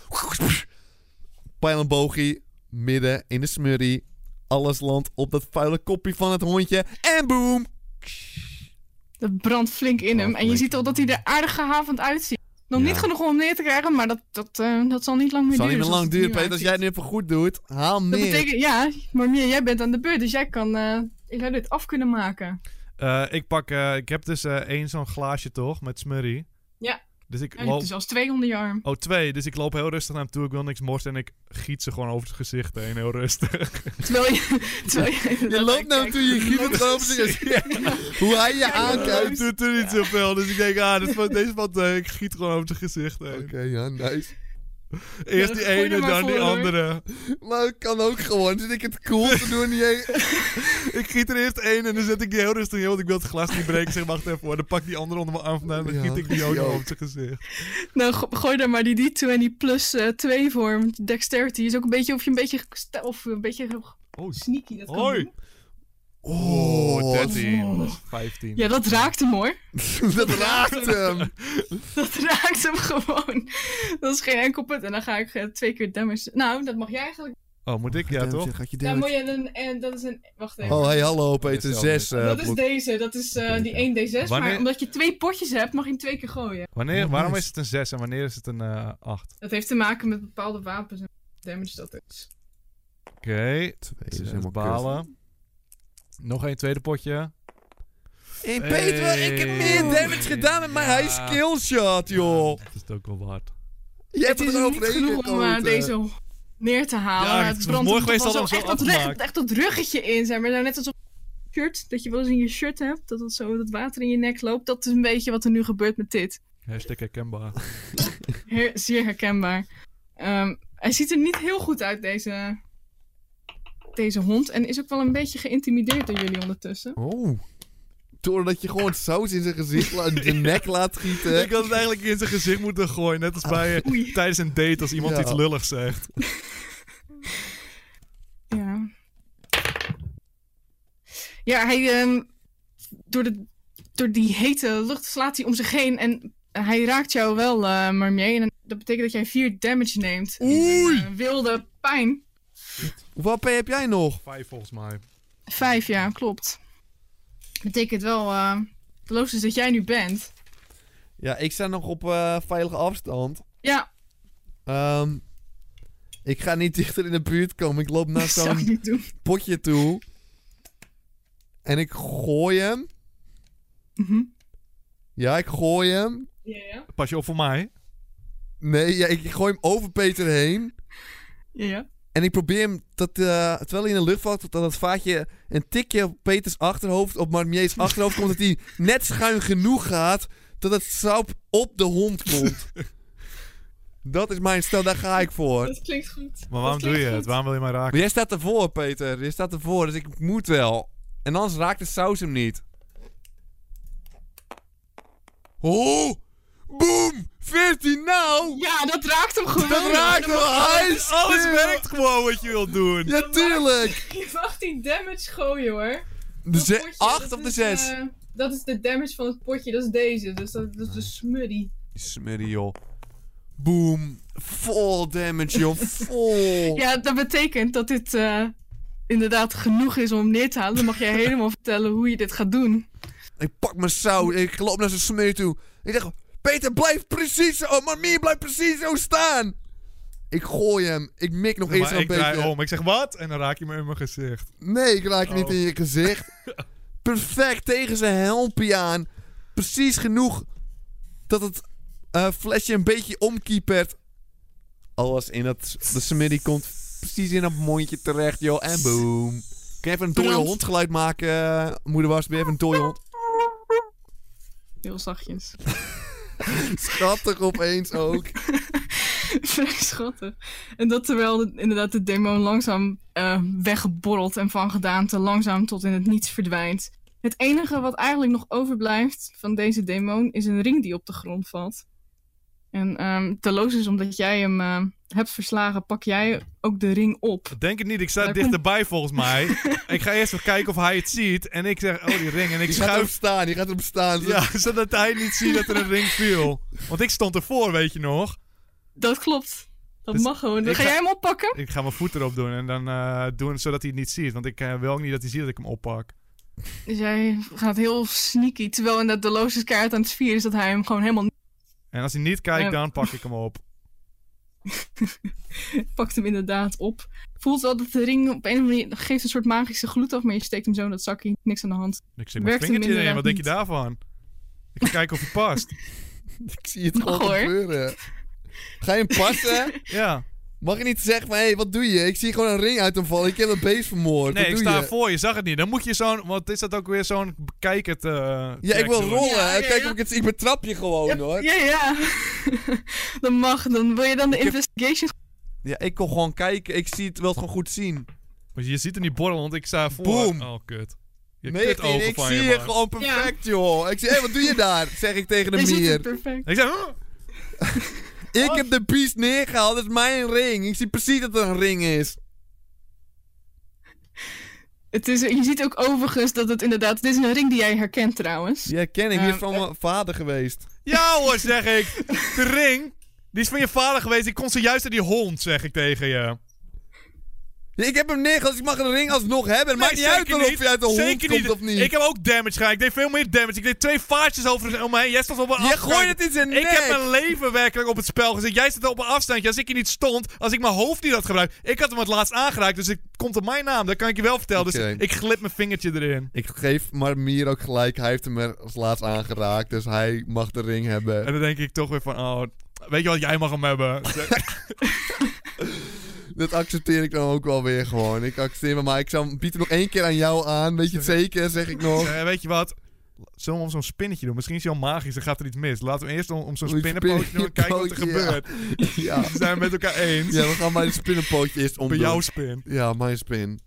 [SPEAKER 1] Pijl en boogie, midden in de smurrie. Alles landt op dat vuile kopje van het hondje. En boom!
[SPEAKER 3] Dat brandt flink in hem.
[SPEAKER 1] Brandt
[SPEAKER 3] En je
[SPEAKER 1] flink.
[SPEAKER 3] ziet al dat hij er aardig gehavend uitziet. Nog
[SPEAKER 1] Ja.
[SPEAKER 3] niet genoeg om hem neer te krijgen, maar dat, dat, eh, dat zal niet lang meer
[SPEAKER 1] Het zal niet meer
[SPEAKER 3] duren. zoals
[SPEAKER 1] lang
[SPEAKER 3] het er
[SPEAKER 1] duren,
[SPEAKER 3] nu
[SPEAKER 1] Peter. Als jij het
[SPEAKER 3] uitziet.
[SPEAKER 1] nu even goed doet, haal meer.
[SPEAKER 3] Dat betekent, ja, maar Mia, jij bent aan de beurt, dus jij kan eh, jij zou dit af kunnen maken.
[SPEAKER 2] Eh, ik pak, eh, ik heb dus eh, één zo'n glaasje toch, met smurrie.
[SPEAKER 3] Ja.
[SPEAKER 2] Dus ik
[SPEAKER 3] Ja, je hebt
[SPEAKER 2] loop...
[SPEAKER 3] er zelfs twee onder je arm.
[SPEAKER 2] Oh, twee. Dus ik loop heel rustig naar hem toe. Ik wil niks morsen en ik giet ze gewoon over het gezicht heen. Heel rustig.
[SPEAKER 3] Terwijl je... terwijl je,
[SPEAKER 1] Je loopt nou toe, je giet het gewoon op zijn gezicht. Hoe hij je aankijkt.
[SPEAKER 2] Het doet er niet zoveel. Dus ik denk, ah, dit valt- deze valt eh, Ik giet gewoon over zijn gezicht heen.
[SPEAKER 1] Oké, ja, nice.
[SPEAKER 2] Eerst
[SPEAKER 3] Ja,
[SPEAKER 2] die
[SPEAKER 3] gooi er
[SPEAKER 2] ene,
[SPEAKER 3] maar
[SPEAKER 2] dan die
[SPEAKER 3] voor, hoor.
[SPEAKER 2] andere.
[SPEAKER 1] Maar ik kan ook gewoon. Zit ik het cool te doen? Jij...
[SPEAKER 2] Ik giet er eerst één en dan zet ik die heel rustig in, want ik wil het glas niet breken. Ik Zeg, wacht even hoor. Dan pak ik die andere onder mijn arm vandaan en dan
[SPEAKER 1] Ja,
[SPEAKER 2] giet ik die ook
[SPEAKER 1] ja.
[SPEAKER 2] nog op zijn gezicht.
[SPEAKER 3] Nou, go- gooi daar maar die D20 plus 2 voor. want Dexterity is ook een beetje of je een beetje... gesta- Of een beetje ge-
[SPEAKER 2] Oh,
[SPEAKER 3] sneaky dat kan
[SPEAKER 2] hoi.
[SPEAKER 3] doen.
[SPEAKER 2] Oh, 13.
[SPEAKER 3] Oh.
[SPEAKER 2] 15.
[SPEAKER 3] Ja, dat raakt hem hoor.
[SPEAKER 1] dat raakt hem.
[SPEAKER 3] Dat raakt hem gewoon. Dat is geen enkel punt. En dan ga ik eh, twee keer damage... Nou, dat mag jij eigenlijk...
[SPEAKER 2] Oh, moet ik? Ja, toch?
[SPEAKER 1] Gaat je
[SPEAKER 3] Ja,
[SPEAKER 1] damage-
[SPEAKER 3] moet je een... En dat is een... Wacht even.
[SPEAKER 1] Oh, hey, hallo Peter.
[SPEAKER 2] Dat is
[SPEAKER 1] Zes. eh,
[SPEAKER 3] dat is
[SPEAKER 1] blok-
[SPEAKER 3] deze. Dat is eh, die 1d6.
[SPEAKER 2] Wanneer-
[SPEAKER 3] Maar omdat je twee potjes hebt, mag je hem twee keer gooien.
[SPEAKER 2] Wanneer,
[SPEAKER 1] Oh,
[SPEAKER 2] waarom
[SPEAKER 1] nice.
[SPEAKER 2] is het een 6 en wanneer is het een eh, 8?
[SPEAKER 3] Dat heeft te maken met bepaalde wapens en damage dat is.
[SPEAKER 2] Oké,
[SPEAKER 1] Twee,
[SPEAKER 2] dus
[SPEAKER 1] dat is
[SPEAKER 2] het
[SPEAKER 1] helemaal
[SPEAKER 2] balen. Nog een tweede potje.
[SPEAKER 1] kut. Hey, Peter, ik heb meer damage gedaan met mijn
[SPEAKER 2] Ja.
[SPEAKER 1] high skill shot, joh.
[SPEAKER 2] Dat is het ook wel waard.
[SPEAKER 1] Je
[SPEAKER 3] Het
[SPEAKER 1] hebt
[SPEAKER 3] is
[SPEAKER 1] er
[SPEAKER 3] niet
[SPEAKER 1] overheen
[SPEAKER 3] genoeg om eh,
[SPEAKER 1] gekomen.
[SPEAKER 3] deze neer te halen.
[SPEAKER 2] Ja,
[SPEAKER 3] maar
[SPEAKER 2] het
[SPEAKER 3] het
[SPEAKER 2] is
[SPEAKER 3] brandt
[SPEAKER 2] mooi
[SPEAKER 3] er
[SPEAKER 2] geweest
[SPEAKER 3] toch wel
[SPEAKER 2] dat
[SPEAKER 3] zo
[SPEAKER 2] het
[SPEAKER 3] echt
[SPEAKER 2] zo
[SPEAKER 3] dat, rug-
[SPEAKER 2] afmaakt.
[SPEAKER 3] echt dat ruggetje in zijn. Maar nou, net als op shirt, dat je wel eens in je shirt hebt, dat het zo dat water in je nek loopt. Dat is een beetje wat er nu gebeurt met dit.
[SPEAKER 2] Hashtag herkenbaar.
[SPEAKER 3] Her- zeer herkenbaar. Ehm, hij ziet er niet heel goed uit, deze, deze hond. En is ook wel een beetje geïntimideerd door jullie ondertussen.
[SPEAKER 1] Oh. Doordat je gewoon saus in zijn gezicht, la- de nek laat gieten.
[SPEAKER 2] Ik had het eigenlijk in zijn gezicht moeten gooien. Net als bij eh,
[SPEAKER 3] Oei.
[SPEAKER 2] tijdens een date als iemand
[SPEAKER 1] Ja.
[SPEAKER 2] iets lulligs zegt.
[SPEAKER 3] Ja. Ja, hij. ehm, door, de, door die hete lucht slaat hij om zich heen. En hij raakt jou wel, eh Marmier. En dat betekent dat jij 4 damage neemt.
[SPEAKER 1] Oei.
[SPEAKER 3] Eh, wilde pijn.
[SPEAKER 1] Hoeveel P heb jij nog?
[SPEAKER 2] Vijf volgens mij.
[SPEAKER 3] 5, ja, klopt. Betekent wel. eh de loosste is dat jij nu bent.
[SPEAKER 1] Ja, ik sta nog op eh, veilige afstand.
[SPEAKER 3] Ja,
[SPEAKER 1] Ehm, ik ga niet dichter in de buurt komen. Ik loop naar
[SPEAKER 3] dat zou ik
[SPEAKER 1] zo'n
[SPEAKER 3] niet doen.
[SPEAKER 1] potje toe. En ik gooi hem.
[SPEAKER 3] Mhm.
[SPEAKER 1] Ja, ik gooi hem.
[SPEAKER 3] Ja, ja.
[SPEAKER 2] Pas je op voor mij?
[SPEAKER 1] Nee, ja, ik gooi hem over Peter heen.
[SPEAKER 3] Ja, ja.
[SPEAKER 1] En ik probeer hem, dat, eh, terwijl hij in de lucht valt, dat dat vaatje een tikje op Peters achterhoofd, op Marmier's achterhoofd komt, dat hij net schuin genoeg gaat, dat het sap op de hond komt. dat is mijn stel, daar ga ik voor.
[SPEAKER 3] Dat klinkt goed.
[SPEAKER 2] Maar waarom
[SPEAKER 3] Dat
[SPEAKER 2] doe je
[SPEAKER 3] klinkt
[SPEAKER 2] het?
[SPEAKER 3] goed.
[SPEAKER 2] Waarom wil je mij raken?
[SPEAKER 1] Maar jij staat ervoor, Peter. Jij staat ervoor, dus ik moet wel. En anders raakt de saus hem niet. Oh! Boom! 14 nou!
[SPEAKER 3] Ja, dat raakt hem gewoon.
[SPEAKER 1] Dat raakt hem! Hij is
[SPEAKER 2] Alles
[SPEAKER 1] stil.
[SPEAKER 2] werkt gewoon wat je wilt doen.
[SPEAKER 1] Ja, ah, tuurlijk!
[SPEAKER 3] Je mag die damage gooien hoor.
[SPEAKER 1] De
[SPEAKER 3] Dat
[SPEAKER 1] ze-
[SPEAKER 3] potje, dat
[SPEAKER 1] 8 of de
[SPEAKER 3] is,
[SPEAKER 1] 6?
[SPEAKER 3] eh, dat is de damage van het potje, dat is deze. Dus dat, dat is de smurrie.
[SPEAKER 1] Smurrie, joh. Boom! Vol damage, joh. Vol!
[SPEAKER 3] Ja, dat betekent dat dit eh, inderdaad genoeg is om hem neer te halen. Dan mag jij helemaal vertellen hoe je dit gaat doen.
[SPEAKER 1] Ik pak mijn saus. Ik loop naar zijn smurrie toe. Ik zeg, Peter, blijf precies zo. Maar meer blijf precies zo staan. Ik gooi hem. Ik mik nog eens
[SPEAKER 2] maar
[SPEAKER 1] een
[SPEAKER 2] ik
[SPEAKER 1] beetje.
[SPEAKER 2] draai om. Ik zeg wat? En dan raak je me in mijn gezicht.
[SPEAKER 1] Nee, ik raak je niet
[SPEAKER 2] Oh.
[SPEAKER 1] in je gezicht. Perfect tegen zijn helmpje aan. Precies genoeg dat het eh, flesje een beetje omkiepert. Alles in dat... De smiddy komt precies in dat mondje terecht, joh. En boom. Kun je even een dode
[SPEAKER 3] Brand.
[SPEAKER 1] hond geluid maken, eh, moeder was? Ben je even een dode hond?
[SPEAKER 3] Heel zachtjes.
[SPEAKER 1] Schattig opeens ook.
[SPEAKER 3] Vrij schattig. En dat terwijl de- inderdaad de demon langzaam eh, weggeborreld en van gedaante langzaam tot in het niets verdwijnt. Het enige wat eigenlijk nog overblijft van deze demon is een ring die op de grond valt. En ehm teloos is omdat jij hem ehm, hebt verslagen, pak jij ook de ring op.
[SPEAKER 2] Denk het niet, ik sta
[SPEAKER 3] Daar
[SPEAKER 2] dichterbij volgens mij. ik ga eerst even kijken of hij het ziet. En ik zeg, oh die ring. En ik
[SPEAKER 1] Die gaat erop
[SPEAKER 2] schuif,
[SPEAKER 1] staan, die gaat erop staan.
[SPEAKER 2] ja, zodat hij niet ziet dat er een ring viel. Want ik stond ervoor, weet je nog.
[SPEAKER 3] Dat klopt. Dat
[SPEAKER 2] Dus
[SPEAKER 3] mag gewoon. Dan
[SPEAKER 2] ik
[SPEAKER 3] ga
[SPEAKER 2] ga-
[SPEAKER 3] jij hem oppakken?
[SPEAKER 2] Ik ga mijn voet erop doen en dan eh, doen zodat hij het niet ziet. Want ik eh, wil ook niet dat hij ziet dat ik hem oppak.
[SPEAKER 3] Dus jij gaat heel sneaky. Terwijl in dat Deloos kaart aan het vieren is dat hij hem gewoon helemaal
[SPEAKER 2] En als hij niet kijkt,
[SPEAKER 3] Ja.
[SPEAKER 2] dan pak ik hem op.
[SPEAKER 3] pakt hem inderdaad op. Voelt wel dat de ring op een of andere manier geeft een soort magische gloed af, maar je steekt hem zo in dat zakje, niks aan de hand.
[SPEAKER 2] Ik zit mijn
[SPEAKER 3] Werkt hem
[SPEAKER 2] vingertje in,
[SPEAKER 3] inderdaad
[SPEAKER 2] wat denk je
[SPEAKER 3] niet.
[SPEAKER 2] daarvan? Ik ga kijken of hij past.
[SPEAKER 1] Ik zie het
[SPEAKER 3] Mag
[SPEAKER 1] gewoon
[SPEAKER 3] hoor.
[SPEAKER 1] gebeuren. Ga je hem passen?
[SPEAKER 2] Ja.
[SPEAKER 1] Mag je niet zeggen van, hé, hey, wat doe je? Ik zie gewoon een ring uit hem vallen. Ik heb een beest vermoord.
[SPEAKER 2] Nee,
[SPEAKER 1] wat
[SPEAKER 2] ik
[SPEAKER 1] doe
[SPEAKER 2] sta
[SPEAKER 1] je?
[SPEAKER 2] voor je, zag het niet. Dan moet je zo'n, wat is dat ook weer, zo'n bekijkend... eh
[SPEAKER 1] Ja, ik
[SPEAKER 2] track
[SPEAKER 1] wil
[SPEAKER 2] doen.
[SPEAKER 1] rollen.
[SPEAKER 3] Ja, ja,
[SPEAKER 1] Kijk
[SPEAKER 3] ja.
[SPEAKER 1] of ik het... Ik betrap je gewoon, hoor.
[SPEAKER 3] Ja, ja. dat mag. Dan wil je dan de investigation.
[SPEAKER 1] Ja, ik kon gewoon kijken. Ik zie het, wil het gewoon goed zien.
[SPEAKER 2] Want je ziet er niet borrelen, want ik sta voor.
[SPEAKER 1] Boom.
[SPEAKER 2] Oh, kut. Je
[SPEAKER 1] 19,
[SPEAKER 2] kut ogen
[SPEAKER 1] ik
[SPEAKER 2] van
[SPEAKER 1] zie
[SPEAKER 2] je,
[SPEAKER 1] je
[SPEAKER 2] man.
[SPEAKER 1] gewoon perfect, joh. Ik zeg, hé, wat doe je daar? Zeg ik tegen de
[SPEAKER 3] Is
[SPEAKER 1] mier.
[SPEAKER 3] het perfect?
[SPEAKER 2] Ik zeg, "Huh?"
[SPEAKER 1] Ik heb de beest neergehaald, dat is mijn ring. Ik zie precies dat er een ring is.
[SPEAKER 3] Het is, je ziet ook overigens dat het inderdaad. Dit is een ring die jij herkent trouwens.
[SPEAKER 1] Ja, ken ik. Die is
[SPEAKER 3] Ehm,
[SPEAKER 1] van mijn vader geweest.
[SPEAKER 2] ja hoor, zeg ik. De ring, die is van je vader geweest. Ik kon zojuist uit die hond, zeg ik tegen je.
[SPEAKER 1] Ja, ik heb hem neergehaald, dus ik mag een ring alsnog hebben. Het maakt niet
[SPEAKER 2] Nee,
[SPEAKER 1] uit
[SPEAKER 2] zeker
[SPEAKER 1] of je uit de
[SPEAKER 2] Zeker
[SPEAKER 1] hond komt
[SPEAKER 2] niet.
[SPEAKER 1] of niet.
[SPEAKER 2] Ik heb ook damage gedaan. Ik deed veel meer damage. Ik deed twee vaartjes over om me heen. Jij stond op een
[SPEAKER 1] Je
[SPEAKER 2] afstandje.
[SPEAKER 1] gooit het in zijn
[SPEAKER 2] Ik
[SPEAKER 1] nek.
[SPEAKER 2] heb mijn leven werkelijk op het spel gezet. Jij zit op een afstandje. Als ik hier niet stond, als ik mijn hoofd niet had gebruikt. Ik had hem het laatst aangeraakt, dus het komt op mijn naam. Dat kan ik je wel vertellen.
[SPEAKER 1] Oké.
[SPEAKER 2] Dus ik glip mijn vingertje erin.
[SPEAKER 1] Ik geef Marmier ook gelijk. Hij heeft hem er als laatst aangeraakt, dus hij mag de ring hebben.
[SPEAKER 2] En dan denk ik toch weer van, oh, weet je wat, jij mag hem hebben.
[SPEAKER 1] Dat accepteer ik dan ook wel weer gewoon. Ik accepteer hem, maar ik zou, bied hem nog één keer aan jou aan. Weet je het zeker, zeg ik nog.
[SPEAKER 2] Eh, weet je wat? Zullen we om zo'n spinnetje doen? Misschien is hij al magisch, dan gaat er iets mis. Laten we eerst om, om zo'n
[SPEAKER 1] Moet je
[SPEAKER 2] spinnenpootje doen en kijken wat er
[SPEAKER 1] spinnenpootje, Oh, ja.
[SPEAKER 2] gebeurt.
[SPEAKER 1] Ja,
[SPEAKER 2] We zijn het met elkaar eens.
[SPEAKER 1] ja we gaan mijn spinnenpootje eerst
[SPEAKER 2] Bij
[SPEAKER 1] omdoen.
[SPEAKER 2] jouw spin.
[SPEAKER 1] Ja, mijn spin.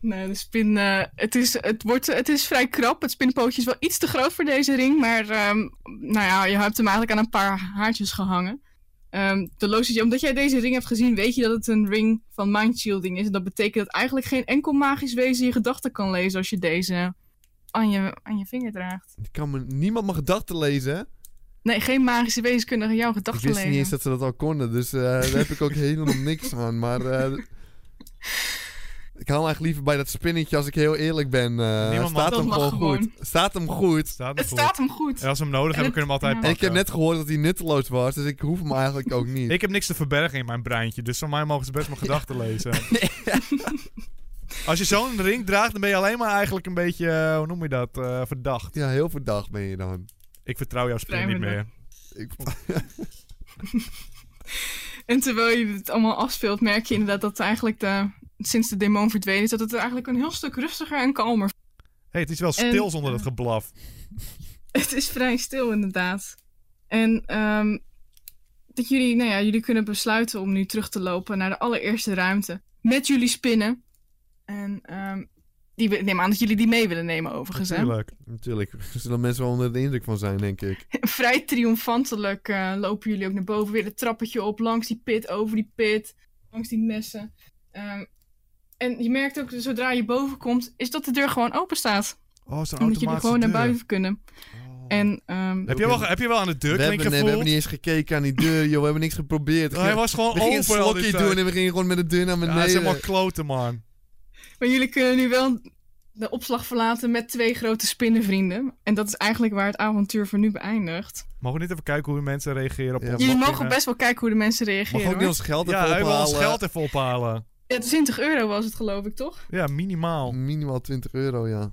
[SPEAKER 3] Nee, de spin. eh, het, is, het, wordt, het is vrij krap. Het spinpootje is wel iets te groot voor deze ring. Maar ehm, nou ja, je hebt hem eigenlijk aan een paar haartjes gehangen. Ehm, de logische, omdat jij deze ring hebt gezien, weet je dat het een ring van mindshielding is. En dat betekent dat eigenlijk geen enkel magisch wezen je gedachten kan lezen als je deze aan je, aan je vinger draagt.
[SPEAKER 1] Ik kan me, niemand mijn gedachten lezen.
[SPEAKER 3] Nee, geen magische wezens kunnen jouw
[SPEAKER 1] Ik
[SPEAKER 3] gedachten
[SPEAKER 1] wist
[SPEAKER 3] lezen.
[SPEAKER 1] niet eens dat ze dat al konden, dus eh, daar heb ik ook helemaal niks aan. Maar eh, ik hou hem eigenlijk liever bij dat spinnetje als ik heel eerlijk ben. eh,
[SPEAKER 2] Niemand mag-
[SPEAKER 1] staat
[SPEAKER 3] Dat
[SPEAKER 1] hem
[SPEAKER 3] mag
[SPEAKER 1] gewoon
[SPEAKER 3] gewoon.
[SPEAKER 1] goed. Staat hem goed.
[SPEAKER 2] Staat
[SPEAKER 3] Het
[SPEAKER 2] nog
[SPEAKER 3] staat hem goed.
[SPEAKER 2] En als we hem nodig
[SPEAKER 3] En
[SPEAKER 2] hebben, kunnen we hem altijd
[SPEAKER 3] ja.
[SPEAKER 1] En
[SPEAKER 2] pakken.
[SPEAKER 1] ik heb net gehoord dat hij nutteloos was, dus ik hoef hem eigenlijk ook niet.
[SPEAKER 2] Ik heb niks te verbergen in mijn breintje, dus van mij mogen ze best mijn gedachten lezen. Als je zo'n ring draagt, dan ben je alleen maar eigenlijk een beetje, eh, hoe noem je dat, eh, verdacht.
[SPEAKER 1] Ja, heel verdacht ben je dan.
[SPEAKER 2] Ik vertrouw jouw spin niet
[SPEAKER 3] Vrijwillig.
[SPEAKER 2] meer.
[SPEAKER 1] Ik,
[SPEAKER 2] Oh.
[SPEAKER 3] En terwijl je dit allemaal afspeelt, merk je inderdaad dat eigenlijk de, sinds de demon verdwenen is, dat het eigenlijk een heel stuk rustiger en kalmer
[SPEAKER 2] Hé, hey, het is wel stil
[SPEAKER 3] En-
[SPEAKER 2] zonder dat geblaf.
[SPEAKER 3] Het is vrij stil, inderdaad. En ehm, dat jullie, nou ja, jullie kunnen besluiten om nu terug te lopen naar de allereerste ruimte. Met jullie spinnen. En ehm, die, we- ik neem aan dat jullie die mee willen nemen, overigens. Hè?
[SPEAKER 2] Natuurlijk.
[SPEAKER 1] natuurlijk, er zullen mensen wel onder de indruk van zijn, denk ik.
[SPEAKER 3] Vrij triomfantelijk eh, lopen jullie ook naar boven. Weer het trappetje op, langs die pit, over die pit, langs die messen. Ehm, en je merkt ook, zodra je boven komt, is dat de deur gewoon open staat.
[SPEAKER 2] Oh, zo'n
[SPEAKER 3] Omdat jullie
[SPEAKER 2] automatische
[SPEAKER 3] gewoon naar
[SPEAKER 2] deur.
[SPEAKER 3] buiten kunnen. En ehm,
[SPEAKER 2] Heb je, wel, heb je wel aan de
[SPEAKER 1] We
[SPEAKER 2] deur
[SPEAKER 1] hebben,
[SPEAKER 2] gevoeld?
[SPEAKER 1] nee, we hebben niet eens gekeken aan die deur, joh. We hebben niks geprobeerd.
[SPEAKER 2] Oh, hij was gewoon
[SPEAKER 1] we gingen een
[SPEAKER 2] open al die
[SPEAKER 1] slokje
[SPEAKER 2] tijd.
[SPEAKER 1] doen en we gingen gewoon met de deur naar
[SPEAKER 2] Ja, hij is
[SPEAKER 1] beneden.
[SPEAKER 2] helemaal kloten, man.
[SPEAKER 3] Maar jullie kunnen nu wel de opslag verlaten met twee grote spinnenvrienden. En dat is eigenlijk waar het avontuur voor nu beëindigt.
[SPEAKER 2] Mogen we niet even kijken hoe de mensen reageren op
[SPEAKER 1] Ja,
[SPEAKER 2] ons?
[SPEAKER 3] Jullie
[SPEAKER 2] Mag-
[SPEAKER 3] mogen best wel kijken hoe de mensen
[SPEAKER 1] Mag
[SPEAKER 3] reageren.
[SPEAKER 1] ook niet
[SPEAKER 3] hoor.
[SPEAKER 1] ons geld
[SPEAKER 2] Ja,
[SPEAKER 1] even
[SPEAKER 2] hij wil
[SPEAKER 1] ophalen.
[SPEAKER 2] ons geld even ophalen.
[SPEAKER 3] Ja, 20 euro was het, geloof ik, toch?
[SPEAKER 2] Ja, minimaal.
[SPEAKER 1] Minimaal 20 euro, ja.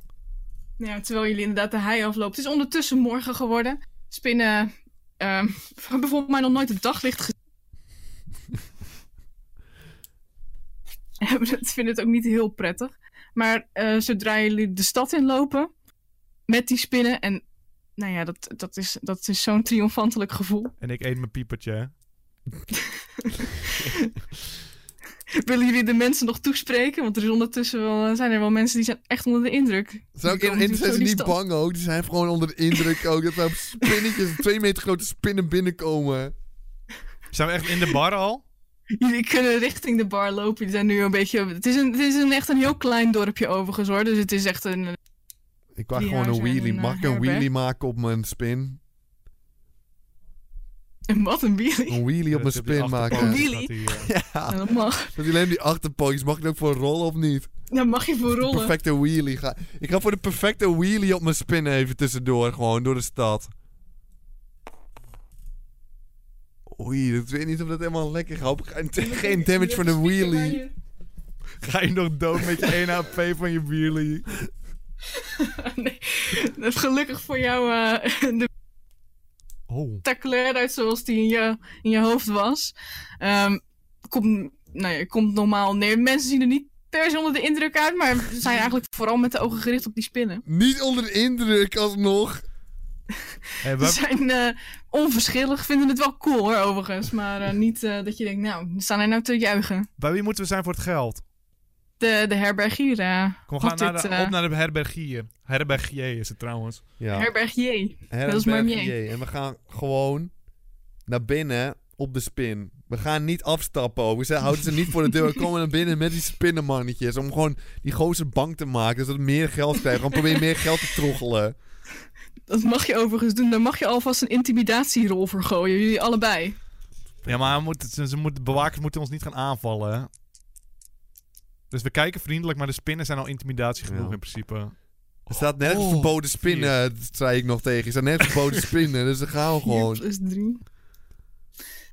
[SPEAKER 3] Nou Ja, terwijl jullie inderdaad de hei afloopt. Het is ondertussen morgen geworden. Spinnen ehm hebben bijvoorbeeld mij nog nooit het daglicht gezien. Hebben het- vinden het ook niet heel prettig. Maar eh, zodra jullie de stad inlopen met die spinnen. En nou ja, dat, dat is, dat is zo'n triomfantelijk gevoel.
[SPEAKER 2] En ik eet mijn piepertje. hè.
[SPEAKER 3] Willen jullie de mensen nog toespreken? Want er is ondertussen wel, eh, zijn er wel mensen die zijn echt onder de indruk.
[SPEAKER 1] Zijn ook in,
[SPEAKER 3] Die komen
[SPEAKER 1] in,
[SPEAKER 3] natuurlijk
[SPEAKER 1] zijn ze
[SPEAKER 3] zo die
[SPEAKER 1] niet Dus
[SPEAKER 3] stad-
[SPEAKER 1] bang ook. Die zijn gewoon onder de indruk ook. Dat er spinnetjes, twee meter grote spinnen binnenkomen.
[SPEAKER 2] Zijn we echt in de bar al?
[SPEAKER 3] Jullie kunnen richting de bar lopen. Jullie zijn nu een beetje... Het is, een, het is een, echt een heel klein dorpje overigens hoor. Dus het is echt een...
[SPEAKER 1] Ik wou
[SPEAKER 3] Die
[SPEAKER 1] gewoon
[SPEAKER 3] haar
[SPEAKER 1] een
[SPEAKER 3] zijn
[SPEAKER 1] wheelie.
[SPEAKER 3] een, eh,
[SPEAKER 1] Mag ik een
[SPEAKER 3] herberg.
[SPEAKER 1] wheelie maken op mijn spin?
[SPEAKER 3] een wat een wheelie.
[SPEAKER 1] Een wheelie op mijn spin
[SPEAKER 3] Een
[SPEAKER 1] maken.
[SPEAKER 3] wheelie.
[SPEAKER 1] Ja.
[SPEAKER 3] Nou, dat mag.
[SPEAKER 1] Dat is alleen die achterpootjes. Mag ik dat voor rollen of niet?
[SPEAKER 3] Daar mag je voor
[SPEAKER 1] De
[SPEAKER 3] rollen.
[SPEAKER 1] perfecte wheelie. Ga... Ik ga voor de perfecte wheelie op mijn spin even tussendoor. Gewoon door de stad. Oei, dat weet ik niet of dat helemaal lekker gaat. Hoop ik Geen, geen damage van een wheelie.
[SPEAKER 2] Ga je nog dood met je 1 HP van je wheelie?
[SPEAKER 3] nee. Dat is gelukkig voor jou eh, de
[SPEAKER 2] Oh.
[SPEAKER 3] spectaculair uit zoals die in je, in je hoofd was. Ehm komt, nou ja, komt normaal neer. Mensen zien er niet per se onder de indruk uit, maar ze zijn eigenlijk vooral met de ogen gericht op die spinnen.
[SPEAKER 1] Niet onder de indruk alsnog.
[SPEAKER 2] Hey,
[SPEAKER 3] Ze
[SPEAKER 2] we,
[SPEAKER 3] zijn eh, onverschillig, vinden het wel cool hoor, overigens. Maar eh, niet eh, dat je denkt, nou, staan er nou te juichen.
[SPEAKER 2] bij wie moeten we zijn voor het geld?
[SPEAKER 3] De, de herbergier. eh,
[SPEAKER 2] Kom, we
[SPEAKER 3] had
[SPEAKER 2] gaan naar
[SPEAKER 3] dit,
[SPEAKER 2] de,
[SPEAKER 3] eh,
[SPEAKER 2] op naar de herbergier. Herbergier is het trouwens.
[SPEAKER 1] Ja.
[SPEAKER 3] Herbergier.
[SPEAKER 1] Herberg
[SPEAKER 3] Dat is maar
[SPEAKER 1] J.
[SPEAKER 3] meer.
[SPEAKER 1] En we gaan gewoon naar binnen op de spin. We gaan niet afstappen ook. We zeggen, houden ze niet voor de deur. We komen naar binnen met die spinnenmannetjes. Om gewoon die gozer bang te maken. Zodat we meer geld krijgen. Gewoon proberen meer geld te troggelen.
[SPEAKER 3] Dat mag je overigens doen. Daar mag je alvast een intimidatierol voor gooien. Jullie allebei.
[SPEAKER 2] Ja, maar hij moet, ze, ze moet, de bewakers moeten ons niet gaan aanvallen. hè? Dus we kijken vriendelijk, maar de spinnen zijn al intimidatie genoeg
[SPEAKER 1] Ja.
[SPEAKER 2] in principe.
[SPEAKER 1] Er staat nergens
[SPEAKER 2] Oh,
[SPEAKER 1] verboden spinnen, dat zei ik nog tegen. Er staat nergens verboden spinnen. Dus dan gaan we
[SPEAKER 3] 4
[SPEAKER 1] gewoon.
[SPEAKER 3] plus 3.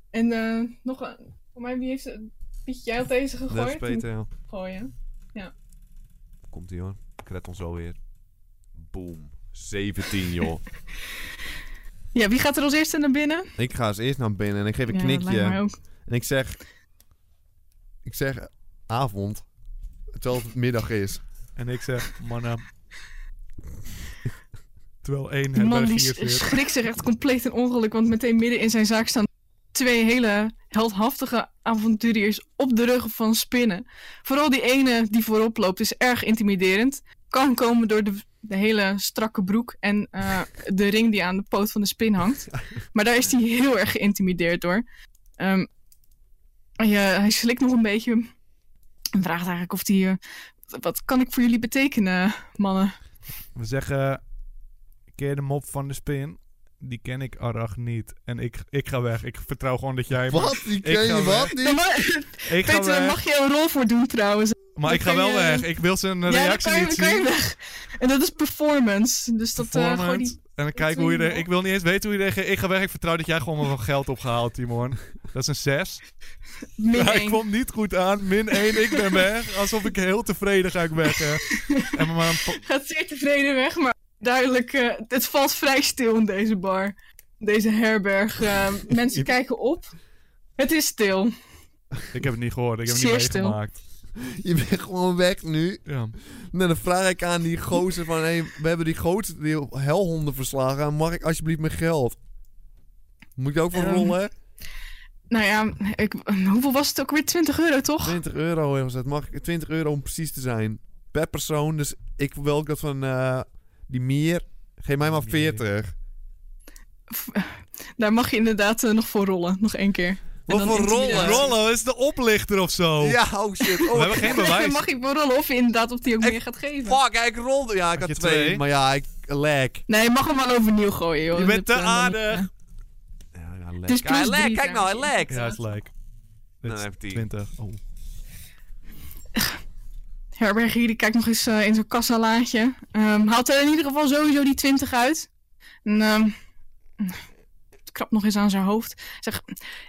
[SPEAKER 3] En eh, nog een. Voor mij, wie heeft. Piet, jij had deze gegooid?
[SPEAKER 4] ja.
[SPEAKER 3] Moet ik Gooien.
[SPEAKER 4] Komt ie hoor. Kret ons alweer. Boom. 17, joh.
[SPEAKER 3] Ja, wie gaat er als eerste naar binnen?
[SPEAKER 1] Ik ga als eerst naar binnen en ik geef een
[SPEAKER 3] ja, dat
[SPEAKER 1] knikje.
[SPEAKER 3] lijkt mij ook.
[SPEAKER 1] En ik zeg... Ik zeg avond. Terwijl het middag is.
[SPEAKER 2] En ik zeg, mannen. Terwijl één
[SPEAKER 3] Die man die
[SPEAKER 2] herbergier
[SPEAKER 3] s-
[SPEAKER 2] zit.
[SPEAKER 3] schrikt zich echt compleet in ongeluk. Want meteen midden in zijn zaak staan twee hele heldhaftige avonturiers op de rug van spinnen. Vooral die ene die voorop loopt is erg intimiderend. Kan komen door de, de hele strakke broek en eh, de ring die aan de poot van de spin hangt. Maar daar is hij heel erg geïntimideerd door. Ehm, hij, eh, hij slikt nog een beetje en vraagt eigenlijk of hij... eh, wat kan ik voor jullie betekenen, mannen?
[SPEAKER 2] We zeggen, keer de mop van de spin. Die ken ik Arach niet. En ik, ik ga weg. Ik vertrouw gewoon dat jij...
[SPEAKER 1] Wat? Die
[SPEAKER 2] ga
[SPEAKER 1] ken je
[SPEAKER 2] weg.
[SPEAKER 1] wat niet?
[SPEAKER 2] Ik ga
[SPEAKER 3] Peter, daar
[SPEAKER 2] weg.
[SPEAKER 3] mag je een rol voor doen trouwens.
[SPEAKER 2] Maar
[SPEAKER 3] Dan
[SPEAKER 2] ik ga
[SPEAKER 3] kan
[SPEAKER 2] wel
[SPEAKER 3] je-
[SPEAKER 2] weg. Ik wil zijn eh,
[SPEAKER 3] ja, dan
[SPEAKER 2] reactie
[SPEAKER 3] kan, je,
[SPEAKER 2] niet
[SPEAKER 3] dan kan je
[SPEAKER 2] zien.
[SPEAKER 3] weg. En dat is performance. Dus dat eh gooi
[SPEAKER 2] Performance.
[SPEAKER 3] die...
[SPEAKER 2] En dan kijken hoe je...
[SPEAKER 3] doe je
[SPEAKER 2] re- Ik wil niet eens weten hoe je reageert. Ik ga weg. Ik vertrouw dat jij gewoon wel geld opgehaald, Timon. Dat is een 6.
[SPEAKER 3] Min
[SPEAKER 2] Ja,
[SPEAKER 3] één.
[SPEAKER 2] ik kwam niet goed aan. Min 1, ik ben weg. Alsof ik heel tevreden ga ik weg. hè. En maar een po-
[SPEAKER 3] Gaat zeer tevreden weg, maar duidelijk... eh, het valt vrij stil in deze bar. Deze herberg. eh, mensen kijken op. Het is stil.
[SPEAKER 2] ik heb het niet gehoord. Ik heb het
[SPEAKER 3] Zeer
[SPEAKER 2] niet
[SPEAKER 3] stil.
[SPEAKER 2] meegemaakt.
[SPEAKER 1] Je bent gewoon weg nu.
[SPEAKER 2] Ja.
[SPEAKER 1] Nou, dan vraag ik aan die gozer van... Hey, we hebben die gozer, die helhonden verslagen. Mag ik alsjeblieft mijn geld? Moet ik daar ook voor
[SPEAKER 3] Ehm,
[SPEAKER 1] rollen?
[SPEAKER 3] Nou ja, ik, hoeveel was het ook weer? 20 euro, toch?
[SPEAKER 1] 20 euro was het. Mag ik 20 euro om precies te zijn. Per persoon. Dus ik wil ook dat van eh, die meer. Geef mij maar
[SPEAKER 2] Mier.
[SPEAKER 1] 40.
[SPEAKER 3] Daar mag je inderdaad eh, nog voor rollen. Nog één keer.
[SPEAKER 1] Wat
[SPEAKER 3] dan
[SPEAKER 1] voor
[SPEAKER 3] intimidatie.
[SPEAKER 1] rollen?
[SPEAKER 2] Rollo is de oplichter of zo.
[SPEAKER 1] Ja, oh shit.
[SPEAKER 2] We
[SPEAKER 1] Oh,
[SPEAKER 2] hebben geen
[SPEAKER 3] Daar
[SPEAKER 2] bewijs.
[SPEAKER 3] mag ik voor rollen of je inderdaad of die ook
[SPEAKER 1] Ik-
[SPEAKER 3] meer gaat geven.
[SPEAKER 1] fuck, ja, ik rolde. Ja, ik
[SPEAKER 2] Had
[SPEAKER 1] had,
[SPEAKER 2] je
[SPEAKER 1] twee,
[SPEAKER 2] twee?
[SPEAKER 1] Maar ja, ik lag.
[SPEAKER 3] Nee, je mag hem wel overnieuw gooien, joh.
[SPEAKER 2] Je bent te
[SPEAKER 3] Dat, eh, dan-
[SPEAKER 2] aardig.
[SPEAKER 1] Ja, ja, lag.
[SPEAKER 3] Dus
[SPEAKER 4] Ja, hij
[SPEAKER 3] plus
[SPEAKER 4] lekt.
[SPEAKER 3] drie
[SPEAKER 4] Kijk nou, hij
[SPEAKER 3] trouwens.
[SPEAKER 4] lekt.
[SPEAKER 2] Ja, is like.
[SPEAKER 4] Dan
[SPEAKER 2] Dit is
[SPEAKER 4] heb ik die.
[SPEAKER 2] 20. Oh.
[SPEAKER 3] herbergier die kijkt nog eens eh, in zo'n kassalaatje. Ehm haalt er in ieder geval sowieso die 20 uit. En ehm, krabt nog eens aan zijn hoofd. Zeg,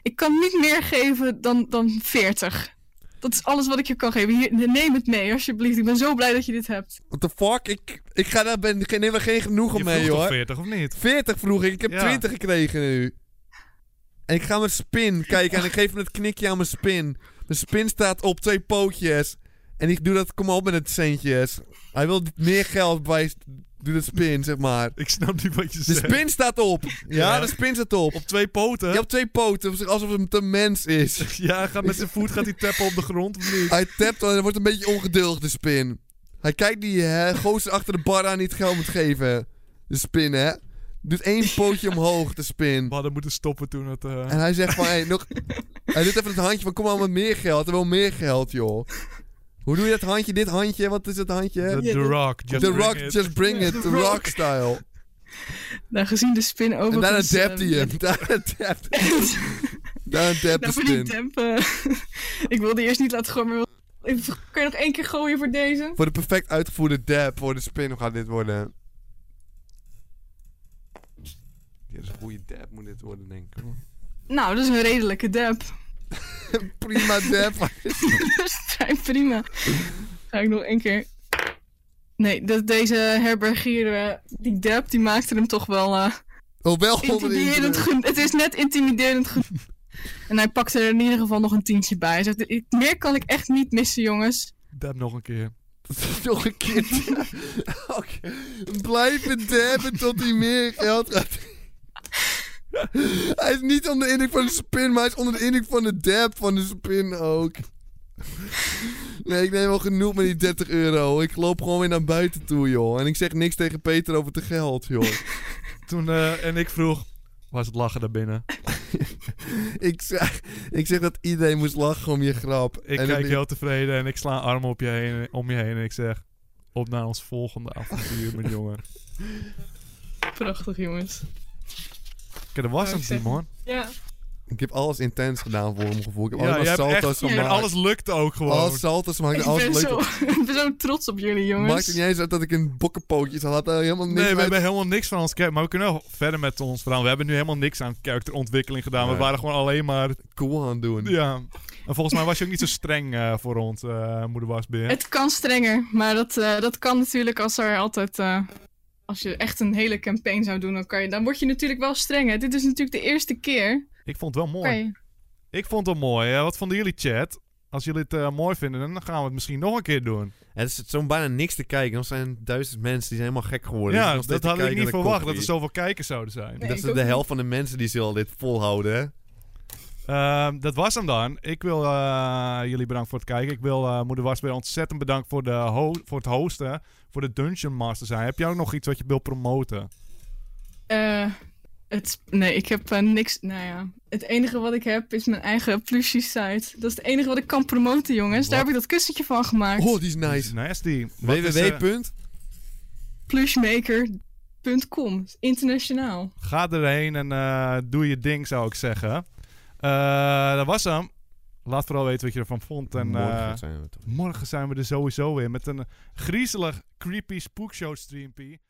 [SPEAKER 3] ik kan niet meer geven dan, dan 40. Dat is alles wat ik je kan geven. Hier, neem het mee, alsjeblieft. Ik ben zo blij dat je dit hebt.
[SPEAKER 1] What the fuck? Ik, ik ga daar ben, geen, neem er geen genoegen
[SPEAKER 2] Je
[SPEAKER 1] mee,
[SPEAKER 2] vroeg toch
[SPEAKER 1] hoor.
[SPEAKER 2] 40 of niet?
[SPEAKER 1] 40 vroeg ik. Ik heb
[SPEAKER 2] Ja.
[SPEAKER 1] 20 gekregen nu. En ik ga mijn spin kijken. En ik geef hem het knikje aan mijn spin. Mijn spin staat op twee pootjes. En ik doe dat, kom maar op met het centjes. Hij wil meer geld bij doe dat spin, zeg maar.
[SPEAKER 2] Ik snap niet wat je
[SPEAKER 1] De
[SPEAKER 2] zegt.
[SPEAKER 1] spin staat op. Ja,
[SPEAKER 2] Ja.
[SPEAKER 1] de spin staat op.
[SPEAKER 2] Op twee poten?
[SPEAKER 1] Je hebt twee poten, alsof het een mens is.
[SPEAKER 2] Ja, gaat met zijn voet gaat hij tappen op de grond of niet?
[SPEAKER 1] Hij tapt en hij wordt een beetje ongeduldig, de spin. Hij kijkt die hè, gozer achter de bar aan die het geld moet geven. De spin, hè. Doet één pootje omhoog, de spin.
[SPEAKER 2] We hadden moeten stoppen toen het... eh,
[SPEAKER 1] En hij zegt van, hey, nog... Hij doet even het handje van, kom maar met meer geld. Er wil meer geld, joh. Hoe doe je dat handje, dit handje? Wat is het handje?
[SPEAKER 2] the, The
[SPEAKER 3] Ja, dat-
[SPEAKER 2] Rock. Just
[SPEAKER 1] Eh, the
[SPEAKER 2] bring
[SPEAKER 1] Rock,
[SPEAKER 2] it.
[SPEAKER 1] just bring
[SPEAKER 3] Ja,
[SPEAKER 1] it.
[SPEAKER 3] The
[SPEAKER 1] The
[SPEAKER 3] Rock.
[SPEAKER 1] Rock style.
[SPEAKER 3] Nou, gezien de spin over. ehm,
[SPEAKER 1] En daarna dapt hij hem. Daarna dapt Daarna dapt de
[SPEAKER 3] Daarvoor die
[SPEAKER 1] spin.
[SPEAKER 3] tempen. ik wilde eerst niet laten gooien, maar... wil- Kan je nog één keer gooien voor deze?
[SPEAKER 1] Voor de perfect uitgevoerde dab voor de spin hoe gaat dit worden.
[SPEAKER 4] Dit is een goede dab, moet dit worden, denk ik.
[SPEAKER 3] Nou, dat is een redelijke dab.
[SPEAKER 1] Prima dab.
[SPEAKER 3] dat is vrij prima. Ga ik nog één keer... Nee, dat, deze herbergier, eh, die dab, die maakte hem toch wel... eh,
[SPEAKER 1] Oh, wel onder de
[SPEAKER 3] intimiderend
[SPEAKER 1] indruk.
[SPEAKER 3] genoeg. Het is net intimiderend genoeg. en hij pakte er in ieder geval nog een tientje bij. Hij zegt, "Ik- meer kan ik echt niet missen, jongens.
[SPEAKER 2] Dab nog een keer.
[SPEAKER 1] Nog een keer. Oké. Blijven dabben tot hij meer geld gaat. hij is niet onder de indruk van de spin, maar hij is onder de indruk van de dab van de spin ook. Nee, ik neem wel genoeg met die 30 euro. Ik loop gewoon weer naar buiten toe, joh. En ik zeg niks tegen Peter over het geld, joh.
[SPEAKER 2] Toen eh, en ik vroeg... Was het lachen daarbinnen?
[SPEAKER 1] ik, zeg, ik zeg dat iedereen moest lachen om je grap.
[SPEAKER 2] Ik
[SPEAKER 1] En dat-
[SPEAKER 2] kijk heel tevreden en ik sla armen op je heen, om je heen en ik zeg... Op naar ons volgende avontuur, mijn jongen.
[SPEAKER 3] Prachtig, jongens.
[SPEAKER 2] Kijk, dat was
[SPEAKER 3] Wou
[SPEAKER 2] hem,
[SPEAKER 3] ik zeggen.
[SPEAKER 2] Timon.
[SPEAKER 3] Ja,
[SPEAKER 1] ik heb alles intens gedaan voor mijn gevoel. Ik heb
[SPEAKER 2] Ja, je
[SPEAKER 1] allemaal
[SPEAKER 2] hebt echt...
[SPEAKER 1] salto's
[SPEAKER 2] En
[SPEAKER 1] gemaakt.
[SPEAKER 2] alles lukt ook gewoon.
[SPEAKER 1] Alles salto's gemaakt.
[SPEAKER 3] ik
[SPEAKER 1] en Alles
[SPEAKER 3] ben,
[SPEAKER 1] leuk
[SPEAKER 3] zo, ik ben zo trots op jullie, jongens.
[SPEAKER 1] Maakt het niet eens uit dat ik een bokkenpootje zat. Had eh, helemaal niks
[SPEAKER 2] Nee, we
[SPEAKER 1] uit.
[SPEAKER 2] hebben helemaal niks van ons kerk. Maar we kunnen wel verder met ons verhaal. We hebben nu helemaal niks aan karakterontwikkeling gedaan. We
[SPEAKER 1] Nee.
[SPEAKER 2] waren gewoon alleen maar...
[SPEAKER 1] cool aan het doen.
[SPEAKER 2] Ja. En volgens mij was je ook niet zo streng eh, voor ons, eh moeder Wasbeer.
[SPEAKER 3] Het kan strenger, maar dat, eh, dat kan natuurlijk als er altijd... eh, als je echt een hele campaign zou doen, dan, kan je, dan word je natuurlijk wel strenger. Dit is natuurlijk de eerste keer.
[SPEAKER 2] Ik vond het wel mooi.
[SPEAKER 3] Kan je-
[SPEAKER 2] Ik vond het mooi. Eh, wat vonden jullie, chat? Als jullie het eh, mooi vinden, dan gaan we het misschien nog een keer doen.
[SPEAKER 1] Het is zo'n bijna niks te kijken. Er zijn duizend mensen die zijn helemaal gek geworden.
[SPEAKER 2] ja, dat had ik niet verwacht. Dat er zoveel kijkers zouden zijn. Dus,
[SPEAKER 3] Nee,
[SPEAKER 1] dat
[SPEAKER 3] ik
[SPEAKER 1] is
[SPEAKER 3] ook
[SPEAKER 1] de
[SPEAKER 3] niet.
[SPEAKER 1] helft van de mensen die zullen dit volhouden. hè?
[SPEAKER 2] Ehm, dat was hem dan. Ik wil eh, jullie bedanken voor het kijken. Ik wil eh, Moeder Wasbeer ontzettend bedanken voor, de ho- voor het hosten. Voor de Dungeon Master zijn. Heb jij ook nog iets wat je wilt promoten?
[SPEAKER 3] Eh, het, nee, ik heb eh, niks. Nou ja, het enige wat ik heb is mijn eigen plushie site. Dat is het enige wat ik kan promoten, jongens.
[SPEAKER 1] Wat?
[SPEAKER 3] Daar heb ik dat kussentje van gemaakt.
[SPEAKER 1] Oh, die is
[SPEAKER 2] Dat is
[SPEAKER 1] nice.
[SPEAKER 2] Nasty. Wat is, eh,
[SPEAKER 1] www. punt?
[SPEAKER 3] Plushmaker.com. Internationaal.
[SPEAKER 2] Ga erheen en eh, doe je ding, zou ik zeggen. Eh, dat was hem. Laat vooral weten wat je ervan vond. En, eh,
[SPEAKER 1] Morgen zijn we toch. eh,
[SPEAKER 2] morgen zijn we er sowieso weer met een griezelig, creepy spookshow streampie.